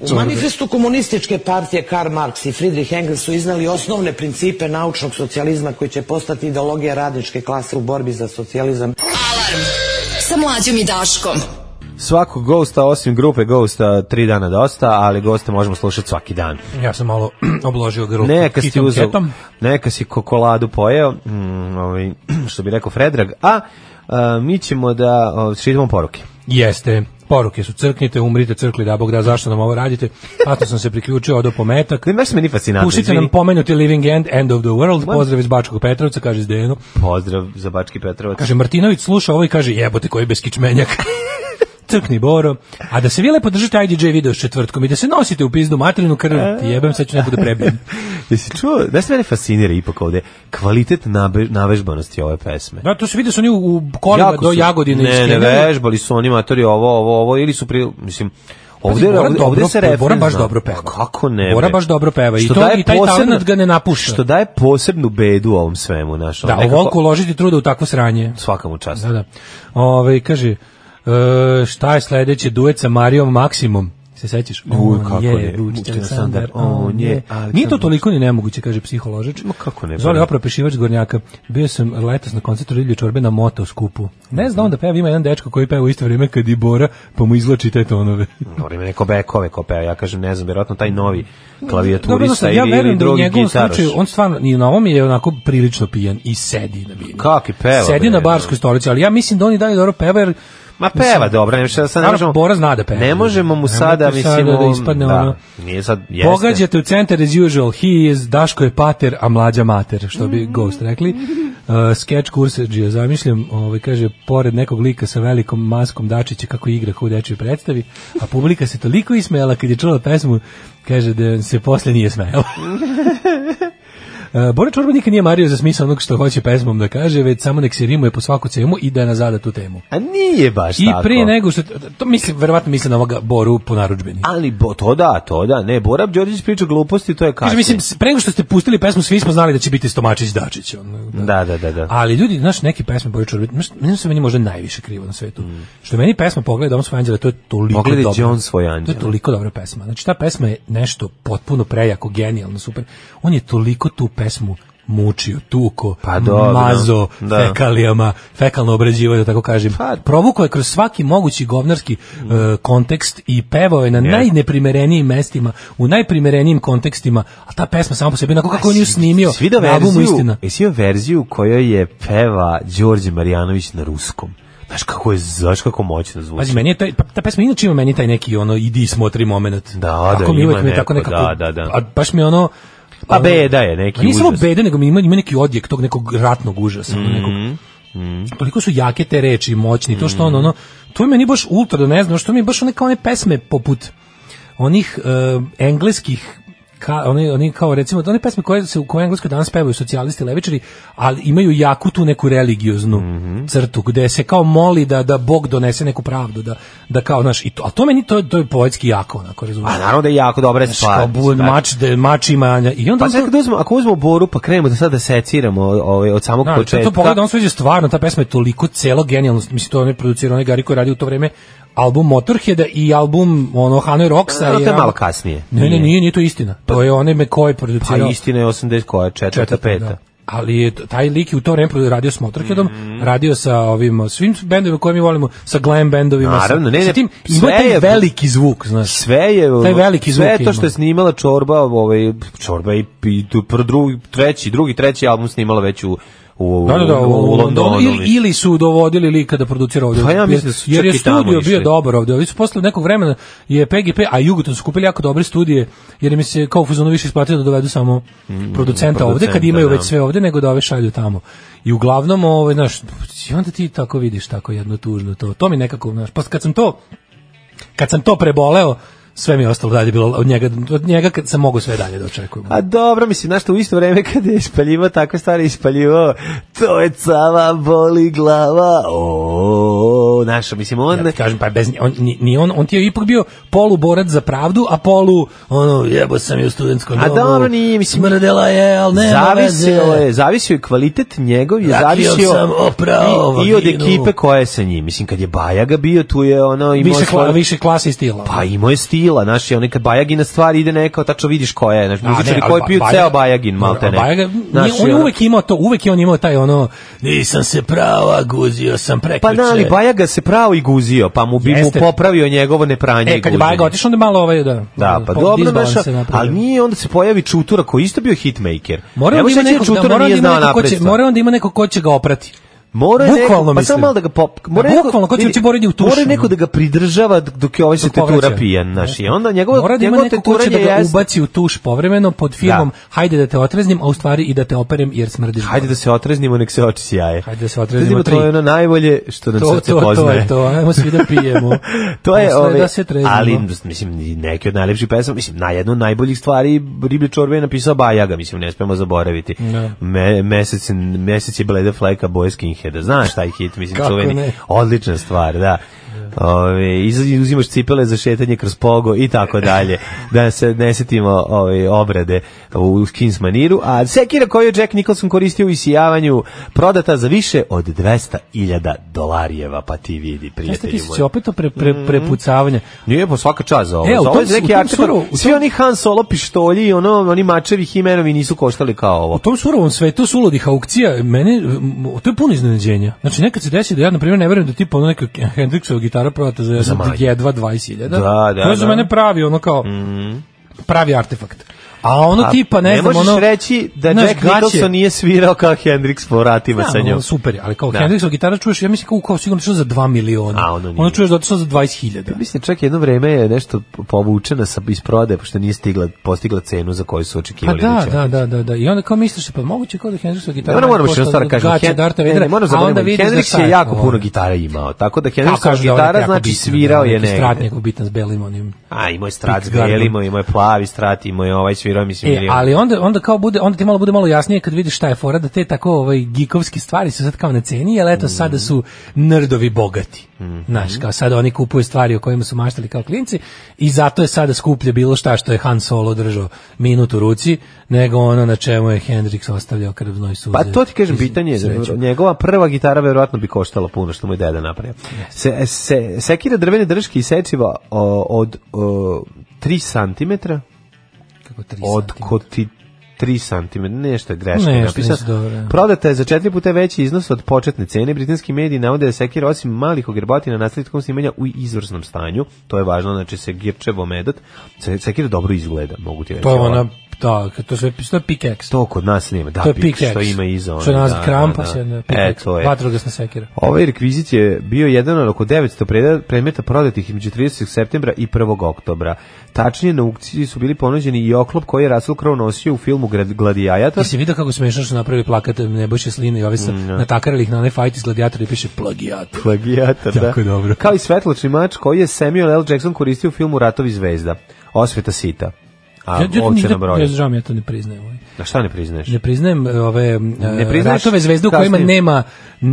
[SPEAKER 13] U manifestu komunističke partije Karl Marx i Friedrich Engels su iznali osnovne principe naučnog socijalizma koji će postati ideologija radničke klase u borbi za socijalizam.
[SPEAKER 4] Alarm sa mlađom i Daškom.
[SPEAKER 6] Svakog Ghosta, osim grupe Ghosta, tri dana dosta, ali Ghosta možemo slušati svaki dan.
[SPEAKER 5] Ja sam malo obložio grlu.
[SPEAKER 6] Neka si uzeo, neka si kokoladu pojeo, mm, ovaj, što bi rekao Fredrag, a, a, mi ćemo da o, šitimo poruke.
[SPEAKER 5] Jeste. Poruke su crknite, umrite, crkli da Bog da, zašto nam ovo radite? Pato sam se priključio od opometak.
[SPEAKER 6] Ne, baš su meni fascinantno.
[SPEAKER 5] Pušite
[SPEAKER 6] izvini.
[SPEAKER 5] nam pomenuti Living End, End of the World. Pozdrav iz Bačkog Petrovca, kaže Zdeno.
[SPEAKER 6] Pozdrav za Bački Petrovac.
[SPEAKER 5] Kaže, Martinović sluša ovo i kaže, jebote koji beskičmenjak. Crkni Boro. A da se vi lepo držite IDJ video s četvrtkom i da se nosite u pizdu materinu krv, ti jebem, sad ću neko da prebijem.
[SPEAKER 6] Jesi čuo, da se mene fascinira ipak ovde, kvalitet nabe, navežbanosti ove pesme.
[SPEAKER 5] Da, to se vidi da su oni u- u kolima
[SPEAKER 6] Jako
[SPEAKER 5] do
[SPEAKER 6] su-
[SPEAKER 5] Jagodine.
[SPEAKER 6] Ne, ne
[SPEAKER 5] iskenjali.
[SPEAKER 6] vežbali su oni matori ovo, ovo, ovo, ili su pri... Mislim, Ovde,
[SPEAKER 5] Boran
[SPEAKER 6] ovde,
[SPEAKER 5] dobro-
[SPEAKER 6] ovde se refren
[SPEAKER 5] Boran baš
[SPEAKER 6] zna.
[SPEAKER 5] dobro peva.
[SPEAKER 6] Pa Kako ne?
[SPEAKER 5] Boran
[SPEAKER 6] bre?
[SPEAKER 5] baš dobro peva i
[SPEAKER 6] Što
[SPEAKER 5] to-
[SPEAKER 6] daje
[SPEAKER 5] i taj
[SPEAKER 6] posebno-
[SPEAKER 5] talent ga ne napušta.
[SPEAKER 6] Što daje posebnu bedu ovom svemu, znaš. ono,
[SPEAKER 5] Da,
[SPEAKER 6] nekako-
[SPEAKER 5] ovoliko uložiti truda u takvo sranje.
[SPEAKER 6] Svaka mu čast.
[SPEAKER 5] Da, da. Ove, kaže, e, šta je sledeće duet sa Marijom Maksimom? Se sećaš?
[SPEAKER 6] Uj, kako ne.
[SPEAKER 5] Vučić
[SPEAKER 6] Vučić
[SPEAKER 5] Aleksandar,
[SPEAKER 6] Aleksandar, on je
[SPEAKER 5] Nije to
[SPEAKER 6] Aleksandar.
[SPEAKER 5] toliko ni nemoguće, kaže psiholožič.
[SPEAKER 6] Ma kako ne,
[SPEAKER 5] Zoli
[SPEAKER 6] bre.
[SPEAKER 5] opra pešivač Gornjaka. Bio sam letos na koncertu Rilje Čorbe na moto skupu. Ne zna on da peva, ima jedan dečko koji peva u isto vrijeme kad i Bora, pa mu izloči te tonove.
[SPEAKER 6] Dobro, ima neko bekove ko peva, ja kažem, ne znam, vjerojatno taj novi
[SPEAKER 5] Dobro,
[SPEAKER 6] klavijaturista
[SPEAKER 5] znači, ja
[SPEAKER 6] ili, ili
[SPEAKER 5] verujem da u
[SPEAKER 6] drugi
[SPEAKER 5] njegovom
[SPEAKER 6] gitaraš.
[SPEAKER 5] slučaju, on stvarno, i na ovom je onako prilično pijan i sedi na bini.
[SPEAKER 6] Kako i peva,
[SPEAKER 5] Sedi
[SPEAKER 6] bre,
[SPEAKER 5] na barskoj stolici, ali ja mislim da on i dalje dobro peva, jer
[SPEAKER 6] Ma peva dobro, ne, sad ne
[SPEAKER 5] Naravno,
[SPEAKER 6] možemo...
[SPEAKER 5] Bora zna da peva.
[SPEAKER 6] Ne možemo mu
[SPEAKER 5] Nemojte
[SPEAKER 6] sada, mislim...
[SPEAKER 5] sada da
[SPEAKER 6] on-
[SPEAKER 5] ispadne
[SPEAKER 6] da,
[SPEAKER 5] ono-
[SPEAKER 6] Nije sad, jeste.
[SPEAKER 5] Pogađate u centar as usual, he is, Daško je pater, a mlađa mater, što bi
[SPEAKER 6] Mhm.
[SPEAKER 5] Ghost rekli. Uh, sketch kurseđija, zamišljam, ovaj, kaže, pored nekog lika sa velikom maskom Dačića kako igra kao u dečjoj predstavi, a publika se toliko ismejala kad je čula pesmu, kaže da se posle nije smejala. Uh, Bora Čorba nikad nije mario za smisao onog što hoće pesmom da kaže, već samo nek se rimuje po svaku cemu i da je nazada tu temu.
[SPEAKER 6] A nije baš
[SPEAKER 5] I
[SPEAKER 6] tako.
[SPEAKER 5] prije nego što, to mislim, verovatno mislim na ovoga Boru po narudžbini.
[SPEAKER 6] Ali bo, to da, to da. Ne, Bora Đorđević priča gluposti, to je
[SPEAKER 5] Kaže,
[SPEAKER 6] kasnije.
[SPEAKER 5] mislim, s- pre nego što ste pustili pesmu, svi smo znali da će biti Stomačić Dačić. On, da.
[SPEAKER 6] Da, da, da, da.
[SPEAKER 5] Ali ljudi, znaš, neke pesme Borić Čorbić, znaš, meni su meni možda najviše krivo na svetu. Što je meni pesma Pogledaj dom svoj anđele, to Mm. je toliko
[SPEAKER 6] Pogledaj
[SPEAKER 5] dobro.
[SPEAKER 6] Đon svoj
[SPEAKER 5] To je
[SPEAKER 6] anđel.
[SPEAKER 5] toliko dobra pesma. Znači, ta pesma je nešto potpuno prejako, genijalno, super. On je toliko tu pesmu mučio, tuko, pa dobro, mazo, da. fekalijama, fekalno obrađivao, da tako kažem. Pa, Provukao je kroz svaki mogući govnarski mm. uh, kontekst i pevao je na yeah. najneprimerenijim mestima, u najprimerenijim kontekstima, a ta pesma samo po sebi, onako kako on ju snimio,
[SPEAKER 6] svi da verziju, istina. Jesi joj verziju kojoj je peva Đorđe Marjanović na ruskom? Znaš kako je, znaš kako moćno zvuči.
[SPEAKER 5] Pazi, meni je taj, pa ta pesma inače ima meni taj neki ono, idi smotri moment.
[SPEAKER 6] Da, da,
[SPEAKER 5] tako
[SPEAKER 6] ima
[SPEAKER 5] mi,
[SPEAKER 6] neko,
[SPEAKER 5] tako
[SPEAKER 6] da,
[SPEAKER 5] nekako,
[SPEAKER 6] da, da.
[SPEAKER 5] A baš mi ono,
[SPEAKER 6] pa beda je neki
[SPEAKER 5] Nije samo beda, nego ima, ima neki odjek tog nekog ratnog užasa. Mm -hmm. nekog, mm. Toliko su jake te reči, moćni, to što ono, ono, to je meni baš ultra, da ne znam, što mi je baš one kao one pesme poput onih uh, engleskih ka, oni, oni kao recimo one pesme koje se u koje engleskoj danas pevaju socijalisti levičari, ali imaju jaku tu neku religioznu mm
[SPEAKER 6] Mhm.
[SPEAKER 5] -hmm. crtu gde se kao moli da da Bog donese neku pravdu da da kao znaš i to a to meni to to je poetski jako onako razumeš.
[SPEAKER 6] A Pa, naravno da je jako dobra stvar.
[SPEAKER 5] Kao bud mač da mač ima i onda
[SPEAKER 6] pa sad kad uzmemo ako uzmemo boru pa krenemo da sad da seciramo ovaj od samog
[SPEAKER 5] da,
[SPEAKER 6] početka.
[SPEAKER 5] To pogleda on sve je stvarno ta pesma je toliko celo genijalno mislim to on je producirao onaj Gari koji radi u to vreme album Motorheada i album ono Hanoi Rocksa
[SPEAKER 6] no, no, to je malo kasnije.
[SPEAKER 5] Ne, ne, nije, nije to istina. To je one me koji producirao.
[SPEAKER 6] Pa istina je 80 koja, četvrta, peta. Da.
[SPEAKER 5] Ali je taj lik je u to vreme radio s Motorheadom, mm
[SPEAKER 6] Mhm.
[SPEAKER 5] -hmm. radio sa ovim svim bendovima koje mi volimo, sa glam bendovima.
[SPEAKER 6] Naravno,
[SPEAKER 5] sa,
[SPEAKER 6] ne, ne,
[SPEAKER 5] sa tim, sve ima taj je, veliki zvuk, znaš.
[SPEAKER 6] Sve je, ono-
[SPEAKER 5] taj veliki zvuk
[SPEAKER 6] sve to što je snimala Čorba, ovaj, Čorba i, i drugi, treći, drugi, treći album snimala već u u, ono,
[SPEAKER 5] da, da, da, u, u Londonu. Ili, ili su dovodili lika da producira ovdje.
[SPEAKER 6] Pa ja mislim da su
[SPEAKER 5] Jer je studio bio dobar ovdje. Ovi su posle nekog vremena je PGP, a Jugoton su kupili jako dobre studije, jer im se kao fuzonu više isplatio da dovedu samo mm, producenta ovdje, kad imaju da. već sve ovdje, nego da ove šalju tamo. I uglavnom, ovaj, znaš, i onda ti tako vidiš tako jedno tužno to. To mi nekako, znaš, pa kad sam to, kad sam to preboleo, sve mi je ostalo dalje bilo od njega od njega kad sam mogao sve dalje da očekujem.
[SPEAKER 6] A dobro, mislim znaš što u isto vrijeme kad je ispaljivao takve stvari ispaljivao to je cava boli glava. O, naša mislim on
[SPEAKER 5] ja kažem pa bez on ni, ni on on ti je ipak bio polu borac za pravdu, a polu ono jebo sam je u studentskom
[SPEAKER 6] domu. A dobro, ni mislim
[SPEAKER 5] mrdela je, al ne.
[SPEAKER 6] Zavisio je, zavisio je ovaj, kvalitet njegov, je Rakio zavisio
[SPEAKER 5] sam opravo,
[SPEAKER 6] i, i od ekipe koja je sa njim. Mislim kad je Bajaga bio tu je ono
[SPEAKER 5] imao više, kla, više klase i stila.
[SPEAKER 6] Pa imao je stil Bajagila, znaš, i onaj kad Bajagina stvar ide neka, tačno vidiš ko je, znaš, muzičari koji piju bajag, ceo Bajagin, malte ne. ono-
[SPEAKER 5] Bajaga, znaš, on je uvek imao to, uvek je on imao taj ono, nisam se prava guzio, sam prekriče.
[SPEAKER 6] Pa da, ali Bajaga se pravo i guzio, pa mu bi Jeste. mu popravio njegovo nepranje.
[SPEAKER 5] E, kad je Bajaga otišao, onda malo ovaj, da.
[SPEAKER 6] Da, pa dobro, znaš, ali nije, onda se pojavi Čutura, koji isto bio hitmaker.
[SPEAKER 5] Mora on da ima nekog, da, mora ima neko ko će, mora on da ima neko ko će ga oprati.
[SPEAKER 6] Mora
[SPEAKER 5] bukvalno
[SPEAKER 6] neko, pa samo malo da ga pop,
[SPEAKER 5] mora
[SPEAKER 6] neko,
[SPEAKER 5] bukvalno ko će ući borenje u tušu.
[SPEAKER 6] Mora neko da ga pridržava dok je ovaj se tetura pijan, znaš, i onda njegovo
[SPEAKER 5] mora da ima neko ko će da ga ubaci u tuš povremeno pod firmom, da. hajde da te otreznim, a u stvari i da te operem jer smrdiš.
[SPEAKER 6] Hajde da se otreznimo, nek se oči sjaje.
[SPEAKER 5] Hajde da se otreznimo,
[SPEAKER 6] to je ono najbolje što nam
[SPEAKER 5] to,
[SPEAKER 6] srce
[SPEAKER 5] to,
[SPEAKER 6] poznaje.
[SPEAKER 5] To je to, ajmo svi da pijemo.
[SPEAKER 6] to je, ovaj,
[SPEAKER 5] ove, da se treznimo.
[SPEAKER 6] ali, mislim, neki od najlepših pesama, mislim, na jednu od najboljih stvari Riblje čorbe je napisao Bajaga, mislim, ne smemo zaboraviti. Me, mesec, mesec je bleda flajka boje skinheada. Znaš taj hit, mislim,
[SPEAKER 5] Kako
[SPEAKER 6] čuveni.
[SPEAKER 5] Ne?
[SPEAKER 6] Odlična stvar, da. Ove, uzimaš cipele za šetanje kroz pogo i tako dalje. Da se ne setimo ove, obrade u skins maniru. A sekira koju je Jack Nicholson koristio u isijavanju prodata za više od 200.000 dolarijeva, pa ti vidi, prijatelji moji.
[SPEAKER 5] Jeste opet to pre,
[SPEAKER 6] Mm-hmm.
[SPEAKER 5] pre, prepucavanje.
[SPEAKER 6] Nije po svaka čast za ovo. E, za ovo je neki aktor. Svi oni Han Solo pištolji i ono, oni mačevi himenovi nisu koštali kao ovo.
[SPEAKER 5] U tom surovom svetu suludih aukcija, mene, to je puno iznenađenja. Znači, nekad se desi da ja, na primjer, ne verujem da tipa ono neka Hendrixova gitara gitara prodata za, za jedva 20.000.
[SPEAKER 6] Da, da, da. To
[SPEAKER 5] je za mene pravi, ono kao, mm -hmm. pravi artefakt. A ono A, tipa, ne,
[SPEAKER 6] Pa, ne
[SPEAKER 5] znam, ono...
[SPEAKER 6] Ne reći da
[SPEAKER 5] znaš, ono,
[SPEAKER 6] Jack Nicholson nije svirao kao Hendrix po vratima sa njom.
[SPEAKER 5] super, ali kao da. Hendrixov gitara čuješ, ja mislim kao, kao sigurno čuješ za 2 miliona.
[SPEAKER 6] A ono nije. Pa
[SPEAKER 5] Ono čuješ da otišao za 20.000.
[SPEAKER 6] Mislim, čak jedno vreme je nešto povučena sa, iz prodaje, pošto nije stigla, postigla cenu za koju su očekivali.
[SPEAKER 5] Pa da, da, da, da, da. I onda kao misliš, pa moguće kao da Hendrixov gitara...
[SPEAKER 6] Ne, moramo što stvar kažem. Gaće, Darta Vedra, ne, ne, onda vidiš Hendrix je
[SPEAKER 5] ono,
[SPEAKER 6] jako puno gitara imao, tako da Hendrixov gitara znači svirao je
[SPEAKER 5] negde. Strat neko bitan s belim onim.
[SPEAKER 6] A, imao je strat s belim, imao je plavi strat, imao je ovaj svirao mislim
[SPEAKER 5] e, ali onda onda kao bude onda ti malo bude malo jasnije kad vidiš šta je fora da te tako ovaj gikovski stvari su sad kao na ceni, ali eto mm. sada su nerdovi bogati. Mm
[SPEAKER 6] Mhm.
[SPEAKER 5] -hmm. Znaš, kao sada oni kupuju stvari o kojima su maštali kao klinci i zato je sada skuplje bilo šta što je Han Solo držao minut u ruci nego ono na čemu je Hendrix ostavljao krvnoj suze.
[SPEAKER 6] Pa to ti kažem pitanje je, njegova prva gitara verovatno bi koštala puno što mu je deda napravio. Se, se, sekira drvene drške i sečiva od, od, od 3 cm
[SPEAKER 5] kako 3
[SPEAKER 6] od koti 3 cm, nešto je greška.
[SPEAKER 5] Nešto
[SPEAKER 6] napisano.
[SPEAKER 5] nisu dobro, ja.
[SPEAKER 6] Prodata je za četiri puta veći iznos od početne cene. Britanski mediji navode da je sekira osim malih ogrebotina nastavitkom snimanja u izvrsnom stanju. To je važno, znači se girčevo medot. Se- Sekira dobro izgleda, mogu ti reći.
[SPEAKER 5] To je
[SPEAKER 6] Ovo-
[SPEAKER 5] Pa ona, da, to sve to je pickaxe.
[SPEAKER 6] To kod nas nema, da,
[SPEAKER 5] to je
[SPEAKER 6] pik,
[SPEAKER 5] pickaxe.
[SPEAKER 6] što ima iza. ono,
[SPEAKER 5] Što je
[SPEAKER 6] da,
[SPEAKER 5] nazad
[SPEAKER 6] da,
[SPEAKER 5] krampa,
[SPEAKER 6] da.
[SPEAKER 5] se jedna
[SPEAKER 6] E,
[SPEAKER 5] pickaxe,
[SPEAKER 6] to je.
[SPEAKER 5] vatrogasna sekira.
[SPEAKER 6] Ovaj rekvizit je bio jedan od oko 900 preda- predmeta prodatih između 30. septembra i 1. oktobra. Tačnije, na aukciji su bili ponuđeni i oklop koji je Russell Crowe nosio u filmu Grad- Gladijator.
[SPEAKER 5] Ti si vidio kako smešno što su napravili plakat Nebojše Slina i ove sa
[SPEAKER 6] Pa- Mm, da.
[SPEAKER 5] natakarali ih na onaj fajt iz gladijatora i piše plagijator.
[SPEAKER 6] Plagijator, da.
[SPEAKER 5] Jako dobro.
[SPEAKER 6] Kao i svetločni mač koji je Samuel L. Jackson koristio u filmu Ratovi zvezda. Osveta sita. A
[SPEAKER 5] ja, ja,
[SPEAKER 6] ovce
[SPEAKER 5] nigde-
[SPEAKER 6] na broju.
[SPEAKER 5] Ja žao mi, ja to ne priznajem. ovaj.
[SPEAKER 6] Na šta ne priznaješ?
[SPEAKER 5] Ne priznajem e, ove ne
[SPEAKER 6] priznaješ
[SPEAKER 5] ratove zvezde u kojima
[SPEAKER 6] kasnije?
[SPEAKER 5] nema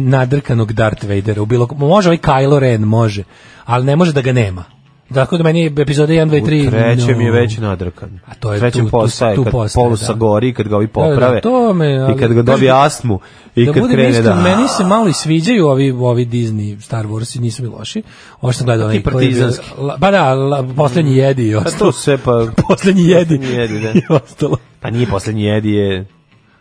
[SPEAKER 5] nadrkanog Darth Vadera. U bilo, može ovaj Kylo Ren, može, ali ne može da ga nema. Dakle, da meni je epizoda 1, 2, 3...
[SPEAKER 6] U trećem
[SPEAKER 5] no.
[SPEAKER 6] je već nadrkan. A
[SPEAKER 5] to je
[SPEAKER 6] trećem
[SPEAKER 5] tu- tu-
[SPEAKER 6] postaje,
[SPEAKER 5] tu
[SPEAKER 6] kad
[SPEAKER 5] postaje,
[SPEAKER 6] polu sa
[SPEAKER 5] da.
[SPEAKER 6] gori, kad ga ovi
[SPEAKER 5] Da, da,
[SPEAKER 6] poprave.
[SPEAKER 5] to me, ali-
[SPEAKER 6] I kad ga
[SPEAKER 5] Znaš
[SPEAKER 6] dobije
[SPEAKER 5] da-
[SPEAKER 6] astmu. I
[SPEAKER 5] da
[SPEAKER 6] kad
[SPEAKER 5] budem
[SPEAKER 6] krene
[SPEAKER 5] iskren,
[SPEAKER 6] da...
[SPEAKER 5] Meni se malo i sviđaju ovi, ovi Disney Star Wars i nisu mi loši. Ovo što sam gledao...
[SPEAKER 6] Ti
[SPEAKER 5] onaj koji je bio-
[SPEAKER 6] partizanski.
[SPEAKER 5] la- Pa da, la, poslednji jedi i
[SPEAKER 6] Pa
[SPEAKER 5] ostalo.
[SPEAKER 6] to sve pa...
[SPEAKER 5] Poslednji jedi.
[SPEAKER 6] Poslednji jedi, da.
[SPEAKER 5] I ostalo.
[SPEAKER 6] Pa nije poslednji jedi je...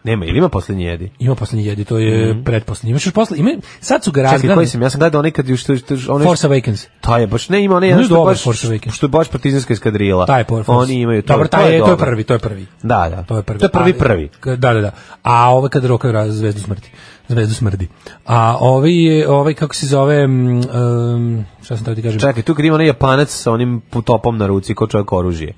[SPEAKER 6] Nema, ili ima poslednji jedi?
[SPEAKER 5] Ima poslednji jedi, to je mm. pretposlednji. Imaš još poslednji, ima, sad su ga
[SPEAKER 6] Mhm. Čekaj,
[SPEAKER 5] razgrani.
[SPEAKER 6] koji sam? Ja sam gledao onaj kad ju što... što onaj,
[SPEAKER 5] Force Awakens.
[SPEAKER 6] Ta je baš, ne, ima onaj jedan
[SPEAKER 5] Znaš
[SPEAKER 6] što je
[SPEAKER 5] dobar
[SPEAKER 6] baš,
[SPEAKER 5] Force Awakens?
[SPEAKER 6] što je baš partizanska eskadrila.
[SPEAKER 5] Taj je Power Force.
[SPEAKER 6] Oni imaju to.
[SPEAKER 5] Dobro, taj je, to je
[SPEAKER 6] dobro.
[SPEAKER 5] prvi, to je prvi.
[SPEAKER 6] Da, da.
[SPEAKER 5] To je prvi. pa-
[SPEAKER 6] To je prvi
[SPEAKER 5] A,
[SPEAKER 6] prvi.
[SPEAKER 5] k- Da, da, da. A ovo kad rokaju raz zvezdu smrti. Zvezdu smrdi. A ovi je, ovaj kako se zove, mm, um, šta sam teo ti kažem?
[SPEAKER 6] Čekaj, tu kad ima onaj japanac sa onim topom na ruci ko čovjek oružje.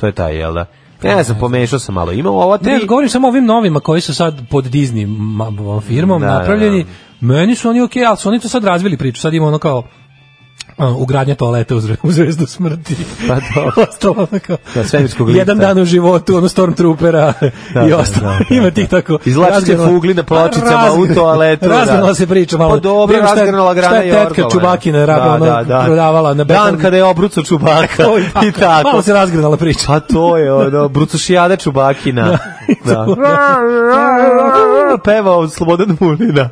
[SPEAKER 6] To je taj, jel da? Ja sam pomešao sam malo. Ima ova tri...
[SPEAKER 5] Pa Ne, govorim samo o ovim novima koji su sad pod Disney ma- ma- firmom
[SPEAKER 6] Da, da,
[SPEAKER 5] napravljeni.
[SPEAKER 6] da.
[SPEAKER 5] Meni su oni okej, ali su oni to sad razvili priču. Sad ima ono kao a, ugradnja toaleta u, zve- u zvezdu smrti.
[SPEAKER 6] Pa dobro.
[SPEAKER 5] Ostalo ono kao...
[SPEAKER 6] Da, svemirskog lifta.
[SPEAKER 5] Jedan dan u životu, ono Stormtroopera
[SPEAKER 6] Da,
[SPEAKER 5] i
[SPEAKER 6] da,
[SPEAKER 5] ostalo.
[SPEAKER 6] da, da.
[SPEAKER 5] Ima tih tako.
[SPEAKER 6] Izvlačite
[SPEAKER 5] razgranala-
[SPEAKER 6] fugli na pločicama
[SPEAKER 5] Pa, razgr-
[SPEAKER 6] u toaletu, da.
[SPEAKER 5] Razgranala se priča malo.
[SPEAKER 6] Pa dobro,
[SPEAKER 5] Vidim šta je-
[SPEAKER 6] razgranala grana
[SPEAKER 5] Šta je tetka
[SPEAKER 6] Jorgovanka.
[SPEAKER 5] Čubakina rab-
[SPEAKER 6] Da,
[SPEAKER 5] ono,
[SPEAKER 6] da, da.
[SPEAKER 5] prodavala na
[SPEAKER 6] Dan
[SPEAKER 5] beton-
[SPEAKER 6] kada je obruco Čubaka.
[SPEAKER 5] Oj,
[SPEAKER 6] I tako.
[SPEAKER 5] Malo se razgranala priča.
[SPEAKER 6] Pa to je ono, brucošijada Čubakina. Da. Pevao Slobodan Mulina.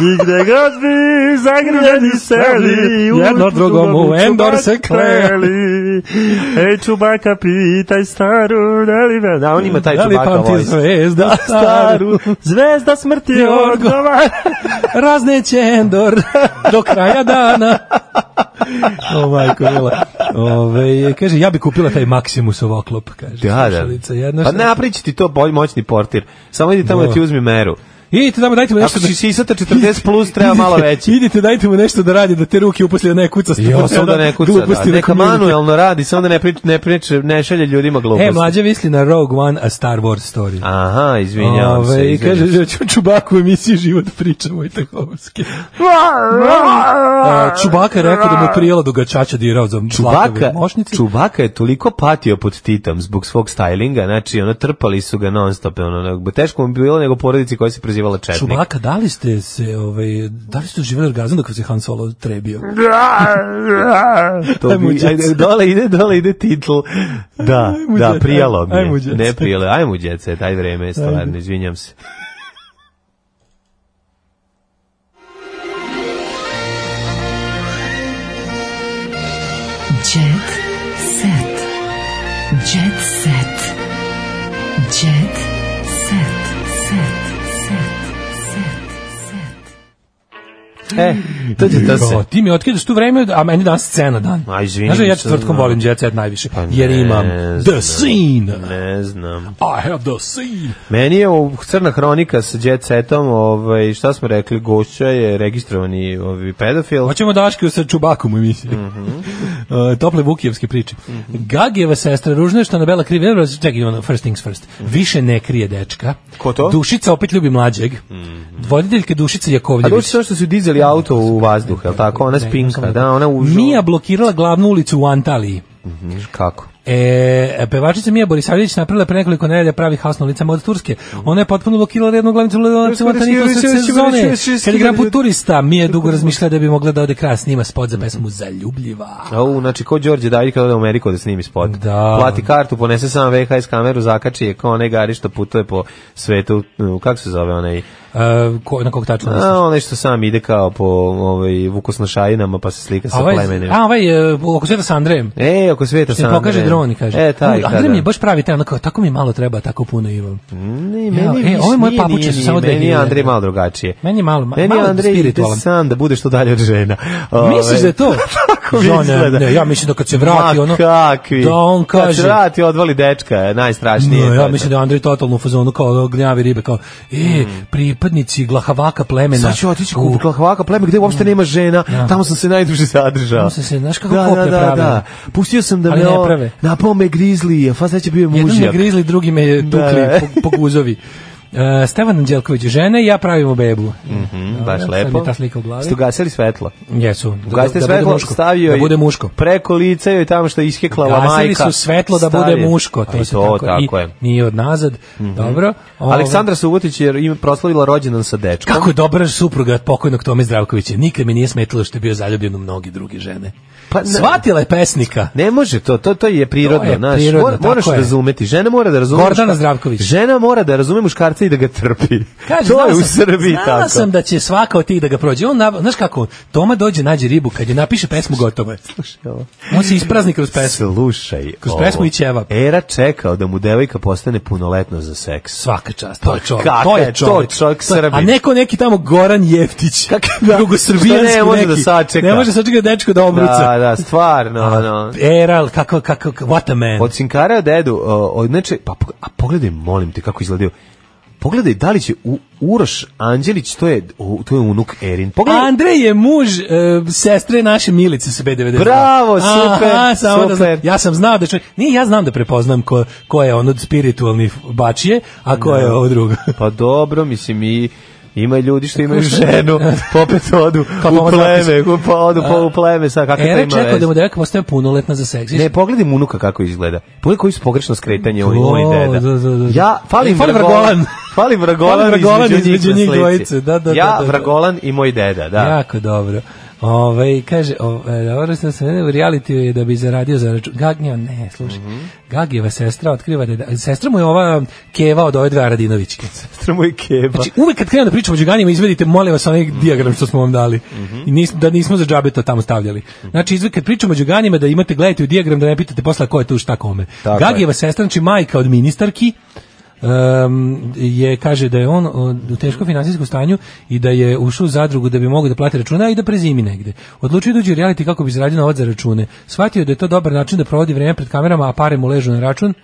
[SPEAKER 6] I gde god bi zagrljeni seli, u
[SPEAKER 5] Jedno drugom u
[SPEAKER 6] Čubaku
[SPEAKER 5] Endor se
[SPEAKER 6] kleli. Ej, Čubaka, pitaj staru, da li me... Da, on ima taj
[SPEAKER 5] Da li
[SPEAKER 6] Čubaka
[SPEAKER 5] pamti
[SPEAKER 6] voice.
[SPEAKER 5] zvezda staru?
[SPEAKER 6] zvezda smrti
[SPEAKER 5] Jorgova. Razneće Endor do kraja dana. O majko mila. Ove, kaže, ja bi kupila taj Maximusov oklop, kaže.
[SPEAKER 6] Da,
[SPEAKER 5] slušalica
[SPEAKER 6] da.
[SPEAKER 5] Jedna
[SPEAKER 6] Pa
[SPEAKER 5] šta-
[SPEAKER 6] napriči ti to bolj moćni portir. Samo idi tamo da ti uzmi meru.
[SPEAKER 5] Idite tamo, dajte mu nešto
[SPEAKER 6] Ako si sisata 40 plus, treba malo veći.
[SPEAKER 5] Idite, dajte mu nešto da radi, da te ruke uposli da ne kuca.
[SPEAKER 6] Jo, samo da ne kuca,
[SPEAKER 5] Gluposti E,
[SPEAKER 6] da. Neka
[SPEAKER 5] komunike.
[SPEAKER 6] manuelno radi, samo da ne prič, ne prič, ne šalje ljudima gluposti.
[SPEAKER 5] E, mlađe visli na Rogue One, a Star Wars story.
[SPEAKER 6] Aha, izvinjavam
[SPEAKER 5] Ove,
[SPEAKER 6] se.
[SPEAKER 5] I kaže, da ću čubaku u emisiji život pričamo i tahovski. A, Čubaka je rekao da mu je prijela dugačača dirao za
[SPEAKER 6] Čubaka,
[SPEAKER 5] zlatove mošnice.
[SPEAKER 6] Čubaka je toliko patio pod Titom zbog svog stylinga, znači ono trpali su ga non stop, ono, ono, teško mu je bilo nego porodici koja se prezivala Četnik.
[SPEAKER 5] Čubaka, da li ste se, ovaj, da li ste živjeli orgazam dok vas je Han Solo trebio?
[SPEAKER 6] to
[SPEAKER 5] Ajmo,
[SPEAKER 6] bi,
[SPEAKER 5] djeca.
[SPEAKER 6] ajde, dole ide, dole ide titl. Da,
[SPEAKER 5] Ajmo,
[SPEAKER 6] da,
[SPEAKER 5] djeca.
[SPEAKER 6] prijalo mi je.
[SPEAKER 5] Ajmo, djeca.
[SPEAKER 6] Ne prijalo, ajmo djece, taj vreme je stvarno, izvinjam se.
[SPEAKER 4] Jet set. Jet set. Jet set. Set. Set. Set. Set.
[SPEAKER 6] E, to će to se.
[SPEAKER 5] Jo, ti mi otkidaš tu vreme, a meni danas scena dan.
[SPEAKER 6] Aj, izvinim
[SPEAKER 5] Znaš da ja
[SPEAKER 6] se,
[SPEAKER 5] četvrtkom
[SPEAKER 6] da.
[SPEAKER 5] volim Jet Set najviše,
[SPEAKER 6] Pa
[SPEAKER 5] jer
[SPEAKER 6] ne
[SPEAKER 5] imam
[SPEAKER 6] znam.
[SPEAKER 5] The Scene.
[SPEAKER 6] Ne znam.
[SPEAKER 5] I have the scene.
[SPEAKER 6] Meni je u crna hronika sa Jet Setom, ovaj, šta smo rekli, gošća je registrovani ovaj, pedofil.
[SPEAKER 5] Hoćemo daške sa Čubakom u emisiji. Uh, tople Vukijevske priče. Gagijeva sestra ružna je što Anabela krivi, evo, čekaj, ono, first things first. Više ne krije dečka.
[SPEAKER 6] Ko to?
[SPEAKER 5] Dušica opet ljubi mlađeg. Voditeljka Mhm. Dušica
[SPEAKER 6] A
[SPEAKER 5] Jakovljević.
[SPEAKER 6] doći to ono što su dizeli auto u vazduh, je li tako? Ona spinka, da, ona u...
[SPEAKER 5] Mija blokirala glavnu ulicu u Antaliji.
[SPEAKER 6] Mhm, Kako?
[SPEAKER 5] E, pevačica Mija Borisavljević napravila pre nekoliko nedelja pravi hasno licama od Turske. Ona je potpuno blokirala jednu glavnicu glavnicu u Antaliji tokom sezone. Kad igra put turista, Mija je dugo razmišljala da bi mogla da ode kraja snima spot za pesmu Zaljubljiva.
[SPEAKER 6] Au, znači ko Đorđe David kada ode u Ameriku da snimi spot.
[SPEAKER 5] Da.
[SPEAKER 6] Plati kartu, ponese sam VHS kameru, zakači je kao onaj gari što putuje po svetu, u- kako se zove onaj,
[SPEAKER 5] E, ko, na kog tačno misliš?
[SPEAKER 6] a, onaj što sam ide kao po ovaj, vukosnošajinama pa se slika sa
[SPEAKER 5] A ovaj,
[SPEAKER 6] plemenima.
[SPEAKER 5] a ovaj, e, oko sveta sa Andrejem.
[SPEAKER 6] E, oko sveta
[SPEAKER 5] Što
[SPEAKER 6] sam.
[SPEAKER 5] mi pokaže
[SPEAKER 6] ne,
[SPEAKER 5] dron Peroni kaže.
[SPEAKER 6] E, taj,
[SPEAKER 5] Andrej mi je baš pravi taj, onako, tako mi malo treba, tako puno imam.
[SPEAKER 6] Ne,
[SPEAKER 5] Ja,
[SPEAKER 6] meni
[SPEAKER 5] e,
[SPEAKER 6] više
[SPEAKER 5] ovo je moje
[SPEAKER 6] nije,
[SPEAKER 5] papuče
[SPEAKER 6] nije,
[SPEAKER 5] su
[SPEAKER 6] nije,
[SPEAKER 5] samo
[SPEAKER 6] Meni je
[SPEAKER 5] 2000.
[SPEAKER 6] Andrej malo drugačije.
[SPEAKER 5] Meni je malo, ma-
[SPEAKER 6] Meni je
[SPEAKER 5] malo
[SPEAKER 6] Andrej
[SPEAKER 5] spiritualan.
[SPEAKER 6] san da bude što dalje od žena. Ovaj,
[SPEAKER 5] Misliš da je to?
[SPEAKER 6] Tako mi
[SPEAKER 5] Ja ne,
[SPEAKER 6] izgleda.
[SPEAKER 5] ne, ja mislim da kad se vrati
[SPEAKER 6] Ma
[SPEAKER 5] ono-
[SPEAKER 6] kakvi.
[SPEAKER 5] da on
[SPEAKER 6] Kad se
[SPEAKER 5] kaže-
[SPEAKER 6] vrati, odvali dečka, je najstrašnije.
[SPEAKER 5] No,
[SPEAKER 6] To
[SPEAKER 5] ja
[SPEAKER 6] je
[SPEAKER 5] mislim da je Andrej totalno u fazonu kao ono gnjavi ribe, kao, e, pripadnici glahavaka plemena.
[SPEAKER 6] Hmm. Sad ću otići kod Klahvaka pleme gde uopšte nema žena, tamo sam se najduže zadržao.
[SPEAKER 5] Tamo sam se, znaš kako
[SPEAKER 6] da,
[SPEAKER 5] koplja
[SPEAKER 6] da, da,
[SPEAKER 5] prave.
[SPEAKER 6] da. Pustio sam da
[SPEAKER 5] Ali
[SPEAKER 6] me
[SPEAKER 5] ne
[SPEAKER 6] on,
[SPEAKER 5] prave.
[SPEAKER 6] napao me grizli, a fa sreće bio je mužjak.
[SPEAKER 5] Jedan me grizli, drugi me je tukli
[SPEAKER 6] Da.
[SPEAKER 5] po, po guzovi. E, Stevan Anđelković, žene i ja pravimo bebu.
[SPEAKER 6] Mhm,
[SPEAKER 5] Da,
[SPEAKER 6] baš
[SPEAKER 5] sad mi je
[SPEAKER 6] lepo.
[SPEAKER 5] ta slika u glavi.
[SPEAKER 6] Ste ugasili svetlo.
[SPEAKER 5] Jesu. da-
[SPEAKER 6] Ugasite
[SPEAKER 5] da bude
[SPEAKER 6] svetlo,
[SPEAKER 5] muško.
[SPEAKER 6] stavio
[SPEAKER 5] Da
[SPEAKER 6] je-
[SPEAKER 5] bude muško.
[SPEAKER 6] Preko lica joj tamo što je isheklala
[SPEAKER 5] Gasili
[SPEAKER 6] majka.
[SPEAKER 5] su svetlo da bude
[SPEAKER 6] Stavi-
[SPEAKER 5] muško,
[SPEAKER 6] A
[SPEAKER 5] to se
[SPEAKER 6] to,
[SPEAKER 5] tako, i,
[SPEAKER 6] je. Mhm.
[SPEAKER 5] nije od nazad, dobro. Ovo-
[SPEAKER 6] Aleksandra Subotić je im proslavila rođendan sa dečkom.
[SPEAKER 5] Kako je dobra supruga od pokojnog Tome Zdravkovića. Nikad mi nije smetilo što je bio zaljubljen u mnoge druge žene.
[SPEAKER 6] Pa, ne-
[SPEAKER 5] Shvatila je pesnika.
[SPEAKER 6] Ne može to, to, to je prirodno,
[SPEAKER 5] To je
[SPEAKER 6] znaš,
[SPEAKER 5] prirodno,
[SPEAKER 6] mora- moraš
[SPEAKER 5] tako je.
[SPEAKER 6] razumeti, žena mora da razume
[SPEAKER 5] Gordana
[SPEAKER 6] muška-
[SPEAKER 5] Zdravković.
[SPEAKER 6] Žena mora da razume muškarca i da ga trpi.
[SPEAKER 5] Kaže,
[SPEAKER 6] to
[SPEAKER 5] znala
[SPEAKER 6] je u
[SPEAKER 5] sam-
[SPEAKER 6] Srbiji
[SPEAKER 5] znala
[SPEAKER 6] tako.
[SPEAKER 5] sam da će svaka od tih da ga prođe. On, nab- znaš kako, Toma dođe, nađe ribu, kad je napiše pesmu, gotovo je. On se isprazni kroz pesmu.
[SPEAKER 6] Slušaj,
[SPEAKER 5] Kroz
[SPEAKER 6] ovo.
[SPEAKER 5] pesmu i ćevap.
[SPEAKER 6] Era čekao da mu devojka postane punoletna za seks.
[SPEAKER 5] Svaka čast, to je čovjek.
[SPEAKER 6] Pa kakav
[SPEAKER 5] To
[SPEAKER 6] je
[SPEAKER 5] je
[SPEAKER 6] to
[SPEAKER 5] čovjek.
[SPEAKER 6] čovjek
[SPEAKER 5] To je-
[SPEAKER 6] Srbin.
[SPEAKER 5] A neko neki tamo Goran Jeftić. Drugosrbijanski
[SPEAKER 6] Šta ne može
[SPEAKER 5] neki.
[SPEAKER 6] da sačeka?
[SPEAKER 5] Ne može sačeka dečko da obruca.
[SPEAKER 6] Da, da, stvarno, ono.
[SPEAKER 5] Eral, kako, kako, what a man.
[SPEAKER 6] Od Sinkara dedu, o, od neče, pa pog- a pogledaj, molim te kako izgledaju. Pogledaj da li će u, Uroš Anđelić, to je u- to je unuk Erin. Pogledaj.
[SPEAKER 5] Andrej je muž e, sestre naše Milice sa B92.
[SPEAKER 6] Bravo, super,
[SPEAKER 5] Aha, samo da
[SPEAKER 6] super.
[SPEAKER 5] znam. ja sam znao da čovjek, nije, ja znam da prepoznam ko, ko je on od spiritualnih bačije, a ko je ovo drugo.
[SPEAKER 6] Pa dobro, mislim i ima ljudi što imaju ženu, popet odu
[SPEAKER 5] Kao
[SPEAKER 6] u
[SPEAKER 5] Toma Zapis.
[SPEAKER 6] pleme, u- pa odu pa u pleme, sa kakve to
[SPEAKER 5] Ere
[SPEAKER 6] ima
[SPEAKER 5] čekao
[SPEAKER 6] veze?
[SPEAKER 5] da mu devojka postaje punoletna za seks.
[SPEAKER 6] Ne, pogledaj mu unuka kako izgleda. Pogledaj koji su pogrešno skretanje oni,
[SPEAKER 5] O,
[SPEAKER 6] oni deda.
[SPEAKER 5] da, da, da.
[SPEAKER 6] Ja, falim
[SPEAKER 5] Fali
[SPEAKER 6] Vragolan.
[SPEAKER 5] Vragolan.
[SPEAKER 6] Falim Vragolan,
[SPEAKER 5] Fali Vragolan
[SPEAKER 6] između,
[SPEAKER 5] između
[SPEAKER 6] njih
[SPEAKER 5] njih
[SPEAKER 6] na slici.
[SPEAKER 5] dvojice, da, da,
[SPEAKER 6] ja,
[SPEAKER 5] da, da, da.
[SPEAKER 6] Vragolan i moj deda, da.
[SPEAKER 5] Jako dobro. Ove, kaže, o, e, dobro ste se u reality je da bi zaradio za račun. Gagnja, ne, slušaj.
[SPEAKER 6] Mhm.
[SPEAKER 5] Gagijeva sestra otkriva da, je da sestra mu je ova um, keva od ove dve Aradinovićke.
[SPEAKER 6] Sestra mu je keba.
[SPEAKER 5] Znači, uvek kad krenu da pričamo o Đuganima, izvedite, molim vas, onaj dijagram što smo vam dali. I nis, da nismo za džabe to tamo stavljali. Znači, izvek kad pričamo o Đuganima, da imate, gledajte u dijagram, da ne pitate posla ko je tu šta kome.
[SPEAKER 6] Tako
[SPEAKER 5] Gagijeva sestra, znači majka od ministarki, em, je kaže da je on o, u teškom finansijskom stanju i da je ušao u zadrugu da bi mogao da plati račune a i da prezimi negde. Odlučio je da uđe u reality kako bi zaradio novac za račune. Shvatio je da je to dobar način da provodi vreme pred kamerama, a pare mu ležu na račun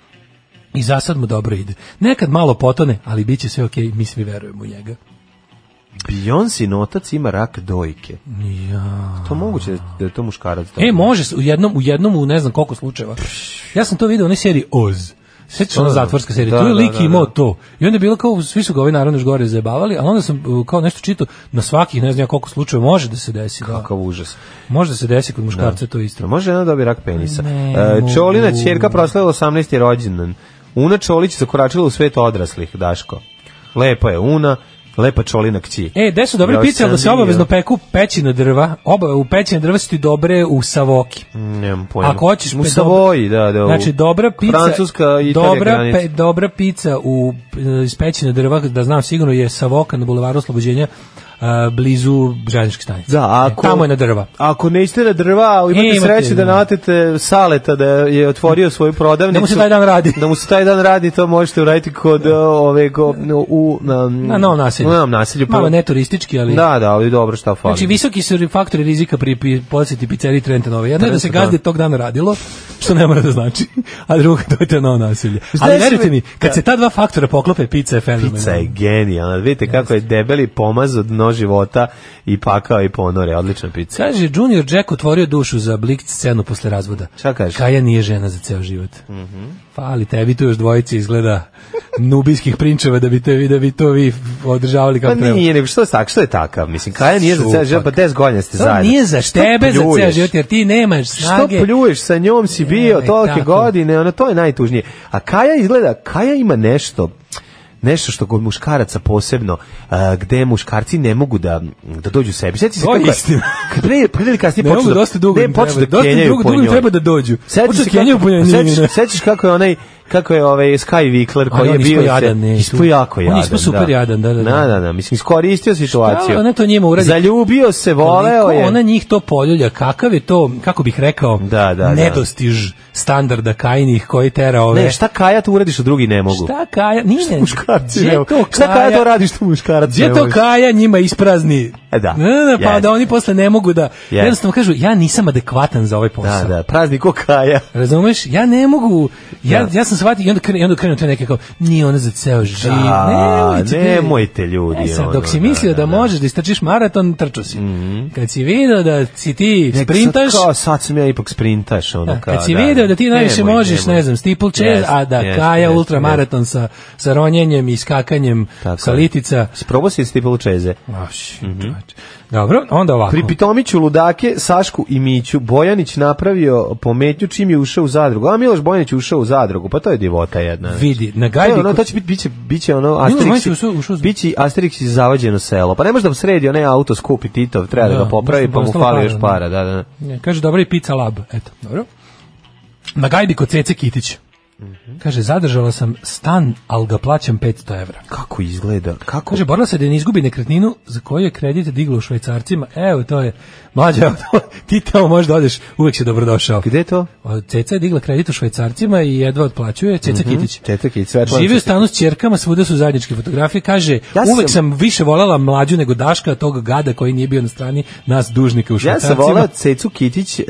[SPEAKER 5] i za sad mu dobro ide. Nekad malo potone, ali bit će sve okej, mi svi verujemo u njega.
[SPEAKER 6] Beyoncé otac ima rak dojke.
[SPEAKER 5] Ja.
[SPEAKER 6] To moguće da- da je to muškarac.
[SPEAKER 5] E, može, se, u jednom, u jednom, u ne znam koliko slučajeva. Ja sam to vidio u onoj seriji Oz. Sjećaš se ona
[SPEAKER 6] Da,
[SPEAKER 5] zatvorska serija,
[SPEAKER 6] da,
[SPEAKER 5] tu
[SPEAKER 6] da,
[SPEAKER 5] je lik
[SPEAKER 6] da, da.
[SPEAKER 5] imao to. I onda je bilo kao, svi su ga ovi naravno još gore zajebavali, ali onda sam uh, kao nešto čitao, na svakih ne znam ja koliko slučajeva može da se desi. Da.
[SPEAKER 6] Kakav užas.
[SPEAKER 5] Može da se desi kod muškarca to
[SPEAKER 6] Da
[SPEAKER 5] isto.
[SPEAKER 6] Pa Može žena dobije rak penisa.
[SPEAKER 5] Ne
[SPEAKER 6] E,
[SPEAKER 5] mogu.
[SPEAKER 6] Čolina ćerka proslavila 18. rođendan. Una Čolić zakoračila u svet odraslih, Daško. Lepa je Una, lepa Čolina kći.
[SPEAKER 5] E, gde su dobre
[SPEAKER 6] Još
[SPEAKER 5] pice, ali da se
[SPEAKER 6] sam
[SPEAKER 5] obavezno
[SPEAKER 6] bio.
[SPEAKER 5] peku pećina drva, oba, u pećina drva su ti dobre u savoki.
[SPEAKER 6] Nemam pojma.
[SPEAKER 5] Ako hoćeš
[SPEAKER 6] u
[SPEAKER 5] pe-
[SPEAKER 6] Savoji, da, da. u-
[SPEAKER 5] Znači dobra pizza,
[SPEAKER 6] Francuska i Italija
[SPEAKER 5] dobra
[SPEAKER 6] granica.
[SPEAKER 5] pe- dobra pizza u e, iz pećine drva, da znam sigurno je Savoka na bulevaru Oslobođenja e, blizu željezničke stanice.
[SPEAKER 6] Da, ako,
[SPEAKER 5] E, tamo je na drva.
[SPEAKER 6] Ako ne iste na drva, imate,
[SPEAKER 5] E, imate,
[SPEAKER 6] sreće da
[SPEAKER 5] da.
[SPEAKER 6] natete Saleta da je otvorio svoju prodavnicu.
[SPEAKER 5] Da mu se taj dan radi.
[SPEAKER 6] Da mu se taj dan radi, to možete uraditi kod o, ove go- u na,
[SPEAKER 5] Na novom naselju.
[SPEAKER 6] U novom naselju.
[SPEAKER 5] Malo neturistički, ali
[SPEAKER 6] Da, da, ali dobro šta fali.
[SPEAKER 5] Znači, visok- visoki su faktori rizika pri, pri posjeti pizzeriji Trenta Nove. Jedno je da se
[SPEAKER 6] Trenta,
[SPEAKER 5] gazde
[SPEAKER 6] da.
[SPEAKER 5] tog dana radilo, što ne mora da znači, a drugo to je novo nasilje.
[SPEAKER 6] Znaš
[SPEAKER 5] Ali
[SPEAKER 6] mi-
[SPEAKER 5] verujte mi, kad
[SPEAKER 6] Da.
[SPEAKER 5] se ta dva faktora poklope, pizza je ono, fenomenalna.
[SPEAKER 6] Pizza je genijalna. Vidite kako je debeli pomaz od dno života i pakao i ponore. Odlična pizza.
[SPEAKER 5] Kaže, Junior Jack otvorio dušu za Blikt scenu posle razvoda.
[SPEAKER 6] Šta Mhm. kažeš?
[SPEAKER 5] Kaja nije žena za ceo život. Fali tebi tu još dvojici izgleda nubijskih prinčeva da bi, te, da bi to vi održavali
[SPEAKER 6] Pa
[SPEAKER 5] kako treba.
[SPEAKER 6] nije, nego što je tak, što je takav? Mislim, Kaja nije za ceo život, pa 10 godina ste
[SPEAKER 5] To
[SPEAKER 6] zajedno.
[SPEAKER 5] nije za
[SPEAKER 6] Što
[SPEAKER 5] tebe za ceo
[SPEAKER 6] pljuješ?
[SPEAKER 5] život, jer ti nemaš
[SPEAKER 6] Što
[SPEAKER 5] snage.
[SPEAKER 6] pljuješ, sa njom si bio
[SPEAKER 5] Nemoj
[SPEAKER 6] tolke
[SPEAKER 5] tako.
[SPEAKER 6] godine, ono, to je najtužnije. A Kaja izgleda, Kaja ima nešto, nešto što kod muškaraca posebno, uh, gde muškarci ne mogu da, da dođu sebi. Sjeti se
[SPEAKER 5] To je
[SPEAKER 6] kako...
[SPEAKER 5] istina.
[SPEAKER 6] Kad pre, pre ili kasnije
[SPEAKER 5] Ne
[SPEAKER 6] počnu
[SPEAKER 5] mogu,
[SPEAKER 6] da,
[SPEAKER 5] dosta dugo
[SPEAKER 6] ne,
[SPEAKER 5] im
[SPEAKER 6] počnu
[SPEAKER 5] treba,
[SPEAKER 6] da
[SPEAKER 5] dosta
[SPEAKER 6] kenjaju
[SPEAKER 5] dugo-
[SPEAKER 6] po
[SPEAKER 5] dugo im
[SPEAKER 6] njoj.
[SPEAKER 5] treba da dođu.
[SPEAKER 6] Sjeti
[SPEAKER 5] Počnu
[SPEAKER 6] se
[SPEAKER 5] kenjaju
[SPEAKER 6] kako-
[SPEAKER 5] po njoj,
[SPEAKER 6] sjetiš-
[SPEAKER 5] njene.
[SPEAKER 6] Sjetiš kako je onaj kako je ovaj Sky Vikler
[SPEAKER 5] Ali
[SPEAKER 6] koji je
[SPEAKER 5] on ispao
[SPEAKER 6] bio
[SPEAKER 5] jadan, ne,
[SPEAKER 6] ispo
[SPEAKER 5] tu.
[SPEAKER 6] jako
[SPEAKER 5] On
[SPEAKER 6] jadan.
[SPEAKER 5] ispao super
[SPEAKER 6] da.
[SPEAKER 5] jadan, da, da, da.
[SPEAKER 6] Da, da, da, mislim iskoristio situaciju.
[SPEAKER 5] Šta ona to njima uradi?
[SPEAKER 6] Zaljubio se, voleo
[SPEAKER 5] Koliko
[SPEAKER 6] je.
[SPEAKER 5] Ona njih to poljulja, kakav je to, kako bih rekao,
[SPEAKER 6] Da, da, da.
[SPEAKER 5] nedostiž standarda kajnih koji tera ove...
[SPEAKER 6] Ne, šta Kaja tu uradi što drugi ne mogu?
[SPEAKER 5] Šta Kaja? Nije. Šta
[SPEAKER 6] muškarci ne mogu? Šta Kaja to radi što muškarac ne
[SPEAKER 5] Gdje to
[SPEAKER 6] može?
[SPEAKER 5] Kaja njima isprazni?
[SPEAKER 6] E, da.
[SPEAKER 5] Ne, ne, ne, pa
[SPEAKER 6] Jeste.
[SPEAKER 5] da oni posle ne mogu da...
[SPEAKER 6] Jeste.
[SPEAKER 5] Jednostavno kažu, ja nisam adekvatan za ovaj posao.
[SPEAKER 6] Da, da, prazni ko Kaja.
[SPEAKER 5] Razumeš? Ja ne mogu, ja,
[SPEAKER 6] Da.
[SPEAKER 5] ja sam shvatio i onda, krenu, i onda krenu te neke kao, nije ona za ceo živ.
[SPEAKER 6] Da,
[SPEAKER 5] nemojte, bre.
[SPEAKER 6] nemojte, ljudi,
[SPEAKER 5] E sad,
[SPEAKER 6] ono,
[SPEAKER 5] dok si
[SPEAKER 6] da,
[SPEAKER 5] mislio
[SPEAKER 6] da, Mhm.
[SPEAKER 5] da, možeš da istrčiš maraton, trčao si. Kad si video da si ti
[SPEAKER 6] Nek
[SPEAKER 5] sprintaš,
[SPEAKER 6] Sad, kao, sad sam ja ipak sprintaš, ono
[SPEAKER 5] da,
[SPEAKER 6] kao.
[SPEAKER 5] kad si video da ti najviše
[SPEAKER 6] Nemoj,
[SPEAKER 5] možeš,
[SPEAKER 6] nemoj.
[SPEAKER 5] ne znam, steeple chase,
[SPEAKER 6] Jest,
[SPEAKER 5] a da
[SPEAKER 6] jest,
[SPEAKER 5] Kaja
[SPEAKER 6] jest,
[SPEAKER 5] ultramaraton sa, sa ronjenjem i skakanjem
[SPEAKER 6] Tako
[SPEAKER 5] sa
[SPEAKER 6] je.
[SPEAKER 5] litica.
[SPEAKER 6] jest. Sprobao si steeple chase.
[SPEAKER 5] Aš, čoveče. Dobro, onda ovako.
[SPEAKER 6] Pri Pitomiću, Ludake, Sašku i Miću, Bojanić napravio pometnju čim je ušao u zadrugu. A Miloš Bojanić je ušao u zadrugu, pa to je divota jedna.
[SPEAKER 5] Vidi, na
[SPEAKER 6] To, je
[SPEAKER 5] gajbi...
[SPEAKER 6] ono,
[SPEAKER 5] ko-
[SPEAKER 6] to će biti biće biće ono
[SPEAKER 5] Bojanić je ušao-
[SPEAKER 6] Asterix.
[SPEAKER 5] ušao u-
[SPEAKER 6] Biće Asterix i zavađeno selo. Pa ne može da mu sredi onaj auto skupi Titov, treba da,
[SPEAKER 5] Da,
[SPEAKER 6] ga popravi,
[SPEAKER 5] baš mu
[SPEAKER 6] pa mu
[SPEAKER 5] ostalo
[SPEAKER 6] fali
[SPEAKER 5] para,
[SPEAKER 6] još
[SPEAKER 5] da.
[SPEAKER 6] para, da, da.
[SPEAKER 5] Ne, kaže, dobro i pizza lab. Eto, dobro. Na gajbi kod Cece Kitić. Kaže, zadržala sam stan, ali ga plaćam 500 evra.
[SPEAKER 6] Kako izgleda? Kako?
[SPEAKER 5] Kaže, borila se da ne izgubi nekretninu za koju je kredit digla u švajcarcima. Evo, to je, mlađa, evo, ti tamo možda odeš, uvek si dobrodošao.
[SPEAKER 6] Gde je to?
[SPEAKER 5] O, Ceca je digla kredit u švajcarcima i jedva otplaćuje Ceca Kitić.
[SPEAKER 6] Četak i Svetlana.
[SPEAKER 5] Živi u stanu s ćerkama, svuda su zajedničke fotografije. Kaže,
[SPEAKER 6] Ja
[SPEAKER 5] uvek
[SPEAKER 6] sam-
[SPEAKER 5] sam više volela mlađu nego Daška, tog gada koji nije bio na strani nas dužnika u
[SPEAKER 6] Ja sam
[SPEAKER 5] švajcarcima.
[SPEAKER 6] volao Cecu Kitić uh,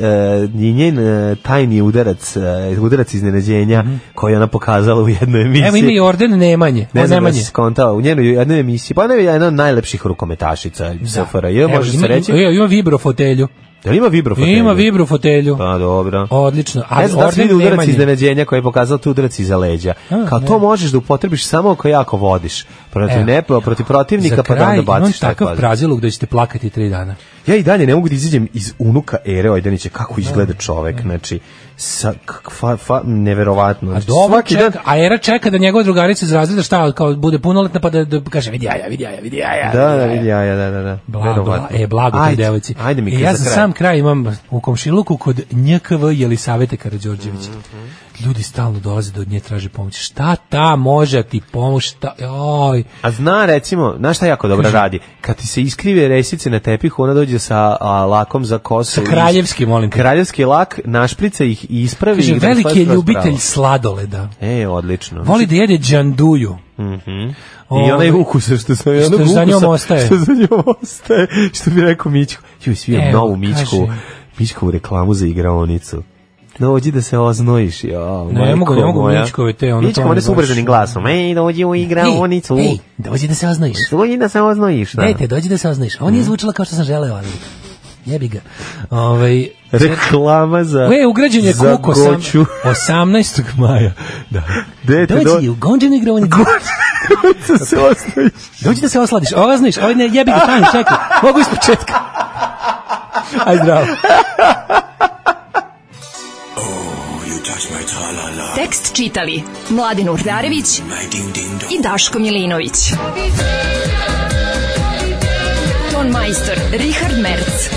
[SPEAKER 6] i njen e, tajni udarac, e, udarac iznenađenja koji je ona pokazala u jednoj emisiji.
[SPEAKER 5] Mhm. Evo ima i orden Nemanje.
[SPEAKER 6] Ne
[SPEAKER 5] O,
[SPEAKER 6] znam da
[SPEAKER 5] Nemanje.
[SPEAKER 6] si skontao, u njenoj jednoj emisiji, pa ona je jedna od najlepših rukometašica SFRJ,
[SPEAKER 5] Evo,
[SPEAKER 6] može
[SPEAKER 5] ima-
[SPEAKER 6] se reći.
[SPEAKER 5] Ima, ima vibro fotelju.
[SPEAKER 6] Da li ima vibrofotelju?
[SPEAKER 5] Ima vibro fotelju.
[SPEAKER 6] Pa dobro.
[SPEAKER 5] Odlično. Ali
[SPEAKER 6] Ne znam da li si
[SPEAKER 5] orden
[SPEAKER 6] vidio udarac
[SPEAKER 5] Nemanje.
[SPEAKER 6] iznenađenja koji je pokazao tu udarac iza leđa.
[SPEAKER 5] A,
[SPEAKER 6] Kao
[SPEAKER 5] ne.
[SPEAKER 6] to možeš da upotrebiš samo ako jako vodiš. Protiv
[SPEAKER 5] Evo.
[SPEAKER 6] ne, protiv
[SPEAKER 5] Za
[SPEAKER 6] protivnika pa da
[SPEAKER 5] kraj
[SPEAKER 6] onda
[SPEAKER 5] imam
[SPEAKER 6] baciš taj
[SPEAKER 5] takav
[SPEAKER 6] kvadrat.
[SPEAKER 5] prazilog da ćete plakati tri dana.
[SPEAKER 6] Ja i dalje ne mogu da izađem iz unuka Ere Ojdanića kako izgleda čovek, znači sa k- fa, fa, neverovatno.
[SPEAKER 5] A
[SPEAKER 6] Znači,
[SPEAKER 5] dobro
[SPEAKER 6] svaki
[SPEAKER 5] čeka,
[SPEAKER 6] dan
[SPEAKER 5] a Era čeka da njegova drugarica iz razreda šta, kao bude punoletna pa da, da kaže vidi jaja, vidi jaja, vidi jaja.
[SPEAKER 6] Da, da, vidi, ja, ja, da, da, da.
[SPEAKER 5] Blago, bla,
[SPEAKER 6] Neverovatno.
[SPEAKER 5] e, blago toj
[SPEAKER 6] Ajde,
[SPEAKER 5] devojci.
[SPEAKER 6] Ajde mi
[SPEAKER 5] e,
[SPEAKER 6] e,
[SPEAKER 5] ja za sam kraj imam u komšiluku kod NJKV Jelisavete Karadžorđevića.
[SPEAKER 6] Mhm.
[SPEAKER 5] Ljudi stalno dolaze da od nje traže pomoć. Šta ta može ti pomoć? Šta, joj,
[SPEAKER 6] A zna recimo, znaš šta jako dobro radi? Kad ti se iskrive resice na tepihu, ona dođe sa a, lakom za kosu.
[SPEAKER 5] Sa kraljevskim, molim te.
[SPEAKER 6] Kraljevski lak, našprica ih i ispravi.
[SPEAKER 5] Kaže,
[SPEAKER 6] ih da
[SPEAKER 5] veliki je
[SPEAKER 6] skroz
[SPEAKER 5] ljubitelj
[SPEAKER 6] pravo.
[SPEAKER 5] sladoleda.
[SPEAKER 6] E, odlično.
[SPEAKER 5] Voli da jede džanduju.
[SPEAKER 6] Mhm. I
[SPEAKER 5] Ovaj,
[SPEAKER 6] onaj ukus što se onog
[SPEAKER 5] što za
[SPEAKER 6] ukusa
[SPEAKER 5] njom ostaje.
[SPEAKER 6] Što za njom ostaje. Što bi rekao Mićko. Ju svi
[SPEAKER 5] Evo,
[SPEAKER 6] novu Mićku.
[SPEAKER 5] kaže.
[SPEAKER 6] Mićkovu reklamu za igraonicu. Dođi da se oznojiš, ja.
[SPEAKER 5] Ne
[SPEAKER 6] majko
[SPEAKER 5] mogu, ne mogu
[SPEAKER 6] moja.
[SPEAKER 5] Mićkove te, ono,
[SPEAKER 6] Mićko,
[SPEAKER 5] to mi
[SPEAKER 6] one su
[SPEAKER 5] baš-
[SPEAKER 6] ubrzanim glasom. Ej, dođi u igraonicu.
[SPEAKER 5] Ej, ej, dođi da se oznojiš.
[SPEAKER 6] Dođi da se oznojiš, da.
[SPEAKER 5] Dajte, dođi da se oznojiš.
[SPEAKER 6] Mhm.
[SPEAKER 5] Ovo nije zvučalo kao što sam želeo, ali jebi ga. Ovaj,
[SPEAKER 6] Reklama za
[SPEAKER 5] E, ugrađen je
[SPEAKER 6] za
[SPEAKER 5] kuk osam-
[SPEAKER 6] goću.
[SPEAKER 5] 18. maja. Da.
[SPEAKER 6] Dete,
[SPEAKER 5] Dođi
[SPEAKER 6] do-
[SPEAKER 5] u gondženu igraonicu.
[SPEAKER 6] Da se oznojiš.
[SPEAKER 5] Dođi da se osladiš. Ovo znaš, ovo ne, jebi ga, stani, čekaj. Mogu iz početka. Aj, zdravo.
[SPEAKER 4] Tekst čitali Mladin Urdarević i Daško Milinović. Ton majstor Richard Merc.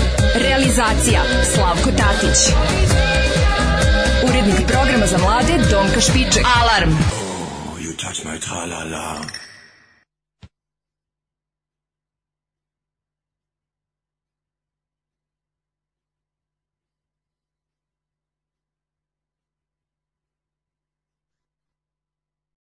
[SPEAKER 4] Realizacija Slavko Tatić. Urednik programa za mlade Donka Špiček. Alarm!
[SPEAKER 14] You touch my tra-la-la.